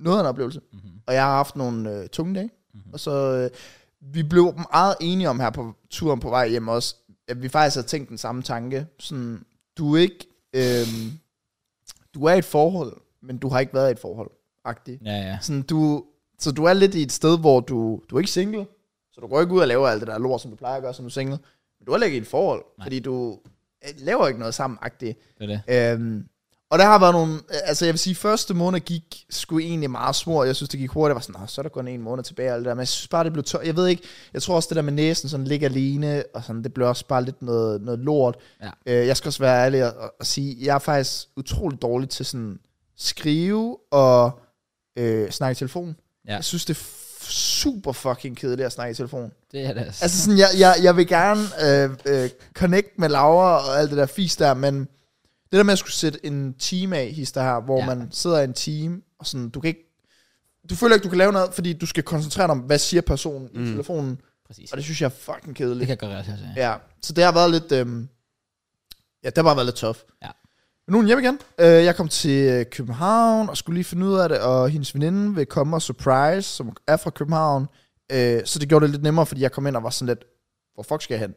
Speaker 3: noget af en oplevelse. Mm-hmm. Og jeg har haft nogle øh, tunge dage. Mm-hmm. Og så øh, vi blev meget enige om her på turen på vej hjem også, at vi faktisk har tænkt den samme tanke. Sådan, du er ikke... Øh, du er i et forhold, men du har ikke været i et forhold. Agtigt.
Speaker 1: Ja, ja.
Speaker 3: Sådan, du, så du er lidt i et sted, hvor du, du er ikke single, så du går ikke ud og laver alt det der lort, som du plejer at gøre, som du er single. Men du er heller ikke i et forhold, Nej. fordi du øh, laver ikke noget sammen-agtigt.
Speaker 1: Det er det.
Speaker 3: Øhm, og der har været nogle, øh, altså jeg vil sige, første måned gik sgu egentlig meget små, jeg synes det gik hurtigt, jeg var sådan, "Nå, så er der kun en måned tilbage, og alt det der. men jeg synes bare, det blev tør, jeg ved ikke, jeg tror også det der med næsen sådan ligger alene, og sådan, det blev også bare lidt noget, noget lort.
Speaker 1: Ja.
Speaker 3: Øh, jeg skal også være ærlig og, og, og sige, jeg er faktisk utrolig dårlig til sådan skrive og øh, snakke i telefon.
Speaker 1: Ja.
Speaker 3: Jeg synes det er f- super fucking kedeligt at snakke i telefon.
Speaker 1: Det er det. Altså.
Speaker 3: Altså sådan, jeg, jeg, jeg vil gerne øh, øh, connect med Laura og alt det der fis der, men det der med at skulle sætte en time af, his der her, hvor ja.
Speaker 1: Ja.
Speaker 3: man sidder i en time, og sådan, du kan ikke, du føler ikke, du kan lave noget, fordi du skal koncentrere dig om, hvad siger personen mm. i telefonen,
Speaker 1: Præcis.
Speaker 3: og det synes jeg er fucking kedeligt.
Speaker 1: Det kan jeg godt være, ja.
Speaker 3: Ja, så det har været lidt... Øhm, ja, det har bare været lidt tough.
Speaker 1: Ja.
Speaker 3: Men nu er hun hjemme igen. Øh, jeg kom til øh, København og skulle lige finde ud af det, og hendes veninde vil komme og surprise, som er fra København. Øh, så det gjorde det lidt nemmere, fordi jeg kom ind og var sådan lidt, hvor fuck skal jeg hen?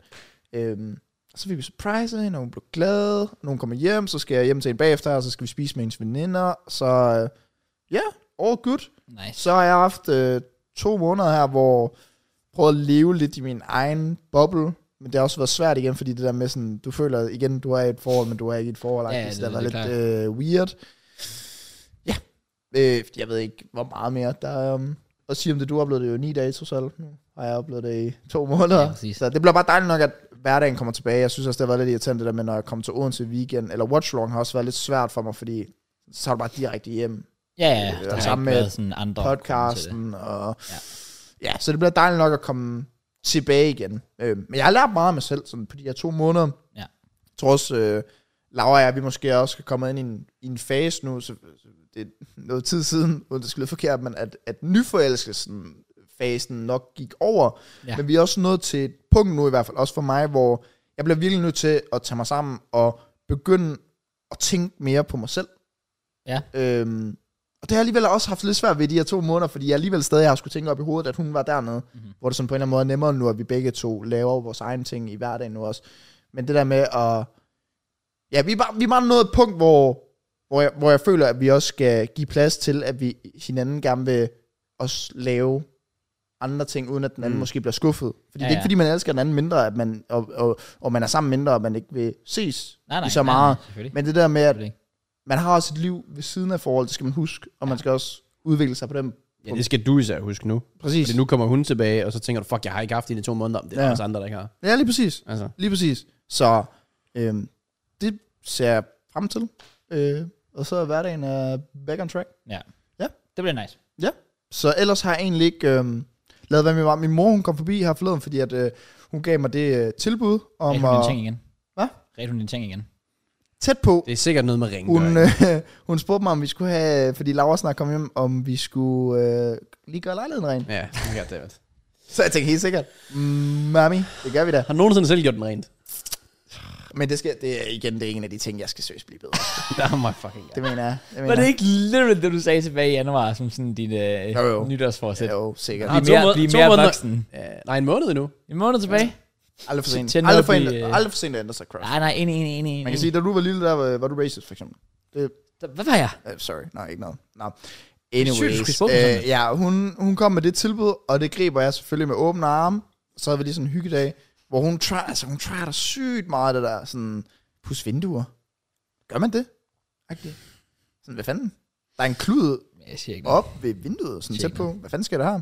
Speaker 3: Øh, så fik vi surprise hende, og hun blev glad. Nogen kommer hjem, så skal jeg hjem til hende bagefter, og så skal vi spise med hendes veninder. Så øh, ja, øh, all good.
Speaker 1: Nice.
Speaker 3: Så har jeg haft øh, to måneder her, hvor jeg prøvede at leve lidt i min egen boble. Men det har også været svært igen, fordi det der med sådan, du føler igen, du er i et forhold, men du er ikke i et forhold.
Speaker 1: Ja,
Speaker 3: Ja,
Speaker 1: ja, det-
Speaker 3: det, det har
Speaker 1: det er
Speaker 3: været lidt øh, weird. Ja, øh, jeg ved ikke, hvor meget mere der er um, at sige om det. Du oplevede det jo i ni dage trods alt. Nu har jeg oplevet det i to måneder.
Speaker 1: Ja, præcis.
Speaker 3: så det bliver bare dejligt nok, at hverdagen kommer tilbage. Jeg synes også, det har været lidt irriterende det der med, når jeg kom til Odense i weekend, eller watchlong har også været lidt svært for mig, fordi så er du bare direkte hjem
Speaker 1: Ja, ja.
Speaker 3: det er
Speaker 1: Der har
Speaker 3: samme
Speaker 1: ikke
Speaker 3: med
Speaker 1: været sådan andre grunde til det.
Speaker 3: podcasten. Og,
Speaker 1: Ja.
Speaker 3: ja. ja, så det bliver dejligt nok at komme tilbage igen. Øh, men jeg har lært meget af mig selv sådan, på de her to måneder.
Speaker 1: Ja.
Speaker 3: Jeg tror også, øh, Laura og jeg, vi måske også skal komme ind i en, i en fase nu, så, så det er noget tid siden, uden det skal lyde forkert, men at, at nyforelskelsen fasen nok gik over.
Speaker 1: Ja.
Speaker 3: Ja. Men vi er også nået til et punkt nu, i hvert fald også for mig, hvor jeg bliver virkelig nødt til at tage mig sammen og begynde at tænke mere på mig selv.
Speaker 1: Ja.
Speaker 3: Øhm, og det har jeg alligevel også haft lidt svært ved de her to måneder, fordi jeg alligevel stadig har skulle tænke op i hovedet, at hun var dernede,
Speaker 1: Mhm.
Speaker 3: mm-hmm. hvor det sådan på en eller anden måde er nemmere nu, at vi begge to laver vores egen ting i hverdagen nu også. Men det der med at... Ja, vi er bare, vi er bare nået et punkt, hvor, hvor, jeg, hvor jeg føler, at vi også skal give plads til, at vi hinanden gerne vil også lave andre ting, uden at den anden mm. måske bliver skuffet. Fordi
Speaker 1: Ja,
Speaker 3: ja, det er ikke,
Speaker 1: ja.
Speaker 3: fordi man elsker den anden mindre, at man, og, og, og man er sammen mindre, og man ikke vil ses
Speaker 1: Nej, nej.
Speaker 3: i så
Speaker 1: nej, nej,
Speaker 3: meget.
Speaker 1: selvfølgelig.
Speaker 3: Men det der med, at
Speaker 1: Selvfølgelig.
Speaker 3: man har også et liv ved siden af forhold, det skal man huske, og man skal også udvikle sig på dem.
Speaker 2: Ja, det skal du især huske nu.
Speaker 3: Præcis.
Speaker 2: Fordi nu kommer hun tilbage, og så tænker du, fuck, jeg har ikke haft hende i to måneder. Men Det er
Speaker 3: Ja.
Speaker 2: ja. også andre, der ikke har.
Speaker 3: Ja, lige præcis.
Speaker 2: Altså,
Speaker 3: Lige præcis. Så øhm, det ser jeg frem til. Øh, og så er hverdagen uh, back on track.
Speaker 1: Ja.
Speaker 3: Ja.
Speaker 1: Det bliver nice.
Speaker 3: Ja. Så ellers har jeg egentlig ikke øhm, lavet, hvad min var. Min mor, hun kom forbi her forleden, fordi at, øh, hun gav mig det øh, tilbud
Speaker 1: Ret
Speaker 3: om
Speaker 1: hun dine
Speaker 3: at...
Speaker 1: ting igen.
Speaker 3: Hvad?
Speaker 1: Ret hun dine ting igen.
Speaker 3: Tæt på.
Speaker 2: det er sikkert noget med ringen.
Speaker 3: Hun,
Speaker 2: Hun,
Speaker 3: øh, hun spurgte mig, om vi skulle have... Fordi Laura snart kom hjem, om vi skulle øh, lige gøre lejligheden ren.
Speaker 2: ja, det er det.
Speaker 3: Så jeg tænkte helt sikkert, mm, mami, det gør vi da.
Speaker 2: Har du nogensinde selv gjort den rent?
Speaker 3: Men det, skal, det er igen det er en af de ting, jeg skal seriøst blive bedre.
Speaker 2: Oh my fucking god.
Speaker 3: Det mener jeg. Det mener
Speaker 1: Var det
Speaker 3: jeg.
Speaker 1: ikke literally det, du sagde tilbage i januar, som sådan din øh,
Speaker 3: Jo, jo.
Speaker 1: nytårsforsæt?
Speaker 3: Jo, sikkert.
Speaker 2: Ah,
Speaker 1: Bliv
Speaker 2: to
Speaker 1: mere,
Speaker 2: måneder-
Speaker 1: bliv
Speaker 2: to
Speaker 1: mere
Speaker 2: måneder.
Speaker 1: voksen.
Speaker 2: Uh, nej, en måned endnu.
Speaker 1: En måned tilbage.
Speaker 3: Aldrig for sent.
Speaker 1: Til at nå
Speaker 3: Aldrig for,
Speaker 1: at
Speaker 3: en,
Speaker 1: blive, øh,
Speaker 3: aldrig for sent at ændre sig, Crash.
Speaker 1: Nej, nej, enig, enig, enig.
Speaker 3: Man
Speaker 1: enig.
Speaker 3: kan sige, da du var lille, der var, var du racist, for eksempel. Det,
Speaker 1: Hvad var jeg?
Speaker 3: uh, sorry, nej, ikke noget. No.
Speaker 1: Sygt, du skulle
Speaker 3: Anyways,
Speaker 1: spørge mig sådan
Speaker 3: øh, ja, hun, hun kom med det tilbud, og det griber jeg selvfølgelig med åbne arme. Så havde vi lige sådan en hyggedag, hvor hun try, altså hun try der sygt meget det der, sådan, pus vinduer. Gør man det? Agtigt. Sådan, hvad fanden? Der er en klud
Speaker 1: Jeg siger ikke noget.
Speaker 3: op ved vinduet, sådan
Speaker 1: Tjek
Speaker 3: tæt på. Hvad fanden sker der her?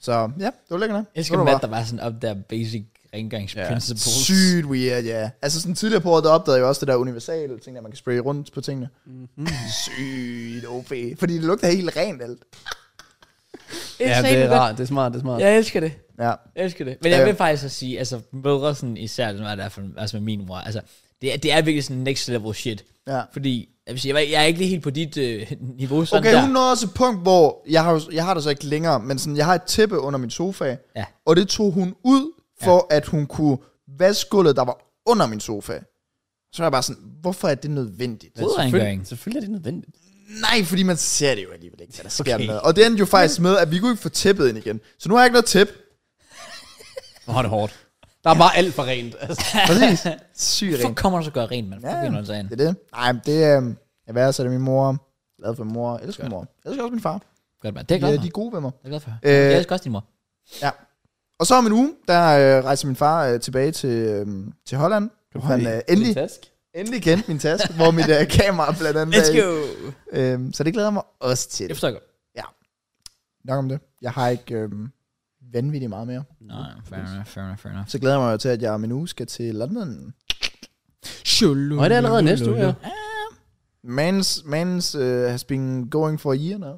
Speaker 3: Så ja, det var lækkert. nok.
Speaker 1: Jeg
Speaker 3: Det
Speaker 1: skal
Speaker 3: var
Speaker 1: Matt,
Speaker 3: bare
Speaker 1: der var sådan op der basic rengøringsprinciples.
Speaker 3: Sygt weird, ja. Altså sådan tidligere på året, der opdagede jeg også det der universale ting, at man kan spraye rundt på tingene.
Speaker 1: Mhm.
Speaker 3: Mm-hmm. Sygt OP. Fordi det lugter helt rent alt.
Speaker 2: Ja, det er rart. Det er smart, det er smart.
Speaker 1: Jeg elsker det.
Speaker 3: Ja.
Speaker 1: Jeg elsker det. Men jeg
Speaker 3: Øh.
Speaker 1: vil faktisk også sige, altså mødre sådan især, som er der for, altså med min mor, altså det er, det er virkelig sådan next level shit.
Speaker 3: Ja.
Speaker 1: Fordi, jeg vil sige, jeg, var- jeg er ikke lige helt på dit øh, niveau sådan
Speaker 3: Okay,
Speaker 1: der.
Speaker 3: hun nåede også et punkt, hvor jeg har, jo- jeg har det så ikke længere, men sådan, jeg har et tæppe under min sofa,
Speaker 1: Ja.
Speaker 3: og det tog hun ud, for ja. at hun kunne vaske gulvet, der var under min sofa. Så er jeg bare sådan, hvorfor er det nødvendigt?
Speaker 1: Hovedrengøring.
Speaker 2: Selvfølgelig, selvfølgelig er det nødvendigt.
Speaker 3: Nej, fordi man ser det jo alligevel ikke, hvad der sker
Speaker 2: Okay.
Speaker 3: okay. med. Og det endte jo faktisk med, at vi kunne ikke få tæppet ind igen. Så nu har jeg ikke noget tæppe.
Speaker 2: Hvor er det hårdt. Der er bare alt for rent. Altså.
Speaker 3: Præcis. Sygt
Speaker 1: Hvorfor kommer du så godt rent, mand?
Speaker 3: Ja,
Speaker 1: Ja, ja.
Speaker 3: det er det. Nej, men det er... Jeg værre så er det min mor. Glad for min mor. Jeg elsker min mor. Jeg elsker også min far.
Speaker 1: Godt, mand. Det er jeg glad
Speaker 3: Ja,
Speaker 1: for.
Speaker 3: de er gode ved mig.
Speaker 1: Det er jeg glad for.
Speaker 3: Øh.
Speaker 1: Jeg elsker også din mor.
Speaker 3: Ja. Og så om en uge, der øh, rejser min far øh, tilbage til, øh, til Holland. Hvor han øh, endelig,
Speaker 2: Fantastisk.
Speaker 3: endelig kendte min taske, hvor mit øh, kamera blandt andet er i. Øhm, så det glæder jeg mig også
Speaker 1: Jeg
Speaker 3: til.
Speaker 1: forstår godt.
Speaker 3: Nok om det. Jeg har ikke øh, vanvittigt meget mere.
Speaker 1: Nej, fair enough, fair enough, fair enough.
Speaker 3: Så glæder jeg mig jo til, at jeg om en uge skal til London.
Speaker 2: Og det er allerede næste uge, ja.
Speaker 3: Mans, mans uh, has been going for a year now.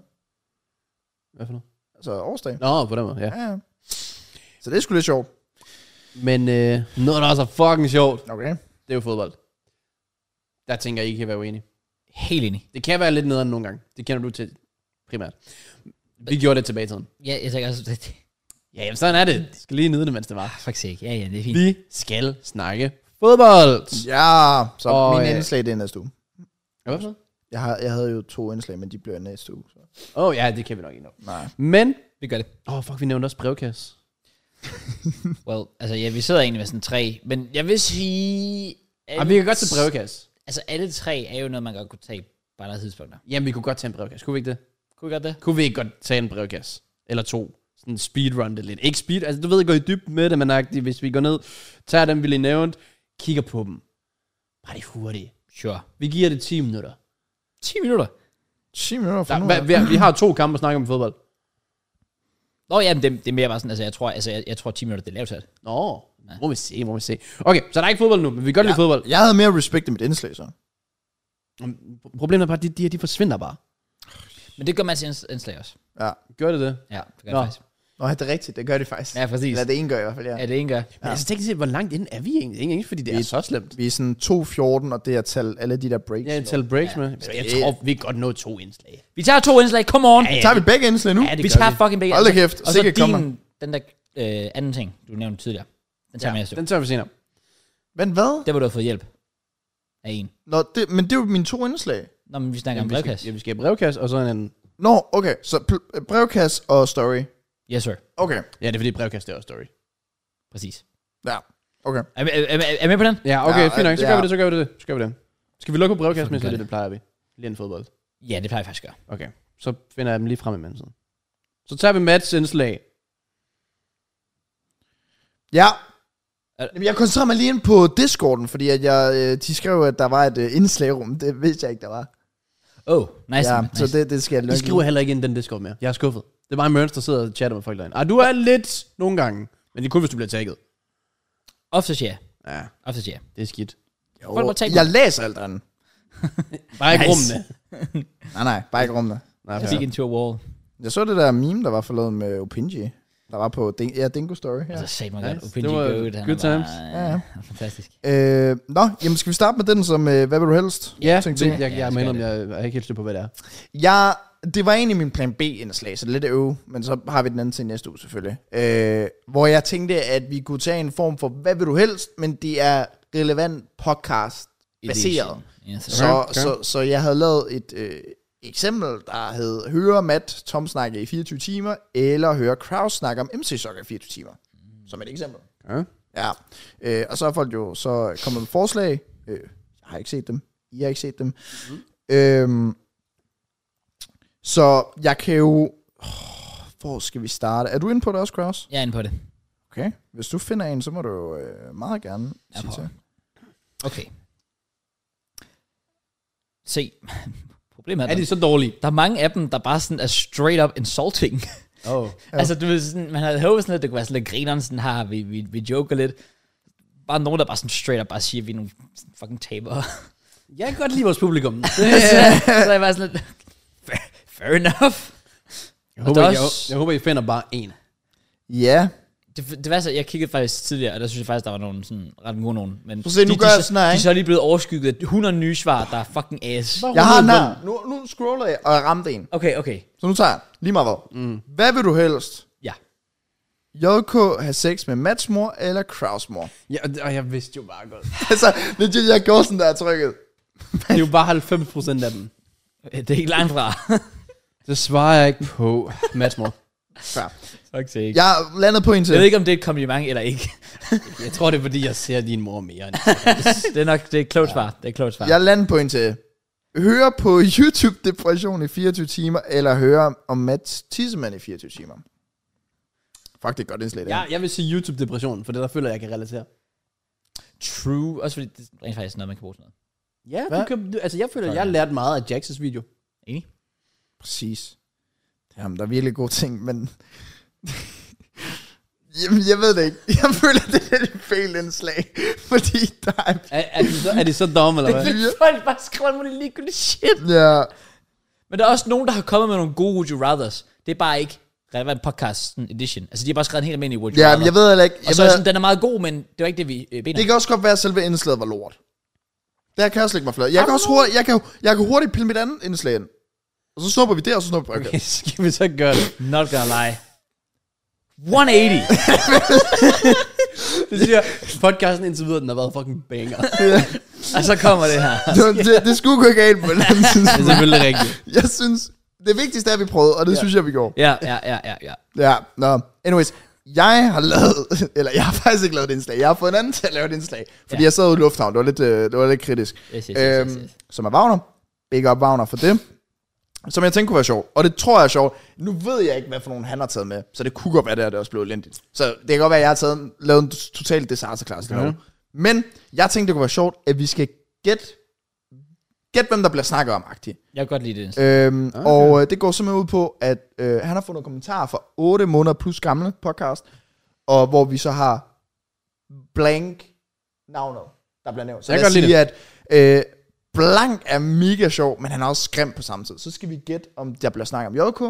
Speaker 2: Hvad for noget?
Speaker 3: Altså årsdag.
Speaker 2: Nå, på den måde, ja.
Speaker 3: Ja. ja. Så det er sgu lidt sjovt.
Speaker 2: Men øh, noget, der også er fucking sjovt,
Speaker 3: Okay.
Speaker 2: det er jo fodbold. Der tænker jeg, I kan være uenige.
Speaker 1: Helt enig.
Speaker 2: Det kan være lidt nederen nogle gange. Det kender du til primært. Vi gjorde det tilbage i tiden.
Speaker 1: Ja, jeg tænker også, det,
Speaker 2: Ja, jamen, sådan er det. Jeg skal lige nyde det, mens det var.
Speaker 1: ah, faktisk ikke. Ja, ja, det er fint.
Speaker 2: Vi skal snakke fodbold.
Speaker 3: Ja, så
Speaker 2: Og,
Speaker 3: og, mine
Speaker 2: øh,
Speaker 3: indslag det er næste uge.
Speaker 2: Ja, Hvad for noget?
Speaker 3: Jeg, har, jeg havde jo to indslag, men de bliver næste uge. Så.
Speaker 2: Åh, oh, ja, det kan vi nok ikke nå.
Speaker 3: Nej.
Speaker 2: Men,
Speaker 1: Vi gør det.
Speaker 2: åh, oh, fuck, vi nævnte også brevkasse.
Speaker 1: Well, altså, ja, vi sidder egentlig med sådan tre, men jeg vil sige... Alle,
Speaker 2: Jamen, Ah, vi kan godt tage brevkasse.
Speaker 1: Altså, alle tre er jo noget, man godt kunne tage på andre tidspunkter.
Speaker 2: Jamen, vi kunne godt tage en brevkasse. Kunne vi ikke det?
Speaker 1: Kunne vi godt det?
Speaker 2: Kunne vi ikke godt tage en brevkasse? Eller to. Sådan speedrun det lidt. Ikke speed, altså du ved, gå i dybden med det, men agtigt, hvis vi går ned, tager dem, vi lige nævnte, kigger på dem. Bare det hurtigt.
Speaker 1: Sure.
Speaker 2: Vi giver det 10 minutter.
Speaker 1: 10 minutter.
Speaker 3: 10 minutter
Speaker 2: Der,
Speaker 3: fra nu.
Speaker 2: hva, vi, vi, har to kampe at snakke om i fodbold.
Speaker 1: Nå, ja, men det, det er mere bare sådan, altså, jeg tror, altså, jeg, jeg tror 10 minutter, det er lavt sat.
Speaker 2: Nå, må vi se, må vi se. Okay, så der er ikke fodbold nu, men vi kan godt ja. lide fodbold.
Speaker 3: Jeg havde mere respekt i mit indslag, så.
Speaker 2: Problemet er bare, at de, de her, de forsvinder bare.
Speaker 1: Men det gør man til inds- indslag også.
Speaker 3: Ja.
Speaker 2: Gør det det?
Speaker 1: Ja, det gør
Speaker 2: Nå.
Speaker 1: det faktisk.
Speaker 3: Nå, det er rigtigt. Det gør de faktisk.
Speaker 1: Ja, præcis.
Speaker 3: Eller det ene gør i hvert fald, ja.
Speaker 1: Ja, det ene gør.
Speaker 2: Men altså teknisk set, hvor langt inden er vi egentlig? Ikke, ikke fordi det er så slemt.
Speaker 3: Vi er sådan 2.14, og det er at tale alle de der breaks.
Speaker 2: Ja,
Speaker 3: Ja,
Speaker 2: en tal breaks ja. med. Jeg
Speaker 3: det-
Speaker 2: tror, vi kan godt nå to indslag.
Speaker 1: Vi tager to indslag, come on!
Speaker 2: Ja, ja.
Speaker 3: Tager vi begge indslag nu?
Speaker 2: Ja, det
Speaker 1: vi
Speaker 2: gør
Speaker 1: tager
Speaker 2: vi.
Speaker 1: fucking begge.
Speaker 3: Hold da
Speaker 1: Og så-
Speaker 3: kæft,
Speaker 1: Og så
Speaker 3: sikke kommer.
Speaker 1: din, den der øh, anden ting, du nævnte tidligere. Den tager ja, med os.
Speaker 2: Den tager vi senere.
Speaker 3: Men hvad?
Speaker 1: Der, hvor du har fået hjælp af en.
Speaker 3: Nå, det, men det er jo mine to indslag.
Speaker 1: Nå, men vi snakker
Speaker 2: Jamen,
Speaker 1: om
Speaker 2: vi, skal,
Speaker 1: brevkasse.
Speaker 2: ja, vi skal have brevkasse, og så en anden.
Speaker 3: Nå, okay. Så pl- øh, brevkasse og story.
Speaker 1: Yes, sir.
Speaker 3: Okay.
Speaker 2: Ja, det er fordi brevkasse, det er også story.
Speaker 1: Præcis.
Speaker 3: Ja. Okay.
Speaker 1: Er, er, er, er, er med på den?
Speaker 2: Ja, okay,
Speaker 3: Ja,
Speaker 2: fint nok. Så
Speaker 3: ja.
Speaker 2: gør vi det, så gør vi det. Så gør vi det. Skal vi lukke på brevkassen,
Speaker 1: Fucking
Speaker 2: mens det,
Speaker 1: gør
Speaker 2: det plejer vi. Lige en fodbold.
Speaker 1: Ja, det plejer jeg faktisk at gøre.
Speaker 2: Okay, så finder jeg dem lige frem i mellemtiden. Så tager vi Mats indslag.
Speaker 3: Ja. Jamen, jeg koncentrerer mig lige ind på Discorden, fordi at jeg, øh, de skrev, at der var et øh, indslagrum. Det vidste jeg ikke, der var.
Speaker 1: Oh, nice.
Speaker 3: ja,
Speaker 1: nice.
Speaker 3: så det, det skal jeg
Speaker 2: De
Speaker 3: lukke
Speaker 2: skriver
Speaker 3: i.
Speaker 2: heller ikke ind i den Discord mere. Jeg er skuffet. Det er bare Mørns, der sidder og chatter med folk derinde. Ah, du er lidt nogle gange. Men det er kun, hvis du bliver tagget.
Speaker 1: Ofte siger jeg.
Speaker 2: Ja,
Speaker 1: Ofte siger jeg.
Speaker 2: det er skidt.
Speaker 3: Jo,
Speaker 1: Folk må tage
Speaker 3: Jeg læser alt andet.
Speaker 2: Bare ikke
Speaker 1: Nice.
Speaker 2: rummene.
Speaker 3: Nej, nej, bare ikke rummene.
Speaker 2: Nej,
Speaker 1: Jeg
Speaker 2: fair.
Speaker 1: gik into a wall.
Speaker 3: Jeg så det der meme, der var forladet med Opinji. Der var på Ding- ja, Dingo Story.
Speaker 1: Og
Speaker 3: Ja.
Speaker 1: så sagde man
Speaker 2: Nice.
Speaker 1: godt, Opinji
Speaker 2: Det var
Speaker 1: go ud. han
Speaker 2: good
Speaker 1: er bare-
Speaker 2: times.
Speaker 1: Ja,
Speaker 3: Ja.
Speaker 1: ja. fantastisk.
Speaker 3: Øh, nå, jamen skal vi starte med den som, øh, hvad vil du helst?
Speaker 2: Ja, det,
Speaker 3: Tænk til.
Speaker 2: jeg, jeg,
Speaker 1: Ja,
Speaker 2: jeg
Speaker 1: det
Speaker 2: mener,
Speaker 1: skal
Speaker 2: jeg, jeg er ikke helt styr på, hvad det er.
Speaker 3: Jeg, det var egentlig min plan B-indslag, så det er lidt øve, men så har vi den anden til næste uge selvfølgelig. Øh, hvor jeg tænkte, at vi kunne tage en form for, hvad vil du helst, men det er relevant podcast baseret.
Speaker 1: Yes, sir.
Speaker 3: Så,
Speaker 2: Okay,
Speaker 3: okay. så, så jeg havde lavet et øh, eksempel, der hed Høre Matt Tom snakke i 24 timer, eller Høre Kraus snakke om MC Soccer i 24 timer. Som et eksempel.
Speaker 2: Ja.
Speaker 3: Ja, øh, og så er folk jo så kommet med forslag. Øh, jeg har ikke set dem. I har ikke set dem. Mm-hmm. Øhm, så jeg kan jo... Oh, hvor skal vi starte? Er du inde på det også, Kraus?
Speaker 1: Jeg er inde på det.
Speaker 3: Okay. Hvis du finder en, så må du jo øh, meget gerne
Speaker 1: Ja,
Speaker 3: sige
Speaker 1: på.
Speaker 3: til.
Speaker 1: Okay. Se, problemet er,
Speaker 2: Er
Speaker 1: der,
Speaker 2: de så dårlige?
Speaker 1: der er mange af dem, der bare sådan er straight up insulting.
Speaker 2: Oh.
Speaker 1: Ja. Altså, du ved, sådan, man havde håbet sådan lidt, det kunne være sådan lidt grineren, sådan her, vi, vi, vi joker lidt. Bare nogen, der bare sådan straight up bare siger, at vi er nogle sådan fucking tabere.
Speaker 2: Jeg kan godt lide vores publikum.
Speaker 1: så, så er jeg bare sådan lidt, fair, fair enough.
Speaker 2: Jeg
Speaker 1: Og
Speaker 2: håber,
Speaker 1: der er
Speaker 2: jeg,
Speaker 1: også-
Speaker 2: jeg håber, I finder bare en.
Speaker 3: Ja.
Speaker 1: Det, det var så, jeg kiggede faktisk tidligere, og der synes jeg faktisk, der var nogle sådan ret gode nogen. Men
Speaker 3: Prøv at se, nu
Speaker 1: de,
Speaker 3: gør
Speaker 1: de,
Speaker 3: jeg
Speaker 1: så-
Speaker 3: sådan her,
Speaker 1: de er
Speaker 3: ikke?
Speaker 1: så lige blevet overskygget af 100 nye svar, der er fucking ass.
Speaker 3: Jeg har nær. Nu, nu scroller jeg, og jeg ramte en.
Speaker 1: Okay, okay.
Speaker 3: Så nu tager jeg lige meget hvad. Mm. Hvad vil du helst?
Speaker 1: Ja.
Speaker 3: JK have sex med Matsmor eller Krausmor?
Speaker 2: Ja, og- og jeg vidste jo bare godt.
Speaker 3: altså, legit, jeg gjorde sådan der trykket.
Speaker 2: Det er jo bare 90 procent af dem. Øh,
Speaker 1: Det er ikke langt fra.
Speaker 2: Det svarer jeg ikke på, Madsmor.
Speaker 3: Ja.
Speaker 1: Fuck sake.
Speaker 3: Jeg landede på en til.
Speaker 1: Jeg ved ikke, om det er et kompliment eller ikke.
Speaker 2: Jeg tror, det er, fordi jeg ser din mor mere end
Speaker 1: Det er nok, det er et klogt svar. Det er et klogt svar.
Speaker 3: Jeg lander på en til. Høre på YouTube Depression i 24 timer, eller høre om Mads Tissemann i 24 timer. Fuck, det er et godt indslag, det her.
Speaker 2: jeg, jeg vil sige YouTube-depression, for det der føler jeg, jeg kan relatere.
Speaker 1: True. Også fordi det er rent faktisk noget, man kan bruge til noget.
Speaker 2: Ja, du
Speaker 3: Hvad?
Speaker 2: kan, du, altså jeg føler,
Speaker 1: Sådan.
Speaker 2: jeg har lært meget af Jaxes video.
Speaker 1: Enig?
Speaker 3: Præcis. Jamen, der er virkelig gode ting, men... Jamen, jeg ved det ikke. Jeg føler, det er et fejl indslag, fordi der er...
Speaker 2: Er, er, de, så, er de så dumme, eller hvad?
Speaker 3: Ja.
Speaker 1: Folk bare skriver alt muligt ligegyldigt shit.
Speaker 3: Ja,
Speaker 1: Men der er også nogen, der har kommet med nogle gode Would You Rathers. Det er bare ikke relevant podcast sådan edition. Altså, de har bare skrevet en helt almindelig Would You
Speaker 3: ja
Speaker 1: Rather.
Speaker 3: men jeg ved heller ikke.
Speaker 1: og
Speaker 3: Jeg
Speaker 1: så er
Speaker 3: ved,
Speaker 1: sådan, den er meget god, men det var ikke det, vi øh, beder
Speaker 3: det
Speaker 1: om.
Speaker 3: kan også godt være, at selve indslaget var lort. Der kan jeg også lægge mig flad. Jeg kan, også hurtigt, jeg, kan, jeg kan hurtigt pille mit andet indslag ind. Og så snupper vi det, og så snupper vi okay.
Speaker 2: Okay, skal vi så gøre det?
Speaker 1: Not gonna lie. 180.
Speaker 2: Det siger podcasten indtil videre, den har været fucking banger.
Speaker 1: og så kommer det her.
Speaker 3: det, det, det skulle gå galt på den anden
Speaker 2: Det er
Speaker 3: tidspunkt.
Speaker 2: selvfølgelig rigtigt.
Speaker 3: Jeg synes, det vigtigste er, at vi prøvede, og det ja. synes jeg, vi gjorde.
Speaker 1: Ja, ja, ja, ja, ja.
Speaker 3: Ja, nå. Anyways, jeg har lavet, eller jeg har faktisk ikke lavet et indslag. Jeg har fået en anden til at lave et indslag, fordi
Speaker 1: Ja.
Speaker 3: ja. jeg sad ude i lufthavn. Det var lidt, øh, det var lidt kritisk.
Speaker 1: Yes, yes, yes,
Speaker 2: Øhm.
Speaker 1: yes, yes.
Speaker 3: Øhm, Som er Wagner. Big up Wagner for det. Som jeg tænkte kunne være sjov. Og det tror jeg er sjov. Nu ved jeg ikke, hvad for nogen han har taget med. Så det kunne godt være, det er det er også blevet elendigt. Så det kan godt være, at jeg har taget, en- lavet en total disasterklasse. Okay. Men jeg tænkte, det kunne være sjovt, at vi skal gætte, gæt, hvem der bliver snakket om, agtigt.
Speaker 1: Jeg kan godt lide det.
Speaker 3: Øhm,
Speaker 2: Ah,
Speaker 3: okay. Og øh, det går simpelthen ud på, at øh, han har fundet kommentarer fra 8 måneder plus gamle podcast, og hvor vi så har blank navnet, der bliver nævnt. Så
Speaker 2: Jeg
Speaker 3: lad
Speaker 2: kan
Speaker 3: os
Speaker 2: godt
Speaker 3: sige, at øh, blank er mega sjov, men han er også skræmt på samme tid. Så skal vi gætte, om der bliver snakket om JK,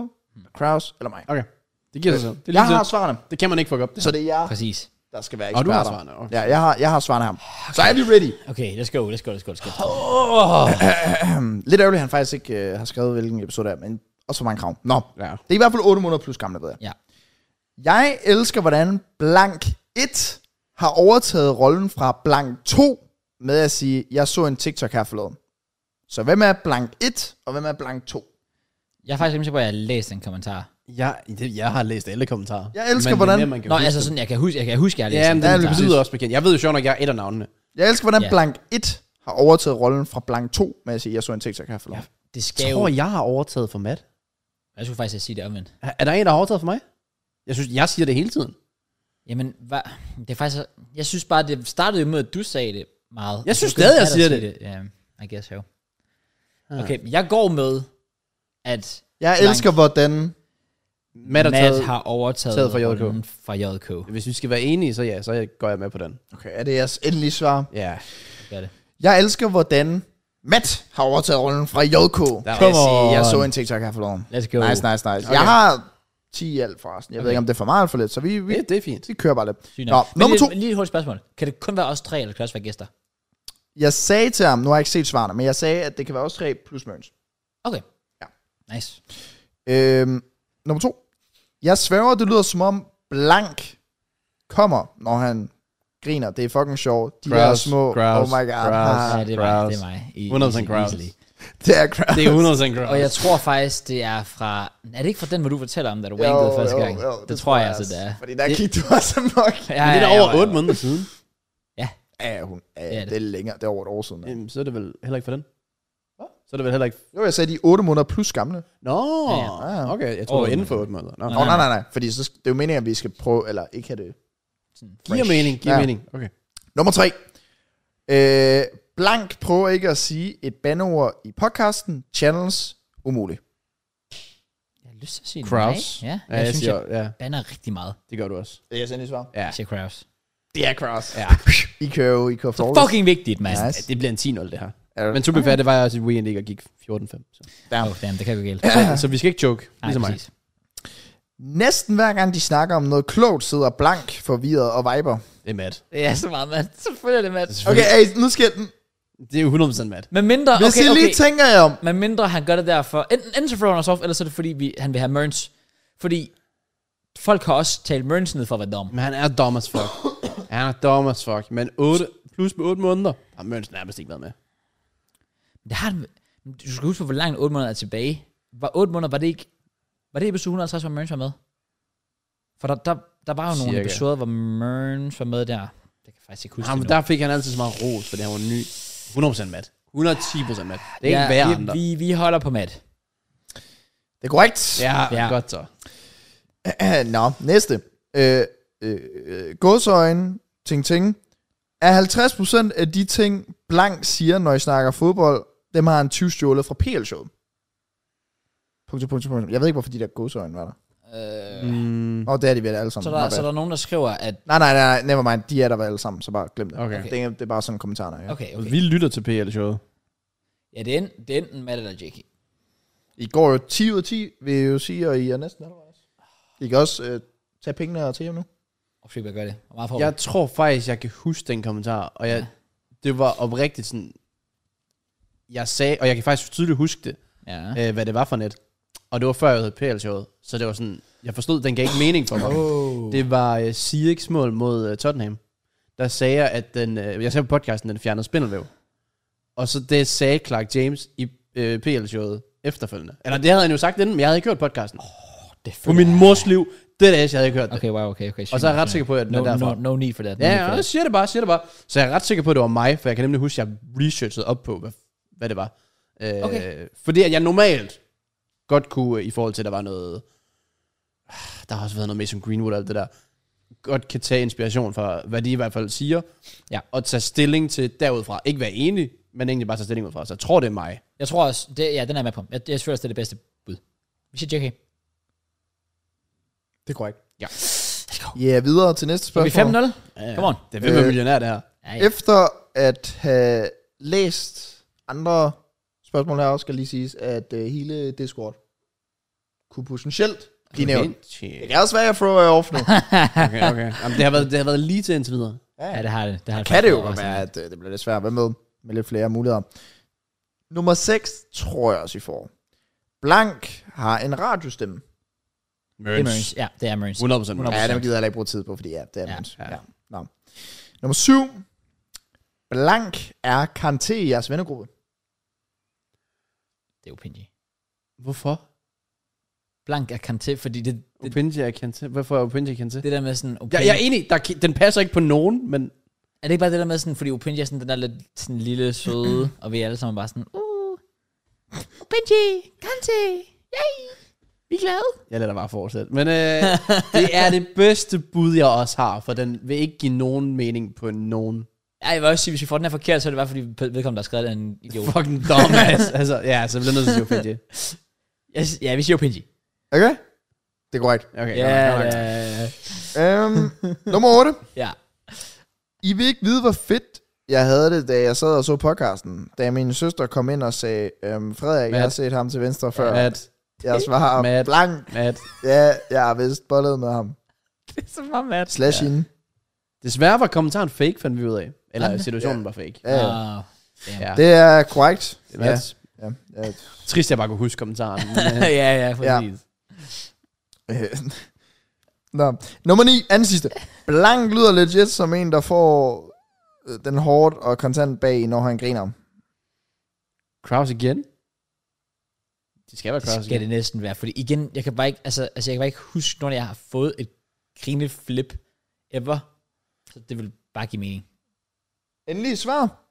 Speaker 3: Kraus eller mig.
Speaker 2: Okay, det giver sig selv. Det, er
Speaker 3: Jeg
Speaker 2: lige
Speaker 3: har
Speaker 2: så.
Speaker 3: svarene,
Speaker 2: det kan man ikke fuck op.
Speaker 3: så det er jer,
Speaker 1: Præcis.
Speaker 3: der skal være
Speaker 2: Og
Speaker 3: eksperter.
Speaker 2: du har svarene. Okay.
Speaker 3: Ja, jeg har, jeg har svarene her. Så er vi ready.
Speaker 1: Okay, let's go, let's go, let's go, let's go.
Speaker 3: Lidt ærgerligt, at han faktisk ikke øh, har skrevet, hvilken episode det er, men også for mange krav. Nå,
Speaker 2: Ja.
Speaker 3: det er i hvert fald 8 måneder plus gamle, ved jeg.
Speaker 1: Ja.
Speaker 3: Jeg elsker, hvordan Blank 1 har overtaget rollen fra Blank 2 med at sige, jeg så en TikTok her forleden. Så hvem er Blank 1, og hvem er Blank 2?
Speaker 1: Jeg er faktisk rimelig sikker på, at jeg har læst en kommentar.
Speaker 2: Jeg, det, jeg har læst alle kommentarer.
Speaker 3: Jeg elsker, hvordan-
Speaker 2: mere, man kan
Speaker 1: Nå,
Speaker 2: huske
Speaker 1: altså
Speaker 2: dem.
Speaker 1: sådan, jeg kan huske, jeg kan huske, jeg har læst
Speaker 2: Ja,
Speaker 1: en
Speaker 2: men det
Speaker 3: Ja,
Speaker 2: betyder
Speaker 3: lige
Speaker 1: kommentar.
Speaker 3: præcis.
Speaker 2: også bekendt. Jeg ved jo sjovt nok, jeg er et af navnene.
Speaker 3: Jeg elsker, hvordan
Speaker 1: Ja.
Speaker 3: yeah. Blank 1 har overtaget rollen fra Blank 2 med at sige, jeg så en TikTok her forleden.
Speaker 1: Det skal
Speaker 2: Jeg
Speaker 1: jo...
Speaker 2: tror, jeg har overtaget for Matt.
Speaker 1: Jeg skulle faktisk sige det omvendt.
Speaker 2: Er er der en, der har overtaget for mig? Jeg synes, jeg siger det hele tiden.
Speaker 1: Jamen, hvad? det er faktisk... Jeg synes bare, det startede jo med, at du sagde det meget. Altså,
Speaker 2: Jeg synes
Speaker 1: Så begyndte
Speaker 2: stadig, jeg
Speaker 1: at
Speaker 2: siger Ah.
Speaker 1: sige Ja, I guess so. Okay, jeg går med, at
Speaker 3: Jeg
Speaker 1: Blank.
Speaker 3: elsker, hvordan...
Speaker 2: Matt, har
Speaker 1: Matt
Speaker 2: taget,
Speaker 1: har overtaget
Speaker 2: taget fra JK.
Speaker 1: rollen fra JK.
Speaker 2: Hvis vi skal være enige, så ja, så går jeg med på den.
Speaker 3: Okay, er det jeres endelige svar?
Speaker 2: Ja.
Speaker 1: Gør det.
Speaker 3: Jeg elsker, hvordan Matt har overtaget rollen fra JK.
Speaker 2: Der
Speaker 3: med at
Speaker 2: var-
Speaker 3: sige, jeg så en TikTok her forleden.
Speaker 1: Let's go.
Speaker 3: Nice, nice, nice. Okay. Jeg har 10 i alt forresten. Jeg okay. ved ikke, om det er for meget eller for lidt, så vi, vi,
Speaker 2: Det, det er fint.
Speaker 3: vi kører bare lidt.
Speaker 1: Sygt
Speaker 3: Nå,
Speaker 1: nok. Men
Speaker 3: nummer
Speaker 1: lige-
Speaker 3: to.
Speaker 1: Lige et hurtigt spørgsmål. Kan det kun være os tre, eller kan det også være gæster?
Speaker 3: Jeg sagde til ham, nu har jeg ikke set svarene, men jeg sagde, at det kan være også tre plus møns.
Speaker 1: Okay.
Speaker 3: Ja.
Speaker 1: Nice.
Speaker 3: Øhm, nummer to. Jeg sværger, det lyder som om blank kommer, når han griner. Det er fucking sjovt. De der
Speaker 2: Grouse,
Speaker 3: små,
Speaker 2: grouse,
Speaker 3: oh my god.
Speaker 2: grouse.
Speaker 1: Ja,
Speaker 3: haha.
Speaker 1: det er mig.
Speaker 2: Kraus.
Speaker 1: Det er mig. I,
Speaker 2: 100%
Speaker 1: easy-
Speaker 2: Kraus.
Speaker 1: easily.
Speaker 3: Det er crowd.
Speaker 2: Det er 100% gross.
Speaker 1: Og jeg tror faktisk, det er fra... Er det ikke fra den, hvor du fortæller om, da du wankede første gang? det, tror jeg altså, det er.
Speaker 3: Fordi der gik du også nok.
Speaker 1: Ja,
Speaker 2: Men det er
Speaker 1: ja,
Speaker 2: da over
Speaker 1: ja,
Speaker 2: 8 måneder siden.
Speaker 3: Ja, hun, ja,
Speaker 1: Ja,
Speaker 3: det.
Speaker 1: det-
Speaker 3: er længere. Det er over et år siden. Ja.
Speaker 2: Jamen, så er det vel heller ikke for den. Så er det vel heller ikke...
Speaker 3: Jo, jeg sagde, de er 8 måneder plus gamle. Nå,
Speaker 2: Nå,
Speaker 1: Ja,
Speaker 3: ja.
Speaker 2: okay. Jeg
Speaker 1: Over
Speaker 2: tror, det var
Speaker 1: otte
Speaker 2: inden for 8 måneder. Nå.
Speaker 3: nej, nej, nej. Fordi så, det er jo meningen, at vi skal prøve, eller ikke have det.
Speaker 2: Giver
Speaker 3: fresh.
Speaker 2: mening, giver
Speaker 3: Ja.
Speaker 2: mening. Okay.
Speaker 3: Nummer 3. Øh, blank prøver ikke at sige et bandeord i podcasten. Channels umuligt.
Speaker 1: Jeg har lyst til at sige
Speaker 2: Kraus.
Speaker 1: nej. Ja,
Speaker 2: Ja,
Speaker 1: jeg,
Speaker 2: jeg
Speaker 1: synes,
Speaker 2: siger,
Speaker 1: jeg
Speaker 2: ja,
Speaker 1: banner rigtig meget.
Speaker 2: det gør du også.
Speaker 3: Det er jeres endelige svar.
Speaker 2: Ja.
Speaker 1: Jeg siger Kraus.
Speaker 3: Det er cross.
Speaker 2: Ja.
Speaker 3: I kører jo, I kører Flawless.
Speaker 1: Fucking vigtigt, mand.
Speaker 3: Nice.
Speaker 2: Det bliver en 10-0, det her.
Speaker 3: Er du-
Speaker 2: Men to be fair, det var jeg også i weekend ikke og gik 14-5. Så.
Speaker 1: Damn. Oh, damn, det kan gå galt.
Speaker 2: Så, så vi skal ikke joke,
Speaker 1: Nej,
Speaker 2: ligesom mig.
Speaker 1: præcis.
Speaker 3: Næsten hver gang de snakker om noget klogt, sidder blank, forvirret og viber.
Speaker 2: Det er mad.
Speaker 1: Det er så meget, mand. Selvfølgelig er det, mand.
Speaker 3: Okay, hey, nu skal den.
Speaker 2: Det er jo 100% mad.
Speaker 1: Men mindre,
Speaker 3: Hvis
Speaker 1: okay,
Speaker 3: okay, I lige
Speaker 1: okay.
Speaker 3: tænker jer om,
Speaker 1: Men mindre han gør det derfor. Enten, enten så thrower han os off, eller så er det fordi, vi, han vil have Merns. Fordi folk har også talt Merns ned for at være dum.
Speaker 2: Men han er dumb as fuck. han er dumb as fuck. Men 8, plus med 8 måneder, har Møns nærmest ikke været med.
Speaker 1: Det har, han- du skal huske på, hvor langt 8 måneder er tilbage. Var 8 måneder, var det ikke... Var det episode 150, hvor Merns var med? For der, der, der var jo nogle
Speaker 2: Cirka.
Speaker 1: episoder, hvor Merns var med der. Jeg kan faktisk ikke huske
Speaker 2: Jamen,
Speaker 1: det nu.
Speaker 2: der fik han altid så meget ros, fordi han var ny. 100% mad. 110% mad. Det er
Speaker 1: ja,
Speaker 2: ikke hver
Speaker 1: vi,
Speaker 2: andre.
Speaker 1: Vi, vi holder på Matt.
Speaker 3: det er korrekt.
Speaker 2: Ja,
Speaker 1: Ja.
Speaker 2: ja, godt så.
Speaker 3: Nå, næste. Øh, øh, øh, Gåsøjne, ting ting. Er 50% af de ting, Blank siger, når I snakker fodbold, dem har han 20 stjålet fra PL-showet. Punktum, punktum, punktum. Jeg ved ikke, hvorfor de der gåsøjne var der.
Speaker 2: Mm.
Speaker 3: Nå, det er de vel alle sammen.
Speaker 1: Så
Speaker 3: My
Speaker 1: der,
Speaker 3: bad.
Speaker 1: så der Øh, er nogen, der skriver, at...
Speaker 3: Nej, nej, nej, nej, never mind. De er der vel alle sammen, så bare glem det.
Speaker 2: Okay.
Speaker 3: Det, er, det er bare sådan kommentarer. Ja.
Speaker 1: Okay, okay.
Speaker 2: Vi lytter til PL-showet.
Speaker 1: Ja, det er, en, det er enten Matt eller Jackie.
Speaker 3: I går jo 10 ud af 10, vil jeg jo sige, og I er næsten halvvejs. I kan også øh, tage pengene og tage hjem nu.
Speaker 1: Og Flip, jeg gør det. Og meget for
Speaker 2: Jeg tror faktisk, jeg kan huske den kommentar, og jeg, det var oprigtigt sådan, jeg sagde, og jeg kan faktisk tydeligt huske det,
Speaker 1: ja.
Speaker 2: øh, hvad det var for net. Og det var før jeg havde PL-showet, så det var sådan, jeg forstod, den gav ikke mening for mig.
Speaker 3: Oh.
Speaker 2: Det var øh, Sieks mål mod øh, Tottenham. Der sagde jeg, at den, øh, jeg sagde på podcasten, den fjernede spindelvæv. Og så det sagde Clark James i øh, PL-showet efterfølgende. Eller det havde han jo sagt inden, men jeg havde ikke hørt podcasten. Oh,
Speaker 1: det
Speaker 2: på min mors liv, det er det, jeg havde ikke hørt det.
Speaker 1: Okay, wow, okay, okay.
Speaker 2: Og så er jeg ret sikker på, at den
Speaker 1: no,
Speaker 2: er derfra.
Speaker 1: no, no need for that. No
Speaker 2: Ja,
Speaker 1: need for
Speaker 2: ja, jeg
Speaker 1: that.
Speaker 2: siger det bare, siger det bare. Så jeg er ret sikker på, at det var mig, for jeg kan nemlig huske, at jeg researchede op på, hvad, hvad det var. Øh,
Speaker 1: Okay.
Speaker 2: Fordi at jeg normalt godt kunne, øh, i forhold til, at der var noget... Ah, Der har også været noget Mason Greenwood og alt det der. Godt kan tage inspiration fra, hvad de i hvert fald siger.
Speaker 1: Ja.
Speaker 2: Og tage stilling til derudfra. Ikke være enig, men egentlig bare tage stilling udfra. Så jeg tror, det er mig.
Speaker 1: Jeg tror også, det, ja, den er jeg med på. Jeg, jeg synes, det er det bedste bud. Vi siger JK.
Speaker 3: Det er korrekt.
Speaker 2: Ja.
Speaker 3: Ja, videre til næste
Speaker 1: Er vi
Speaker 3: spørgsmål.
Speaker 1: 5-0?
Speaker 2: Ja, ja.
Speaker 1: Come on.
Speaker 2: Det er hvem er
Speaker 3: Øh,
Speaker 2: millionær, det her.
Speaker 1: Ja, ja.
Speaker 3: Efter at have læst andre spørgsmål her, også skal lige siges, at øh, hele Discord kunne potentielt blive nævnt. Det
Speaker 2: Okay,
Speaker 3: kan også være, at jeg thrower jer off nu.
Speaker 2: okay. Jamen, det, har været, det har været lige til indtil videre.
Speaker 1: ja, det har det. det har
Speaker 3: kan det jo
Speaker 1: faktisk
Speaker 3: godt
Speaker 1: også.
Speaker 3: være, at øh, det bliver lidt svært. Hvad med? Med lidt flere muligheder. Nummer 6 tror jeg også, I får. Blank har en radiostemme.
Speaker 1: Det er Marines. Ja, det er Marines.
Speaker 2: 100%. 100%.
Speaker 3: Ja, dem gider jeg heller ikke bruge tid på, fordi ja, det er
Speaker 1: Ja,
Speaker 3: nemt.
Speaker 2: ja.
Speaker 3: Ja. Nå. Nummer 7. Blank er Kanté i jeres vennegruppe.
Speaker 1: Det er Opinji.
Speaker 2: Hvorfor?
Speaker 1: Blank er Kanté, fordi det, det,
Speaker 2: Opinji er Kante. Hvorfor er Opinji Kante?
Speaker 1: det der med sådan...
Speaker 2: Jeg,
Speaker 1: Opinji,
Speaker 2: jeg er enig, der, ki- den passer ikke på nogen, men
Speaker 1: Er det ikke bare det der med sådan, fordi Opinji er sådan den der lidt sådan lille søde, og vi er alle sammen bare sådan, uh, Opinji, Kante, yay, vi er glade.
Speaker 2: jeg lader dig bare fortsætte. Men øh, det er det bedste bud, jeg også har, for den vil ikke give nogen mening på nogen.
Speaker 1: Ej, jeg vil også sige, hvis vi får den her forkert, så er det bare fordi vedkommende, der har skrevet den er en idiot.
Speaker 2: Fucking dumbass. altså, ja, så bliver jeg nødt til at sige Opinji.
Speaker 1: Jeg s- Ja, vi siger Opinji.
Speaker 3: Okay? Det er korrekt.
Speaker 2: Okay,
Speaker 1: Ja,
Speaker 2: godt nok, godt nok.
Speaker 1: ja,
Speaker 3: Øhm, nummer 8.
Speaker 1: ja.
Speaker 3: I vil ikke vide, hvor fedt jeg havde det, da jeg sad og så podcasten. Da min søster kom ind og sagde, øhm, Frederik, Matt. jeg har
Speaker 2: Matt.
Speaker 3: set ham til venstre før.
Speaker 2: Matt,
Speaker 3: Jeg svarer
Speaker 2: Matt.
Speaker 3: blank.
Speaker 2: Matt.
Speaker 3: Ja, jeg har vist bollet med ham.
Speaker 1: Det er så meget mad.
Speaker 3: Slash ja. hende.
Speaker 2: Desværre var kommentaren fake, fandt vi ud af. Eller
Speaker 1: Jamen,
Speaker 2: situationen var fake.
Speaker 3: Ja, ja.
Speaker 1: Ah,
Speaker 2: Ja.
Speaker 3: Det er korrekt. Ja.
Speaker 2: Matt.
Speaker 3: Ja. Ja.
Speaker 2: Trist, jeg bare kunne huske kommentaren. Men, øh,
Speaker 1: ja, ja, præcis.
Speaker 3: Øh. Nå. Nummer 9, anden sidste. Blank lyder legit som en, der får øh, den hårdt og kontant bag, når han griner.
Speaker 2: Kraus igen? Det skal være
Speaker 1: Det
Speaker 2: Kraus
Speaker 1: skal
Speaker 2: igen.
Speaker 1: det næsten være, fordi igen, jeg kan bare ikke, altså, altså jeg kan bare ikke huske, når jeg har fået et grineflip ever. Så det vil bare give mening.
Speaker 3: Endelig svar.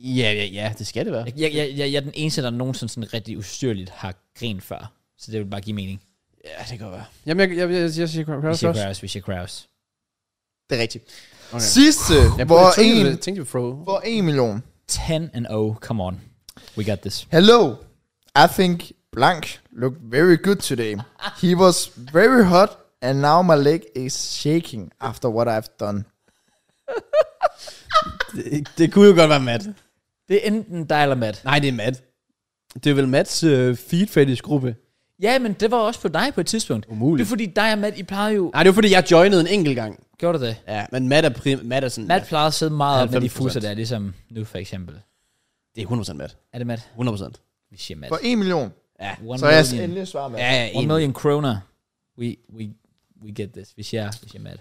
Speaker 2: Ja, ja, ja, det skal det være.
Speaker 1: Jeg, jeg, jeg, jeg, jeg er den eneste, der nogensinde sådan rigtig ustyrligt har grinet før. Så det vil bare give mening.
Speaker 2: Ja, det kan godt være. Jamen, jeg, jeg, jeg, jeg siger
Speaker 1: Vi
Speaker 2: Kraus
Speaker 1: siger
Speaker 2: først.
Speaker 1: Kraus, vi siger Kraus.
Speaker 3: Det er rigtigt.
Speaker 2: Okay.
Speaker 3: Sidste,
Speaker 2: Jeg
Speaker 3: hvor
Speaker 2: burde tænke,
Speaker 3: en,
Speaker 2: det- tænkte vi Fro.
Speaker 3: hvor en million.
Speaker 1: 10 and 0, come on. We got this.
Speaker 3: Hello, I think Blank looked very good today. He was very hot, and now my leg is shaking after what I've done.
Speaker 2: Det, det kunne jo godt være Matt.
Speaker 1: Det er enten dig eller Matt.
Speaker 2: Nej, det er Matt. Det er vel Mats øh, feed fetish gruppe.
Speaker 1: Ja, men det var også på dig på et tidspunkt.
Speaker 2: Umuligt.
Speaker 1: Det er fordi dig og Matt, I plejer jo...
Speaker 2: Nej, det var fordi, jeg joinede en enkelt gang.
Speaker 1: Gjorde du det?
Speaker 2: Ja, men Matt er, prim, Matt er sådan...
Speaker 1: Matt
Speaker 2: Ja,
Speaker 1: plejer at sidde meget op med de
Speaker 2: 90%.
Speaker 1: fuser der, ligesom nu for eksempel.
Speaker 2: det er 100% Matt.
Speaker 1: Er det Matt?
Speaker 2: 100%.
Speaker 1: Vi siger Matt.
Speaker 3: For en million.
Speaker 2: Ja,
Speaker 1: One
Speaker 3: Så jeg
Speaker 1: million.
Speaker 3: endelig svar med.
Speaker 2: ja, ja
Speaker 1: One
Speaker 2: en.
Speaker 1: million kroner. We, we, we get this. Vi siger, vi siger Matt.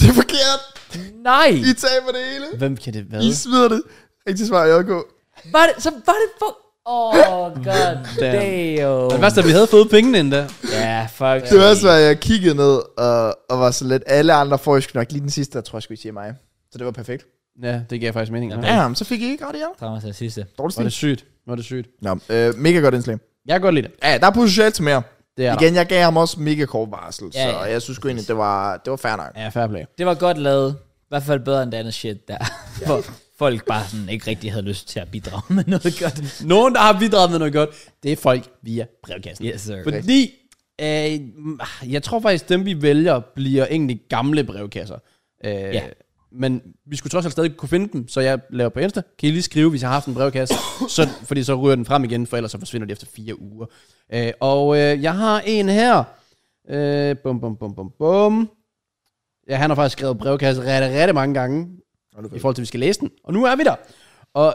Speaker 3: Det er forkert.
Speaker 1: Nej!
Speaker 3: I taber det hele.
Speaker 2: Hvem kan det være?
Speaker 3: I smider det. Rigtig svar, JK.
Speaker 1: Var det, så var det for... Oh, god
Speaker 2: Det
Speaker 1: damn.
Speaker 2: værste, er, at vi havde fået pengene endda.
Speaker 1: Ja, fuck.
Speaker 3: Det var også, hvad jeg kiggede ned og, og var så lidt. Alle andre får jo sgu nok lige den sidste, jeg tror, jeg skulle sige mig. Så det var perfekt.
Speaker 2: Ja, det gav faktisk mening.
Speaker 1: Ja,
Speaker 2: Ja,
Speaker 1: Matt.
Speaker 3: Ja, men så fik I ikke ret i jer.
Speaker 1: Thomas er sidste.
Speaker 3: Dårlig
Speaker 2: var
Speaker 3: stil.
Speaker 2: det sygt. Var det sygt.
Speaker 3: Nå, øh, mega godt indslag.
Speaker 2: Jeg kan godt lide det.
Speaker 3: Ja, der er potentiale til mere.
Speaker 2: Det er
Speaker 3: Igen, jeg gav ham også mega kort varsel,
Speaker 1: Ja,
Speaker 3: ja,
Speaker 1: ja.
Speaker 3: så jeg synes sgu egentlig, det var, det var fair nok.
Speaker 2: der. Ja, fair play.
Speaker 1: Det var godt lavet. I hvert fald bedre end det andet shit der. Hvor folk bare sådan ikke rigtig havde lyst til at bidrage med noget godt.
Speaker 2: Nogen, der har bidraget med noget godt, det er folk via brevkassen.
Speaker 1: Yes, sir.
Speaker 2: Fordi, øh, jeg tror faktisk, dem vi vælger, bliver egentlig gamle brevkasser. Øh,
Speaker 1: Ja.
Speaker 2: Men vi skulle trods alt stadig kunne finde dem, så jeg laver på Insta. Kan I lige skrive, hvis jeg har haft en brevkasse? så, fordi så ryger den frem igen, for ellers så forsvinder det efter fire uger. Øh, og øh, jeg har en her. Øh, bum, bum, bum, bum, bum. Ja, han har faktisk skrevet brevkasse rigtig, rigtig mange gange. I forhold til, at vi skal læse den. Og nu er vi der. Og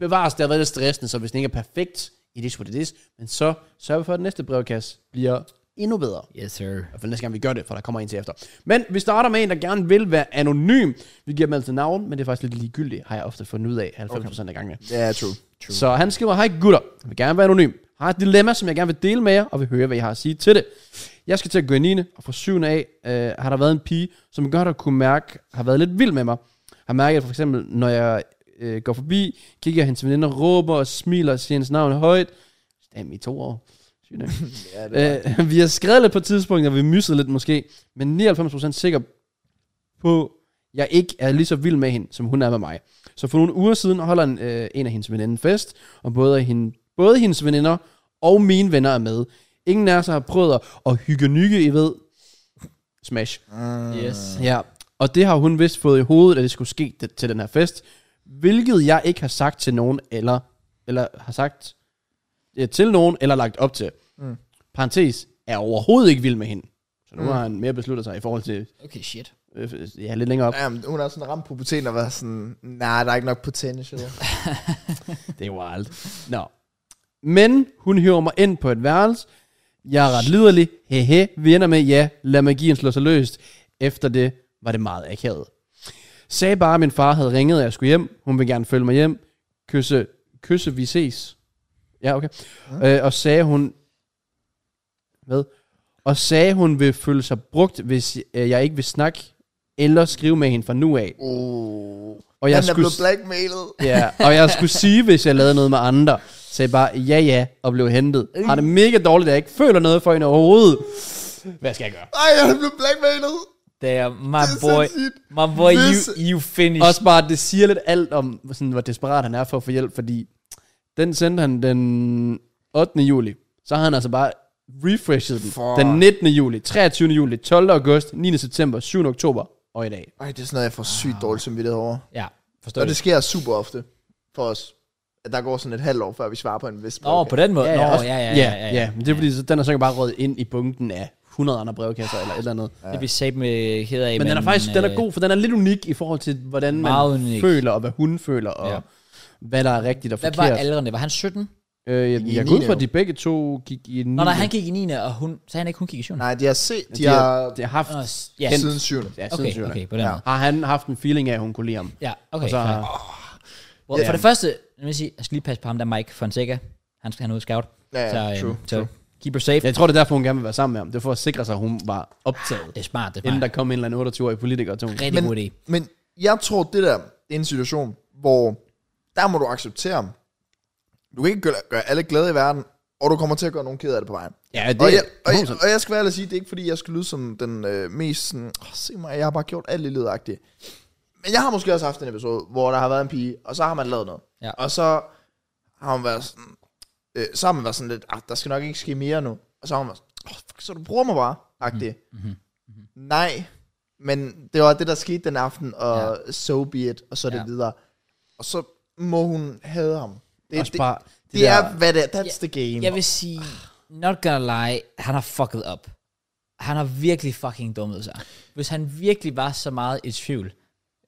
Speaker 2: bevares, det har været lidt stressende, så hvis den ikke er perfekt, it is what it is, men så sørger vi for, at den næste brevkasse bliver endnu bedre.
Speaker 1: Yes, sir.
Speaker 2: I hvert fald næste gang, vi gør det, for der kommer en til efter. Men vi starter med en, der gerne vil være anonym. Vi giver dem altid navn, men det er faktisk lidt ligegyldigt, har jeg ofte fundet ud af 90% af gangene.
Speaker 3: Ja, true. true.
Speaker 2: Så han skriver, hej gutter, jeg vil gerne være anonym. Har et dilemma, som jeg gerne vil dele med jer, og vil høre, hvad I har at sige til det. Jeg skal til at gå i 9. og fra 7. af øh, har der været en pige, som godt har kunne mærke, har været lidt vild med mig. Har mærket, at for eksempel, når jeg øh, går forbi, kigger jeg hendes veninder, råber og smiler og siger hendes navn højt. Stam i to år. Sygt, ikke?
Speaker 3: Ja, det var.
Speaker 2: Øh, vi har skrevet lidt på et tidspunkt, og vi myssede lidt måske, men 99% sikker på, at jeg ikke er lige så vild med hende, som hun er med mig. Så for nogle uger siden holder en, øh, en af hendes veninder en fest, og både, hende, både hendes veninder og mine venner er med. Ingen af os har prøvet at- at hygge nykke, I ved. Smash.
Speaker 3: Uh.
Speaker 1: Yes.
Speaker 2: Ja, og det har hun vist fået i hovedet, at det skulle ske det, til den her fest, hvilket jeg ikke har sagt til nogen, eller, eller har sagt ja, til nogen, eller lagt op til.
Speaker 3: Mm.
Speaker 2: Mm. Parentes, er overhovedet ikke vild med hende. Så nu
Speaker 3: Mm.
Speaker 2: mm. har han mere besluttet sig i forhold til,
Speaker 1: Okay, shit.
Speaker 2: øh, f- ja, lidt længere op.
Speaker 3: Jamen, hun har sådan ramt puberteten og været sådan, nej, der er ikke nok potential.
Speaker 2: Det er wild. Nå. Men hun hiver mig ind på et værelse. Jeg er ret liderlig. Hehe. Vi ender med, ja, lad magien slå sig løst. Efter det var det meget akavet. Sagde bare, at min far havde ringet, og jeg skulle hjem. Hun vil gerne følge mig hjem. Kysse, kysse, vi ses. Ja, okay. Øh, og sagde hun... Hvad? Og sagde, hun vil føle sig brugt, hvis øh, jeg ikke vil snakke eller skrive med hende fra nu af.
Speaker 3: oh.
Speaker 2: Og
Speaker 3: jeg
Speaker 2: jeg
Speaker 3: Han er
Speaker 2: skulle...
Speaker 3: blevet blackmailet.
Speaker 2: Ja, og jeg skulle sige, hvis jeg lavede noget med andre, så jeg bare, ja ja, og blev hentet. Har det mega dårligt, at jeg ikke føler noget for hende overhovedet. Hvad skal jeg gøre?
Speaker 3: Ej, han er blevet blackmailet.
Speaker 1: Damn, my
Speaker 3: Det er
Speaker 1: boy.
Speaker 3: sindssygt.
Speaker 1: My boy, you,
Speaker 3: Hvis-
Speaker 1: you finished.
Speaker 2: Også bare, at det siger lidt alt om, sådan, hvor desperat han er for at få hjælp, fordi den sendte han den 8. juli. Så har han altså bare refreshet den.
Speaker 3: For-
Speaker 2: Den 19. juli, 23. juli, 12. august, 9. september, 7. oktober og i dag.
Speaker 3: Ej, det er sådan noget, jeg får sygt dårligt samvittighed over.
Speaker 1: Ja, forstår
Speaker 3: Og
Speaker 1: du.
Speaker 3: det sker super ofte for os. At der går sådan et halvt år, før vi svarer på en vis
Speaker 1: Nå, på den måde. Nå,
Speaker 2: også-
Speaker 1: ja, ja,
Speaker 2: ja, ja, ja. Men det er fordi, så den er så bare røget ind i bunken af 100 andre brevkasser eller et eller andet.
Speaker 1: Det vi sagde med heder af.
Speaker 2: Men den er faktisk den er
Speaker 1: øh,
Speaker 2: god, for den er lidt unik i forhold til, hvordan man
Speaker 1: Meget unik.
Speaker 2: føler, og hvad hun føler, og
Speaker 1: Ja.
Speaker 2: ja. hvad der er rigtigt og
Speaker 1: Hvad
Speaker 2: forkert.
Speaker 1: var aldrene? Var han 17?
Speaker 2: øh, jeg,
Speaker 3: I
Speaker 2: jeg går ud
Speaker 3: niende
Speaker 2: fra, at de
Speaker 3: jo.
Speaker 2: begge to gik i 9.
Speaker 1: Nå, nej, han gik i 9. og hun, så han ikke, hun gik i 7.
Speaker 3: Nej, de har set, de,
Speaker 2: de
Speaker 3: har,
Speaker 2: har, de har haft...
Speaker 1: Nå, s- ja.
Speaker 2: kendt-
Speaker 3: siden syvende.
Speaker 2: Ja, siden
Speaker 1: Okay,
Speaker 2: syvende.
Speaker 1: okay, på den
Speaker 3: Ja.
Speaker 1: måde.
Speaker 2: Har han haft en feeling af, at hun kunne lide ham? Altså,
Speaker 1: Ja, okay.
Speaker 2: og så
Speaker 1: fair.
Speaker 2: har,
Speaker 1: Well, for det første, jeg, vil sige, jeg skal lige passe på ham der Mike Fonseca. Han, han er ude scout.
Speaker 3: Ja,
Speaker 1: så, øhm,
Speaker 3: true,
Speaker 1: så
Speaker 3: true.
Speaker 1: keep her safe.
Speaker 2: Jeg tror, det er derfor, hun gerne vil være sammen med ham. Det er for at sikre sig, at hun var optaget,
Speaker 1: Det er smart, det er
Speaker 2: inden der
Speaker 1: smart.
Speaker 2: kom en eller anden 28-årig politiker til hende.
Speaker 1: Rigtig
Speaker 3: Men-
Speaker 1: god idé.
Speaker 3: Men jeg tror, det der det er en situation, hvor der må du acceptere ham. Du kan ikke gøre, gøre alle glade i verden, og du kommer til at gøre nogen ked af det på vejen.
Speaker 2: Ja, det
Speaker 3: Og jeg, og,
Speaker 2: er
Speaker 3: jeg, og jeg skal være ærlig og sige, det er ikke fordi, jeg skal lyde som den øh, mest sådan, oh, se mig, jeg har bare gjort alt lilleagtigt. Men jeg har måske også haft en episode, hvor der har været en pige, og så har man lavet noget.
Speaker 1: Ja.
Speaker 3: Og så har hun været sådan, øh, så har man været sådan lidt, ah, der skal nok ikke ske mere nu. Og så har hun været sådan, oh, fuck, så du bruger mig bare, agtigt. Mm-hmm. Mm-hmm. Nej, men det var det, der skete den aften, og ja. so be it, og så ja.
Speaker 1: Ja.
Speaker 3: det videre. Og så må hun hade ham. Det,
Speaker 2: Også
Speaker 3: det,
Speaker 2: bare
Speaker 3: det,
Speaker 2: det der-
Speaker 3: er, hvad det er. That's the game.
Speaker 1: Jeg vil sige, not gonna lie, han har fucket up. Han har virkelig fucking dummet sig. Hvis han virkelig var så meget i tvivl,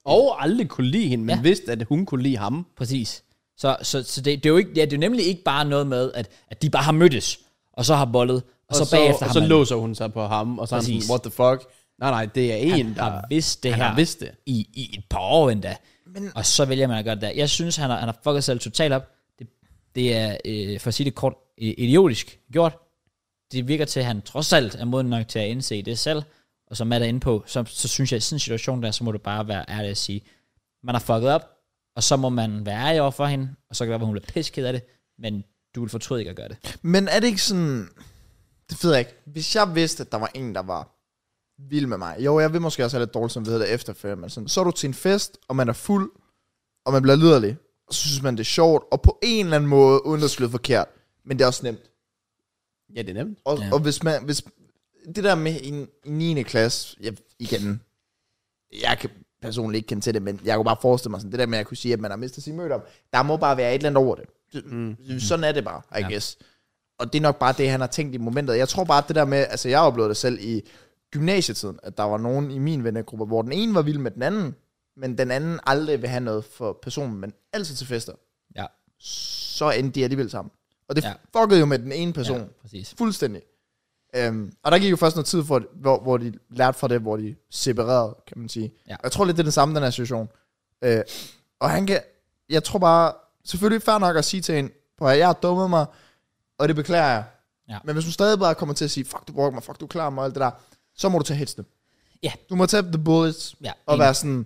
Speaker 2: Og aldrig kunne lide hende, men
Speaker 1: Ja.
Speaker 2: ja. vidste, at hun kunne lide ham.
Speaker 1: præcis. Så, så, så det, det, er jo ikke, ja, det er jo nemlig ikke bare noget med, at, at de bare har mødtes, og så har bollet, og, og så, bagefter
Speaker 2: og
Speaker 1: har
Speaker 2: så
Speaker 1: man...
Speaker 2: låser hun sig på ham, og så er han
Speaker 1: Præcis.
Speaker 2: sådan, what the fuck? Nej, nej, det er en,
Speaker 1: han
Speaker 2: der...
Speaker 1: har vidst det
Speaker 2: han
Speaker 1: her
Speaker 2: har vidst det.
Speaker 1: I, i et par år endda. Men, og så vælger man at gøre det der. Jeg synes, han har, han har fucket sig selv totalt op. Det, det er, øh, for at sige det kort, øh, idiotisk gjort. Det virker til, at han trods alt er moden nok til at indse det selv. Og som Matt er inde på, så, så synes jeg, at i sådan en situation der, så må du bare være ærlig og sige, man har fucket op, og så må man være ærlig over for hende, og så kan det være, at hun bliver pisket af det, men du vil fortryde ikke at gøre det.
Speaker 3: Men er det ikke sådan... Det ved jeg ikke. Hvis jeg vidste, at der var en, der var vild med mig. Jo, jeg vil måske også have lidt dårligt samvittighed det efterfølgende. Men sådan, så er du til en fest, og man er fuld, og man bliver liderlig. Og så synes man, det er sjovt. Og på en eller anden måde, uden at skyde forkert. Men det er også nemt.
Speaker 2: Ja, det er nemt.
Speaker 3: Og,
Speaker 1: Ja.
Speaker 3: ja. og hvis man... Hvis, det der med en, en 9. klasse, jeg, igen, jeg kan personligt ikke kende til det, men jeg kunne bare forestille mig sådan, det der med, at jeg kunne sige, at man har mistet sin mødom, der må bare være et eller andet over det. Mm. Sådan er det bare, I
Speaker 1: Ja.
Speaker 3: ja. guess. Og det er nok bare det, han har tænkt i momentet. Jeg tror bare, at det der med, altså jeg oplevede det selv i gymnasietiden, at der var nogen i min vennegruppe, hvor den ene var vild med den anden, men den anden aldrig vil have noget for personen, men altid til fester.
Speaker 1: Ja,
Speaker 3: Så endte de alligevel sammen. Og det
Speaker 1: Ja.
Speaker 3: ja. fuckede jo med den ene person.
Speaker 1: ja
Speaker 3: Ja.
Speaker 1: præcis.
Speaker 3: Fuldstændig. Øhm, og der gik jo først noget tid, for, hvor, hvor de lærte fra det, hvor de separerede, kan man sige.
Speaker 1: Ja.
Speaker 3: Og Jeg tror lidt, det er den samme, den her situation. Øh, og han kan, jeg tror bare, selvfølgelig fair nok at sige til hende, på at jeg har dummet mig, og det beklager jeg.
Speaker 1: Ja.
Speaker 3: Men hvis du stadig bare kommer til at sige, fuck du brugte mig, fuck du klarer mig, og alt det der, så må du tage hitsene.
Speaker 1: Ja.
Speaker 3: Du må tage the bullets,
Speaker 1: Ja,
Speaker 3: og
Speaker 1: enig.
Speaker 3: være sådan,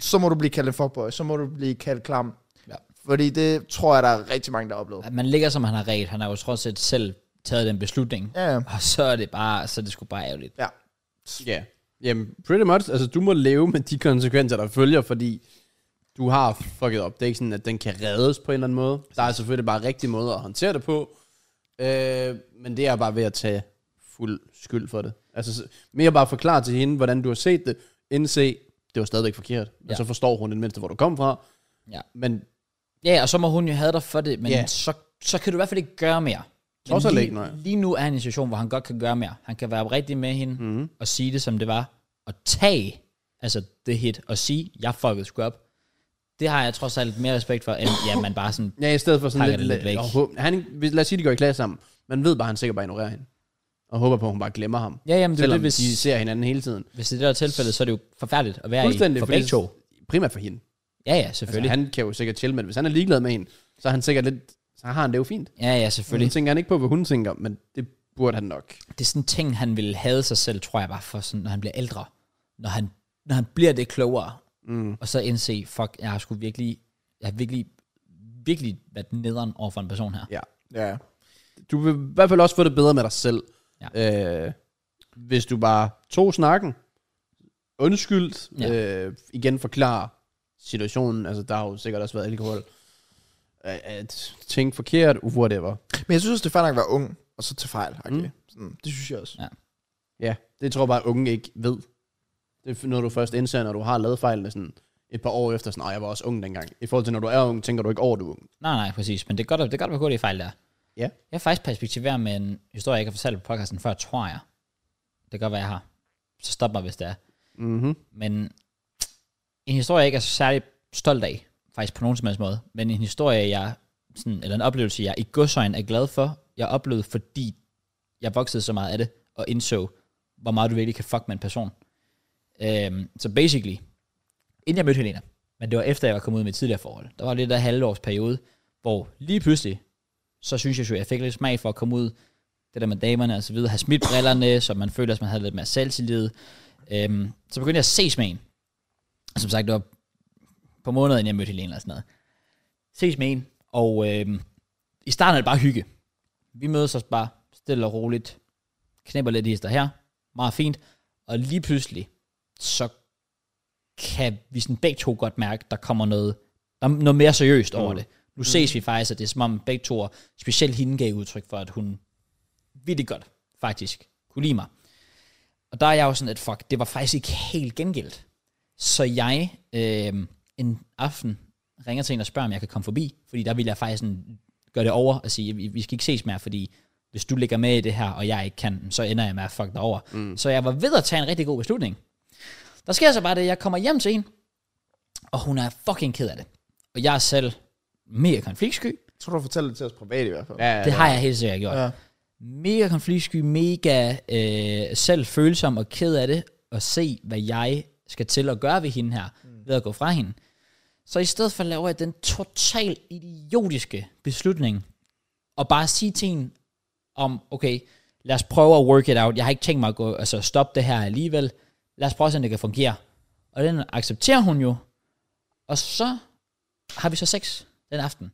Speaker 3: så må du blive kaldt en fuckboy, så må du blive kaldt klam.
Speaker 1: Ja.
Speaker 3: Fordi det tror jeg, der er rigtig mange, der har oplevet.
Speaker 1: At man ligger, som han har ret. Han har jo trods alt selv taget den beslutning.
Speaker 3: Ja, ja.
Speaker 1: Og så er det bare, så er det sgu bare ærgerligt.
Speaker 3: ja.
Speaker 2: Ja. Jamen, pretty much. Altså, du må leve med de konsekvenser, der følger, fordi du har fucket op. Det er ikke sådan, at den kan reddes på en eller anden måde. Der er selvfølgelig bare rigtige måder at håndtere det på. Øh, men det er bare ved at tage fuld skyld for det. Altså, så- mere bare forklare til hende, hvordan du har set det, indse, det var stadigvæk forkert. Men
Speaker 1: Ja.
Speaker 2: ja. så forstår hun den mindste, hvor du kom fra.
Speaker 1: Ja.
Speaker 2: Men
Speaker 1: Ja, og så må hun jo have dig for det, men
Speaker 2: Ja.
Speaker 1: så, så kan du i hvert fald ikke gøre mere. Men
Speaker 2: Trods alt
Speaker 1: lige,
Speaker 2: ikke, nej.
Speaker 1: lige nu er han i en situation, hvor han godt kan gøre mere. Han kan være rigtig med hende
Speaker 2: Mhm.
Speaker 1: mm-hmm. og sige det, som det var. Og tage, altså det hit, og sige, jeg fuckede sgu op. Det har jeg trods alt mere respekt for, end ja, man bare sådan,
Speaker 2: Ja, i stedet for sådan
Speaker 1: Pakker
Speaker 2: lidt...
Speaker 1: det lidt væk.
Speaker 2: lidt og håb, han, hvis- lad os sige, de går i klasse sammen. Man ved bare, at han sikkert bare ignorerer hende. Og håber på, at hun bare glemmer ham.
Speaker 1: ja, jamen det er
Speaker 2: Selvom
Speaker 1: det, hvis,
Speaker 2: de ser hinanden hele tiden.
Speaker 1: hvis det er det, der er tilfældet, så er det jo forfærdeligt at være i for
Speaker 2: fordi-
Speaker 1: begge to.
Speaker 2: Primært for hende.
Speaker 1: Ja, ja,
Speaker 2: Altså,
Speaker 1: selvfølgelig. Altså,
Speaker 2: han kan jo sikkert chill med det. Hvis han er ligeglad med hende, så er han sikkert lidt... Så har Altså, han det jo fint.
Speaker 1: han, ja, ja,
Speaker 2: Fordi
Speaker 1: selvfølgelig.
Speaker 2: tænker han ikke på, hvad hun tænker, men det burde han nok.
Speaker 1: det er sådan en ting, han ville have sig selv, tror jeg bare, for sådan, når han bliver ældre. Når han, når han bliver det klogere. Mm. Og så indse, fuck, jeg har sgu virkelig, jeg har virkelig, virkelig været nederen over for en person her.
Speaker 2: Ja.
Speaker 3: ja.
Speaker 2: Du vil i hvert fald også få det bedre med dig selv. Ja. Øh, hvis du bare tog snakken, undskyldt, ja. øh, igen forklare situationen. Altså, der har jo sikkert også været alkohol. Øh, At tænke forkert, whatever.
Speaker 3: Men jeg synes også, det er fair nok at være ung, og så tage fejl. Mm. Sådan, det synes jeg også.
Speaker 1: Ja.
Speaker 2: Ja, det tror jeg bare, at unge ikke ved. Det er f- når du først indser, når du har lavet fejlene sådan et par år efter, sådan, "Ej, jeg var også ung dengang. I forhold til, når du er ung, tænker du ikke over, at du er ung.
Speaker 1: Nej, nej, præcis. Men det er godt, at- det er godt at være hurtigt fejl der.
Speaker 2: Ja.
Speaker 1: Jeg har faktisk perspektiveret med en historie, jeg ikke har fortalt på podcasten før, tror jeg. Det kan godt være, jeg har. Så stop mig, hvis det er.
Speaker 2: Mm-hmm.
Speaker 1: Men en historie, jeg ikke er så særlig stolt af, faktisk på nogen som helst måde, men en historie, jeg, sådan, eller en oplevelse, jeg i godsøjen er glad for, jeg oplevede, fordi jeg voksede så meget af det, og indså, hvor meget du virkelig kan fuck med en person. Øhm, så basically, inden jeg mødte Helena, men det var efter, jeg var kommet ud af mit tidligere forhold, der var det der halvårs periode, hvor lige pludselig, så synes jeg jo, jeg fik lidt smag for at komme ud, det der med damerne og så videre, have smidt brillerne, så man føler, at man havde lidt mere selvtillid. Øhm, så begyndte jeg at se med en. Og som sagt, det var på måneder, inden jeg mødte Helene eller sådan noget. Ses med en, og øhm, i starten er det bare hygge. Vi mødes os bare stille og roligt, knæpper lidt hister her, meget fint, og lige pludselig, så kan vi sådan begge to godt mærke, der kommer noget, der er noget mere seriøst over det. Nu ses vi faktisk, at det er som om begge to, og specielt hende gav udtryk for, at hun vildt godt faktisk kunne lide mig. Og der er jeg jo sådan, at fuck, det var faktisk ikke helt gengældt. Så jeg øh, en aften ringer til en og spørger, om jeg kan komme forbi, fordi der vil jeg faktisk sådan gøre det over og sige, vi vi skal ikke ses mere, fordi hvis du ligger med i det her, og jeg ikke kan, så ender jeg med at fuck dig over. Mm. Så jeg var ved at tage en rigtig god beslutning. Der sker så bare det, jeg kommer hjem til en, og hun er fucking ked af det. Og jeg er selv mega konfliktsky.
Speaker 3: Jeg tror, du fortæller det til os privat i hvert fald.
Speaker 2: Ja,
Speaker 1: Det har jeg helt sikkert gjort.
Speaker 3: Ja.
Speaker 1: Ja. Mega konfliktsky, mega øh, selv følsom og ked af det, og se, hvad jeg skal til at gøre ved hende her, mm. ved at gå fra hende. Så i stedet for laver jeg den totalt idiotiske beslutning, og bare sige til hende om, okay, lad os prøve at work it out, jeg har ikke tænkt mig at gå, altså stoppe det her alligevel, lad os prøve at se, om det kan fungere. Og den accepterer hun jo, og så har vi så sex den aften.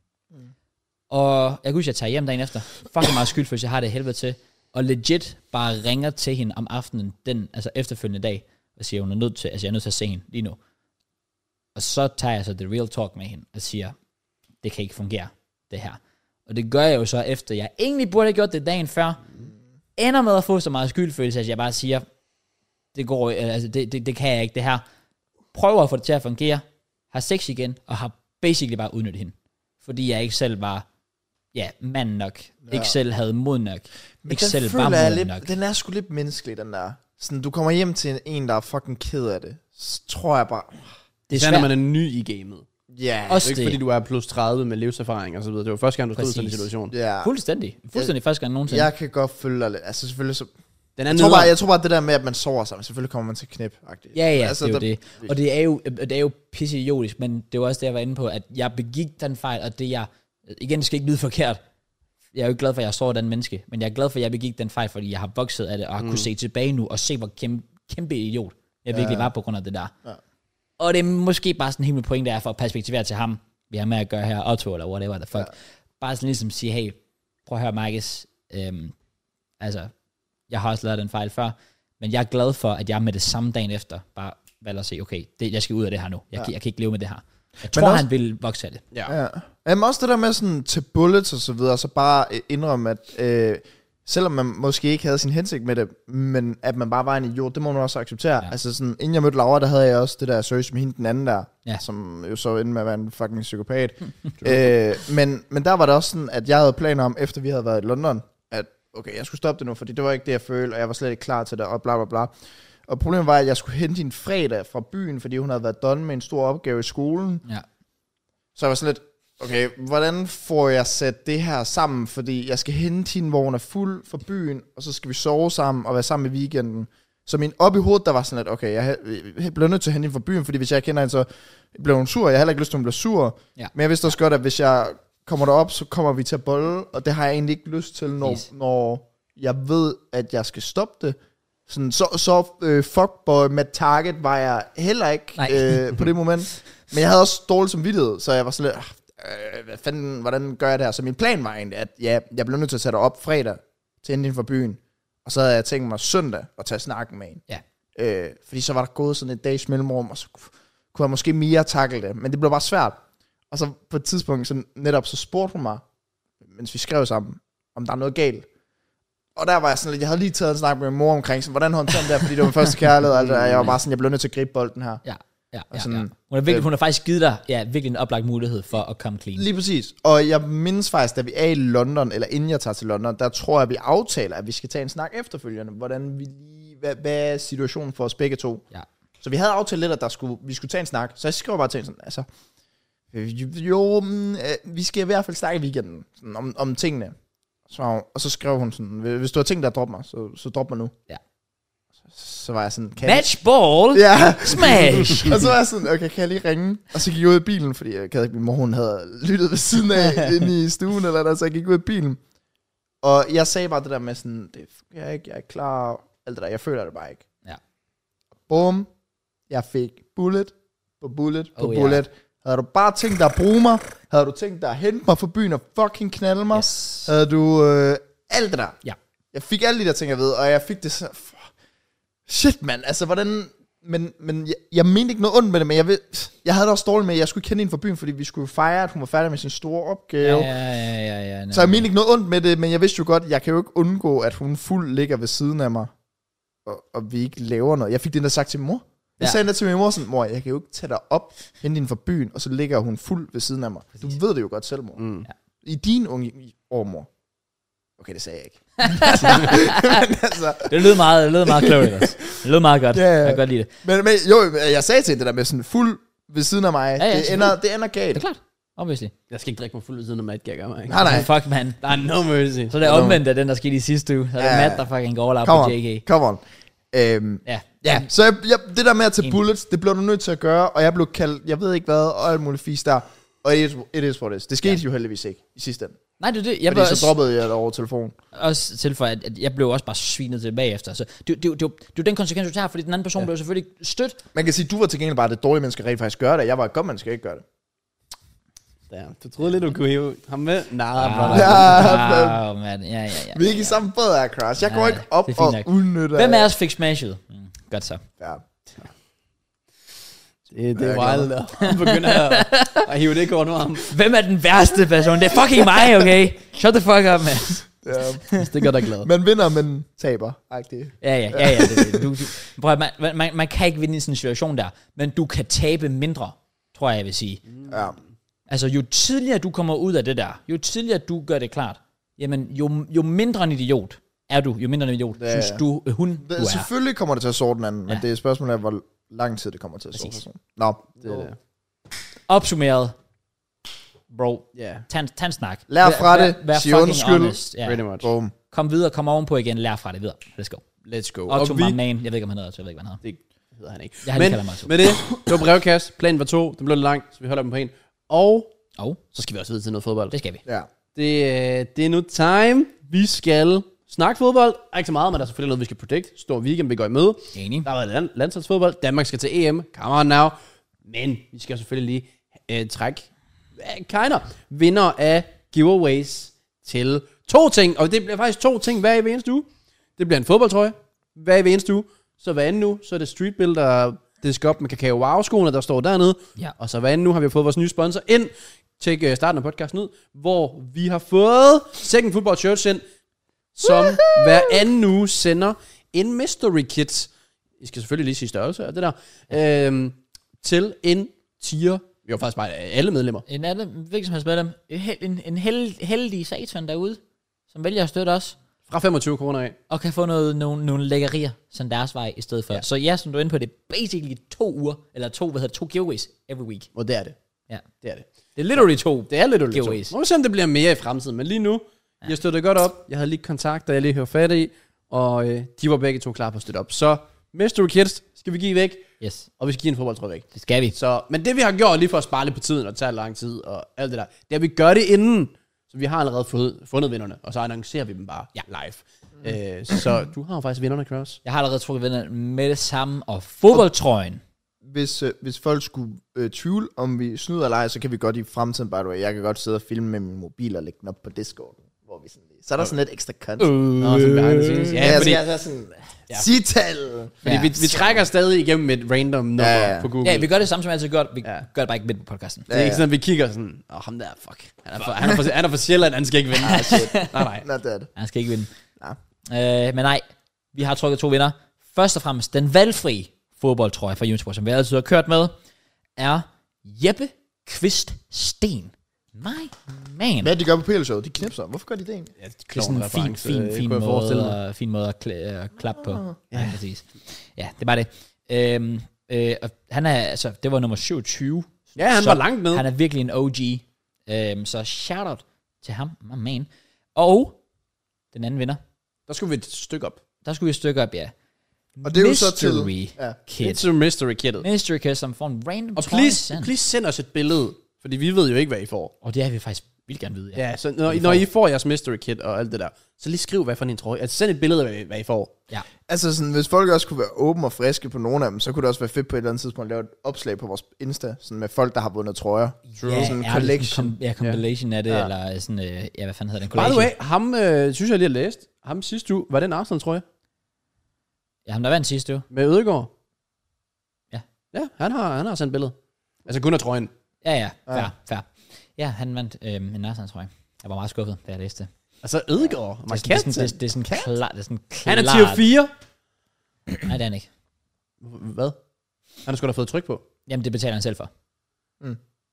Speaker 1: Og jeg kan huske, jeg tager hjem dagen efter. Fucking meget skyld, hvis jeg har det af helvede til. Og legit bare ringer til hende om aftenen, den, altså efterfølgende dag, og siger, hun er nødt til, altså jeg er nødt til at se hende lige nu. Og så tager jeg så the real talk med hende, og siger, det kan ikke fungere, det her. Og det gør jeg jo så efter, jeg egentlig burde have gjort det dagen før, ender med at få så meget skyldfølelse, at jeg bare siger, det går, øh, altså det, det, det kan jeg ikke, det her. Prøver at få det til at fungere, har sex igen, og har basically bare udnyttet hende. Fordi jeg ikke selv var ja, mand nok. Ja. Ikke selv havde mod nok. Men ikke selv var
Speaker 3: jeg
Speaker 1: mod
Speaker 3: lidt,
Speaker 1: nok.
Speaker 3: den er sgu lidt menneskelig, den der. Sådan, du kommer hjem til en, en der er fucking ked af det. Så tror jeg bare,
Speaker 1: det er
Speaker 2: Især når man
Speaker 1: svært.
Speaker 2: er ny i gamet.
Speaker 3: ja,
Speaker 2: Det
Speaker 1: Også
Speaker 2: er ikke
Speaker 1: det.
Speaker 2: fordi, du er plus 30 med livserfaring og så videre. Det var første gang, du stod i sådan en
Speaker 1: Præcis.
Speaker 2: situation.
Speaker 3: ja.
Speaker 1: Fuldstændig. Fuldstændig første gang nogensinde.
Speaker 3: Jeg kan godt følge dig lidt. Altså selvfølgelig så...
Speaker 2: Den er
Speaker 3: Jeg tror, bare,
Speaker 2: nederen.
Speaker 3: jeg tror bare, det der med, at man sover sammen, selvfølgelig kommer man til knip.
Speaker 1: Ja, ja, altså, det er jo det. Og det er jo, det er jo pisseidiotisk, men det var også det, jeg var inde på, at jeg begik den fejl, og det jeg, igen, det skal ikke lyde forkert. Jeg er jo ikke glad for, at jeg står den menneske, men jeg er glad for, at jeg begik den fejl, fordi jeg har vokset af det, og har mm. kunne se tilbage nu, og se, hvor kæmpe, kæmpe idiot jeg virkelig var på grund af det der. Ja. Og det er måske bare sådan en helt point, der er for at perspektivere til ham, vi har med at gøre her, Otto, eller whatever the fuck. Ja. Bare sådan ligesom sige, hey, prøv at høre, Marcus, øhm, altså, jeg har også lavet den fejl før, men jeg er glad for, at jeg med det samme dagen efter bare valgte at se, okay, det, jeg skal ud af det her nu. Jeg, ja. jeg kan ikke leve med det her. Jeg tror,
Speaker 3: også-
Speaker 1: han vil vokse af det.
Speaker 2: Ja.
Speaker 3: Ja. Jamen også det der med sådan til bullets og så videre, så bare øh, indrømme, at øh, selvom man måske ikke havde sin hensigt med det, men at man bare var en idiot, det må man også acceptere. Ja. Altså sådan, inden jeg mødte Laura, der havde jeg også det der seriøst med hende den anden der,
Speaker 1: Ja.
Speaker 3: som jo så endte med at være en fucking psykopat. øh, men, men der var det også sådan, at jeg havde planer om, efter vi havde været i London, at okay, jeg skulle stoppe det nu, fordi det var ikke det, jeg følte, og jeg var slet ikke klar til det, og bla bla bla. Og problemet var, at jeg skulle hente hende fredag fra byen, fordi hun havde været done med en stor opgave i skolen.
Speaker 1: Ja.
Speaker 3: Så jeg var sådan lidt, okay, hvordan får jeg sat det her sammen? Fordi jeg skal hente hende, hvor hun er fuld for byen, og så skal vi sove sammen og være sammen i weekenden. Så min op i hovedet, der var sådan lidt, okay, jeg ha- jeg bliver nødt til at hente hende fra byen, fordi hvis jeg kender hende, så bliver hun sur. Jeg har heller ikke lyst til, at hun bliver sur.
Speaker 1: Ja.
Speaker 3: Men jeg vidste også godt, at hvis jeg kommer derop, så kommer vi til at bolle, og det har jeg egentlig ikke lyst til, når,
Speaker 1: Yes.
Speaker 3: når jeg ved, at jeg skal stoppe det. Sådan, så så øh, fuckboy med target var jeg heller
Speaker 1: Nej.
Speaker 3: ikke øh, på det moment. Men jeg havde også dårlig samvittighed, så jeg var sådan lidt, "Ah, øh, hvad fanden, hvordan gør jeg det her? Så min plan var egentlig, at ja, jeg blev nødt til at tage dig op fredag til inden for byen. Og så havde jeg tænkt mig søndag at tage snakken med en.
Speaker 1: Ja.
Speaker 3: Øh, fordi så var der gået sådan et dags mellemrum, og så ku- kunne jeg måske mere takle det. Men det blev bare svært. Og så på et tidspunkt, så netop så spurgte hun mig, mens vi skrev sammen, om der er noget galt. Og der var jeg sådan lidt, jeg havde lige taget en snak med min mor omkring, sådan, hvordan håndterer man det her, fordi det var min første kærlighed. Altså, jeg var bare sådan, jeg blev nødt til at gribe bolden her.
Speaker 1: Ja. Ja, ja,
Speaker 3: sådan- Øh.
Speaker 1: ja. Hun, har virkelig, hun har faktisk givet dig ja, virkelig en oplagt mulighed for at komme clean.
Speaker 3: Lige præcis. Og jeg mindes faktisk, da vi er i London, eller inden jeg tager til London, der tror jeg, vi aftaler, at vi skal tage en snak efterfølgende. Hvordan vi lige, hvad, hvad er situationen for os begge to?
Speaker 1: Ja.
Speaker 3: Så vi havde aftalt lidt, at der skulle, vi skulle tage en snak. Så jeg skrev bare til hende sådan, altså, øh, jo, mm, øh, vi skal i hvert fald snakke i weekenden sådan, om, om tingene. Så, var hun- og så skrev hun sådan, hvis du har tænkt dig at droppe mig, så, så drop mig nu.
Speaker 1: Ja.
Speaker 3: Så så var jeg sådan, kan jeg-
Speaker 1: Match ball.
Speaker 3: Ja,
Speaker 1: Smash.
Speaker 3: og så var jeg sådan, okay, kan jeg lige ringe? Og så gik jeg ud af bilen, fordi jeg gad ikke, min mor hun havde lyttet ved siden af inde i stuen eller noget, så jeg gik ud af bilen. Og jeg sagde bare det der med sådan, det fungerer ikke, jeg er ikke klar, alt det der, jeg føler det bare ikke.
Speaker 1: Ja.
Speaker 3: Bum, jeg fik bullet på bullet på
Speaker 1: Oh,
Speaker 3: oh,
Speaker 1: ja.
Speaker 3: bullet. Havde du bare tænkt dig at bruge mig, havde du tænkt dig at hente mig fra byen og fucking knalde mig,
Speaker 1: Yes.
Speaker 3: havde du øh, alt det der.
Speaker 1: Ja.
Speaker 3: Jeg fik alle de der ting, jeg ved, og jeg fik det så... for- Shit, mand, altså hvordan... Men, men jeg, jeg mente ikke noget ondt med det, men jeg, ved, jeg havde det også dårligt med, at jeg skulle kende en fra byen, fordi vi skulle fejre, at hun var færdig med sin store opgave.
Speaker 1: Ja, ja, ja, ja, ja. nej.
Speaker 3: Øh, Så jeg mente ikke noget ondt med det, men jeg vidste jo godt, jeg kan jo ikke undgå, at hun fuld ligger ved siden af mig, og, og vi ikke laver noget. Jeg fik den der sagt til min mor. Jeg
Speaker 1: Ja.
Speaker 3: ja. sagde den der til min mor sådan, mor, jeg kan jo ikke tage dig op, hente hende fra byen, og så ligger hun fuld ved siden af mig. Du ved det jo godt selv, mor.
Speaker 2: Mm.
Speaker 1: Ja.
Speaker 3: I din unge år, mor. Okay, det sagde jeg ikke. men, altså,
Speaker 1: Det lød meget, det lød meget klogt ellers. Det lød meget godt.
Speaker 3: Ja, ja.
Speaker 1: Jeg kan godt lide det.
Speaker 3: men, men jo, jeg sagde til hende det der med sådan fuld ved siden af mig.
Speaker 1: Ja, ja,
Speaker 3: det, ender, det ender
Speaker 1: Det
Speaker 3: galt.
Speaker 1: er klart. Obviously.
Speaker 2: Jeg skal ikke drikke mig fuld ved siden af Matt, kan jeg gøre mig, ikke?
Speaker 3: Nej, Ah, nej.
Speaker 1: Fuck, man.
Speaker 2: Der er no mercy.
Speaker 1: Så er det er omvendt af den, der skete i sidste uge. Så er det
Speaker 3: Ja.
Speaker 1: Matt, der fucking går overlap
Speaker 3: Come
Speaker 1: på
Speaker 3: on.
Speaker 1: JK.
Speaker 3: Come on. Øhm,
Speaker 1: Ja.
Speaker 3: Ja, så jeg, jeg, det der med at tage bullets, det blev du nødt til at gøre, og jeg blev kaldt, jeg ved ikke hvad, og alt muligt fisk der. Og it, it is what it is. Det skete ja. jo heldigvis ikke i sidste ende.
Speaker 1: Nej, det er det. Jeg
Speaker 3: Fordi
Speaker 1: blev
Speaker 3: så
Speaker 1: også,
Speaker 3: droppede jeg det over telefonen.
Speaker 1: også tilføje, at, at jeg blev også bare svinet til bagefter. Så det, det, det, det, det er jo den konsekvens, du tager, fordi den anden person ja. blev selvfølgelig stødt.
Speaker 3: Man kan sige, du var til gengæld bare det dårlige menneske, rent faktisk gør det. Jeg var et godt menneske, ikke gør det.
Speaker 2: Der. Du troede lidt, du kunne hive ham med? Nej, nah,
Speaker 1: Ah,
Speaker 2: brother.
Speaker 3: Ja,
Speaker 1: ah, man. Ja, ja, ja.
Speaker 3: Vi er ikke i samme båd her, Crash. Jeg
Speaker 1: Nej,
Speaker 3: går ikke op
Speaker 1: det er
Speaker 3: og
Speaker 1: fint nok.
Speaker 3: udnytter...
Speaker 1: Hvem af os fik smashet? Mm, godt så.
Speaker 3: Ja.
Speaker 2: Det, det
Speaker 3: Ja,
Speaker 2: er
Speaker 3: jeg
Speaker 2: wild, at han begynder at, at hive det kort over ham.
Speaker 1: Hvem er den værste person? Det er fucking mig, okay? Shut the fuck up, man.
Speaker 3: ja.
Speaker 2: Det gør dig glad.
Speaker 3: Man vinder, men taber. Agtigt.
Speaker 1: Ja, ja, ja, ja. Det, det. Du, du, prøv, at- man, man- man, man kan ikke vinde i sådan en situation der, men du kan tabe mindre, tror jeg, jeg vil sige.
Speaker 3: Ja.
Speaker 1: Altså, jo tidligere du kommer ud af det der, jo tidligere du gør det klart, jamen, jo, jo mindre en idiot er du, jo mindre en idiot,
Speaker 3: Ja,
Speaker 1: ja, synes
Speaker 3: ja.
Speaker 1: du, øh, hun, du
Speaker 3: Det,
Speaker 1: er.
Speaker 3: selvfølgelig kommer det til at sorte den anden, men
Speaker 1: Ja.
Speaker 3: det er et spørgsmål af, hvor lang tid det kommer til at sorte
Speaker 1: Præcis.
Speaker 3: personen. Nå,
Speaker 2: Det er det.
Speaker 1: Opsummeret, bro,
Speaker 2: Ja,
Speaker 1: tag en, tag en snak.
Speaker 3: Lær fra
Speaker 1: Vær-
Speaker 3: det.
Speaker 1: vær- vær
Speaker 3: Sig
Speaker 1: fucking
Speaker 3: undskyld.
Speaker 1: honest.
Speaker 2: pretty
Speaker 1: Ja.
Speaker 2: much.
Speaker 3: Boom.
Speaker 1: Kom videre, kom ovenpå igen, lær fra det videre. Let's go.
Speaker 2: Let's go.
Speaker 1: Otto,
Speaker 2: vi,
Speaker 1: my man. Jeg ved ikke, om han hedder Otto, jeg ved ikke, hvad han hedder.
Speaker 2: det hedder han ikke.
Speaker 1: Jeg har lige
Speaker 2: Men
Speaker 1: kaldt ham Otto.
Speaker 2: med det, det var brevkast. Planen var to. Den blev lidt lang, så vi holder dem på en. Og
Speaker 1: Og
Speaker 2: så skal vi også videre til noget fodbold.
Speaker 1: det skal vi.
Speaker 3: Ja.
Speaker 2: Det, øh, det er nu time. Vi skal snakke fodbold. Der er ikke så meget, men der er selvfølgelig noget, vi skal predict. Stor weekend, vi går i møde.
Speaker 1: Enig.
Speaker 2: Der har været land- landsholdsfodbold. Danmark skal til EM. Come on now. Men vi skal selvfølgelig lige øh, trække øh, kinder. Vinder af giveaways til to ting. Og det bliver faktisk to ting hver i eneste uge. Det bliver en fodboldtrøje hver i eneste uge. Så hver anden uge, så er det streetbuilder, det skal op med Kakao Wow-skoene, der står dernede.
Speaker 1: Ja.
Speaker 2: Og så hver anden nu har vi fået vores nye sponsor ind. Tjek øh, starten af podcasten ud, hvor vi har fået Second Football Church ind, som hver anden nu sender en mystery kit. I skal selvfølgelig lige sige størrelse og det der. Øhm, til en tier. Jo, faktisk bare alle medlemmer.
Speaker 1: En anden, hvilken som helst medlem, en, hel- en, en held, heldig satan derude, som vælger at støtte os,
Speaker 2: Fra 25 kroner af.
Speaker 1: og kan få noget, nogle, nogle lækkerier som deres vej i stedet for. Ja. Så ja, som du er inde på, det er basically to uger, eller to, hvad hedder det, to giveaways every week.
Speaker 2: Og det er det.
Speaker 1: Ja.
Speaker 2: Det er det.
Speaker 1: Det er literally to.
Speaker 2: Det er lidt ulykkelig.
Speaker 1: Giveaways.
Speaker 2: Må vi se, om det bliver mere i fremtiden. Men lige nu, ja. jeg støttede godt op. Jeg havde lige kontakter, jeg lige hørte fat i. Og øh, de var begge to klar på at støtte op. Så mystery kits skal vi give væk.
Speaker 1: Yes,
Speaker 2: Og vi skal give en fodboldtrøje væk.
Speaker 1: det skal vi.
Speaker 2: Så, men det vi har gjort lige for at spare lidt på tiden og tage lang tid og alt det der, det er, at vi gør det inden. Så vi har allerede fået, fundet vinderne, og så annoncerer vi dem bare ja. live. Mm. Øh, så du har jo faktisk vinderne, Cross.
Speaker 1: Jeg har allerede trukket vinderen med det samme, og fodboldtrøjen.
Speaker 3: hvis, øh, hvis folk skulle øh, tvivle, om vi snyder eller ej, så kan vi godt i fremtiden, by the way, jeg kan godt sidde og filme med min mobil og lægge den op på Discord, hvor vi sådan lige, så er der sådan lidt ekstra content. Uh,
Speaker 2: Nå, sådan behind the scenes. Øh. Ja,
Speaker 3: ja,
Speaker 2: fordi,
Speaker 1: altså,
Speaker 3: fordi, så er sådan, ja. sital!
Speaker 2: fordi
Speaker 1: Ja.
Speaker 2: vi, vi trækker stadig igennem et random nummer ja,
Speaker 3: Ja,
Speaker 2: ja.
Speaker 3: ja.
Speaker 2: på Google.
Speaker 1: Ja,
Speaker 2: Ja,
Speaker 1: vi gør det samme som vi altid gør, vi
Speaker 2: Ja.
Speaker 1: gør det bare ikke midt på podcasten.
Speaker 2: det er ikke sådan, at vi kigger sådan, åh, oh, ham der, fuck. Han er fra, han er fra, han er fra Sjælland, han skal ikke vinde.
Speaker 3: Ah, shit.
Speaker 2: nej, nej.
Speaker 3: Not that.
Speaker 1: Han skal ikke vinde.
Speaker 3: Nej.
Speaker 1: Øh, men nej, vi har trukket to vinder. Først og fremmest, den valgfri fodboldtrøje fra Unisport, som vi altid har kørt med, er Jeppe Kvist Sten. My man.
Speaker 3: Hvad er det, de gør på PL-showet? De knipser. Hvorfor gør de det egentlig?
Speaker 2: Ja, det
Speaker 1: Det er sådan en fin, fin,
Speaker 2: øh,
Speaker 1: fin, måde, at, fin måde at klæ, øh, klappe på. Ja. ja, præcis. Ja, det var det. Øhm, øh, og han er, altså, det var nummer 27.
Speaker 2: Ja, han
Speaker 1: Så
Speaker 2: var langt nede.
Speaker 1: Han er virkelig en OG. Øhm, så shout-out til ham, my man. Og den anden vinder,
Speaker 2: Der skulle vi et stykke op.
Speaker 1: der skulle vi et stykke op, ja.
Speaker 3: Og det er jo så til...
Speaker 1: Mystery
Speaker 3: Ja.
Speaker 1: Kid.
Speaker 2: It's a mystery kid.
Speaker 1: Mystery Kid, som får en random
Speaker 2: Og
Speaker 1: trøje
Speaker 2: please,
Speaker 1: sendt.
Speaker 2: please send os et billede, fordi vi ved jo ikke, hvad I får.
Speaker 1: Og det har vi faktisk vildt gerne vide.
Speaker 2: Ja, så når, når I får jeres mystery kit og alt det der, så lige skriv, hvad for en trøje. Altså send et billede af, hvad, hvad I får.
Speaker 1: ja.
Speaker 3: Altså sådan, hvis folk også kunne være åbne og friske på nogle af dem, så kunne det også være fedt på et eller andet tidspunkt at lave et opslag på vores Insta, sådan med folk, der har vundet trøjer.
Speaker 1: ja,
Speaker 3: Sådan en
Speaker 1: ja,
Speaker 3: collection.
Speaker 1: Sådan, com- ja, compilation af det, ja. eller sådan, øh, ja, hvad fanden hedder den?
Speaker 2: By
Speaker 1: Collation.
Speaker 2: the way, ham øh, synes jeg lige har læst. Ham sidste uge, var det en Arsenal-trøje?
Speaker 1: Ja, ham der vandt sidste uge.
Speaker 2: Med Ødegaard?
Speaker 1: Ja.
Speaker 2: Ja, han har, han har sendt billede. Altså kun af trøjen.
Speaker 1: Ja, ja, fair, ja. fair. Ja, han vandt øh, en Narsans, tror jeg. Jeg var meget skuffet, da jeg læste det.
Speaker 2: Altså Ødegaard? Ja.
Speaker 1: Det er sådan, det er sådan, det er, det er sådan klart. Det er sådan klart.
Speaker 2: Han er tier 4.
Speaker 1: Nej, det er han ikke.
Speaker 2: Hvad? Han har sgu da fået tryk på.
Speaker 1: Jamen, det betaler han selv for.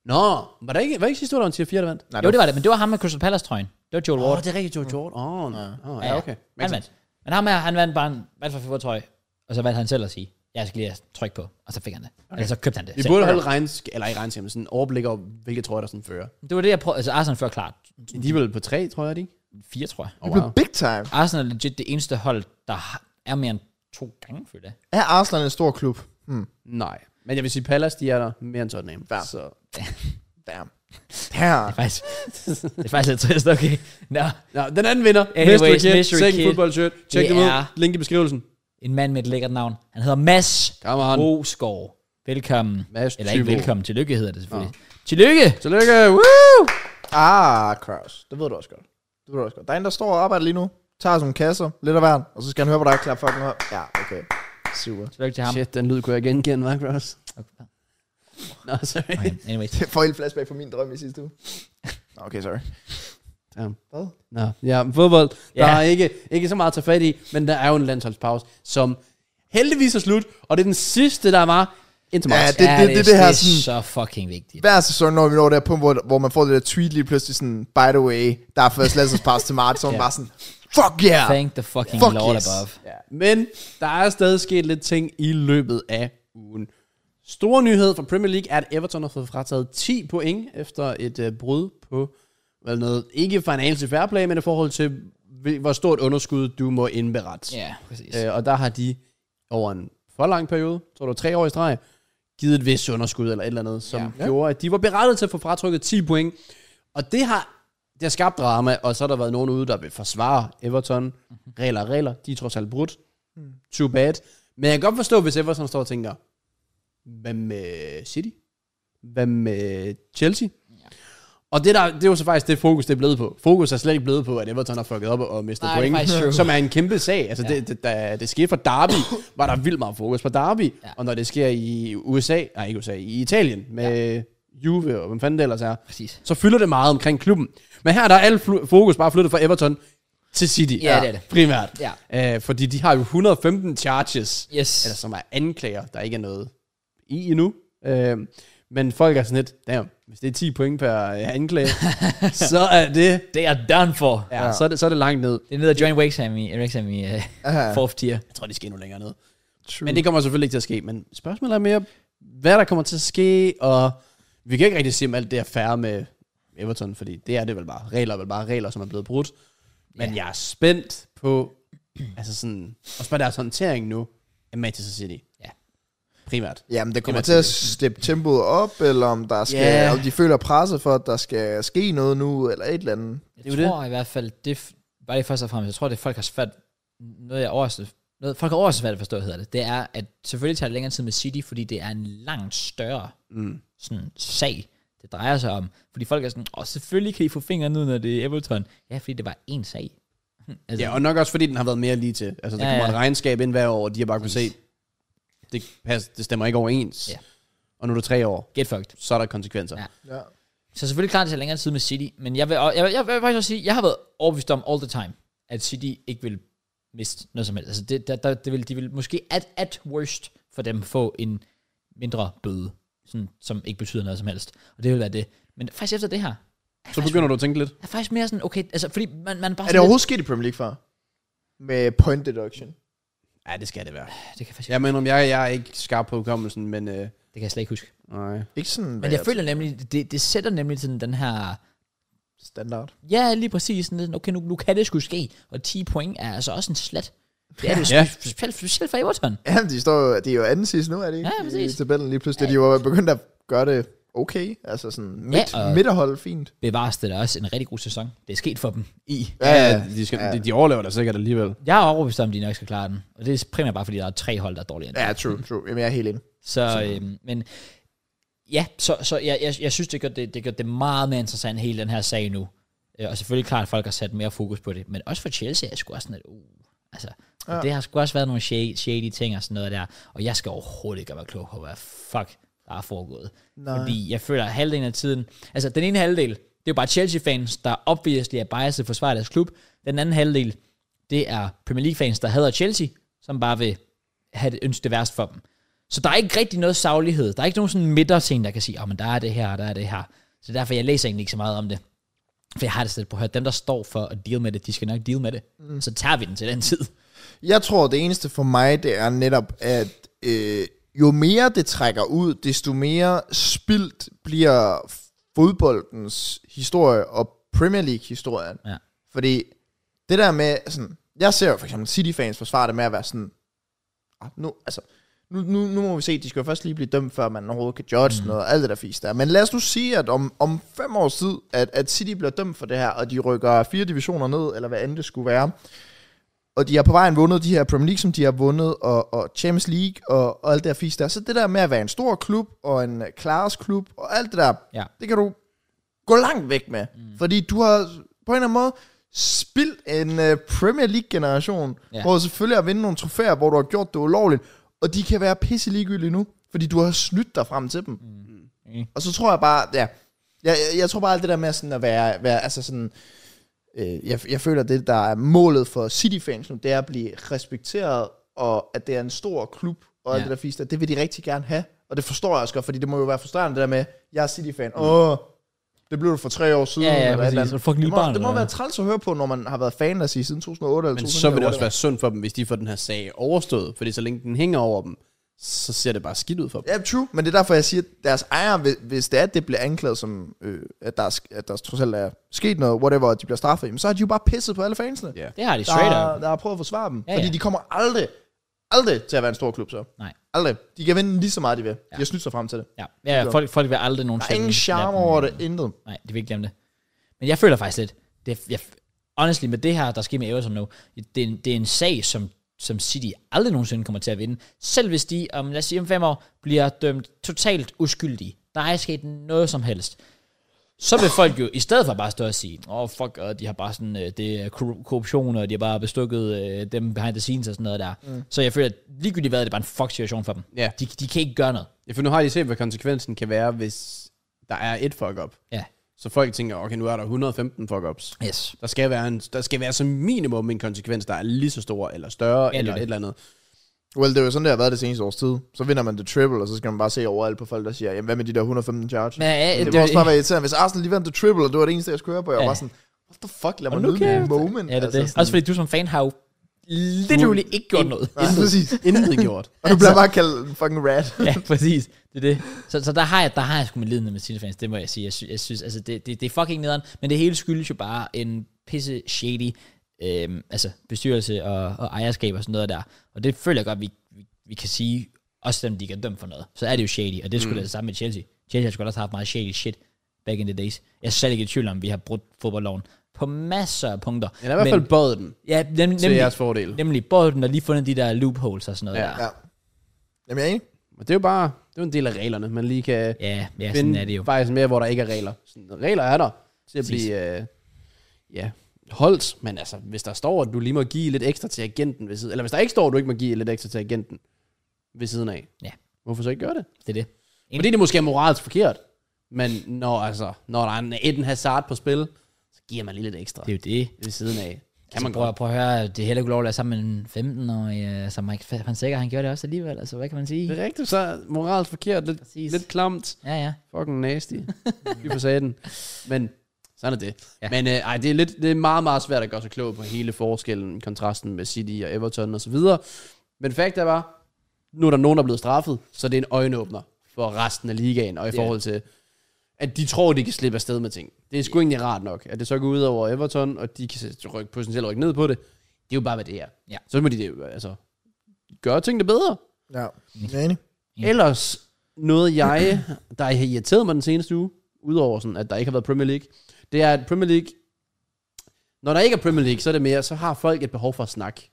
Speaker 2: Nå, var det ikke, var det ikke sidste år, der var en tier 4, der vandt?
Speaker 3: Nej,
Speaker 1: Jo, det var det, men det var ham med Crystal Palace-trøjen. Det var Joel
Speaker 2: Åh, oh,
Speaker 1: Ward.
Speaker 2: det er rigtigt, Joe Jordan. Åh, oh, nej. Oh, ja, okay.
Speaker 1: Han vandt. Men ham her, han vandt bare en, vandt for fået tøj, og så valgte han selv at sige, jeg skal lige have tryk på, og så fik han det. Okay. Eller så købte han det.
Speaker 2: Vi
Speaker 1: selv.
Speaker 2: burde holde regnsk, eller ikke regnskab, men sådan overblik over, hvilke trøjer, der sådan fører.
Speaker 1: Det var det, jeg prøvede. Altså, Arsenal før klart.
Speaker 2: De er vel på tre, tror jeg, de ikke?
Speaker 1: Fire, tror jeg.
Speaker 2: Oh,
Speaker 3: Det
Speaker 2: wow.
Speaker 3: blev big time.
Speaker 1: Arsenal er legit det eneste hold, der har- er mere end to gange for det.
Speaker 3: Er Arsenal en stor klub? Hmm.
Speaker 2: Nej. Men jeg vil sige, Palace, de er der mere end Tottenham.
Speaker 3: Ja.
Speaker 2: Så.
Speaker 3: Damn. Damn.
Speaker 1: Faktisk, det er faktisk lidt trist, okay. Nå,
Speaker 2: Nå, den anden vinder.
Speaker 1: Anyways,
Speaker 2: Mystery Kid.
Speaker 1: Mystery
Speaker 2: Second
Speaker 1: Kid.
Speaker 2: football shirt. Check
Speaker 1: Det
Speaker 2: dem
Speaker 1: er-
Speaker 2: ud. Link i beskrivelsen. Oh.
Speaker 1: en mand med et lækkert navn. Han hedder Mads
Speaker 2: Come on.
Speaker 1: Boskov. Velkommen.
Speaker 2: Mads
Speaker 1: Eller ikke
Speaker 2: Thybo.
Speaker 1: velkommen. Tillykke hedder det selvfølgelig. Tillykke!
Speaker 2: Tillykke. Woo!
Speaker 3: Ah, Kraus. Det ved du også godt. Det ved du også godt. Der er en, der står og arbejder lige nu. Tager sådan nogle kasser, lidt af hver, og så skal han høre på dig, klap fucking op. Ja, okay. Super.
Speaker 1: Tillykke til ham.
Speaker 2: Shit, den lyd kunne jeg genkende, hva' Cross? Nå, sorry.
Speaker 1: Okay, anyways.
Speaker 3: Det får helt flashback fra min drøm i sidste uge. Nå, Okay, sorry.
Speaker 2: Damn.
Speaker 3: Hvad?
Speaker 2: Nå, ja, fodbold. Der
Speaker 1: Ja.
Speaker 2: er ikke, ikke så meget at tage fat i, men der er jo en landsholdspause, som heldigvis er slut, og det er den sidste, der var indtil
Speaker 3: Ja,
Speaker 2: marts.
Speaker 3: det, det, det, det, det her
Speaker 1: er så
Speaker 3: sådan,
Speaker 1: fucking vigtigt.
Speaker 3: hver sæson, når vi når det her punkt, hvor, hvor man får det der tweet lige pludselig sådan, by the way, der er først landsholdspass til marts, så er man
Speaker 1: Ja.
Speaker 3: bare sådan, fuck yeah!
Speaker 1: Thank the fucking
Speaker 3: Fuck
Speaker 1: Lord
Speaker 3: yes.
Speaker 1: above.
Speaker 2: Ja, men der er stadig sket lidt ting i løbet af ugen. Stor nyhed fra Premier League er, at Everton har fået frataget 10 point efter et øh, brud på vel noget, ikke financial fair play, men i forhold til, hvil- hvor stort underskud du må indberette.
Speaker 1: Ja, præcis.
Speaker 2: Øh, og der har de over en for lang periode, tror du tre år i streg, givet et vist underskud eller et eller andet, som ja. gjorde, at de var berettiget til at få fratrykket 10 point. Og det har, det har skabt drama, og så har der været nogen ude, der vil forsvare Everton. Regler er regler, de er trods alt brudt. Too bad. Men jeg kan godt forstå, hvis Everton står og tænker, hvad med City? Hvad med Chelsea? Og det, der, det er jo så faktisk det fokus, det er blevet på. Fokus er slet ikke blevet på, at Everton har fucket op og mistet
Speaker 1: Nej, det er
Speaker 2: point,
Speaker 1: faktisk true.
Speaker 2: som er en kæmpe sag. Altså, ja. det, det, da det skete for Derby, var der vildt meget fokus på Derby.
Speaker 1: Ja.
Speaker 2: Ja. Og når det sker i USA, nej ikke USA, i Italien med ja. Juve og hvem fanden det ellers er,
Speaker 1: Præcis.
Speaker 2: så fylder det meget omkring klubben. Men her der er alt flu- fokus bare flyttet fra Everton til City.
Speaker 1: Ja, det er det.
Speaker 2: Primært.
Speaker 1: Ja.
Speaker 2: Øh, fordi de har jo 115 charges
Speaker 1: Yes.
Speaker 2: eller som er anklager, der ikke er noget i endnu. Øh, men folk er sådan lidt, damn, hvis det er 10 point per øh, anklage, så er det,
Speaker 1: Det er done for.
Speaker 2: ja, så er det, så er det langt ned.
Speaker 1: Det er nede af John Wakeham i, Wakeham i uh,
Speaker 3: Aha.
Speaker 1: fourth tier.
Speaker 2: Jeg tror, de skal endnu længere ned.
Speaker 3: True.
Speaker 1: Mm.
Speaker 2: Men det kommer selvfølgelig ikke til at ske. Men spørgsmålet er mere, hvad der kommer til at ske, og vi kan ikke rigtig sige, om alt det er færre med Everton, fordi det er det vel bare. Regler er vel bare regler, som er blevet brudt. Men
Speaker 1: Ja.
Speaker 2: jeg er spændt på, altså sådan, også bare deres håndtering nu af Manchester City.
Speaker 1: Ja.
Speaker 2: Primært.
Speaker 3: Jamen, det kommer
Speaker 2: Eller
Speaker 3: til
Speaker 1: altså,
Speaker 3: at steppe tempoet op, eller om, der skal,
Speaker 2: Ja.
Speaker 3: yeah. om de føler presset for, at der skal ske noget nu, eller et eller andet.
Speaker 1: Jeg
Speaker 2: Det er jo
Speaker 1: tror det. i hvert fald, det f- bare lige først og fremmest, jeg tror, det folk har svært, noget jeg overraskende, noget folk har overraskende svært at forstå, hedder det, det er, at selvfølgelig tager det længere tid med City, fordi det er en langt større
Speaker 2: Mm.
Speaker 1: sådan, sag, det drejer sig om. Fordi folk er sådan, åh, selvfølgelig kan I få fingrene ud, når det er Everton. Ja, fordi det var én sag. altså,
Speaker 2: Ja, og nok også fordi den har været mere lige til. Altså, der
Speaker 1: Ja,
Speaker 2: ja, kommer
Speaker 1: ja.
Speaker 2: et regnskab ind hver år, og de har bare kunne se,
Speaker 1: Præcis.
Speaker 2: det, pas, det stemmer ikke overens.
Speaker 1: Ja.
Speaker 2: Og nu er det tre år,
Speaker 1: Get fucked.
Speaker 2: så er der konsekvenser.
Speaker 1: Ja.
Speaker 2: Ja.
Speaker 3: Ja.
Speaker 1: Så selvfølgelig klart, det tager længere tid med City, men jeg vil, og- jeg, vil- jeg vil faktisk også sige, jeg har været overbevist om all the time, at City ikke vil miste noget som helst. Altså det, der, der, det vil, de vil måske at, at worst for dem få en mindre bøde, sådan, som ikke betyder noget som helst. Og det vil være det. Men faktisk efter det her, er jeg
Speaker 2: Så
Speaker 1: faktisk,
Speaker 2: begynder du at tænke lidt.
Speaker 1: er faktisk mere sådan, okay, altså fordi man, man er bare
Speaker 3: Er det
Speaker 1: sådan
Speaker 3: overhovedet sket i Premier League før? Med point deduction.
Speaker 2: Ja, det skal det være.
Speaker 1: lidt, det kan jeg faktisk,
Speaker 2: Jeg mener, jeg, jeg er ikke skarp på hukommelsen, men... Øh,
Speaker 1: det kan jeg slet ikke huske.
Speaker 2: nej.
Speaker 3: Ikke sådan, hvad
Speaker 1: Men jeg føler nemlig, det, det sætter nemlig sådan den her,
Speaker 3: Standard.
Speaker 1: ja lige præcis, sådan, lidt, okay nu, nu kan det skulle ske, og 10 point er altså også en slat. Det er det
Speaker 2: Ja.
Speaker 1: ja. specielt, specielt for Everton.
Speaker 3: Ja, men de står jo, de er jo anden sidst nu, er det ikke?
Speaker 1: Ja, præcis.
Speaker 3: I tabellen lige pludselig. De var begyndt at gøre det okay. Altså sådan midt,
Speaker 1: og-
Speaker 3: midterhold fint.
Speaker 1: Bevares det da også en rigtig god sæson. Det er sket for dem i.
Speaker 2: Ja, ja, de, skal, ja. de, de overlever det sikkert alligevel.
Speaker 1: Jeg er overbevist om, at de nok skal klare den. Og det er primært bare, fordi der er tre hold, der er dårligere end
Speaker 3: Ja, true, true. Jamen, jeg er helt enig.
Speaker 1: Så, øhm, men ja, så, så jeg, jeg, jeg synes, det gør det, det gør det meget mere interessant, hele den her sag nu. Øh, Og selvfølgelig klart, at folk har sat mere fokus på det. Men også for Chelsea er det sgu også sådan, at uh, altså, ja. det har sgu også været nogle shady, shady ting og sådan noget der. Og jeg skal overhovedet ikke gøre mig klog på, hvad fuck der er foregået. Nej. Fordi jeg føler, at halvdelen af tiden... Altså, den ene halvdel, det er jo bare Chelsea-fans, der obviously er biased forsvarer deres klub. Den anden halvdel, det er Premier League-fans, der hader Chelsea, som bare vil have det ønsket værst for dem. Så der er ikke rigtig noget saglighed. Der er ikke nogen sådan midterting, der kan sige, at men der er det her, og der er det her. Så derfor, jeg læser egentlig ikke så meget om det. For jeg har det slet på at høre, dem der står for at deal med det, de skal nok deal med det. Mm. Så tager vi den til den tid.
Speaker 3: Jeg tror, det eneste for mig, det er netop, at øh, jo mere det trækker ud, desto mere spildt bliver fodboldens historie og Premier League-historien.
Speaker 1: Ja.
Speaker 3: Fordi det der med, sådan, jeg ser jo for eksempel City-fans forsvare det med at være sådan, "Ah, nu, altså, nu, nu, nu må vi se, de skal jo først lige blive dømt, før man overhovedet kan judge mm. noget, alt det der fisk der. Men lad os nu sige, at om, om fem års tid, at, at City bliver dømt for det her, og de rykker fire divisioner ned, eller hvad andet det skulle være, og de har på vejen vundet de her Premier League, som de har vundet, og, og Champions League, og, og alt det der fisk der. Så det der med at være en stor klub, og en klares klub, og alt det der,
Speaker 1: Ja.
Speaker 3: det kan du gå langt væk med. Mm. Fordi du har på en eller anden måde spildt en uh, Premier League-generation,
Speaker 1: Ja.
Speaker 3: ja. hvor selvfølgelig har vinde nogle trofæer, hvor du har gjort det ulovligt, og de kan være pisse ligegyldige nu, fordi du har snydt dig frem til dem.
Speaker 1: Mm.
Speaker 3: Mm. Og så tror jeg bare, ja, jeg, jeg, jeg tror bare alt det der med sådan at være, være altså sådan, øh, jeg, jeg føler det, der er målet for City-fans nu, det er at blive respekteret, og at det er en stor klub, og alt
Speaker 1: Ja.
Speaker 3: det der fisk der, det vil de rigtig gerne have. Og det forstår jeg også godt, fordi det må jo være frustrerende, det der med, jeg er City-fan, åh, det blev du for tre år siden.
Speaker 1: Mm. Ja, ja,
Speaker 3: eller et
Speaker 1: præcis.
Speaker 3: eller andet.
Speaker 1: Så fucking lille
Speaker 3: det må,
Speaker 1: barn,
Speaker 3: det må
Speaker 1: eller
Speaker 3: være
Speaker 1: hvad?
Speaker 3: træls at høre på, når man har været fan, lad os sige, siden 2008 eller
Speaker 2: Men
Speaker 3: 2009.
Speaker 2: så vil det
Speaker 3: eller
Speaker 2: også være synd for dem, hvis de får den her sag overstået. Fordi så længe den hænger over dem, så ser det bare skidt ud for dem.
Speaker 3: Ja, true. Men det er derfor, jeg siger, at deres ejere, hvis- hvis det er, at det bliver anklaget som, øh, at, der er, sk- at der trods alt er sket noget, whatever, og de bliver straffet, jamen, så har de jo bare pisset på alle fansene.
Speaker 2: Ja.
Speaker 1: Det har de straight
Speaker 3: Der,
Speaker 1: up.
Speaker 3: der har prøvet at forsvare dem.
Speaker 1: Ja,
Speaker 3: Ja, fordi
Speaker 1: ja.
Speaker 3: ja. de kommer aldrig, aldrig til at være en stor klub så.
Speaker 1: Nej.
Speaker 3: Aldrig. De kan vinde lige så meget, de vil. Ja.
Speaker 1: Ja.
Speaker 3: De har snydt sig frem til det.
Speaker 1: Ja, ja folk, folk vil aldrig
Speaker 3: Der
Speaker 1: nogensinde...
Speaker 3: er ingen charme over det, intet.
Speaker 1: Nej, det vil ikke glemme det. Men jeg føler faktisk lidt, det, jeg, honestly, med det her, der sker med Everton nu, det er, en, det er en sag, som, som City aldrig nogensinde kommer til at vinde. Selv hvis de, om, lad os sige om fem år, bliver dømt totalt uskyldige. Der er ikke sket noget som helst. Så vil folk jo i stedet for bare stå og sige, åh oh, fuck, og de har bare sådan, øh, det er korru- korruption, og de har bare bestukket øh, dem behind the scenes og sådan noget der. Mm. Så jeg føler, at ligegyldigt hvad, det er bare en fuck situation for dem.
Speaker 2: Ja.
Speaker 1: De, de kan ikke gøre noget.
Speaker 2: Ja, for nu har de set, hvad konsekvensen kan være, hvis der er et fuck-up.
Speaker 1: Ja.
Speaker 2: Så folk tænker, okay, nu er der 115 fuck-ups.
Speaker 1: Yes.
Speaker 2: Der skal, være en, der skal være som minimum en konsekvens, der er lige så stor eller større,
Speaker 1: det er
Speaker 2: ja, eller
Speaker 1: det.
Speaker 2: et eller andet.
Speaker 3: Well, det er jo sådan, det har været det seneste års tid. Så vinder man det triple, og så skal man bare se overalt på folk, der siger, jamen hvad med de der 115 charge?
Speaker 1: Men, øh,
Speaker 3: det, det må også bare være irriterende, hvis Arsenal lige vandt The Triple, og det var det eneste, jeg skulle høre på. Jeg
Speaker 1: Ja.
Speaker 3: var bare sådan, what the fuck, lad mig
Speaker 1: Og nu
Speaker 3: nyde
Speaker 2: øh,
Speaker 1: kan
Speaker 3: min
Speaker 1: jeg-
Speaker 3: moment.
Speaker 1: Ja, det er altså, det.
Speaker 3: Sådan,
Speaker 1: Også fordi du som fan har jo literally ikke gjort noget.
Speaker 3: nej, præcis.
Speaker 2: Intet gjort.
Speaker 3: Og du bliver bare kaldt en fucking rat.
Speaker 1: ja, præcis. Det er det. Så, så der har jeg, der har jeg sgu med lidende med sine fans, det må jeg sige. Jeg, sy- jeg synes, altså, det, det, det er fucking nederen, men det hele skyldes jo bare en pisse shady øhm, altså bestyrelse og, og ejerskab og sådan noget der. Og det føler jeg godt, vi, vi, vi kan sige, også selvom de ikke er dømt for noget. Så er det jo shady, og det skulle mm. det samme med Chelsea. Chelsea har sgu da også haft meget shady shit back in the days. Jeg er slet ikke i tvivl om, at vi har brudt fodboldloven på masser af punkter.
Speaker 2: Eller i hvert fald bøjet den
Speaker 1: ja, nem, nemlig,
Speaker 2: til jeres fordel.
Speaker 1: Nemlig bolden og lige fundet de der loopholes og sådan noget ja.
Speaker 2: Ja.
Speaker 1: der.
Speaker 3: Ja. Jamen, jeg er enig.
Speaker 2: Og det er jo bare det er jo en del af reglerne. Man lige kan
Speaker 1: Ja, ja sådan
Speaker 2: finde
Speaker 1: er det jo.
Speaker 2: faktisk mere, hvor der ikke er regler. Sådan, regler er der til at
Speaker 1: Præcis.
Speaker 2: blive øh, ja, holdt. Men altså, hvis der står, at du lige må give lidt ekstra til agenten ved siden, eller hvis der ikke står, at du ikke må give lidt ekstra til agenten ved siden af,
Speaker 1: Ja.
Speaker 2: hvorfor så ikke gøre det?
Speaker 1: Det er det.
Speaker 2: Fordi det måske er moralsk forkert. Men når, altså, når der er en Eden Hazard på spil, så giver man lige lidt ekstra
Speaker 1: Det er jo det.
Speaker 2: ved siden af. Kan
Speaker 1: Altså,
Speaker 2: man
Speaker 1: prøv,
Speaker 2: godt.
Speaker 1: at- prøv at høre, det er heller ikke ulovligt at være sammen med en 15-årig, øh, som Mike Fa- Van Sikker, han gjorde det også alligevel, altså hvad kan man sige?
Speaker 2: Det er rigtigt, så moralsk forkert, lidt,
Speaker 1: Præcis.
Speaker 2: lidt klamt,
Speaker 1: Ja, ja.
Speaker 2: fucking nasty. Vi får den. Men sådan er det.
Speaker 1: Ja.
Speaker 2: Ja. Men øh, ej, det er, lidt, det er meget, meget svært at gøre sig klog på hele forskellen, kontrasten med City og Everton og så videre. Men fakt er bare, nu er der nogen, der er blevet straffet, så det er en øjenåbner for resten af ligaen, og i
Speaker 1: Ja.
Speaker 2: forhold til, at de tror, de kan slippe afsted med ting. Det er sgu egentlig rart nok, at det så går ud over Everton, og de kan s- rykke, potentielt rykke ned på det. er jo bare, hvad det er.
Speaker 1: Ja.
Speaker 2: Så må de det, altså, gøre tingene bedre.
Speaker 3: Ja. Jeg er enig.
Speaker 1: Ja.
Speaker 2: Ellers noget, jeg, der har irriteret mig den seneste uge, udover sådan, at der ikke har været Premier League, det er, at Premier League, når der ikke er Premier League, så er det mere, så har folk et behov for at snakke.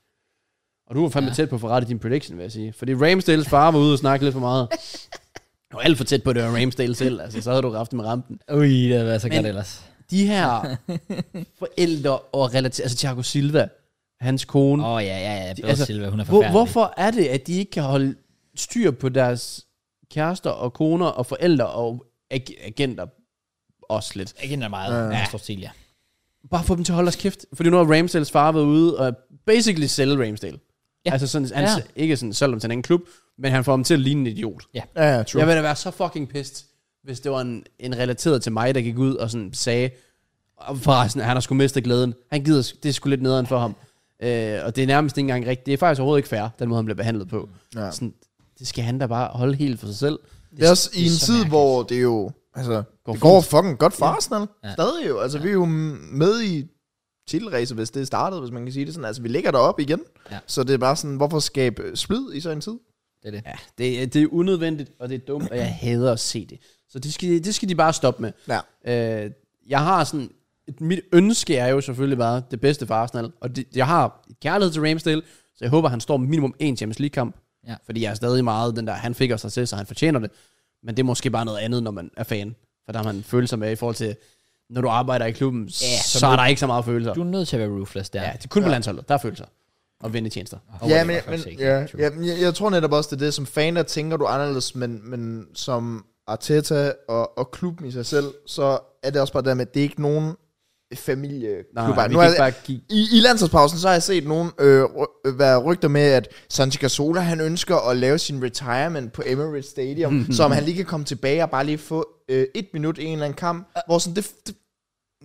Speaker 2: Og du var fandme ja.
Speaker 1: Ja.
Speaker 2: tæt på for rette din prediction, vil jeg sige. Fordi Ramsdales far var ude og snakke lidt for meget. Og alt for tæt på, det var Ramsdale selv. Altså, så havde du raft med rampen
Speaker 1: Ui, det havde været så
Speaker 2: Men-
Speaker 1: godt ellers.
Speaker 2: de her forældre og relationer, altså Thiago Silva, hans kone,
Speaker 1: Åh,
Speaker 2: oh,
Speaker 1: oh, ja, ja, ja. Bedre
Speaker 2: Altså,
Speaker 1: altså, Silva, hun er
Speaker 2: hvor,
Speaker 1: forfærdelig.
Speaker 2: hvorfor er det, at de ikke kan holde styr på deres kærester og koner og forældre og ag- agenter også lidt?
Speaker 1: Ikke endda meget.
Speaker 3: Ja.
Speaker 1: Ja. Cecilia.
Speaker 2: Bare få dem til at holde deres kæft. Fordi nu har Ramsdales far været ude og basically sælge Ramsdale. Ja.
Speaker 1: Ja.
Speaker 2: Altså sådan, han,
Speaker 1: Ja.
Speaker 2: ja. ikke sådan solgt dem til en anden klub, men han får dem til at ligne en idiot.
Speaker 3: Ja, ja, true.
Speaker 2: Jeg ville da være så fucking pissed, hvis det var en, en relateret til mig, der gik ud og sådan sagde, "Og forresten, han har sgu mistet glæden. Han gider, sk- det er sgu lidt nederen for ham. Øh, og det er nærmest ikke engang rigtigt. Det er faktisk overhovedet ikke fair, den måde, han bliver behandlet på.
Speaker 3: Ja.
Speaker 2: Ja. Sådan, det skal han da bare holde helt for sig selv.
Speaker 3: Det er også i
Speaker 1: det er
Speaker 3: en
Speaker 1: så
Speaker 3: tid,
Speaker 1: mærkeligt.
Speaker 3: hvor det jo, altså,
Speaker 2: Går
Speaker 3: går det går fucking godt for Arsenal.
Speaker 1: Ja.
Speaker 3: Ja. Stadig jo. Altså, ja. vi er jo med i titelræset, hvis det startede, hvis man kan sige det sådan. Altså, vi ligger deroppe igen.
Speaker 1: Ja.
Speaker 3: Ja. Så det er bare sådan, hvorfor skabe øh, splid i sådan en tid?
Speaker 1: Det er det.
Speaker 2: Ja, det, er- det er unødvendigt, og det er dumt, og jeg hader at se det. Så det skal, det skal de bare stoppe med.
Speaker 3: Ja.
Speaker 2: Øh, jeg har sådan... Et, mit ønske er jo selvfølgelig bare det bedste for Arsenal. Og det, jeg har et kærlighed til Ramsdale, så jeg håber, han står minimum en Champions League-kamp.
Speaker 1: Ja.
Speaker 2: Fordi jeg er stadig meget den der, han fik os til, så han fortjener det. Men det er måske bare noget andet, når man er fan. For der har man følelser med i forhold til, når du arbejder i klubben, ja,
Speaker 1: så
Speaker 2: så, så er
Speaker 1: du-
Speaker 2: der ikke så meget følelser.
Speaker 1: Du er nødt til at være ruthless der.
Speaker 2: ja, det er kun ja. på landsholdet, der er følelser. Og vendetjenester.
Speaker 1: Oh,
Speaker 3: ja, men, men ja, ja, men jeg, jeg tror netop også, det er det, som fan, der tænker du anderledes, men, men som Arteta og, og klubben i sig selv, så er det også bare der med, at det er ikke nogen familieklub.
Speaker 2: Nej, nej, vi
Speaker 3: nu
Speaker 2: kan
Speaker 3: er,
Speaker 2: ikke bare give...
Speaker 3: I, I landsholdspausen, så har jeg set nogen øh, ry- øh, være rygter med, at Santi Cazorla, han ønsker at lave sin retirement på Emirates Stadium, så om han lige kan komme tilbage og bare lige få øh, et minut i en eller anden kamp, hvor sådan, det, det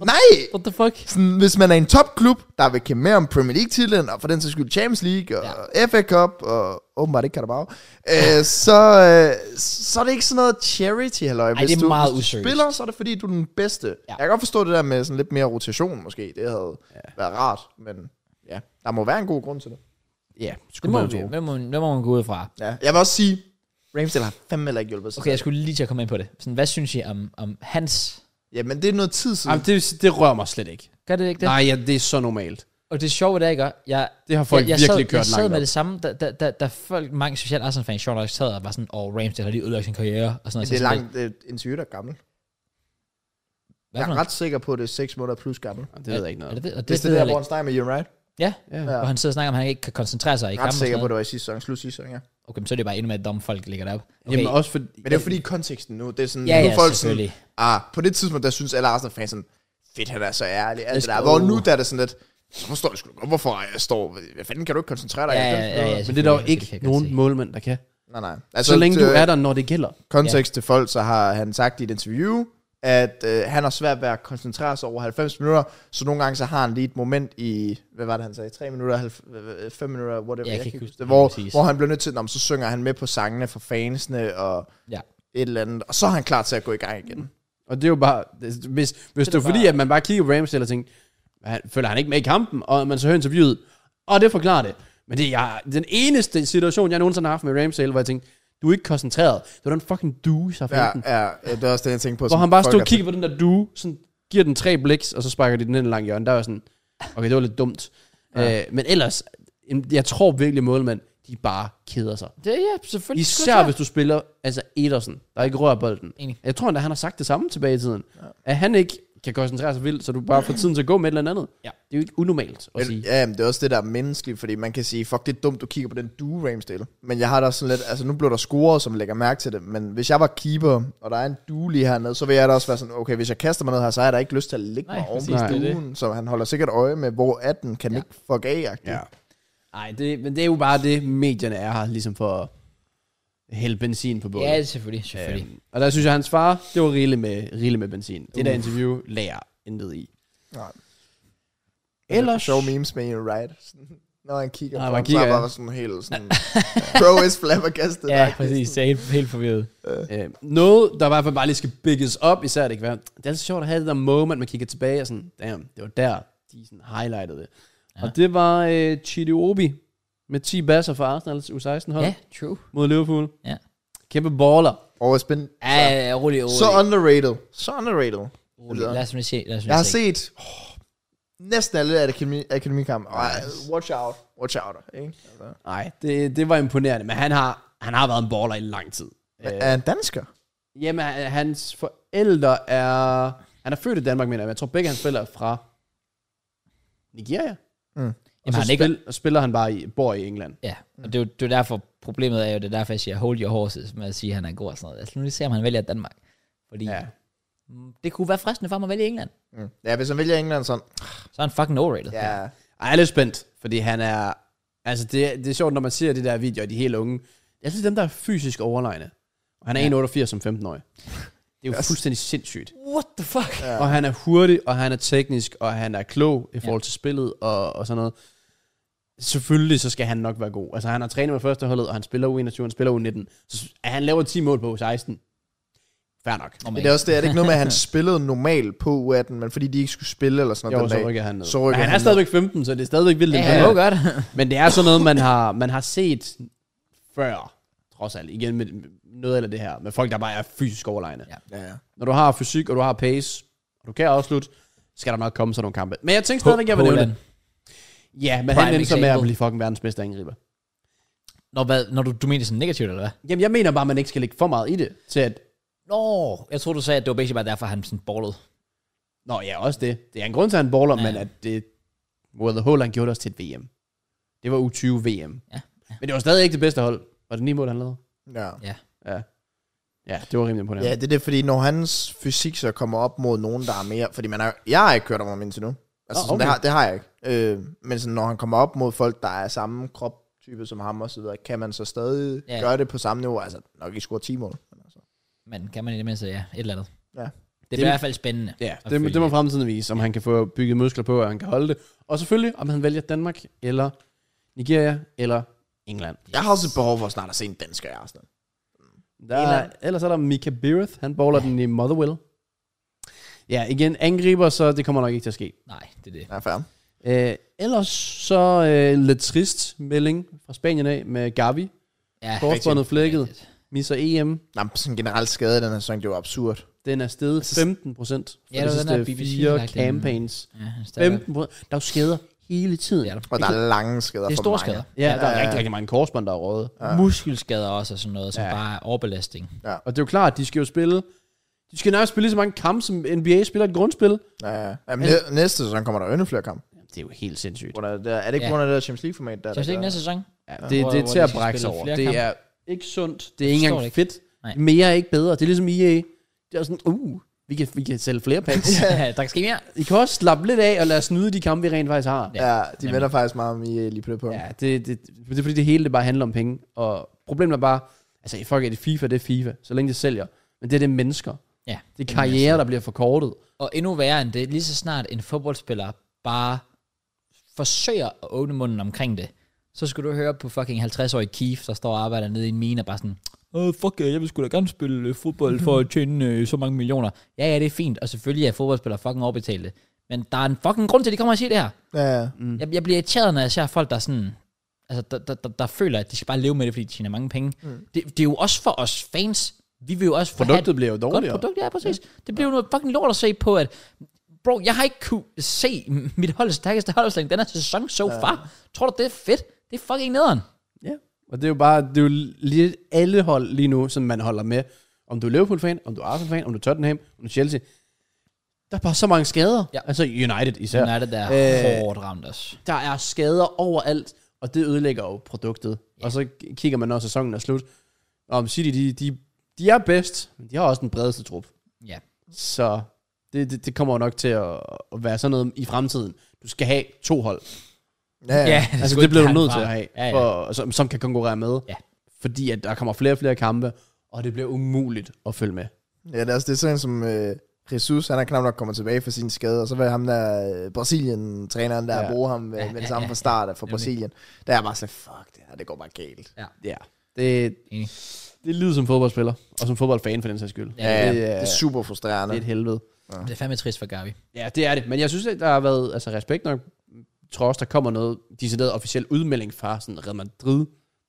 Speaker 3: Nej!
Speaker 1: What the fuck?
Speaker 3: Sådan, hvis man er en topklub, der vil kæmpe mere om Premier League-titlen, og for den sags skyld Champions League, og ja. FA Cup, og åbenbart ikke Carabao, øh, så, øh, så er det ikke sådan noget charity, halløj. Hvis
Speaker 1: det er
Speaker 3: du,
Speaker 1: meget
Speaker 3: hvis du
Speaker 1: useriøst.
Speaker 3: spiller, så er det fordi, du er den bedste.
Speaker 1: Ja.
Speaker 3: Ja. Jeg kan godt forstå det der med sådan lidt mere rotation, måske. Det havde ja. været rart, men ja, der må være en god grund til det.
Speaker 2: Ja,
Speaker 1: Det
Speaker 2: skulle
Speaker 1: må,
Speaker 2: man jo
Speaker 1: vi,
Speaker 2: tro.
Speaker 1: hvad, må, hvad må man gå ud fra?
Speaker 3: Ja. Jeg vil også sige, Ramsdale har fandme heller ikke hjulpet sig.
Speaker 1: Okay, jeg skulle lige til at komme ind på det. Sådan, hvad synes I om, om hans...
Speaker 3: Ja, men det er noget tid siden.
Speaker 2: Jamen, det, det rører mig slet ikke.
Speaker 1: Gør det ikke det?
Speaker 2: Nej, ja, det er så normalt.
Speaker 1: Og det sjove det er, ikke? også? Jeg,
Speaker 2: Det har
Speaker 1: jeg,
Speaker 2: folk
Speaker 1: jeg
Speaker 2: virkelig
Speaker 1: sad,
Speaker 2: kørt
Speaker 1: Jeg sad
Speaker 2: langt
Speaker 1: med
Speaker 2: op.
Speaker 1: det samme, da, da, da, da folk, mange specielt Arsenal-fans, sjovt nok sad og var sådan, åh, oh, Ramsdale har lige ødelagt sin karriere, og sådan noget.
Speaker 3: det er
Speaker 1: Så sådan
Speaker 3: langt, det er en der er gammel.
Speaker 1: lidt, Hvad
Speaker 3: Jeg
Speaker 1: for
Speaker 3: er
Speaker 1: noget?
Speaker 3: ret sikker på, at det er 6 måneder plus gammel.
Speaker 2: Jamen, Det ved jeg ikke
Speaker 1: Er
Speaker 2: noget.
Speaker 1: det det? Og det,
Speaker 3: Hvis det,
Speaker 1: ved
Speaker 3: er
Speaker 1: jeg
Speaker 3: der, hvor
Speaker 1: ikke.
Speaker 3: han snakker med Ian Wright.
Speaker 1: Ja,
Speaker 2: Ja.
Speaker 3: Ja.
Speaker 1: hvor han sidder og snakker om, at han ikke kan koncentrere sig i
Speaker 3: ret
Speaker 1: kampen.
Speaker 3: sikker på, at det var i sidste sæson, slut sidste sæson, ja.
Speaker 1: Okay, men så er det bare endnu mere dumme folk, der ligger deroppe. Okay.
Speaker 2: Jamen også fordi...
Speaker 3: Men det er jo fordi konteksten nu, det er sådan,
Speaker 1: ja,
Speaker 3: nu
Speaker 1: ja,
Speaker 3: er folk sådan,
Speaker 1: selvfølgelig.
Speaker 3: ah, på det tidspunkt, der synes alle Arsenal-fans sådan, fedt, han er så ærlig, alt det
Speaker 1: Let's
Speaker 3: der.
Speaker 1: go.
Speaker 3: Hvor nu der er det sådan lidt, så forstår jeg sgu da godt, hvorfor jeg står, hvad fanden kan du ikke koncentrere dig?
Speaker 1: Ja,
Speaker 3: Jeg
Speaker 1: ja,
Speaker 3: kan ikke
Speaker 1: ja,
Speaker 3: noget."
Speaker 1: ja,
Speaker 2: Men det er der jo
Speaker 1: selvfølgelig,
Speaker 2: ikke
Speaker 1: det kan jeg godt
Speaker 2: nogen
Speaker 1: se.
Speaker 2: målmand, der kan.
Speaker 3: Nej, nej.
Speaker 2: Altså, så længe
Speaker 3: til,
Speaker 2: du er der, når det gælder.
Speaker 3: Kontekst til folk, så har han sagt i et interview, at øh, han har svært ved at koncentrere sig over 90 minutter, så nogle gange så har han lige et moment i, hvad var det han sagde, 3 minutter, 5 minutter, whatever,
Speaker 1: Ja, jeg kan ikke huske
Speaker 3: det,
Speaker 1: det
Speaker 3: hvor,
Speaker 1: præcis.
Speaker 3: hvor han bliver nødt til, "Nå, men så synger han med på sangene for fansene og
Speaker 1: Ja.
Speaker 3: et eller andet, og så er han klar til at gå i gang igen.
Speaker 2: Og det er jo bare... det- Hvis, hvis det,
Speaker 1: er
Speaker 2: er fordi,
Speaker 1: bare-
Speaker 2: at man bare kigger på Ramsdale og tænker, han, føler han ikke med i kampen, og man så hører interviewet, og det forklarer det. Men det er jeg, den eneste situation, jeg nogensinde har haft med Ramsdale, hvor jeg tænkte, du er ikke koncentreret. Det var den fucking due, så
Speaker 3: Ja,
Speaker 2: ja, ja,
Speaker 3: ja, ja, det er også det, jeg tænker på.
Speaker 2: Mm. Hvor
Speaker 3: som
Speaker 2: han bare
Speaker 3: folk
Speaker 2: stod
Speaker 3: er-
Speaker 2: og kiggede på den der due, sådan, giver den tre bliks, og så sparker de den ind i lang hjørne. Der var jeg sådan, okay, det var lidt dumt. Ja. Øh, men ellers, en- jeg tror virkelig, målmand, de bare keder sig.
Speaker 1: Det, ja, selvfølgelig.
Speaker 2: Især hvis du spiller altså Ederson, der ikke rører bolden.
Speaker 1: Enig.
Speaker 2: Jeg tror endda, han har sagt det samme tilbage i tiden. Ja. At han ikke kan koncentrere sig vildt, så du bare får tiden til at gå med et eller andet.
Speaker 1: Ja.
Speaker 2: Det er jo ikke unormalt at sige.
Speaker 3: Ja, men det er også det, der er menneskeligt, fordi man kan sige, fuck, det er dumt, du kigger på den due Ramsdale. Men jeg har da sådan lidt, altså nu blev der scoret, som lægger mærke til det, men hvis jeg var keeper, og der er en due lige hernede, så vil jeg da også være sådan, okay, hvis jeg kaster mig ned her, så har jeg da ikke lyst til at ligge
Speaker 1: Nej,
Speaker 3: mig oven
Speaker 1: præcis,
Speaker 3: på
Speaker 1: det er
Speaker 3: duen, så han holder sikkert øje med, hvor er den, kan den
Speaker 1: Ja.
Speaker 3: ikke fuck af ja.
Speaker 2: Nej, det, men det er jo bare det, medierne er her, ligesom for at hælde benzin på bålet.
Speaker 1: Ja, selvfølgelig, selvfølgelig.
Speaker 2: Øhm, og der synes jeg, hans far, det var rigeligt med, rigeligt med benzin. Det der
Speaker 1: Uh.
Speaker 2: interview lærer intet i.
Speaker 3: Nej.
Speaker 2: Ellers...
Speaker 3: Show memes med Ian Wright. Sådan, Når han kigger
Speaker 2: Når
Speaker 3: på
Speaker 2: man
Speaker 3: ham, så
Speaker 2: kigger,
Speaker 3: er han
Speaker 2: ja.
Speaker 3: bare sådan helt sådan, bro is flabbergasted.
Speaker 1: Ja, præcis. Jeg er helt, helt forvirret.
Speaker 2: Øh, noget, der i hvert fald bare lige skal bigges op, især det kan være, det er altid sjovt at have det der moment, man kigger tilbage og sådan, damn, det var der, de sådan highlightede det. Ja. Og det var øh, Chidiobi med 10 basser for Arsenal's U16-hold
Speaker 1: Ja,
Speaker 2: ja.
Speaker 1: true.
Speaker 2: mod Liverpool.
Speaker 1: Ja.
Speaker 2: Kæmpe baller.
Speaker 3: Og spændende.
Speaker 1: Ja, ja, rolig, rolig.
Speaker 3: Så underrated. Så underrated.
Speaker 1: rolig. Uh, Lad os nu se. Lad os nu
Speaker 3: Jeg har
Speaker 1: se.
Speaker 3: set oh, næsten alle akademi, akademikampe. Og, øh, watch out. Watch out. Ikke? Altså.
Speaker 2: Nej, det, det var imponerende, men han har, han har været en baller i lang tid.
Speaker 3: Men Er han dansker?
Speaker 2: Jamen, han- hans forældre er... Han er født i Danmark, mener jeg, men jeg tror begge hans forældre er fra Nigeria. Og
Speaker 1: Jamen,
Speaker 2: så
Speaker 1: har han ikke,
Speaker 2: spil, og spiller han bare i, bor i England.
Speaker 1: ja, og det er, jo, det er jo derfor, problemet er jo, det er derfor, jeg siger, hold your horses, med at sige, at han er god og sådan noget. Lad os nu lige se, om han vælger Danmark. Fordi
Speaker 2: Ja.
Speaker 1: ja. det kunne være fristende for ham at vælge England.
Speaker 3: Mm. Ja, hvis han vælger England sådan.
Speaker 1: Så er han fucking overrated.
Speaker 3: Ja.
Speaker 2: Ej, jeg er lidt spændt, fordi han er... Altså, det, det er sjovt, når man ser de der videoer, af de helt unge. Jeg synes, dem, der er fysisk overlegne. Og han er
Speaker 1: Ja.
Speaker 2: ja. 1,88 som 15-årig. Det er jo fuldstændig sindssygt.
Speaker 1: What the fuck? Ja.
Speaker 2: Ja. Og han er hurtig, og han er teknisk, og han er klog i forhold til spillet og, og sådan noget. Selvfølgelig så skal han nok være god. Altså han har trænet med førsteholdet, og han spiller U21, han spiller U19. Så s- at han laver 10 mål på U16. Fair nok.
Speaker 1: Oh
Speaker 3: Men det er også det, er det ikke noget med, at han spillede normalt på U18, men fordi de ikke skulle spille eller sådan noget
Speaker 2: Jo,
Speaker 3: den
Speaker 2: så
Speaker 3: dag.
Speaker 2: rykker han ned.
Speaker 3: Så
Speaker 2: Så
Speaker 3: rykker
Speaker 2: rykker Men han
Speaker 3: han
Speaker 2: er stadigvæk 15, så det er stadigvæk vildt.
Speaker 1: Ja,
Speaker 2: imponerende.
Speaker 1: han må godt.
Speaker 2: Men det er sådan noget, man har, man har set før, trods alt. Igen med noget eller det her, med folk, der bare er fysisk overlegne.
Speaker 1: Ja.
Speaker 3: Ja.
Speaker 2: Når du har fysik, og du har pace, og du kan afslutte, skal der nok komme sådan nogle kampe. Men jeg tænkte stadigvæk, jeg vil nævne det. Ja, men
Speaker 1: Prime
Speaker 2: han endte så med at
Speaker 1: example.
Speaker 2: blive fucking verdens bedste angriber.
Speaker 1: Når, hvad, når du, du mener det sådan negativt, eller hvad?
Speaker 2: Jamen, jeg mener bare, at man ikke skal lægge for meget i det, til at...
Speaker 1: Nå, jeg tror du sagde, at det var basically bare derfor, han sådan ballede.
Speaker 2: Nå ja, også det. Det er en grund til, at han baller,
Speaker 1: Ja.
Speaker 2: ja. men at det... Well, the whole, han gjorde det også til et VM. Det var U20 VM.
Speaker 1: Ja,
Speaker 2: Men det var stadig ikke det bedste hold. Var det ni mål, han lavede?
Speaker 3: Ja.
Speaker 2: Ja. Ja, det var rimelig imponerende.
Speaker 3: ja, det er det, fordi når hans fysik så kommer op mod nogen, der er mere... Fordi man har, jeg har ikke kørt om ham indtil nu. Altså,
Speaker 2: Nå,
Speaker 3: sådan,
Speaker 2: okay.
Speaker 3: det, har, det har jeg ikke. Øh, men sådan, når han kommer op mod folk, der er samme kroptype som ham og så videre, kan man så stadig
Speaker 1: Ja.
Speaker 3: ja. gøre det på samme niveau. Altså, nok ikke score 10 mål. Men altså.
Speaker 1: Men kan man i det mindste, ja, et eller andet.
Speaker 3: Ja.
Speaker 1: Det er i hvert fald spændende.
Speaker 2: Ja,
Speaker 1: at
Speaker 2: det, må-
Speaker 1: følge
Speaker 2: det må fremtiden vise, om han kan få bygget muskler på, og han kan holde det. Og selvfølgelig, om han vælger Danmark, eller Nigeria, eller England.
Speaker 3: Jeg har også et behov for snart at se en dansker i Arsenal.
Speaker 2: Der er,
Speaker 3: England.
Speaker 2: ellers er der Mika Beareth, han bowler den i Motherwell. Ja, igen, angriber, så det kommer nok ikke til at ske.
Speaker 1: Nej, det er det.
Speaker 3: Ja, fair.
Speaker 2: Øh, ellers så øh, lidt trist melding fra Spanien af med Gavi.
Speaker 1: Ja,
Speaker 2: Korsbåndet flækket,
Speaker 1: rigtigt.
Speaker 2: misser EM.
Speaker 3: Nej, men sådan generelt skade i den her sæson, det var absurd.
Speaker 2: Den er steget 15 procent for
Speaker 1: Ja,
Speaker 2: de
Speaker 1: det var den der
Speaker 2: sidste
Speaker 1: BBC
Speaker 2: fire
Speaker 1: lagt den-
Speaker 2: campaigns.
Speaker 1: Ja, han er stadig-
Speaker 2: 15 procent. Der er jo skader hele tiden.
Speaker 1: Ja, der-
Speaker 3: Og der er lange skader
Speaker 1: det er
Speaker 3: for
Speaker 1: store
Speaker 3: mange.
Speaker 1: skader.
Speaker 2: Ja, der er rigtig, rigtig mange korsbånd, der er røget.
Speaker 1: Muskelskader også og sådan noget, som
Speaker 2: Ja.
Speaker 1: bare er overbelastning.
Speaker 2: Og det er jo klart, at de skal jo spille... De skal nærmest spille lige så mange kampe, som NBA spiller et grundspil.
Speaker 3: Ja, ja. Jamen,
Speaker 1: Altså-
Speaker 3: næ- næste sæson kommer der jo endnu flere kampe.
Speaker 2: Det er jo helt sindssygt.
Speaker 3: Grund af det der- Er det ikke
Speaker 1: Ja.
Speaker 3: på grund af det der Champions League-format? Der,
Speaker 1: Så det ikke næste sæson?
Speaker 2: Ja, det,
Speaker 1: hvor-
Speaker 2: det er
Speaker 1: hvor
Speaker 2: til
Speaker 1: de
Speaker 2: at
Speaker 1: skal
Speaker 2: brække sig
Speaker 1: spille
Speaker 2: over.
Speaker 1: flere
Speaker 2: Det
Speaker 1: kampe.
Speaker 2: er ikke sundt. Det er ikke
Speaker 1: forstår
Speaker 2: engang
Speaker 1: det
Speaker 2: fedt.
Speaker 1: Nej.
Speaker 2: Mere er ikke bedre. Det er ligesom EA. Det er sådan, uh, vi kan, vi kan sælge flere packs.
Speaker 1: Ja, der skal mere.
Speaker 2: I kan også slappe lidt af og lade os nyde de kampe, vi rent faktisk har.
Speaker 1: Ja.
Speaker 3: Ja, de vender faktisk meget om i øh, lige på det punkt.
Speaker 2: Ja, det, det, det er fordi, det hele det bare handler om penge. Og problemet er bare, altså fuck er det FIFA, det er FIFA, så længe det sælger. Men det er det mennesker.
Speaker 1: Ja.
Speaker 2: Det er karriere, der bliver forkortet.
Speaker 1: Og endnu værre end det, lige så snart en fodboldspiller bare forsøger at åbne munden omkring det, så skulle du høre på fucking 50-årig Keith, der står og arbejder nede i en mine og bare sådan, Åh, fuck, øh, jeg vil sgu da gerne spille øh, fodbold for at tjene øh, så mange millioner. Ja, ja, det er fint, og selvfølgelig er fodboldspillere fucking overbetalte. Men der er en fucking grund til, at de kommer og siger det her.
Speaker 3: Ja, ja.
Speaker 1: Mm. Jeg, jeg bliver irriteret, når jeg ser folk, der sådan... Altså, der, der, der, der føler, at de skal bare leve med det, fordi de tjener mange penge. Mm. Det, det er jo også for os fans. Vi vil jo også få
Speaker 2: Produktet bliver jo
Speaker 1: Godt
Speaker 2: dårligere.
Speaker 1: produkt, ja, præcis. Ja. Det bliver jo noget fucking lort at se på, at... Bro, jeg har ikke kunne se mit hold stærkeste holdslag den her sæson so far. Tror du, det er fedt? Det er fucking nederen.
Speaker 2: Ja, og det er jo bare, det er jo lige alle hold lige nu, som man holder med. Om du er Liverpool-fan, om du er Arsenal-fan, om du er Tottenham, om du er Chelsea. Der er bare så mange skader.
Speaker 1: Ja.
Speaker 2: Altså United især.
Speaker 1: Ja. Den er det der øh, hårdt ramt os.
Speaker 2: Der er skader overalt, og det ødelægger jo produktet. Ja. Og så kigger man, når sæsonen er slut. Og om City, de, de, de er bedst, men de har også den bredeste trup.
Speaker 1: Ja.
Speaker 2: Så det, det, det kommer jo nok til at, at være sådan noget i fremtiden. Du skal have to hold.
Speaker 3: ja, ja.
Speaker 2: Altså, det bliver du nødt til
Speaker 1: herfra.
Speaker 2: at have,
Speaker 1: Ja, ja.
Speaker 2: For, som, som kan konkurrere med.
Speaker 1: Ja.
Speaker 2: Fordi at der kommer flere og flere kampe, og det bliver umuligt at følge med.
Speaker 3: ja det, er, også- det er sådan en som øh, Jesus, han er knap nok kommet tilbage fra sin skade, og så var ham der øh, Brasilien-træneren, der
Speaker 2: Ja.
Speaker 3: ja. bruger ham med,
Speaker 1: Ja,
Speaker 3: ja, med
Speaker 1: ja,
Speaker 3: det samme
Speaker 1: ja,
Speaker 3: fra start af- fra
Speaker 1: Nemlig.
Speaker 3: Brasilien. Der er jeg bare sådan, fuck det her, det går bare galt.
Speaker 2: Ja. Det,
Speaker 1: Enig.
Speaker 2: det lyder som fodboldspiller, og som fodboldfan for den sags skyld.
Speaker 1: Ja,
Speaker 3: Ja,
Speaker 2: det,
Speaker 3: det,
Speaker 2: er,
Speaker 3: er
Speaker 2: det
Speaker 3: super
Speaker 2: er et
Speaker 3: frustrerende.
Speaker 2: helvede.
Speaker 1: Det er fandme trist for Gavi.
Speaker 2: Ja, det er det. Men jeg synes, at der har været altså, respekt nok tror også, der kommer noget decideret officiel udmelding fra sådan Real Madrid,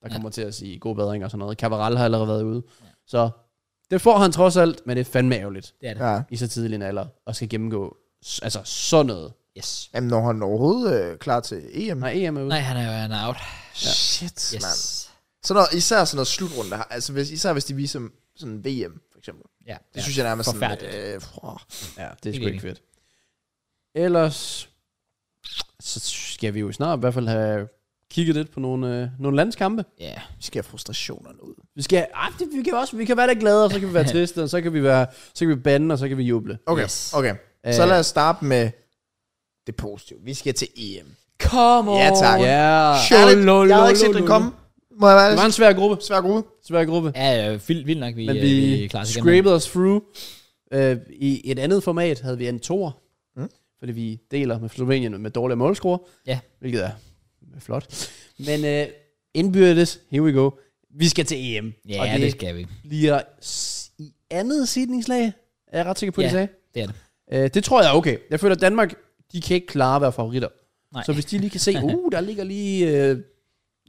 Speaker 2: der ja. kommer til at sige god bedring og sådan noget. Cavaral har allerede været ude. Ja. Så det får han trods alt, men det er fandme ærgerligt
Speaker 1: Det er det. Ja.
Speaker 3: Ja.
Speaker 2: i så tidlig en alder, og skal gennemgå s- altså sådan noget.
Speaker 1: Yes.
Speaker 3: Jamen, når han overhovedet øh, klar til EM.
Speaker 2: Nej, EM er ude.
Speaker 1: Nej, han er jo han er out.
Speaker 3: Shit,
Speaker 1: Yes.
Speaker 3: mand. Så når, især sådan noget slutrunde, der har- altså hvis, især hvis de viser sådan VM, for eksempel.
Speaker 1: Ja,
Speaker 3: Det ja, synes jeg nærmest
Speaker 1: forfærdeligt.
Speaker 3: sådan... Øh, prøv.
Speaker 2: Ja, det er
Speaker 1: Helt
Speaker 2: sgu ikke
Speaker 1: enig.
Speaker 2: fedt. Ellers, så skal vi jo snart i hvert fald have kigget lidt på nogle, øh, nogle landskampe.
Speaker 1: Ja.
Speaker 3: vi skal have frustrationerne ud.
Speaker 2: Vi skal, ah, det, vi kan også, vi kan være lidt glade, og så kan vi være triste, og så kan vi være, så kan vi bande, og så kan vi juble.
Speaker 3: Okay,
Speaker 1: Yes.
Speaker 3: yes. okay. Så
Speaker 2: Øh.
Speaker 3: lad os starte med det positive. Vi skal til EM.
Speaker 1: Come on.
Speaker 3: Ja, tak.
Speaker 2: Øh, Ja.
Speaker 3: Ærligt, jeg havde ikke set den komme. Må jeg være
Speaker 2: Det var
Speaker 3: ærlig?
Speaker 2: en svær gruppe,
Speaker 3: Svær gruppe.
Speaker 2: svær gruppe.
Speaker 1: Ja, ja, vildt, vildt nok, vi,
Speaker 2: Men
Speaker 1: øh,
Speaker 2: vi
Speaker 1: klarer os igennem.
Speaker 2: scrapede os through. Øh, I et andet format havde vi en toer,
Speaker 3: Mm.
Speaker 2: fordi vi deler med Slovenien med dårlige målscorer.
Speaker 1: Ja.
Speaker 2: Hvilket er flot. Men øh, indbyrdes, here we go. Vi skal til EM.
Speaker 1: Ja,
Speaker 2: og
Speaker 1: det, det skal vi.
Speaker 2: bliver s- i andet sidningslag, er jeg ret sikker på,
Speaker 1: Ja.
Speaker 2: de sagde.
Speaker 1: Det er det.
Speaker 2: Øh, det tror jeg er okay. Jeg føler, at Danmark, de kan ikke klare at være favoritter.
Speaker 1: Nej.
Speaker 2: Så hvis de lige kan se, uh, der ligger lige, øh,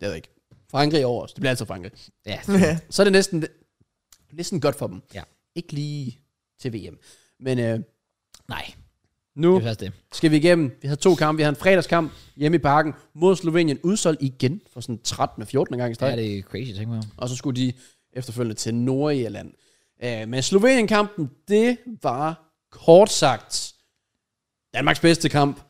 Speaker 2: jeg ved ikke, Frankrig over os. Det bliver altid Frankrig.
Speaker 1: Ja,
Speaker 2: Så er det næsten, næsten godt for dem.
Speaker 1: Ja.
Speaker 2: Ikke lige til VM. Men øh,
Speaker 1: nej, det
Speaker 2: nu
Speaker 1: er faktisk det.
Speaker 2: skal vi igennem. Vi havde to kampe. Vi havde en fredagskamp hjemme i parken mod Slovenien. Udsolgt igen for sådan 13. 14. gang i
Speaker 1: Det
Speaker 2: streg.
Speaker 1: er det crazy, tænker jeg.
Speaker 2: Og så skulle de efterfølgende til Nordirland. Øh, men Slovenien-kampen, det var kort sagt Danmarks bedste kamp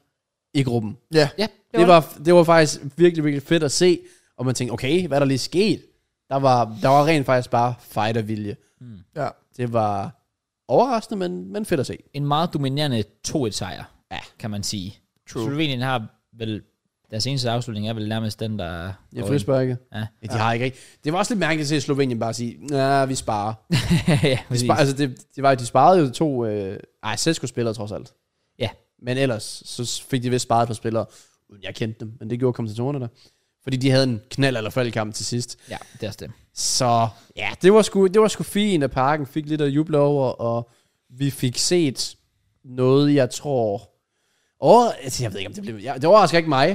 Speaker 2: i gruppen.
Speaker 3: Ja.
Speaker 1: Ja,
Speaker 2: Det var, det var faktisk virkelig, virkelig fedt at se, og man tænkte, okay, hvad er der lige sket? Der var, der var rent faktisk bare fightervilje.
Speaker 3: ja.
Speaker 2: Det var overraskende, men, men fedt at se.
Speaker 1: en meget dominerende 2-1 sejr,
Speaker 2: Ja.
Speaker 1: kan man sige.
Speaker 3: True.
Speaker 1: Slovenien har vel, deres eneste afslutning er vel nærmest den, der...
Speaker 2: Ja, frisparket.
Speaker 1: Ja,
Speaker 2: Ja, de har ikke rigtigt. Det var også lidt mærkeligt at se Slovenien bare sige, nej, vi sparer.
Speaker 1: ja
Speaker 2: De
Speaker 1: præcis.
Speaker 2: spar, altså, det, det var, de sparede jo to... Øh, ej, Sesko-spillere trods alt.
Speaker 1: Ja.
Speaker 2: Men ellers, så fik de vist sparet et par spillere. Uden Jeg kendte dem, men det gjorde kommentatorerne der. Fordi de havde en knald eller fald kamp til sidst.
Speaker 1: ja, det er også det.
Speaker 2: Så ja, det var sgu, det var sgu fint, at parken fik lidt at juble over, og vi fik set noget, jeg tror... Over, altså, jeg ved ikke, om det blev... Jeg, det overrasker ikke mig.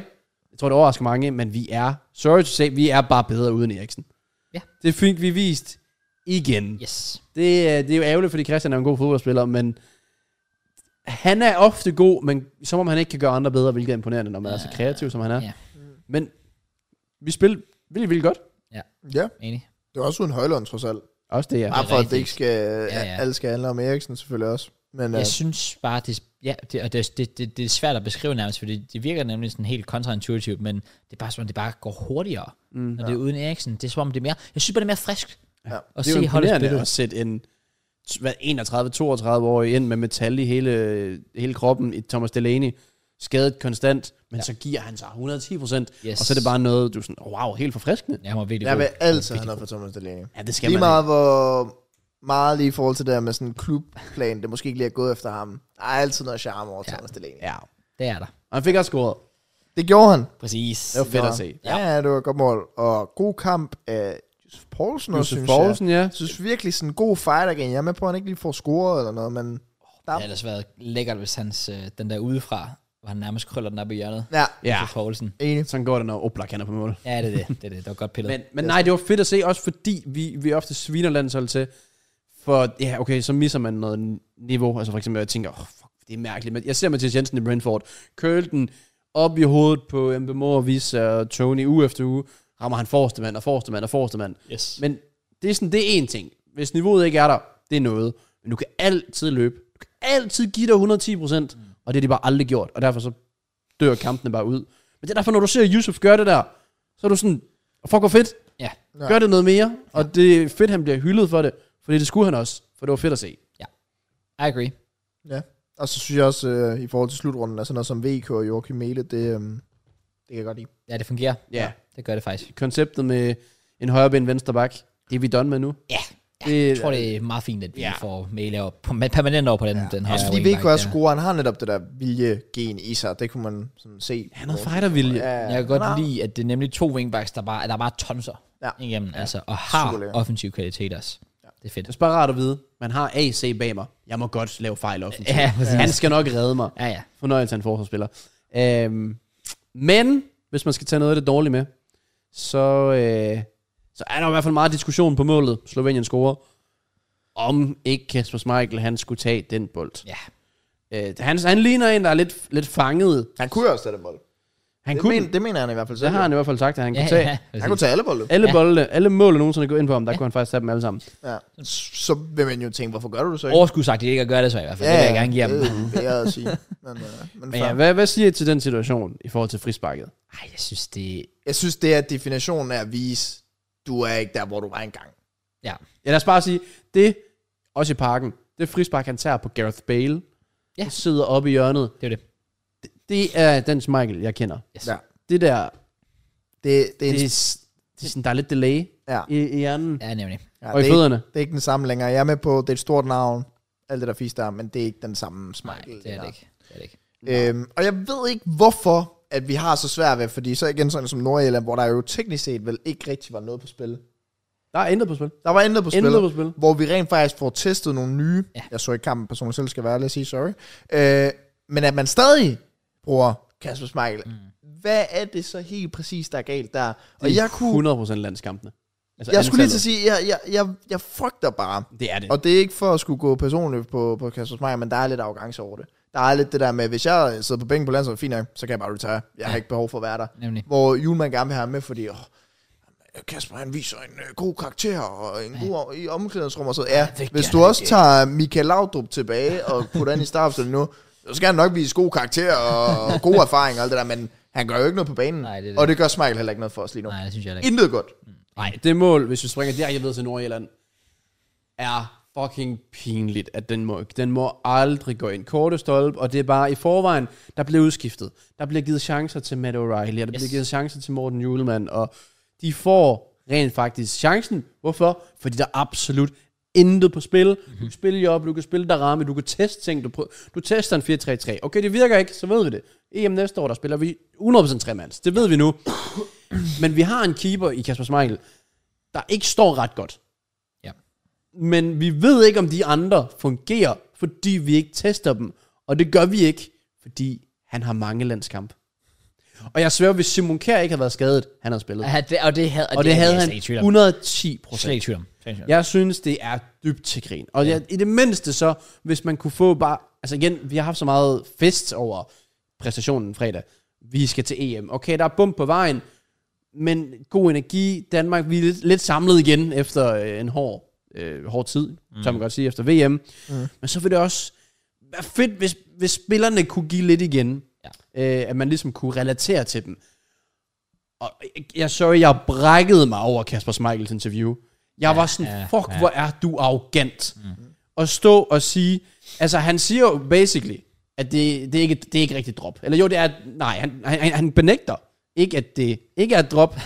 Speaker 2: Jeg tror, det overrasker mange, men vi er... Sorry to say, vi er bare bedre uden Eriksen.
Speaker 1: Ja.
Speaker 2: Det fik vi vist igen.
Speaker 1: Yes.
Speaker 2: Det, er- det er jo ærgerligt, fordi Christian er en god fodboldspiller, men han er ofte god, men som om han ikke kan gøre andre bedre, hvilket er imponerende, når man er så kreativ, som han er.
Speaker 1: Ja.
Speaker 2: Men vi spillede vildt, vildt godt.
Speaker 3: Ja,
Speaker 1: Enig.
Speaker 3: det er også uden Højlund trods alt.
Speaker 2: Også det, ja.
Speaker 3: Bare for, at det
Speaker 1: rigtigt.
Speaker 3: ikke skal,
Speaker 1: Ja,
Speaker 3: ja,
Speaker 1: ja.
Speaker 3: ja. alle skal handle om Eriksen selvfølgelig også. Men øh,
Speaker 1: Jeg
Speaker 3: yes.
Speaker 1: synes bare, det, ja, det, og det, det, det, det er svært at beskrive nærmest, fordi det virker nemlig sådan helt kontraintuitivt, men det er bare som om, det bare går hurtigere, mm, når ja. det er uden Eriksen. Det er som om, det er mere, jeg synes bare, det er mere frisk
Speaker 3: Ja.
Speaker 1: at
Speaker 2: det er jo
Speaker 1: se holdet
Speaker 2: imponerende altså.
Speaker 1: spille.
Speaker 2: at sætte en t- hvad, 31-32-årig ind med metal i hele, hele kroppen i Thomas Delaney, skadet konstant, men ja. så giver han sig 110 procent,
Speaker 1: Yes.
Speaker 2: yes. og så er det bare noget, du er sådan, wow, helt forfriskende.
Speaker 1: Ja, han var virkelig
Speaker 3: jeg vil
Speaker 1: god.
Speaker 3: altid have noget for Thomas Delaney.
Speaker 2: Ja, det skal
Speaker 3: Lige
Speaker 2: man
Speaker 3: meget hvor meget lige i forhold til det der med sådan en klubplan, det måske ikke lige er gået efter ham. Der er altid noget charme over Thomas Delaney.
Speaker 2: ikke. Ja.
Speaker 1: Det er der.
Speaker 2: Og han fik også scoret.
Speaker 3: Det gjorde han.
Speaker 1: Præcis.
Speaker 2: Det var fedt at se.
Speaker 3: Ja, ja, det var et godt mål. Og god kamp af Josef Poulsen, også,
Speaker 2: Josef
Speaker 3: synes jeg.
Speaker 2: Poulsen, ja.
Speaker 3: Jeg synes virkelig sådan en god fight again. Jeg er med på, at han ikke lige får scoret eller noget, men...
Speaker 1: Det havde ellers været lækkert, hvis hans, øh, den der udefra, hvor han nærmest krøller den op i hjørnet.
Speaker 3: Ja,
Speaker 2: Ja,
Speaker 1: For Poulsen.
Speaker 3: enig.
Speaker 2: sådan går det, når Oblak han er på mål.
Speaker 1: Ja, det er det. Det, er det. det var godt pillet.
Speaker 2: Men, men nej, det var fedt at se, også fordi vi, vi ofte sviner landsholdet til, for ja, okay, så misser man noget niveau. Altså for eksempel, jeg tænker, oh, fuck, det er mærkeligt. Men jeg ser Mathias Jensen i Brentford, køle den op i hovedet på Mbemo og Visa og Tony uge efter uge, rammer han forreste mand og forreste mand og forreste mand.
Speaker 1: yes.
Speaker 2: Men det er sådan, det er én ting. Hvis niveauet ikke er der, det er noget. Men du kan altid løbe. Du kan altid give dig 110
Speaker 1: Mm.
Speaker 2: procent, og det har de bare aldrig gjort. Og derfor så dør kampene bare ud. Men det er derfor, når du ser Yusuf gøre det der, så er du sådan, fuck hvor fedt,
Speaker 1: Ja.
Speaker 3: Ja.
Speaker 2: gør det noget mere. Og det er fedt, han bliver hyldet for det, fordi det skulle han også, for det var fedt at se.
Speaker 1: I agree.
Speaker 3: Ja. Og så synes jeg også, øh, i forhold til slutrunden, at sådan noget som VK og Joachim Mæle, det, øh, det kan jeg godt lide.
Speaker 1: Ja, det fungerer.
Speaker 2: Ja.
Speaker 1: Det gør det faktisk.
Speaker 2: Konceptet med en højre ben, venstre bak, det er vi done med nu.
Speaker 1: Ja.
Speaker 2: det,
Speaker 1: Jeg tror, det er meget fint, at vi
Speaker 2: Ja.
Speaker 1: får mail op, på, permanent over på den, ja. den her.
Speaker 3: Også fordi VK er så god, han har netop det der vilje-gen i sig, det kunne man sådan se.
Speaker 2: Han havde fightervilje.
Speaker 3: Ja,
Speaker 1: Jeg kan godt
Speaker 3: han har-
Speaker 1: lide, at det er nemlig to wingbacks, der bare, der er bare tonser
Speaker 3: Ja.
Speaker 1: igennem, altså, og har
Speaker 3: Super lækker.
Speaker 1: offensiv kvalitet også. Ja. Det er fedt.
Speaker 2: Det er bare rart at vide, man har AC bag mig. Jeg må godt lave fejl offensivt.
Speaker 1: Ja, præcis.
Speaker 2: han skal nok redde mig.
Speaker 1: Ja, ja.
Speaker 2: Fornøjelse af en forsvarsspiller. Øhm, Men hvis man skal tage noget af det dårlige med, så, øh, så er der i hvert fald meget diskussion på målet. Slovenien scorer. Om ikke Kasper Schmeichel, han skulle tage den bold.
Speaker 1: Ja.
Speaker 2: Øh, han, han ligner en, der er lidt, lidt fanget.
Speaker 3: Han kunne jo også tage den bold.
Speaker 2: Han
Speaker 3: Det,
Speaker 2: kunne,
Speaker 3: men, det mener han i hvert fald
Speaker 2: det
Speaker 3: selv.
Speaker 2: har
Speaker 3: Han,
Speaker 2: han i hvert fald sagt, at han
Speaker 1: Ja,
Speaker 2: kunne tage.
Speaker 1: ja,
Speaker 3: han kunne tage alle bolde.
Speaker 2: Alle, bolde, alle mål, der nogensinde er gået ind på ham, der kunne han faktisk tage dem alle sammen.
Speaker 3: Ja. Så vil man jo tænke, hvorfor gør du det så ikke?
Speaker 1: Overskudsagtigt ikke at gøre det så i hvert fald. Ja, det vil jeg gerne give ham.
Speaker 3: Det vil jeg at sige. Men, øh, men,
Speaker 2: Men
Speaker 3: fair.
Speaker 2: ja, hvad, hvad siger I til den situation i forhold til frisparket?
Speaker 1: Ej, jeg synes det...
Speaker 3: Jeg synes, det er definitionen af at vise, du er ikke der, hvor du var engang.
Speaker 1: Ja.
Speaker 2: Ja, lad os bare sige, det, også i parken, det frispark, han tager på Gareth Bale,
Speaker 1: Ja.
Speaker 2: ja. sidder oppe i hjørnet.
Speaker 1: Det er jo det.
Speaker 2: Det er den Michael, jeg kender.
Speaker 1: Yes.
Speaker 3: Ja.
Speaker 2: Det der,
Speaker 3: Det, det er, en,
Speaker 2: det, er, s- det er sådan, der er lidt delay
Speaker 3: ja.
Speaker 2: i, i hjernen
Speaker 1: Ja, nemlig.
Speaker 3: Ja,
Speaker 2: og i
Speaker 3: det, er ikke,
Speaker 2: fødderne.
Speaker 3: det er ikke den samme længere. Jeg er med på, det er et stort navn, alt det der fisk der, men det er ikke den samme
Speaker 1: Nej,
Speaker 3: smag.
Speaker 1: det er det ikke. Det er det ikke.
Speaker 3: Øhm, og jeg ved ikke, hvorfor at vi har så svært ved, fordi så igen sådan som Nordjylland, hvor der jo teknisk set vel ikke rigtig var noget på spil.
Speaker 2: Der er intet på spil.
Speaker 3: Der var intet på spil.
Speaker 2: Intet på spil.
Speaker 3: hvor vi rent faktisk får testet nogle nye.
Speaker 1: Ja.
Speaker 3: Ja. Jeg så ikke kampen personligt selv, skal være ærlig at sige sorry. Øh, men at man stadig bruger Kasper Schmeichel. Mm. Hvad er det så helt præcis, der er galt der? Og
Speaker 2: Det er
Speaker 3: jeg kunne...
Speaker 2: 100% landskampene. Altså
Speaker 3: Jeg skulle lige til at
Speaker 2: antallet.
Speaker 3: sige, jeg, jeg, jeg, jeg frygter bare.
Speaker 2: Det er det.
Speaker 3: Og det er ikke for at skulle gå personligt på, på Kasper Schmeichel, men der er lidt arrogance over det. Der er lidt det der med, hvis jeg sidder på bænken på landsholdet, fint nok, så kan jeg bare retire. Jeg har ikke behov for at være der.
Speaker 1: Nemlig.
Speaker 3: Hvor Julemand gerne vil have ham med, fordi åh, Kasper han viser en øh, god karakter og en god i omklædningsrum og så. Ja,
Speaker 1: vil
Speaker 3: hvis
Speaker 1: gerne
Speaker 3: du også
Speaker 1: det.
Speaker 3: tager Michael Laudrup tilbage og putter han i startopstillingen nu, så skal han nok vise god karakter og god erfaring og alt det der, men han gør jo ikke noget på banen.
Speaker 1: Nej, det er det.
Speaker 3: Og det gør Schmeichel heller ikke noget for os lige nu.
Speaker 1: Nej, det synes jeg heller ikke.
Speaker 3: Intet godt.
Speaker 1: Nej,
Speaker 2: Det mål, hvis vi springer direkte videre til Nordjylland, er fucking pinligt, at den må, den må aldrig gå ind. Korte stolpe, og det er bare i forvejen, der bliver udskiftet. Der bliver givet chancer til Matt O'Reilly, og der yes. bliver givet chancer til Morten Julemand, og de får rent faktisk chancen. Hvorfor? Fordi der er absolut intet på spil. Mm-hmm. Du kan spille i op, du kan spille der ramme, du kan teste ting, du, prø- du tester en 4-3-3. Okay, det virker ikke, så ved vi det. EM næste år, der spiller vi 100% tremands. Det ved vi nu. Men vi har en keeper i Kasper Schmeichel, der ikke står ret godt.
Speaker 1: Ja.
Speaker 2: Men vi ved ikke, om de andre fungerer, fordi vi ikke tester dem. Og det gør vi ikke, fordi han har mange landskamp. Og jeg sværger, hvis Simon Kjær ikke havde været skadet, han havde spillet.
Speaker 1: Ja, det, og det havde,
Speaker 2: Og det havde
Speaker 1: jeg
Speaker 2: han
Speaker 1: slet ikke tvivl om.
Speaker 2: 110 procent.
Speaker 1: Slet ikke tvivl om. Slet ikke tvivl om.
Speaker 2: Jeg synes, det er dybt til grin. Og ja. jeg, i det mindste så, hvis man kunne få bare... Altså igen, vi har haft så meget fest over præstationen fredag. Vi skal til EM. Okay, der er bump på vejen, men god energi. Danmark, vi er lidt, lidt samlet igen efter øh, en hård, øh, hård tid, mm. som man godt sige, efter VM. Mm. Men så vil det også være fedt, hvis, hvis spillerne kunne give lidt igen. Ja. Øh, at man ligesom kunne relatere til dem. Og jeg- jeg sorry, jeg brækkede mig over Kasper Schmeichels interview. Jeg ja, var sådan,
Speaker 1: ja,
Speaker 2: fuck, ja. hvor er du arrogant. Mm. Og stå og sige, altså han siger jo basically, at det, det, er, ikke, det er ikke rigtig drop. Eller jo, det er, nej, han, han, han- han benægter ikke, at det ikke er et drop,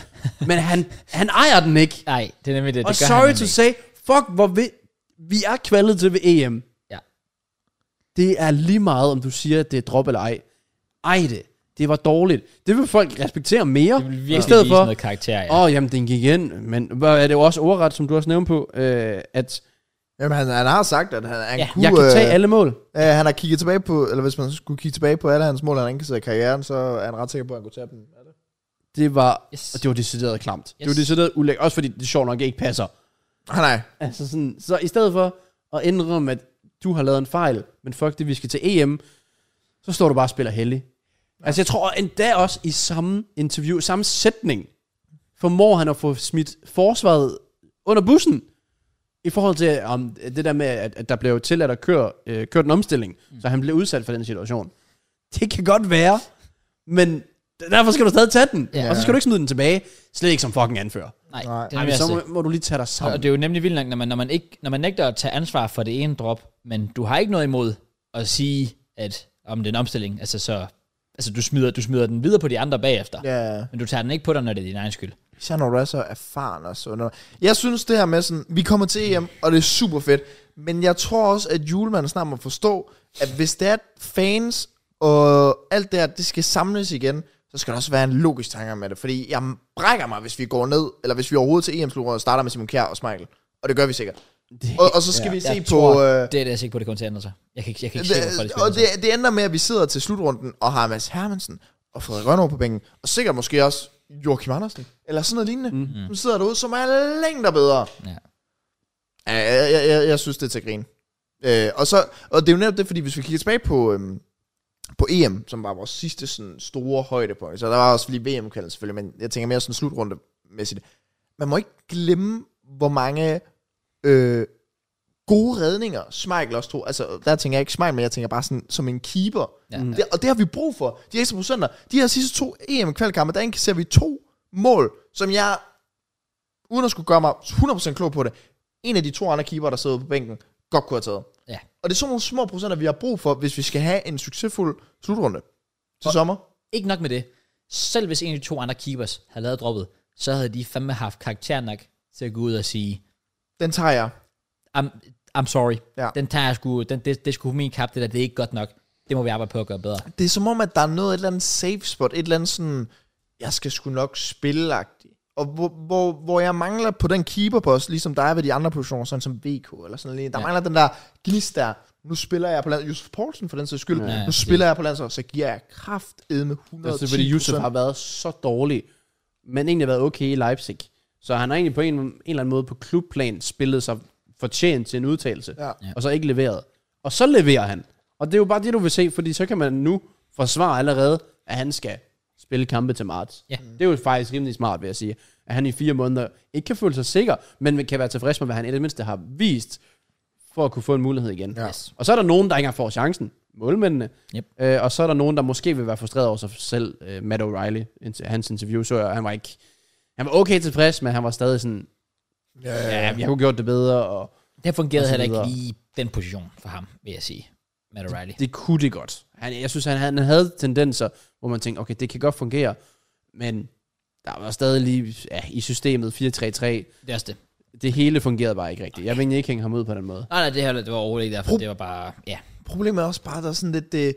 Speaker 2: men han, han ejer den ikke.
Speaker 1: Nej, det er nemlig det.
Speaker 2: Og
Speaker 1: det gør
Speaker 2: sorry
Speaker 1: han
Speaker 2: to
Speaker 1: nemlig
Speaker 2: say, fuck, hvor vi, vi er kvalet til ved EM.
Speaker 1: ikke. Ja.
Speaker 2: Det er lige meget, om du siger, at det er drop eller ej. Ej det. Det var dårligt. Det vil folk respektere mere.
Speaker 1: Det vil
Speaker 2: I
Speaker 1: virkelig
Speaker 2: stedet
Speaker 1: vise
Speaker 2: for,
Speaker 1: noget karakter, ja.
Speaker 2: Åh, oh, jamen, den gik ind. Men hvad er det jo også overret, som du også nævnte på, øh, at
Speaker 3: Jamen, han, han har sagt, at han, han
Speaker 1: Ja,
Speaker 3: kunne...
Speaker 2: jeg kan tage
Speaker 3: øh,
Speaker 2: alle mål.
Speaker 3: Øh, han har kigget tilbage på, eller hvis man skulle kigge tilbage på alle hans mål, han ikke kan i karrieren, så er han ret sikker på, at han kunne tage dem. Er det?
Speaker 2: Det var,
Speaker 1: Yes.
Speaker 2: yes. og det var decideret klamt. Yes. Det
Speaker 1: Yes.
Speaker 2: var decideret ulækkert. Også fordi det sjovt nok ikke passer.
Speaker 3: Ah, nej.
Speaker 2: Altså sådan, så i stedet for at indrømme, at du har lavet en fejl, men fuck det, vi skal til EM, så står du bare og spiller heldig. Altså jeg tror endda også i samme interview, samme sætning, formår han at få smidt forsvaret under bussen, i forhold til om det der med, at, at der blev tilladt at køre, øh, køre den omstilling, mm. så han blev udsat for den situation. Det kan godt være, men derfor skal du stadig tage den,
Speaker 1: Ja.
Speaker 2: og så skal du ikke smide den tilbage, slet ikke som fucking anfører.
Speaker 1: Nej,
Speaker 3: Nej.
Speaker 1: det er
Speaker 2: Ej,
Speaker 1: nemlig
Speaker 2: så
Speaker 1: også
Speaker 2: må,
Speaker 1: det.
Speaker 2: må du lige tage dig
Speaker 1: Og
Speaker 2: sammen.
Speaker 1: det er jo nemlig vildt nok, når man, når, man ikke, når man nægter at tage ansvar for det ene drop, men du har ikke noget imod at sige, at om den omstilling, altså så, altså du smider, du smider den videre på de andre bagefter,
Speaker 3: Ja.
Speaker 1: men du tager den ikke på dig, når det er din egen skyld.
Speaker 3: Især når du er så erfaren og sådan noget. Jeg synes det her med sådan, vi kommer til EM, og det er super fedt, men jeg tror også, at julemanden snart må forstå, at hvis det er at fans og alt det her, det skal samles igen, så skal der også være en logisk tanke med det, fordi jeg brækker mig, hvis vi går ned, eller hvis vi overhovedet til em slutrunde starter med Simon Kjær og Smeichel, og det gør vi sikkert. Og, og så skal ja, vi se
Speaker 1: jeg
Speaker 3: på...
Speaker 1: tror,
Speaker 3: øh,
Speaker 1: det er det, jeg sikker på, det kommer til at ændre sig. Jeg kan, ikke- jeg kan ikke se, hvorfor det
Speaker 3: det,
Speaker 1: skal
Speaker 3: og
Speaker 1: ændre
Speaker 3: det, det ender med, at vi sidder til slutrunden og har Mads Hermansen og Frederik Rønner på bænken, og sikkert måske også Joachim Andersen, eller sådan noget lignende, mm. som sidder derude, som er længder bedre.
Speaker 1: Mhm. Ja.
Speaker 3: Ja, Jeg, jeg, jeg, jeg synes, det er til grin. Øh, og, så, og det er jo netop det, fordi hvis vi kigger tilbage på, øhm, på EM, som var vores sidste sådan, store højdepunkt, så der var også lige VM-kaldet selvfølgelig, men jeg tænker mere sådan slutrundemæssigt. Man må ikke glemme, hvor mange øh, gode redninger Schmeichel også tog. Altså, der tænker jeg ikke Schmeichel, men jeg tænker bare sådan, som en keeper.
Speaker 1: Ja.
Speaker 3: Ja, ja. Det, og det har vi brug for. De ekstra procenter, de her sidste to EM-kvalkampe, der indkasserer vi to mål, som jeg uden at skulle gøre mig 100% klog på det, en af de to andre keeper, der sidder på bænken, godt kunne have taget.
Speaker 1: Ja.
Speaker 3: Og det er sådan nogle små procenter, vi har brug for, hvis vi skal have en succesfuld slutrunde til sommer.
Speaker 1: Ikke nok med det. Selv hvis en af de to andre keepers havde lavet droppet, så havde de fandme haft karakter nok til at gå ud og sige,
Speaker 3: Den tager jeg.
Speaker 1: I'm, I'm sorry.
Speaker 3: Ja.
Speaker 1: Den tager jeg sgu, den, det, det skulle min kap, det der, det er ikke godt nok. Det må vi arbejde på at gøre bedre.
Speaker 3: Det er som om, at der er noget, et eller andet safe spot, et eller andet sådan, jeg skal sgu nok spille -agtigt. Og hvor, hvor, hvor, jeg mangler på den keeperpost, ligesom der er ved de andre positioner, sådan som VK eller sådan lige,
Speaker 1: Ja.
Speaker 3: der ja. mangler den der gnist der, nu spiller jeg på landshold, Josef Poulsen for den sags skyld,
Speaker 1: ja,
Speaker 3: ja, nu
Speaker 1: præcis.
Speaker 3: spiller jeg på landshold, så giver jeg kraft med 110
Speaker 2: Altså, fordi Yusuf har været så dårlig, men egentlig har været okay i Leipzig. Så han har egentlig på en, en eller anden måde på klubplan spillet sig fortjent til en udtalelse,
Speaker 3: Ja.
Speaker 1: Ja.
Speaker 2: og så ikke leveret. Og så leverer han. Og det er jo bare det, du vil se, fordi så kan man nu forsvare allerede, at han skal spille kampe til marts.
Speaker 1: Ja.
Speaker 3: Mm.
Speaker 2: Det er jo faktisk rimelig smart, vil jeg sige. At han i fire måneder ikke kan føle sig sikker, men kan være tilfreds med, hvad han i det mindste har vist, for at kunne få en mulighed igen.
Speaker 3: Ja.
Speaker 1: Yes.
Speaker 2: Og så er der nogen, der ikke engang får chancen. Målmændene.
Speaker 1: Yep.
Speaker 2: Øh, og så er der nogen, der måske vil være frustreret over sig selv. Øh, Matt O'Reilly, indtil hans interview, så jeg, han var ikke... Han var okay tilfreds, men han var stadig sådan, ja, jeg kunne gjort det bedre, og
Speaker 1: Det
Speaker 2: Og
Speaker 1: fungerede
Speaker 2: så
Speaker 1: heller ikke
Speaker 2: videre.
Speaker 1: lige den position for ham, vil jeg sige. Matt O'Reilly.
Speaker 2: det kunne det godt. Han, jeg synes, han, han havde tendenser, hvor man tænkte, okay, det kan godt fungere, men der var stadig lige ja, i systemet 4-3-3.
Speaker 1: Det er også det.
Speaker 2: Det hele fungerede bare ikke rigtigt. Jeg vil egentlig ikke hænge ham ud på den måde.
Speaker 1: Nej, nej, det her det var overhovedet ikke derfor.
Speaker 3: Pro-
Speaker 1: Det var bare, ja.
Speaker 3: Problemet er også bare, at der er sådan lidt... Det,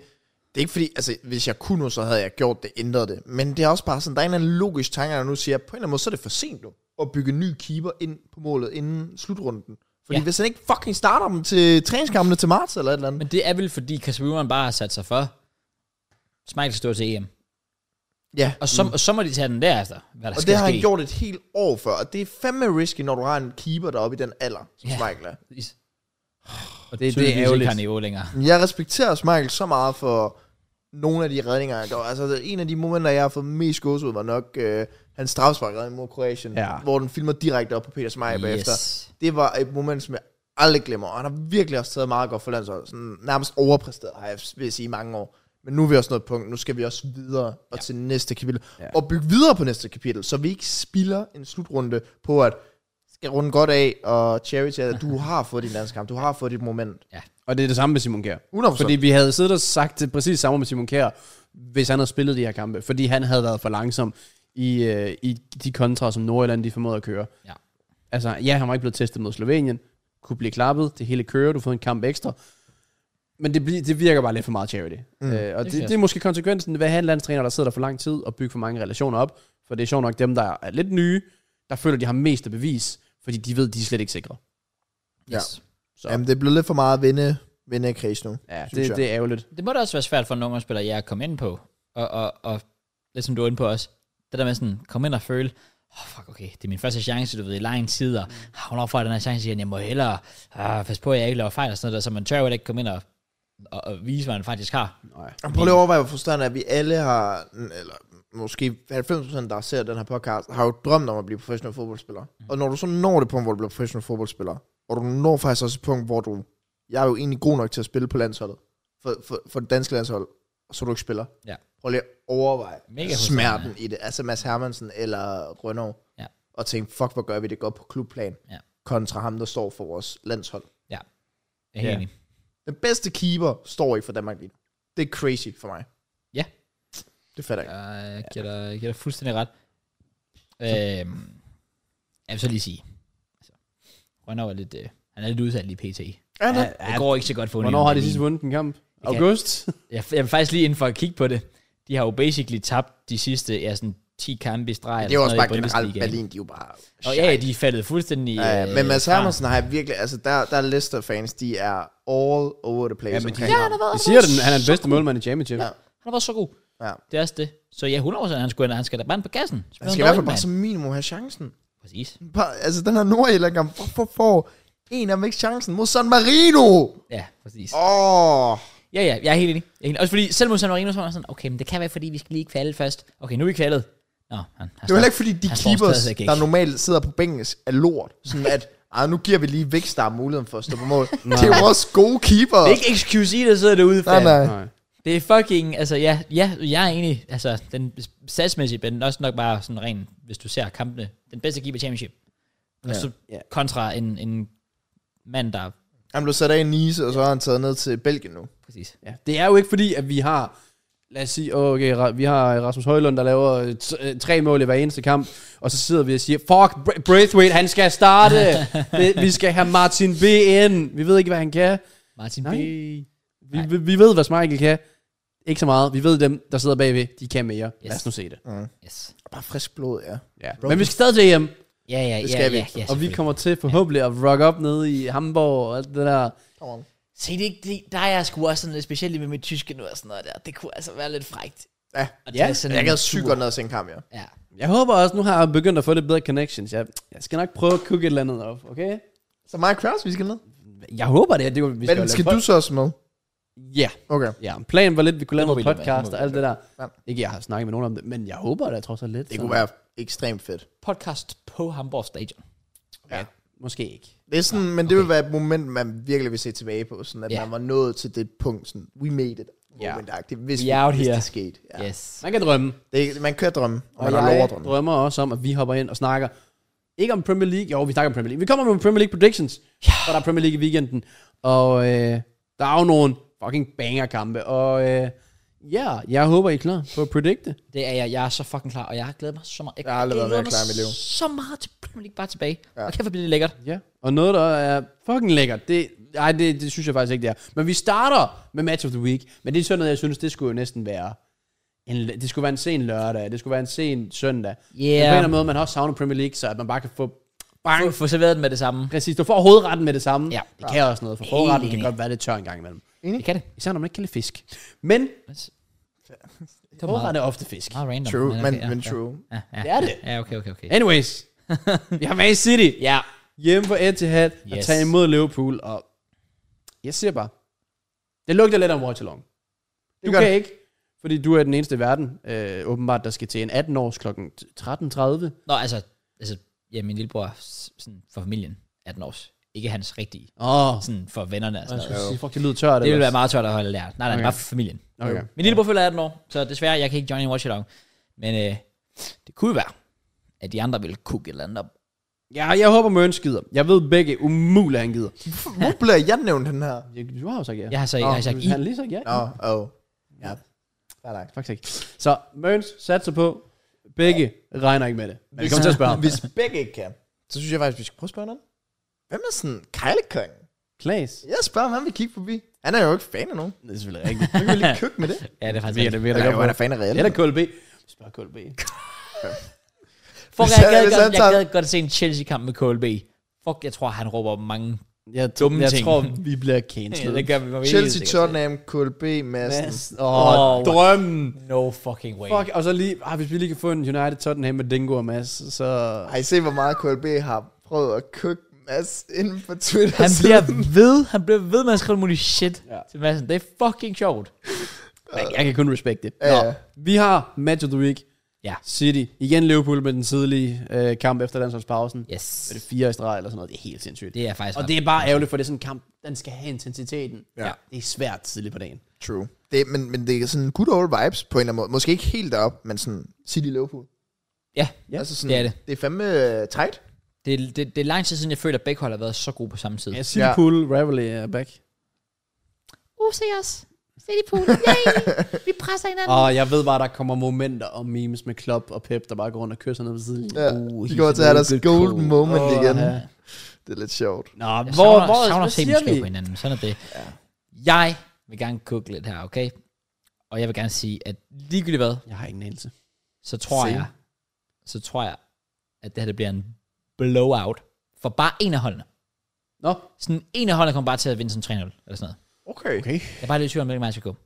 Speaker 3: det er ikke fordi, altså hvis jeg kunne nu, så havde jeg gjort det, ændret det. Men det er også bare sådan, der er en eller anden logisk tanke, der nu siger, at på en eller anden måde, så er det for sent nu at bygge en ny keeper ind på målet inden slutrunden. Fordi
Speaker 1: Ja.
Speaker 3: ja. hvis han ikke fucking starter dem til træningskampene til marts eller et eller andet.
Speaker 1: Men det er vel, fordi Kasper bare har sat sig for, Smeichel står til EM.
Speaker 3: Ja,
Speaker 1: Og så, mm. og så må de tage den derefter, hvad der
Speaker 3: og
Speaker 1: skal
Speaker 3: det har
Speaker 1: ske.
Speaker 3: han gjort et helt år før. Og det er fandme risky, når du har en keeper, der er oppe i den alder, som
Speaker 1: Ja.
Speaker 3: ja. Michael er.
Speaker 1: Og
Speaker 2: det er
Speaker 1: det, det er jo
Speaker 2: ærgerligt.
Speaker 1: ikke har niveau længere.
Speaker 3: Men Jeg respekterer Michael så meget for nogle af de redninger, han gjorde. Altså, en af de momenter, jeg har fået mest gås ud, var nok øh, hans strafsparkredning mod Kroatien,
Speaker 2: Ja.
Speaker 3: hvor den filmer direkte op på Peter Smeichel yes. bagefter.
Speaker 1: Yes.
Speaker 3: Det var et moment, som jeg aldrig glemmer, og han har virkelig også taget meget godt for landsholdet. Sådan, nærmest overpræsteret, har jeg vil jeg sige, i mange år. Men nu er vi også nået et punkt, nu skal vi også videre og ja. til næste kapitel.
Speaker 2: Ja.
Speaker 3: Ja. Og bygge videre på næste kapitel, så vi ikke spilder en slutrunde på, at skal runde godt af, og charity, at du har fået din landskamp, du har fået dit moment.
Speaker 2: Og det er det samme med Simon Kjær.
Speaker 3: 100%.
Speaker 2: Fordi vi havde siddet og sagt det præcis samme med Simon Kjær, hvis han havde spillet de her kampe. Fordi han havde været for langsom i, øh, i de kontra, som Nordjylland de formåede at køre.
Speaker 1: Ja.
Speaker 2: Altså, ja, han var ikke blevet testet mod Slovenien. Kunne blive klappet. Det hele kører. Du får en kamp ekstra. Men det, bli- det virker bare lidt for meget charity. Mm. Øh, og det,
Speaker 1: synes jeg.
Speaker 2: det, er måske konsekvensen ved at have en landstræner, der sidder der for lang tid og bygger for mange relationer op. For det er sjovt nok dem, der er lidt nye, der føler, de har mest at bevise, fordi de ved, de er slet ikke sikre.
Speaker 1: Ja.
Speaker 3: Ja.
Speaker 1: Yes.
Speaker 2: Så
Speaker 3: Jamen, det blev lidt for meget vinde, vinde kreds nu.
Speaker 2: ja,
Speaker 3: synes
Speaker 2: det,
Speaker 3: jeg.
Speaker 2: det er ærgerligt.
Speaker 1: Det må da også være svært for en ungdomsspiller, jeg at komme ind på. Og, og, og lidt som du er inde på også. Det der med sådan, komme ind og føle, oh, fuck okay, det er min første chance, du ved, i lang tid,
Speaker 2: Mm.
Speaker 1: og ah, hvornår får jeg den her chance igen, jeg må hellere ah, passe på, at jeg ikke laver fejl og sådan noget, der, så man tør jo heller ikke komme ind og, og, og vise, hvad man faktisk har.
Speaker 2: Nej.
Speaker 3: Og Prøv lige at overveje, hvor frustrerende er, at vi alle har, eller måske 90% der ser den her podcast, har jo drømt om at blive professionel fodboldspiller. Mm. Og når du så når det punkt, hvor du bliver professionel fodboldspiller, og du når faktisk også et punkt, hvor du, jeg er jo egentlig god nok til at spille på landsholdet, for, for, for det danske landshold, og så du ikke spiller.
Speaker 1: Ja.
Speaker 3: Prøv lige at overveje
Speaker 1: Mega
Speaker 3: smerten
Speaker 1: frustrerende.
Speaker 3: i det. Altså Mads Hermansen eller Rønnow.
Speaker 1: Ja.
Speaker 3: Og tænke, fuck, hvor gør vi det godt på klubplan,
Speaker 1: Ja.
Speaker 3: kontra ham, der står for vores landshold.
Speaker 1: Jeg er helt
Speaker 2: Ja.
Speaker 1: enig.
Speaker 3: Den bedste keeper står ikke for Danmark lige nu. Det er crazy for mig.
Speaker 1: Ja.
Speaker 3: Det fatter jeg ikke.
Speaker 1: Ah, Jeg giver dig, jeg giver dig fuldstændig ret. Øhm, jeg vil så lige sige, altså, Rønner var lidt, øh, han er lidt udsat lige pt.
Speaker 3: Ja, ja,
Speaker 2: Ja,
Speaker 1: Det går ikke så godt for
Speaker 2: Hvornår har de sidst vundet en kamp? August?
Speaker 1: Jeg, jeg vil faktisk lige inden for at kigge på det. De har jo basically tabt de sidste ja, sådan 10 kampe i streg.
Speaker 3: det er jo også
Speaker 1: eller
Speaker 3: bare
Speaker 1: sådan noget altså, i
Speaker 3: generelt
Speaker 1: Bundesligaen.
Speaker 3: Berlin, de er jo bare...
Speaker 1: Og ja, de er faldet fuldstændig
Speaker 3: Ja,
Speaker 1: øh,
Speaker 3: men Mads
Speaker 1: fra.
Speaker 3: Hermansen har jeg virkelig... Altså, der, der er Leicester-fans, de er all over the place.
Speaker 2: men de-
Speaker 3: omkring ham.
Speaker 2: De siger, at han er den bedste målmand i championship.
Speaker 3: Ja.
Speaker 1: Han har været så god.
Speaker 3: Ja.
Speaker 1: Det er også det. Så ja, 100% han skulle, han skal da brænde på gassen. Spil
Speaker 3: Han skal i
Speaker 1: noget
Speaker 3: hvert fald
Speaker 1: Iron
Speaker 3: bare
Speaker 1: Man.
Speaker 3: som minimum have chancen.
Speaker 1: Præcis.
Speaker 3: Bare, altså, den her Nordirland kamp, hvorfor får en af dem ikke chancen mod San Marino?
Speaker 1: Ja, præcis.
Speaker 3: Åh, oh,
Speaker 1: Ja, ja, jeg er helt enig. Jeg er helt... Også fordi, selv mod San Marino, så var jeg sådan, okay, men det kan være, fordi vi skal lige kvalde først. Okay, nu er vi kvaldet. Nå, han, han
Speaker 3: det er jo heller ikke, fordi de
Speaker 1: Han står
Speaker 3: keepers,
Speaker 1: stadigvæk ikke.
Speaker 3: der normalt sidder på bænken, er lort. Sådan at, ej, nu giver vi lige Vækstar muligheden for at stå på mål. det er jo også gode keeper.
Speaker 1: Det er ikke XQC, der sidder derude.
Speaker 3: Nej,
Speaker 1: fanden.
Speaker 3: nej.
Speaker 2: Nej.
Speaker 1: Det er fucking, altså ja, ja, jeg er enig, altså den satsmæssige, men også nok bare sådan ren, hvis du ser kampene, den bedste keeper i championship. Og
Speaker 3: Ja.
Speaker 1: ja. så
Speaker 2: Ja.
Speaker 1: kontra en, en mand, der,
Speaker 3: Han blev sat af i Nice, og så er han taget ned til Belgien nu.
Speaker 1: præcis,
Speaker 2: Ja. Det er jo ikke fordi, at vi har... Lad os sige, okay, Ra- vi har Rasmus Højlund, der laver øh, t- øh, tre mål i hver eneste kamp, og så sidder vi og siger, fuck, Bra- Braithwaite, han skal starte, vi, vi skal have Martin B. ind, vi ved ikke, hvad han kan.
Speaker 1: Martin
Speaker 2: Nej.
Speaker 1: B.
Speaker 2: Vi, vi, vi ved, hvad Michael kan. Ikke så meget. Vi ved dem, der sidder bagved, de kan mere. Yes. Lad os nu se det.
Speaker 1: Yes.
Speaker 3: Bare frisk blod, ja.
Speaker 2: Ja. Men vi skal stadig til hjem,
Speaker 1: Ja, ja,
Speaker 3: Det
Speaker 1: ja,
Speaker 3: skal vi.
Speaker 1: ja, ja,
Speaker 2: og vi
Speaker 1: selvfølgelig.
Speaker 2: kommer til forhåbentlig at rock op nede i Hamburg og alt det der.
Speaker 3: Come on.
Speaker 1: Se, det, er ikke- det, der er jeg sgu også sådan lidt specielt lige med mit tyske nu og sådan noget der. Det kunne altså være lidt frægt.
Speaker 3: Ja,
Speaker 1: At
Speaker 2: Ja,
Speaker 1: tage sådan
Speaker 3: jeg
Speaker 1: en
Speaker 3: gad sygt
Speaker 1: tur.
Speaker 3: godt ned og se en kamp, ja.
Speaker 1: Ja.
Speaker 2: Jeg håber også, nu har jeg begyndt at få lidt bedre connections. Jeg, jeg skal nok prøve at kukke et eller andet op, okay?
Speaker 3: Så mig og Kraus, vi skal ned.
Speaker 2: Jeg håber det. det er jo- vi jo
Speaker 3: Men
Speaker 2: lave
Speaker 3: skal
Speaker 2: pod-
Speaker 3: du så også med?
Speaker 2: Ja,
Speaker 3: Okay.
Speaker 2: ja. Planen var lidt, vi kunne lave
Speaker 1: Det må
Speaker 2: noget
Speaker 1: vi lade være,
Speaker 2: podcast
Speaker 1: det må
Speaker 2: og
Speaker 1: vi
Speaker 2: alt det der.
Speaker 3: Ja.
Speaker 2: Ikke, jeg har snakket med nogen om det, men jeg håber da trods alt lidt.
Speaker 3: Det
Speaker 2: så-
Speaker 3: kunne være ekstremt fedt.
Speaker 1: Podcast på Hamburg Stadion.
Speaker 2: Ja, måske ikke.
Speaker 3: Det er sådan, men det vil være et moment, man virkelig vil se tilbage på, sådan at
Speaker 1: Ja.
Speaker 3: man var nået til det punkt, sådan, we made it,
Speaker 2: Ja.
Speaker 3: moment hvis,
Speaker 1: We
Speaker 3: vi,
Speaker 1: out
Speaker 3: hvis
Speaker 1: here.
Speaker 3: det skete. Ja.
Speaker 1: Yes.
Speaker 2: Man kan drømme.
Speaker 3: Det, man kører drømme, og,
Speaker 2: Og
Speaker 3: man har lov
Speaker 2: jeg
Speaker 3: at drømme.
Speaker 2: drømmer også om, at vi hopper ind og snakker. Ikke om Premier League. Jo, vi snakker om Premier League. Vi kommer med nogle Premier League predictions. Ja. Og der er Premier League i weekenden. Og øh, der er jo nogle fucking banger-kampe. Og øh, ja, jeg håber, I er klar på at predicte.
Speaker 1: Det er jeg. Jeg er så fucking klar, og jeg har glædet mig så meget.
Speaker 3: Jeg har aldrig været
Speaker 1: glæder
Speaker 3: mere klar i mit
Speaker 1: mig
Speaker 3: liv.
Speaker 1: så meget til Premier League bare tilbage. Ja. Og kæft, hvor bliver det lækkert.
Speaker 2: Ja. Og noget, der er fucking lækkert. Det, ej, det, det synes jeg faktisk ikke, det er. Men vi starter med Match of the Week. Men det er sådan noget, jeg synes, det skulle jo næsten være... En, det skulle være en sen lørdag. Det skulle være en sen søndag.
Speaker 1: Ja.
Speaker 2: Men På en eller anden måde, man har også savnet Premier League, så at man bare kan få... Bang,
Speaker 1: Få, få serveret den med det samme.
Speaker 2: Præcis, du får hovedretten med det samme.
Speaker 1: Ja.
Speaker 2: Det kan også noget, for
Speaker 1: Helt
Speaker 2: hovedretten kan
Speaker 1: enig.
Speaker 2: godt være lidt tør en gang imellem.
Speaker 1: Det kan det.
Speaker 2: Især når man ikke kan lide fisk. Men
Speaker 1: Det var meget,
Speaker 2: hovedretten er ofte fisk.
Speaker 1: meget random.
Speaker 3: True, men,
Speaker 1: okay, ja,
Speaker 3: men
Speaker 1: ja.
Speaker 3: true.
Speaker 1: Ja, ja,
Speaker 2: Det er det.
Speaker 1: Ja, okay, okay, okay.
Speaker 2: Anyways, vi har Man City
Speaker 1: Ja.
Speaker 2: hjemme på Etihad yes. og
Speaker 1: Yes.
Speaker 2: tager imod Liverpool. Og jeg siger bare, det lugter lidt om Watch Along. Du
Speaker 3: gør
Speaker 2: kan
Speaker 3: det.
Speaker 2: ikke, fordi du er den eneste i verden, øh, åbenbart, der skal til en 18-års kl. 13.30.
Speaker 1: Nå, altså, altså ja, min lillebror er s- sådan, for familien 18 års. Ikke hans rigtige.
Speaker 2: Åh, oh,
Speaker 1: Sådan for vennerne og sådan noget.
Speaker 2: jeg sige, fuck, det lyder tørt.
Speaker 1: Det ville
Speaker 2: ellers.
Speaker 1: være meget tørt at holde lært. Nej, nej,
Speaker 2: Okay.
Speaker 1: okay. bare for familien.
Speaker 2: Okay.
Speaker 1: Min lillebror følger 18 år, så desværre, jeg kan ikke join in watch along. Men øh, det kunne jo være, at de andre ville kukke et eller andet op.
Speaker 2: Ja, jeg håber, Møn skider. Jeg ved begge umuligt, han gider.
Speaker 3: Hvor blev jeg nævnt den her?
Speaker 2: Du har jo sagt ja.
Speaker 1: Jeg har så, jeg har sagt, I,
Speaker 2: Han har lige sagt ja.
Speaker 3: Nå, oh. Ja. Fair nok.
Speaker 2: Faktisk ikke. Så Møns satser på. Begge regner ikke med det. Men vi kommer til at spørge ham.
Speaker 3: Hvis begge ikke kan, så synes jeg faktisk, vi skal prøve at spørge nogen. Hvem er sådan kejlekongen?
Speaker 2: Klaas.
Speaker 3: Jeg spørger, om han vil kigge forbi. Han er jo ikke fan af nogen.
Speaker 2: Det er selvfølgelig rigtigt.
Speaker 3: Så kan vi lige køkke med det.
Speaker 1: ja, det er faktisk
Speaker 2: Virker det, virker
Speaker 3: Eller
Speaker 2: det
Speaker 3: jo, han
Speaker 2: godt
Speaker 3: er fan af Real.
Speaker 2: på. Eller KLB. Spørg KLB.
Speaker 1: Fuck,
Speaker 3: Hvis
Speaker 1: jeg
Speaker 3: han-
Speaker 1: gad,
Speaker 3: hvis han
Speaker 1: godt, jeg
Speaker 3: tager-
Speaker 1: gad godt se en Chelsea-kamp med KLB. Fuck, jeg tror, han råber mange.
Speaker 2: Jeg,
Speaker 1: Dumme
Speaker 2: jeg
Speaker 1: ting.
Speaker 2: tror, vi bliver cancelled.
Speaker 1: gør vi mig
Speaker 3: Chelsea, Tottenham, KLB, Madsen.
Speaker 2: Mads. Åh, oh,
Speaker 1: Åh,
Speaker 2: drømmen.
Speaker 1: No fucking way.
Speaker 2: Fuck, og så lige, ah, hvis vi lige kan få en United Tottenham med Dingo og Mads, så...
Speaker 3: Ej, se hvor meget KLB har prøvet at køkke Mads inden på Twitter.
Speaker 1: Han
Speaker 3: siden.
Speaker 1: bliver ved, han bliver ved med at skrive mulig shit
Speaker 2: Ja.
Speaker 1: ja. til Madsen. Det er fucking sjovt.
Speaker 2: Men jeg kan kun respekte det.
Speaker 3: Ja,
Speaker 2: Nå,
Speaker 3: ja.
Speaker 2: vi har Match of the Week.
Speaker 1: Ja.
Speaker 2: City. Igen Liverpool med den tidlige øh, kamp efter landsholdspausen.
Speaker 1: Yes.
Speaker 2: Er det fire i streg eller sådan noget? Det er helt sindssygt.
Speaker 1: Det er faktisk
Speaker 2: Og det er bare ærgerligt, for det er sådan en kamp, den skal have intensiteten.
Speaker 3: Ja.
Speaker 2: Det er svært tidligt på dagen.
Speaker 3: True. Det, men, men det er sådan good old vibes på en eller anden måde. Måske ikke helt derop, men sådan City Liverpool.
Speaker 1: Ja,
Speaker 2: Ja,
Speaker 3: altså sådan,
Speaker 1: det er det.
Speaker 3: Det er fandme uh, tight.
Speaker 1: det, er- det, det er lang tid siden, jeg føler, at begge hold har været så gode på samme tid.
Speaker 2: Ja,
Speaker 1: Yes.
Speaker 2: Silpool, ja. Ravelry er back.
Speaker 4: Uh, se os. Se de pool. Yay. Vi presser hinanden.
Speaker 2: Og jeg ved bare, der kommer momenter og memes med Klopp og Pep, der bare går rundt og kysser ned ved siden.
Speaker 3: Ja.
Speaker 2: Uh,
Speaker 3: De
Speaker 2: he's
Speaker 3: går
Speaker 2: a
Speaker 3: til at have deres
Speaker 2: good
Speaker 3: golden
Speaker 2: cool.
Speaker 3: moment
Speaker 2: Åh,
Speaker 3: igen.
Speaker 2: ja.
Speaker 3: Det er lidt sjovt.
Speaker 2: Nå,
Speaker 1: Jeg
Speaker 2: hvor,
Speaker 1: savner,
Speaker 2: hvor,
Speaker 1: savner
Speaker 2: hvad
Speaker 1: at se dem
Speaker 2: siger
Speaker 1: slå
Speaker 2: vi?
Speaker 1: på hinanden. Sådan er det. Ja. Jeg vil gerne kukke lidt her, okay? Og jeg vil gerne sige, at ligegyldigt hvad,
Speaker 2: Jeg har ingen anelse.
Speaker 1: så tror
Speaker 3: Same.
Speaker 1: jeg, så tror jeg, at det her det bliver en blowout for bare en af holdene.
Speaker 2: Nå,
Speaker 1: Sådan en af holdene kommer bare til at vinde sådan 3-0, eller sådan noget.
Speaker 3: Okay.
Speaker 2: okay.
Speaker 1: Jeg er bare lidt i tvivl om, hvilken vej jeg skal gå.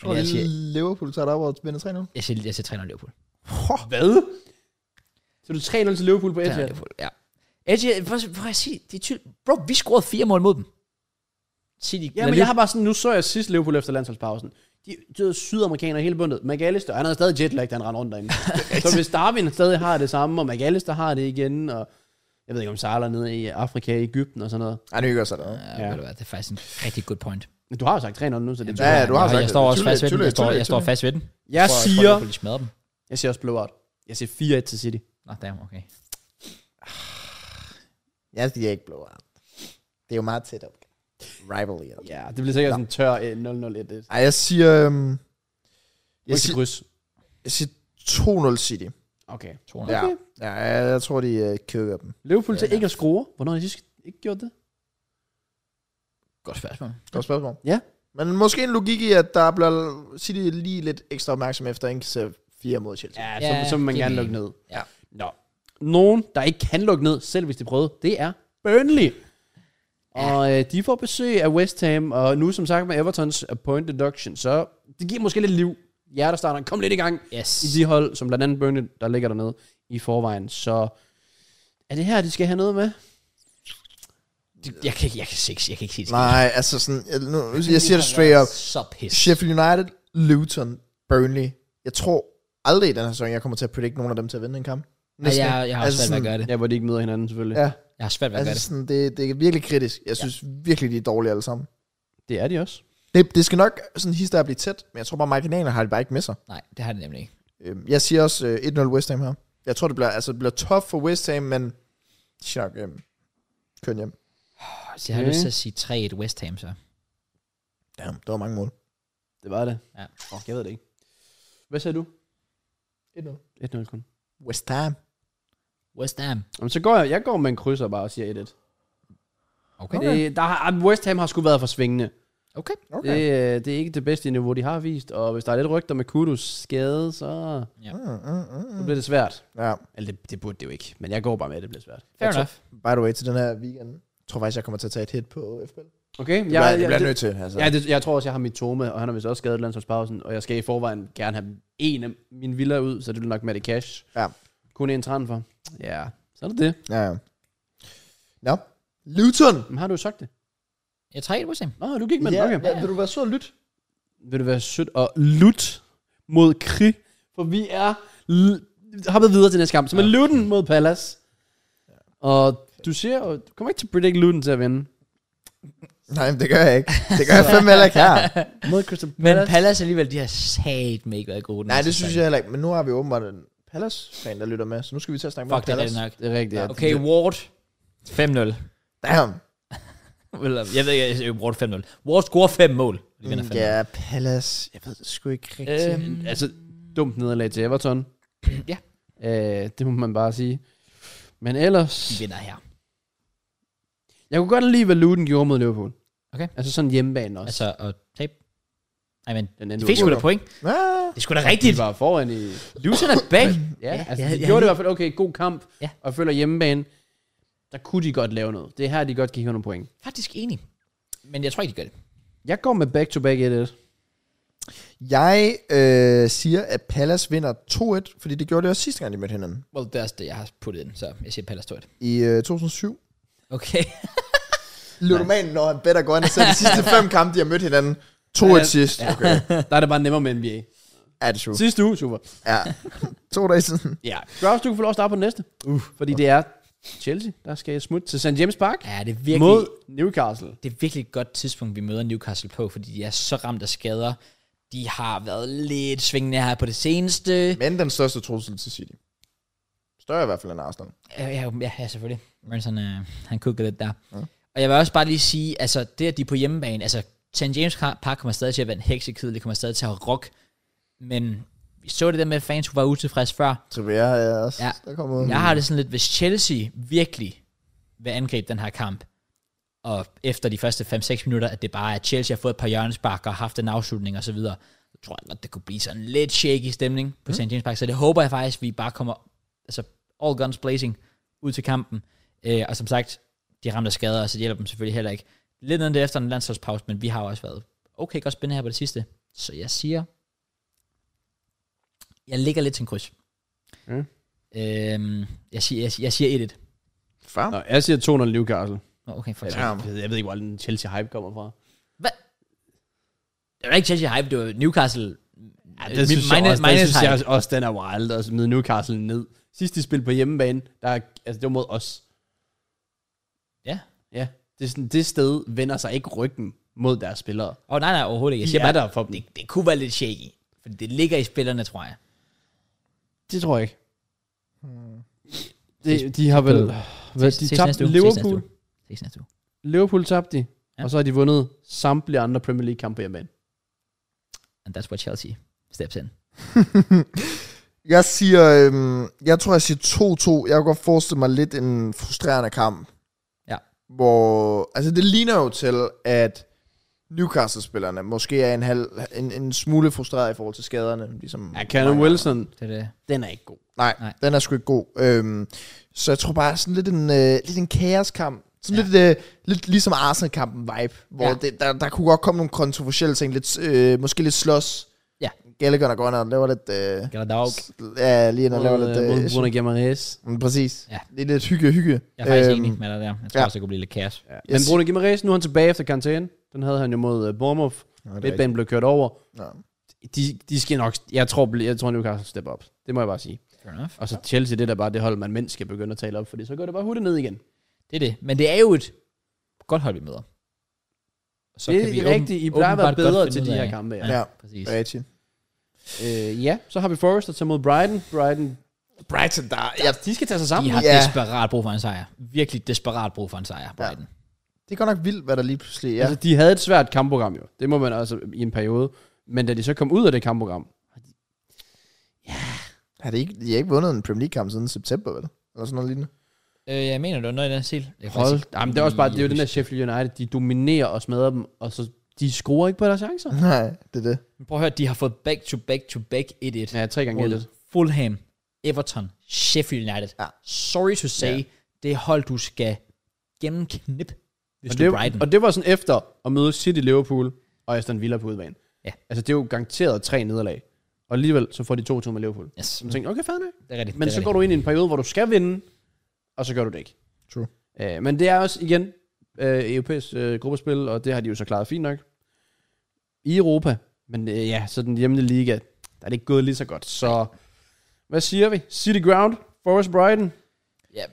Speaker 3: Tror
Speaker 1: Men jeg
Speaker 3: du,
Speaker 1: siger,
Speaker 3: Liverpool tager det op og vinder 3 nu?
Speaker 1: jeg siger, jeg siger 3-0 Liverpool.
Speaker 2: Hvad? Så du 3-0 til Liverpool på
Speaker 1: 3-0
Speaker 2: Etihad?
Speaker 1: Liverpool, ja. Etihad, hvor, hvor jeg sige, det er tydeligt. Bro, vi scorede fire mål mod dem. City.
Speaker 2: Ja, men jeg har bare sådan, nu så jeg sidst Liverpool efter landsholdspausen. De, de er sydamerikanere hele bundet. McAllister, han havde stadig jetlag, da han rendte rundt derinde. så hvis Darwin stadig har det samme, og McAllister har det igen, og jeg ved ikke om Salah er nede i Afrika, Ægypten og sådan noget.
Speaker 3: Nej, det gør sig noget.
Speaker 1: Ja, ja. Ved du hvad, det er faktisk en rigtig good point.
Speaker 2: Men du har jo sagt 3-0 nu, så det
Speaker 3: Ja, ja, du har
Speaker 1: jeg,
Speaker 3: sagt
Speaker 1: jeg står
Speaker 3: det.
Speaker 1: også
Speaker 3: Tydeligt,
Speaker 1: fast ved den. Jeg
Speaker 3: tydeligt,
Speaker 1: står, jeg
Speaker 3: tydeligt,
Speaker 1: står
Speaker 3: tydeligt.
Speaker 1: fast ved den.
Speaker 2: Jeg
Speaker 1: Tror,
Speaker 2: siger,
Speaker 1: Jeg tror, de smadrer dem.
Speaker 2: jeg siger også blowout. Jeg siger 4-1 til City.
Speaker 1: Nå, damn, okay.
Speaker 3: Jeg siger ikke blowout. Det er jo meget tæt op. Rivalry. Okay.
Speaker 2: Ja, det bliver sikkert sådan en tør øh, 0-0-1.
Speaker 3: Ej, jeg siger... Øhm, jeg, siger
Speaker 2: kryds.
Speaker 3: jeg siger 2-0 City.
Speaker 2: Okay.
Speaker 1: 200.
Speaker 3: Ja. ja, jeg, jeg tror, de øh, kører dem.
Speaker 2: Liverpool til ikke at score. Hvornår har de sidst ikke gjort det?
Speaker 1: Godt spørgsmål.
Speaker 3: Godt spørgsmål.
Speaker 2: Ja.
Speaker 3: Men måske en logik i, at der bliver City lige lidt ekstra opmærksom efter en kasse 4 mod Chelsea.
Speaker 2: Ja,
Speaker 1: Ja,
Speaker 2: så, så vil man
Speaker 1: giver
Speaker 2: gerne lukke
Speaker 1: mening.
Speaker 2: ned.
Speaker 1: Ja.
Speaker 2: Nå. Nogen, der ikke kan lukke ned, selv hvis de prøvede, det er Burnley. Og øh, de får besøg af West Ham, og nu som sagt med Evertons øh, point deduction, så det giver måske lidt liv. Jer, der starter, kom lidt i gang
Speaker 1: Yes.
Speaker 2: i de hold, som blandt andet Burnley, der ligger dernede i forvejen. Så er det her, de skal have noget med?
Speaker 1: Jeg kan, ikke- jeg kan, ikke, jeg kan ikke sige det.
Speaker 3: Nej, altså sådan... Jeg, nu, jeg siger det straight up.
Speaker 1: Så pis.
Speaker 3: Sheffield United, Luton, Burnley. Jeg tror aldrig i den her sæson, jeg kommer til at predict nogen af dem til at vinde en kamp.
Speaker 1: Nej, jeg, jeg har
Speaker 3: altså
Speaker 1: svært ved at
Speaker 3: sådan-
Speaker 1: gøre det.
Speaker 2: Ja, hvor de ikke møder hinanden selvfølgelig.
Speaker 3: Ja,
Speaker 1: Jeg har svært ved at gøre
Speaker 3: altså
Speaker 1: det.
Speaker 3: sådan, det, det er virkelig kritisk. Jeg synes ja. virkelig, de er dårlige alle sammen.
Speaker 2: Det er de også.
Speaker 3: Det, det skal nok sådan hister at blive tæt, men jeg tror bare, marginalerne har det bare ikke med sig.
Speaker 1: Nej, det har det nemlig ikke.
Speaker 3: Øhm, Jeg siger også øh, 1-0 West Ham her. Jeg tror, det bliver, altså, det bliver tough for West Ham, men de skal nok øhm, køre hjem.
Speaker 1: Så jeg har
Speaker 2: Okay.
Speaker 1: lyst til at sige 3-1 West Ham, så.
Speaker 3: Ja, der var mange mål.
Speaker 2: Det var det.
Speaker 1: Ja.
Speaker 2: Oh, jeg ved det ikke. Hvad sagde du?
Speaker 3: 1-0.
Speaker 2: 1-0 kun.
Speaker 3: West Ham.
Speaker 1: West Ham.
Speaker 2: Jamen, så går jeg, jeg går med en krydser bare og siger 1-1.
Speaker 1: Okay.
Speaker 2: Okay. Det, der har, ah, West Ham har sgu været for svingende.
Speaker 1: Okay.
Speaker 3: Okay. Det...
Speaker 2: Okay. Det, det er ikke det bedste niveau, de har vist. Og hvis der er lidt rygter med Kudus skade, så,
Speaker 3: Mm, mm, mm.
Speaker 2: så bliver det svært.
Speaker 3: Ja,
Speaker 2: Eller det, det burde det jo ikke. Men jeg går bare med, at det bliver svært.
Speaker 1: Fair
Speaker 3: Jeg tror-
Speaker 1: enough.
Speaker 3: by the way, til den her weekend, jeg tror faktisk, jeg kommer til at tage et hit på FBL.
Speaker 2: Okay?
Speaker 3: Ja, jeg, jeg,
Speaker 2: jeg,
Speaker 3: bliver
Speaker 2: det,
Speaker 3: nødt til, altså.
Speaker 2: ja, det, jeg tror også, jeg har mit Tome, og han har vist også skadet landsholdspausen. Og jeg skal i forvejen gerne have en af mine villa ud, så det bliver nok med det cash.
Speaker 3: Ja.
Speaker 2: Kun en transfer. Ja, så er det det.
Speaker 3: Ja, ja. Nå. Luton.
Speaker 2: Men har du jo sagt det?
Speaker 1: Jeg er 3-1 West Ham.
Speaker 2: Nå, du gik med den. Okay.
Speaker 3: ja, vil du være sød og lytte?
Speaker 2: vil det være sødt at lut mod Kri, for vi er l- hoppet videre til næste kamp. Så med Luton mod Palace. Og du siger, og du kommer ikke til at predict Luton til at vinde
Speaker 3: Nej, men det gør jeg ikke. Det gør jeg fandme heller ikke her.
Speaker 2: mod Crystal Palace.
Speaker 1: Men Palace alligevel, de har sat mig ikke været gode. den
Speaker 3: Nej,
Speaker 1: her
Speaker 3: det
Speaker 1: sæson.
Speaker 3: synes jeg heller ikke. Men nu har vi åbenbart en Palace-fan, der lytter med, så nu skal vi til at snakke
Speaker 1: Fuck,
Speaker 3: med
Speaker 1: det er
Speaker 3: Palace.
Speaker 1: rigtigt nok.
Speaker 2: Det er rigtigt. Ja.
Speaker 1: Ah, Okay, Ward. 5-0.
Speaker 3: Damn.
Speaker 1: Eller, Jeg ved ikke, jeg siger Ward 5-0. Ward scorer 5 mål. De vinder 5-0.
Speaker 3: Mm, Ja, Palace. Jeg ved det sgu ikke rigtigt.
Speaker 1: Øhm,
Speaker 2: Altså, dumt nederlag til Everton.
Speaker 1: Ja.
Speaker 2: Øh, det må man bare sige. Men
Speaker 1: de
Speaker 2: ellers...
Speaker 1: vinder her.
Speaker 2: Jeg kunne godt lide, hvad Luton gjorde mod Liverpool.
Speaker 1: Okay.
Speaker 2: Altså sådan hjemmebane også.
Speaker 1: Altså, og tabe. Ej, men
Speaker 2: den
Speaker 1: de
Speaker 2: endte
Speaker 1: Altså, fik sgu da
Speaker 3: uafgjort.
Speaker 1: point.
Speaker 3: Ah,
Speaker 1: Det er sgu da rigtigt.
Speaker 2: De var foran i...
Speaker 1: Luton er bag.
Speaker 2: Ja,
Speaker 1: Ja,
Speaker 2: ja altså,
Speaker 1: ja, ja,
Speaker 2: de gjorde det i
Speaker 1: lige-
Speaker 2: hvert fald. Okay, god kamp.
Speaker 1: Ja.
Speaker 2: Og følger hjemmebane. Der kunne de godt lave noget. Det er her, de godt kan hive nogle point.
Speaker 1: Faktisk enig. Men jeg tror ikke, de gør det.
Speaker 2: Jeg går med back-to-back 1-1.
Speaker 3: jeg øh, siger, at Palace vinder 2-1, fordi det gjorde det også sidste gang, de mødte hinanden.
Speaker 1: Well, det er også det, jeg har puttet ind, så jeg siger Palace 2-1.
Speaker 3: I øh, 2007.
Speaker 1: Okay.
Speaker 3: Ludomanen, når han better går ind og ser de sidste fem kampe, de har mødt hinanden. 2-1 sidst. Okay.
Speaker 2: Der er det bare nemmere med NBA.
Speaker 3: Ja, det er true.
Speaker 2: Sidste uge, super.
Speaker 3: Ja. To dage siden.
Speaker 2: Ja. Kraus, du kan få lov at starte på den næste. Uh, fordi det er Chelsea, der skal smutte til St. James Park
Speaker 1: Ja, det er
Speaker 2: Virkelig.
Speaker 1: virkelig,
Speaker 2: mod Newcastle.
Speaker 1: det er virkelig et godt tidspunkt, vi møder Newcastle på, fordi de er så ramt af skader. De har været lidt svingende her på det seneste.
Speaker 3: Men den største trussel til City. Større i hvert fald end Arsenal.
Speaker 1: Ja, ja, ja, ja selvfølgelig. Mørens, han, øh, han kukkede lidt der. Ja. Og jeg vil også bare lige sige, altså det, at de er på hjemmebane, altså St. James Park kommer stadig til at være en heksekid, det kommer stadig til at rock, men vi så det der med, at fans var utilfredse før.
Speaker 3: Trivia er også,
Speaker 1: Ja.
Speaker 3: ja. der kommer ud.
Speaker 1: Jeg har det sådan lidt, hvis Chelsea virkelig vil angribe den her kamp, og efter de første 5-6 minutter, at det bare er, at Chelsea har fået et par hjørnespark og haft en afslutning osv., så tror jeg godt, det kunne blive sådan en lidt shaky stemning på mm. St. James Park. Så det håber jeg faktisk, at vi bare kommer altså all guns blazing ud til kampen. Øh, og som sagt, de ramte af skader, så det hjælper dem selvfølgelig heller ikke. Lidt nede efter en landsholdspause, men vi har jo også været okay godt spændende her på det sidste. Så jeg siger, jeg ligger lidt til en kryds.
Speaker 2: Mm.
Speaker 1: Øhm, jeg siger, jeg, jeg siger 1-1.
Speaker 3: Fair.
Speaker 2: Nå, jeg siger 200 Newcastle.
Speaker 1: Nå, okay, for
Speaker 3: Ja.
Speaker 1: ja.
Speaker 2: Jeg ved, jeg ved ikke, hvor den Chelsea-hype kommer fra.
Speaker 1: Hvad? Det var ikke Chelsea Hype, det var Newcastle. Ja,
Speaker 2: Det synes, jeg også, det synes jeg også, den er wild at smide Newcastle ned. Sidst de spillede på hjemmebane, der, er- altså det var mod os.
Speaker 1: Ja.
Speaker 2: Ja, det, er sådan, det sted vender sig ikke ryggen mod deres spillere.
Speaker 1: Åh, oh, nej, nej, overhovedet ikke. Jeg
Speaker 2: De
Speaker 1: siger
Speaker 2: er
Speaker 1: bare,
Speaker 2: der for dem.
Speaker 1: det, det kunne være lidt shaky. For det ligger i spillerne, tror jeg.
Speaker 2: Det tror jeg ikke. De, de har vel... Hvad, de
Speaker 1: Hmm. Ses- ses
Speaker 2: tabte
Speaker 1: næste uge. Ses næste
Speaker 2: Liverpool.
Speaker 1: uge. Ses næste uge.
Speaker 2: Liverpool tabte de.
Speaker 1: Ja.
Speaker 2: Og så har de vundet samtlige andre Premier League-kampe hjemmebane.
Speaker 1: And that's what Chelsea steps in.
Speaker 3: Jeg siger, øhm, jeg tror, jeg siger 2-2. Jeg kunne godt forestille mig lidt en frustrerende kamp.
Speaker 1: Ja.
Speaker 3: Hvor, altså det ligner jo til, at Newcastle-spillerne måske er en, halv, en, en smule frustreret i forhold til skaderne. Ligesom
Speaker 2: Ja, Callum Wilson,
Speaker 1: Det er det.
Speaker 2: den er ikke god.
Speaker 3: Nej,
Speaker 1: Nej.
Speaker 3: Nej, den er sgu ikke god. Øhm, så jeg tror bare sådan lidt en, øh, lidt en kaoskamp. Sådan ja. lidt, øh, lidt ligesom Arsenal-kampen vibe, hvor
Speaker 1: Ja.
Speaker 3: ja. det, der, der kunne godt komme nogle kontroversielle ting. Lidt, øh, måske lidt slås.
Speaker 1: Ja.
Speaker 3: Gallagher der går ind og laver lidt... Øh,
Speaker 1: Get a dog.
Speaker 3: ja, lige ind og laver
Speaker 2: Mod,
Speaker 3: lidt...
Speaker 2: øh, mod
Speaker 3: øh,
Speaker 2: Bruno Guimaraes.
Speaker 3: Mm, præcis.
Speaker 1: Ja.
Speaker 3: Ja. Det er lidt hygge, hygge. Øhm,
Speaker 1: Jeg er faktisk enig med dig der. Jeg tror
Speaker 3: ja.
Speaker 1: også, det kunne blive lidt kaos.
Speaker 2: Øhm, Ja.
Speaker 3: Yes.
Speaker 2: Men Bruno Guimaraes, nu er han tilbage efter karantæne. Den havde han jo mod uh, Bournemouth.
Speaker 3: Nå, det er
Speaker 2: Midtbanen blev kørt over.
Speaker 3: Nå.
Speaker 2: De, de skal nok... Jeg tror, bl- jeg tror Newcastle step op. Det må jeg bare sige.
Speaker 1: Fair enough.
Speaker 2: Og så Chelsea, det er da bare det hold, man mindst skal begynde at tale op, fordi så går det bare hurtigt ned igen.
Speaker 1: Det er det. Men det er jo et godt hold, vi møder. Så
Speaker 2: det er rigtigt. I plejer at være
Speaker 1: åbenbart godt
Speaker 2: bedre
Speaker 1: finde
Speaker 2: til de
Speaker 1: ud af-
Speaker 2: her kampe. Ja.
Speaker 1: Ja,
Speaker 3: Ja.
Speaker 1: præcis.
Speaker 3: Rigtigt.
Speaker 2: Øh, ja, så har vi Forrester til mod Brighton. Brighton,
Speaker 3: Brighton, der... Ja,
Speaker 2: de skal tage sig
Speaker 1: De
Speaker 2: sammen.
Speaker 1: har
Speaker 3: Ja.
Speaker 1: desperat brug for en sejr. Virkelig desperat brug for en sejr, Brighton.
Speaker 3: det er godt nok vildt, hvad der lige pludselig
Speaker 2: Ja.
Speaker 3: er.
Speaker 2: Altså, de havde et svært kampprogram jo. Det må man altså i en periode. Men da de så kom ud af det kampprogram,
Speaker 3: Har de, ikke, de har ikke vundet en Premier League-kamp siden september, vel? Eller sådan noget lignende.
Speaker 1: Øh, jeg mener, det var noget i den stil. Jeg kan
Speaker 2: hold,
Speaker 1: faktisk ikke
Speaker 2: jamen, det er også bare, det er jo
Speaker 1: lige
Speaker 2: den der Sheffield United, de dominerer og smadrer dem, og så de scorer ikke på deres chancer.
Speaker 3: Nej, det er det.
Speaker 1: Men Prøv at høre, de har fået back to back to back 1-1. Ja,
Speaker 2: Ja, tre gange
Speaker 1: mod
Speaker 2: et.
Speaker 1: Fulham, Everton, Sheffield United. Ja.
Speaker 3: Ja.
Speaker 1: Sorry to say, ja. det er hold, du skal gennemknip, hvis
Speaker 2: Og
Speaker 1: du er
Speaker 2: det,
Speaker 1: Brighton.
Speaker 2: og det var sådan efter at møde City, Liverpool og Aston Villa på udbanen.
Speaker 1: Ja.
Speaker 2: Altså, det er jo garanteret tre nederlag. Og alligevel, så får de to 2 med Liverpool.
Speaker 1: yes,
Speaker 2: Så man tænkte, okay, fair nok.
Speaker 1: det er rigtigt.
Speaker 2: Men
Speaker 1: det er
Speaker 2: så går du ind i en periode, hvor du skal vinde, og så gør du det ikke.
Speaker 3: True.
Speaker 2: Øh, men det er også, igen, øh, europæisk øh, gruppespil, og det har de jo så klaret fint nok. I Europa, men øh, ja, så den hjemlige liga, der er det ikke gået lige så godt. Så hvad siger vi? City Ground, Forest Brighton,
Speaker 1: Ja,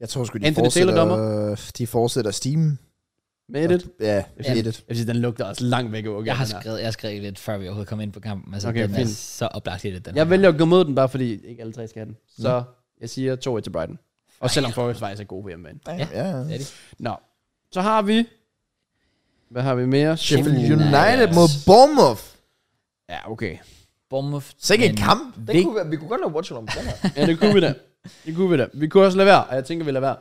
Speaker 3: Jeg tror sgu,
Speaker 2: Anthony Taylor-dommer.
Speaker 3: øh, de fortsætter Steam.
Speaker 2: made it.
Speaker 3: Ja,
Speaker 1: Ja.
Speaker 3: edit.
Speaker 2: Jeg synes, den lugter også langt væk. Okay,
Speaker 1: jeg, har
Speaker 2: den her.
Speaker 1: skrevet, jeg har skrevet lidt, før vi overhovedet kom ind på kampen. Altså,
Speaker 2: Okay,
Speaker 1: okay, den er
Speaker 2: fint.
Speaker 1: så oplagt i det, den her.
Speaker 2: Jeg vælger at gå mod den, bare fordi ikke alle tre skal have den. Så jeg siger 2-1 til Brighton. Og selvom Forest faktisk er gode på hjemmebane.
Speaker 3: Damn, ja.
Speaker 1: Det
Speaker 3: ja.
Speaker 1: er det.
Speaker 2: Nå, så har vi... Hvad har vi mere?
Speaker 3: Sheffield
Speaker 1: Sheffield
Speaker 3: United
Speaker 1: United.
Speaker 3: mod Bournemouth.
Speaker 2: Ja, okay.
Speaker 1: Bournemouth.
Speaker 3: Sikke en
Speaker 1: men
Speaker 3: kamp. Den
Speaker 1: vig-
Speaker 3: kunne, være- vi kunne godt lave watch om den her.
Speaker 2: Ja, det kunne vi da. Det kunne vi da. Vi kunne også lade være, og jeg tænker, vi lader være.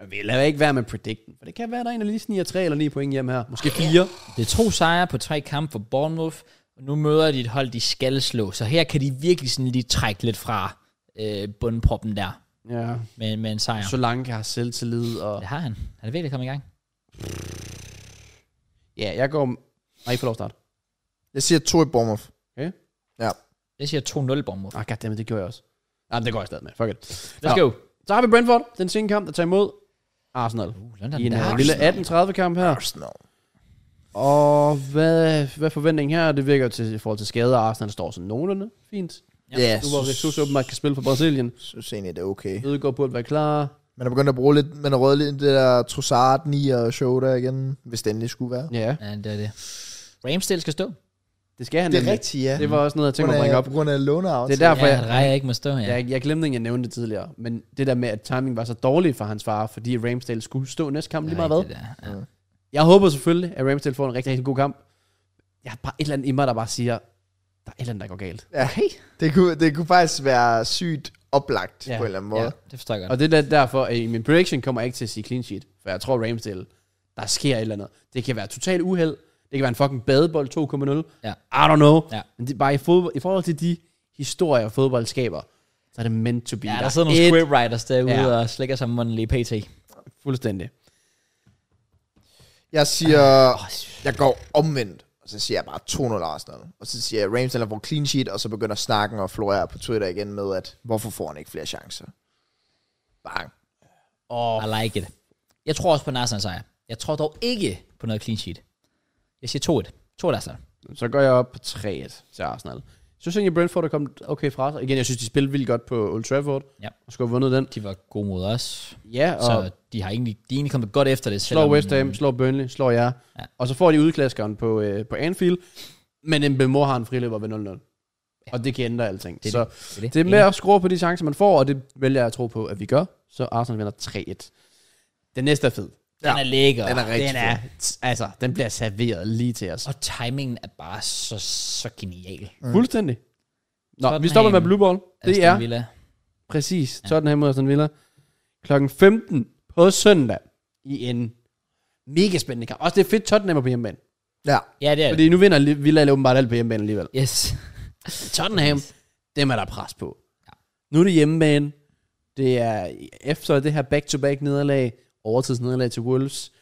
Speaker 2: Men vi lader ikke være med predicten, for det kan være, der er en, der lige sniger 3 eller 9 point hjem her. Måske 4.
Speaker 1: Det er to sejre på tre kampe for Bournemouth. Og nu møder de et hold, de skal slå. Så her kan de virkelig sådan lige trække lidt fra øh, bundproppen der
Speaker 2: Ja.
Speaker 1: med, med en sejr.
Speaker 2: Så langt jeg har selvtillid, og...
Speaker 1: Det har han. Han er virkelig kommet i gang.
Speaker 2: Ja, jeg går... Nej, I får lov at starte.
Speaker 3: Jeg siger to i Bournemouth.
Speaker 1: Jeg siger 2-0 Bournemouth.
Speaker 2: Ah, goddammit, det gjorde jeg også. Nej, det går jeg stadig med. Fuck it.
Speaker 1: Let's
Speaker 2: Nå.
Speaker 1: go.
Speaker 2: Så har vi Brentford, den sene kamp, der tager imod Arsenal.
Speaker 1: Uh, London
Speaker 2: I en øh,
Speaker 1: Derby.
Speaker 2: lille 18-30-kamp her.
Speaker 3: Arsenal.
Speaker 2: Og hvad, hvad er forventningen her? Det virker jo til, i forhold til skade, og Arsenal står sådan nogenlunde fint.
Speaker 1: Ja.
Speaker 3: Ja,
Speaker 2: Nu hvor
Speaker 3: synes-
Speaker 2: Jesus åbenbart kan spille for Brasilien.
Speaker 3: synes egentlig, det er okay.
Speaker 2: Ødegaard burde være klar.
Speaker 3: Man er begyndt at bruge lidt, man har røget lidt det der Trossard 9 og show der igen, hvis det endelig skulle være.
Speaker 2: Ja,
Speaker 1: Ja, det er det. Ramsdale skal stå.
Speaker 2: det skal han
Speaker 3: Det er
Speaker 2: nemlig.
Speaker 3: rigtigt, ja.
Speaker 2: Det var også noget, jeg tænkte mig at bringe op.
Speaker 3: På grund af låneaftalen.
Speaker 2: Det er derfor,
Speaker 1: ja,
Speaker 2: jeg-
Speaker 1: at Raja ikke må stå, ja.
Speaker 2: Jeg, jeg glemte ikke, at nævne det tidligere, men det der med, at timing var så dårlig for hans far, fordi Ramsdale skulle stå næste kamp lige meget hvad.
Speaker 1: Det er rigtigt, ja. Ja.
Speaker 2: Jeg håber selvfølgelig, at Ramsdale får en rigtig, rigtig god kamp. Jeg har bare et eller andet i mig, der bare siger, der er et eller andet, der går galt.
Speaker 3: Ja, det, kunne, det kunne faktisk være sygt oplagt
Speaker 2: Ja,
Speaker 3: ja. på en eller anden
Speaker 1: Ja,
Speaker 3: måde.
Speaker 1: det forstår jeg godt.
Speaker 2: Og det er derfor, at i min prediction kommer jeg ikke til at sige clean sheet, for jeg tror Ramsdale, der sker et eller andet. Det kan være total uheld, det kan være en fucking badebold 2.0,
Speaker 1: Ja.
Speaker 2: I don't know.
Speaker 1: Ja.
Speaker 2: Men det er bare i, fodbold, i forhold til de historier, fodbold skaber, så er det meant to be.
Speaker 1: Ja, der sidder nogle
Speaker 2: er et-
Speaker 1: script writers derude
Speaker 2: Ja.
Speaker 1: og slikker sig om munden lige pt.
Speaker 2: Fuldstændig.
Speaker 3: Jeg siger, jeg går omvendt og så siger jeg bare 2-0 Arsenal. Og så siger jeg, Ramsdale får clean sheet, og så begynder snakken og florere på Twitter igen med, at hvorfor får han ikke flere chancer? Bang.
Speaker 1: I like it. Jeg tror også på en Arsenal-sejr. Jeg tror dog ikke på noget clean sheet. Jeg siger 2-1. 2-1 Arsenal.
Speaker 2: Så går jeg op på 3-1 til Arsenal. Så synes jeg, at Brentford er kommet okay fra sig. Igen, jeg synes, de spillede vildt godt på Old Trafford.
Speaker 1: Ja.
Speaker 2: Og skulle have vundet den.
Speaker 1: De var gode mod os.
Speaker 2: Ja, og
Speaker 1: Så de har egentlig, de er egentlig kommet godt efter det.
Speaker 2: slår
Speaker 1: selvom- øh,
Speaker 2: West Ham, slår Burnley, slår jer.
Speaker 1: Ja.
Speaker 2: øh, Ja. Og så får de udklaskeren på, øh, på Anfield. Men Mbemor har en friløber ved 0-0. Og det kan ændre alting.
Speaker 1: Det er
Speaker 2: så
Speaker 1: er
Speaker 2: det er med at skrue på de chancer, man får, og det vælger jeg at tro på, at vi gør. Så Arsenal vinder 3-1. Den næste er fed.
Speaker 1: Den er lækker.
Speaker 3: Den er rigtig
Speaker 2: Den er, t- altså, den bliver serveret lige til os.
Speaker 1: Og timingen er bare så, så genial.
Speaker 2: Mm. Fuldstændig. Nå, vi
Speaker 1: Tottenham,
Speaker 2: stopper med Blue Ball. Det
Speaker 1: Aston
Speaker 2: er
Speaker 1: Villa.
Speaker 2: præcis Tottenham mod Aston Villa. Klokken 15 på søndag i en mega spændende kamp. Også det er fedt, Tottenham er på hjemmebane.
Speaker 3: Ja.
Speaker 1: Ja, det er det.
Speaker 2: Fordi nu vinder Li- Villa åbenbart alt på hjemmebane alligevel.
Speaker 1: Yes.
Speaker 2: Tottenham, dem er der pres på. Nu er det hjemmebane. Det er efter det her back-to-back nederlag, overtidsnederlag til Wolves.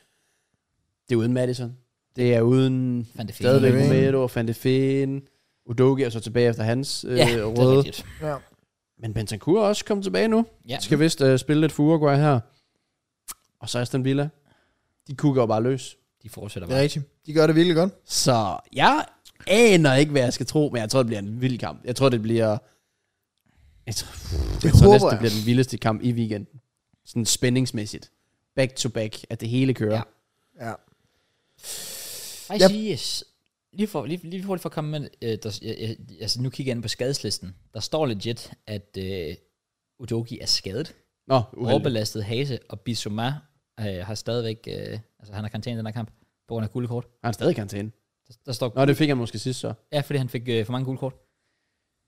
Speaker 2: Det er uden Madison. Det er uden
Speaker 1: Fandt det fint.
Speaker 2: stadigvæk
Speaker 3: Fane.
Speaker 2: Romero og Fante Fane. Udogi er så tilbage efter hans øh,
Speaker 1: Ja,
Speaker 2: ja,
Speaker 1: det er
Speaker 2: røde.
Speaker 1: rigtigt.
Speaker 3: ja.
Speaker 2: Men Bentancur er også kommet tilbage nu.
Speaker 1: Ja.
Speaker 2: Ja. Skal vist øh, spille lidt for Uruguay her. Og så Aston Villa. De kukker jo bare løs.
Speaker 1: De fortsætter
Speaker 3: Det er
Speaker 1: bare.
Speaker 3: rigtigt. De gør det virkelig godt.
Speaker 2: Så jeg aner ikke, hvad jeg skal tro, men jeg tror, det bliver en vild kamp. Jeg tror, det bliver... Jeg tror, det jeg tror
Speaker 3: håber
Speaker 2: næsten, det
Speaker 3: jeg.
Speaker 2: bliver den vildeste kamp i weekenden. Sådan spændingsmæssigt. Back to back, at det hele kører.
Speaker 1: Ja.
Speaker 2: Ja.
Speaker 3: Ja.
Speaker 1: Ej,
Speaker 3: Jeg-
Speaker 1: yes. Lige, for, lige, lige hurtigt for at komme med, øh, der, jeg, jeg, altså nu kigger jeg ind på skadeslisten. Der står legit, at øh, Udogi er skadet,
Speaker 2: Nå, uheldigt.
Speaker 1: overbelastet hase, og Bissouma øh, har stadigvæk, øh, altså han har karantæne i den her kamp, på grund af guldkort.
Speaker 2: Har han stadig karantæne?
Speaker 1: Der, der står,
Speaker 2: Nå, det fik han måske sidst så.
Speaker 1: ja, fordi han fik øh, for mange guldkort.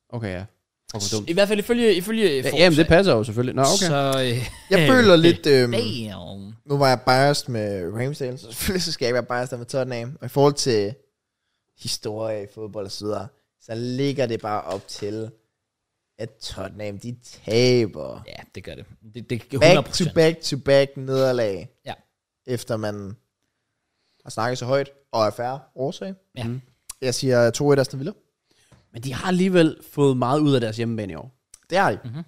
Speaker 2: Okay, ja. Fuck, hvor dumt.
Speaker 1: I hvert fald ifølge, ifølge øh,
Speaker 2: Ja,
Speaker 1: Forbes,
Speaker 2: jamen, det passer jo selvfølgelig. Nå, okay. Mm.
Speaker 1: Så, øh,
Speaker 3: Jeg føler lidt... Øhm,
Speaker 1: Damn.
Speaker 3: nu var jeg biased med Ramsdale, så selvfølgelig så skal jeg ikke være biased med Tottenham. Og i forhold til historie, fodbold og så videre, så ligger det bare op til, at Tottenham, de taber.
Speaker 1: Ja, det gør det. Det, det 100%.
Speaker 3: Back to back to back nederlag.
Speaker 1: Ja.
Speaker 3: Efter man har snakket så højt, og er færre årsag.
Speaker 1: Ja. Mm.
Speaker 3: Jeg siger 2-1 Aston Villa.
Speaker 2: Men de har alligevel fået meget ud af deres hjemmebane i år.
Speaker 3: Det har de. Mm.
Speaker 1: Mhm.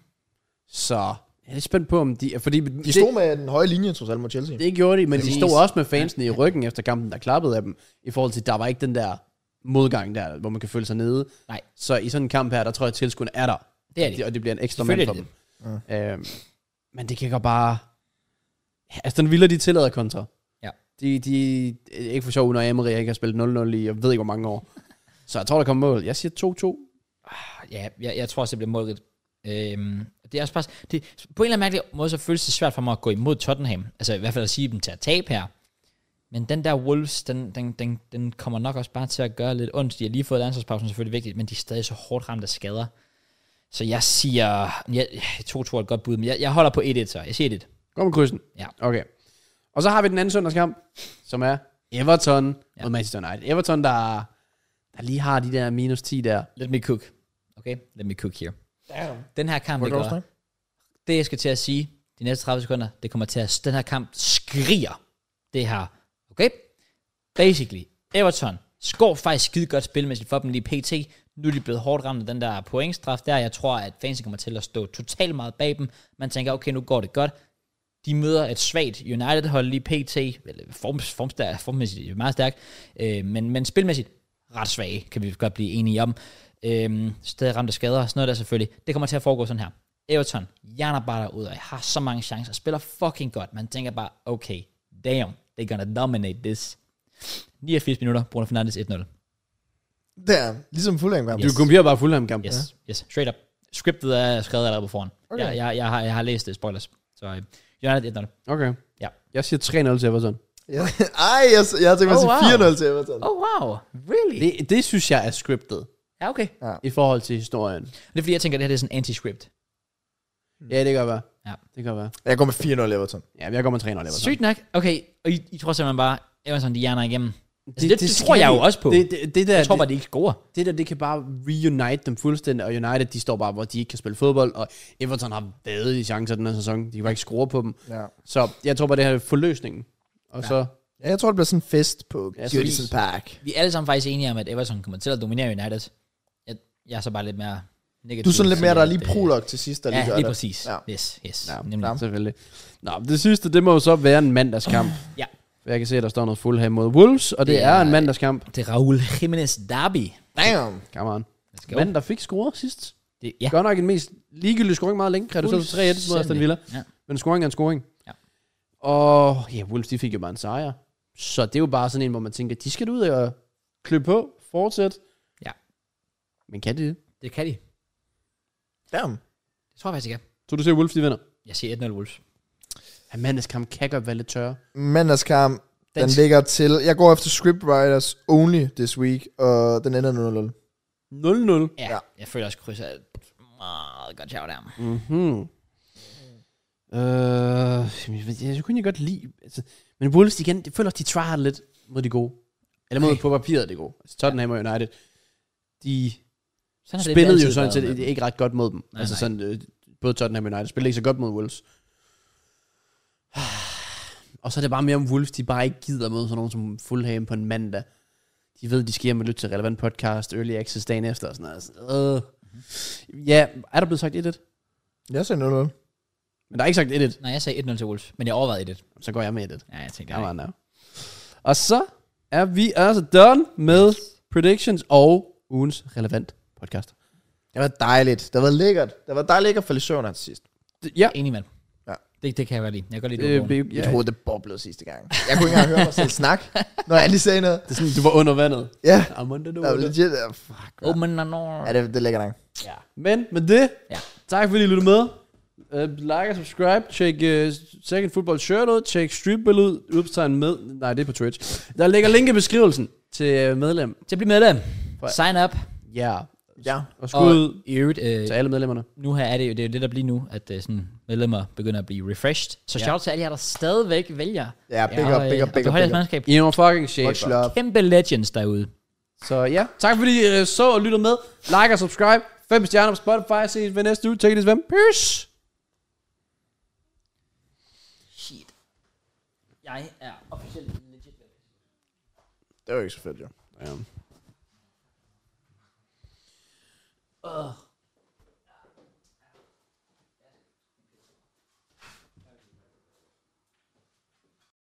Speaker 2: Så jeg er lidt spændt på, om de... Fordi de
Speaker 3: De
Speaker 2: det,
Speaker 3: stod med den høje linje, trods alt, mod Chelsea.
Speaker 2: det gjorde de, men de
Speaker 1: Præcis.
Speaker 2: stod også med fansene i ryggen efter kampen, der klappede af dem, i forhold til, der var ikke den der modgang der, hvor man kan føle sig nede.
Speaker 1: Nej.
Speaker 2: Så i sådan en kamp her, der tror jeg, at tilskuerne er der.
Speaker 1: Det er det.
Speaker 2: Og det bliver en ekstra mand
Speaker 1: Selvfølgelig
Speaker 2: for dem. Øhm, men det kan godt bare... Aston Villa, de tillader kontra.
Speaker 1: Ja.
Speaker 2: De, de er ikke for sjov, når Emery ikke har spillet 0-0 i, jeg ved ikke, hvor mange år. Så jeg tror, der kommer mål. Jeg siger 2-2.
Speaker 1: Ja, jeg, jeg tror også, det bliver målrigt. Øhm, det er også bare, det, på en eller anden mærkelig måde, så føles det svært for mig at gå imod Tottenham. Altså i hvert fald at sige dem til at tabe her. Men den der Wolves, den, den, den, den kommer nok også bare til at gøre lidt ondt. De har lige fået landsholdspausen, selvfølgelig vigtigt, men de er stadig så hårdt ramt af skader. Så jeg siger, jeg, 2-2 er et godt bud, men jeg, jeg holder på 1-1 så. Jeg siger 1-1.
Speaker 2: Gå med krydsen.
Speaker 1: Ja.
Speaker 2: Okay. Og så har vi den anden søndagskamp, som er Everton
Speaker 1: Ja.
Speaker 2: ja. mod Manchester United. Everton, der, der lige har de der minus 10 der.
Speaker 1: Let me cook. Okay? Let me cook here.
Speaker 3: Damn.
Speaker 1: Den her kamp,
Speaker 3: Hvor
Speaker 1: det
Speaker 3: går
Speaker 1: gør,
Speaker 3: det?
Speaker 1: det jeg skal til at sige, de næste 30 sekunder, det kommer til at, den her kamp skriger det her, okay? Basically, Everton skår faktisk skide godt spil, mens de får dem lige pt. Nu er de blevet hårdt ramt af den der pointstraf der. Jeg tror, at fansen kommer til at stå totalt meget bag dem. Man tænker, okay, nu går det godt. De møder et svagt United-hold lige pt. Eller form, form, formmæssigt er meget stærkt, øh, men, men spilmæssigt ret svage, kan vi godt blive enige om. Øh, stadig ramte skader og sådan noget der selvfølgelig. Det kommer til at foregå sådan her. Everton hjerner bare derud, og jeg har så mange chancer. Spiller fucking godt. Man tænker bare, okay, damn, they're gonna dominate this. 89 minutter, Bruno Fernandes 1-0.
Speaker 3: Damn. Ligesom Fulham kamp.
Speaker 2: Du
Speaker 1: Yes.
Speaker 2: kopierer bare Fulham-kampen.
Speaker 1: Yes, ja. yes, straight up. Scriptet er skrevet allerede på forhånd. Okay.
Speaker 3: Okay.
Speaker 1: Jeg, jeg, jeg, har, jeg har læst det, spoilers. Så øh, United 1-0.
Speaker 2: Okay.
Speaker 1: Ja.
Speaker 2: Jeg siger 3-0 til Everton.
Speaker 3: Ja. Ej, jeg, jeg har tænkt mig at
Speaker 1: Oh, wow.
Speaker 3: sige 4-0 til Everton.
Speaker 1: Oh wow, really? Det,
Speaker 2: Det, det synes jeg er scriptet
Speaker 1: ja, okay.
Speaker 2: i forhold til historien.
Speaker 1: Det er fordi, jeg tænker, at det her det er sådan anti-script.
Speaker 2: Ja, det kan være.
Speaker 1: Mm. Ja.
Speaker 2: Det kan være.
Speaker 3: Jeg går med 4-0 Everton.
Speaker 2: Ja, men jeg kommer 3-0 Everton.
Speaker 1: Sygt nok. Okay, og I, I tror simpelthen bare, Everton de hjerner igennem. Altså, det, det, det
Speaker 2: skal
Speaker 1: tror jeg
Speaker 2: de-
Speaker 1: jo også på. Det,
Speaker 2: Det, det, det der,
Speaker 1: jeg tror bare, de ikke scorer.
Speaker 2: det der, det kan bare reunite dem fuldstændig, og United, de står bare, hvor de ikke kan spille fodbold, og Everton har været i chancer den her sæson. De kan bare ikke score på dem.
Speaker 3: Ja.
Speaker 2: Så jeg tror bare, det her er forløsningen. Og ja. så
Speaker 3: Ja, jeg tror, det bliver sådan en fest på
Speaker 2: Ja,
Speaker 3: ja,
Speaker 2: så
Speaker 3: Goodison
Speaker 1: vi-
Speaker 3: Park.
Speaker 1: Vi er alle sammen faktisk enige om, at Everton kommer til at dominere United. Jeg, jeg er så bare lidt mere negativ.
Speaker 3: Du er sådan lidt mere,
Speaker 1: fordi
Speaker 3: der er lige
Speaker 1: at, øh,
Speaker 3: prolog til sidst, der lige
Speaker 1: Ja,
Speaker 3: gør
Speaker 1: lige
Speaker 3: det.
Speaker 1: præcis.
Speaker 3: Ja.
Speaker 1: Yes, yes.
Speaker 3: Ja,
Speaker 1: Nemlig.
Speaker 3: ja.
Speaker 2: Selvfølgelig. Nå, men det sidste, det må jo så være en mandagskamp.
Speaker 1: Ja.
Speaker 2: Jeg kan se, at der står noget Fulham mod Wolves, og det,
Speaker 1: Det
Speaker 2: det er,
Speaker 1: er-
Speaker 2: en mandagskamp.
Speaker 1: Det er Raul Jimenez Derby.
Speaker 3: Damn!
Speaker 2: Come on.
Speaker 1: Let's go.
Speaker 2: Manden, der fik scoret sidst.
Speaker 1: det, ja.
Speaker 2: Godt nok en mest ligegyldig scoring meget længe. Reduceret til 3-1 mod Aston Villa.
Speaker 1: Ja.
Speaker 2: Men scoring er en scoring.
Speaker 1: Ja.
Speaker 2: Og ja, Wolves, de fik jo bare en sejr. Så det er jo bare sådan en, hvor man tænker, de skal ud og klø på, fortsætte.
Speaker 1: Ja.
Speaker 2: Men kan de det?
Speaker 1: Det kan de.
Speaker 3: Damn!
Speaker 1: Det tror jeg faktisk, jeg kan.
Speaker 2: Så du ser, at Wolves, de vinder.
Speaker 1: Jeg siger 1-0 Wolves.
Speaker 2: Ja, mandagskamp kan godt være lidt tørre.
Speaker 3: Mandagskamp, den
Speaker 1: Dansk.
Speaker 3: ligger til... Jeg går efter scriptwriters only this week, og den ender 0-0.
Speaker 2: 0-0.
Speaker 1: Ja,
Speaker 3: Ja.
Speaker 1: jeg føler også krydser er et meget godt sjov der.
Speaker 2: Mhm. Øh, jamen, jeg, ved- jeg kunne jeg godt lide. Altså, men Wolves igen, jeg føler, de tryhard lidt mod de gode. Eller mod
Speaker 1: Ej.
Speaker 2: på papiret det gode. Altså, Tottenham og United, de
Speaker 1: Sådan har det
Speaker 2: spillede
Speaker 1: altid
Speaker 2: jo sådan
Speaker 1: været med
Speaker 2: set ikke ret godt mod dem.
Speaker 1: Nej,
Speaker 2: Nej, altså
Speaker 1: nej.
Speaker 2: sådan, øh, både Tottenham og United spillede ikke så godt mod Wolves. Og så er det bare mere om Wolves, de bare ikke gider mod sådan nogen som Fulham på en mandag. De ved, de skal hjem og lytte til relevant podcast, early access dagen efter og sådan noget. Altså,
Speaker 1: Mm-hmm.
Speaker 2: øh. Ja, er der blevet sagt 1-1?
Speaker 3: Jeg siger 0-0.
Speaker 2: Men der er ikke sagt 1-1.
Speaker 1: dem. Nej, jeg sagde 1-0 til Wolves, men jeg overvejede 1-1.
Speaker 2: Så går jeg med i det.
Speaker 1: Ja, jeg tænkte,
Speaker 2: Come
Speaker 1: nej.
Speaker 2: on now. Og så er vi altså done med predictions og ugens relevant podcast.
Speaker 3: Det var dejligt. Det var lækkert. Det var dejligt ikke at falde i søvn her til sidst.
Speaker 2: D- Ja,
Speaker 1: Enig mand.
Speaker 3: Ja.
Speaker 1: Det, det kan jeg godt lide. Jeg kan godt lide,
Speaker 2: øh,
Speaker 1: det.
Speaker 2: vi-
Speaker 3: Mit
Speaker 2: ja.
Speaker 3: hoved, det boblede sidste gang. Jeg kunne ikke engang høre mig selv snakke, når jeg lige sagde noget.
Speaker 2: Det er sådan, du var under vandet.
Speaker 3: Ja,
Speaker 2: I'm under the
Speaker 3: det var
Speaker 2: water.
Speaker 3: legit. ja, Fuck, man.
Speaker 1: Open and
Speaker 3: Ja, det, det er lækkert nok.
Speaker 1: Ja.
Speaker 2: Men med det,
Speaker 1: Ja.
Speaker 2: tak fordi I lyttede med. Uh, like og subscribe. Tjek uh, Second Football Shirt ud. Tjek Streetbill ud. Udopstegn med. Nej, det er på Twitch. Der ligger link i beskrivelsen til øh, medlem.
Speaker 1: Til at blive medlem.
Speaker 2: For-
Speaker 1: Sign up.
Speaker 2: Ja.
Speaker 3: Ja.
Speaker 2: Og skud
Speaker 1: Og i øvrigt, øh,
Speaker 2: til alle medlemmerne.
Speaker 1: nu her er det jo det, er jo det der bliver nu, at øh, sådan, medlemmer begynder at blive refreshed. Så
Speaker 2: Ja.
Speaker 1: shout out til alle jer, der stadigvæk vælger.
Speaker 3: Ja, big
Speaker 1: og,
Speaker 3: up, big
Speaker 1: øh,
Speaker 3: up,
Speaker 1: og
Speaker 3: big up,
Speaker 1: behold
Speaker 3: big
Speaker 1: jeres
Speaker 3: up.
Speaker 1: mandskab.
Speaker 2: I er nogle fucking
Speaker 3: Much
Speaker 2: chefer.
Speaker 3: love.
Speaker 1: Kæmpe legends derude.
Speaker 2: Så ja, tak fordi I uh, så og lyttede med. Like og subscribe. 5 stjerner på Spotify. Ses ved næste uge. Take it svem. Peace.
Speaker 1: Shit. Jeg er officielt legit.
Speaker 3: Det var ikke så fedt, jo.
Speaker 2: Ja.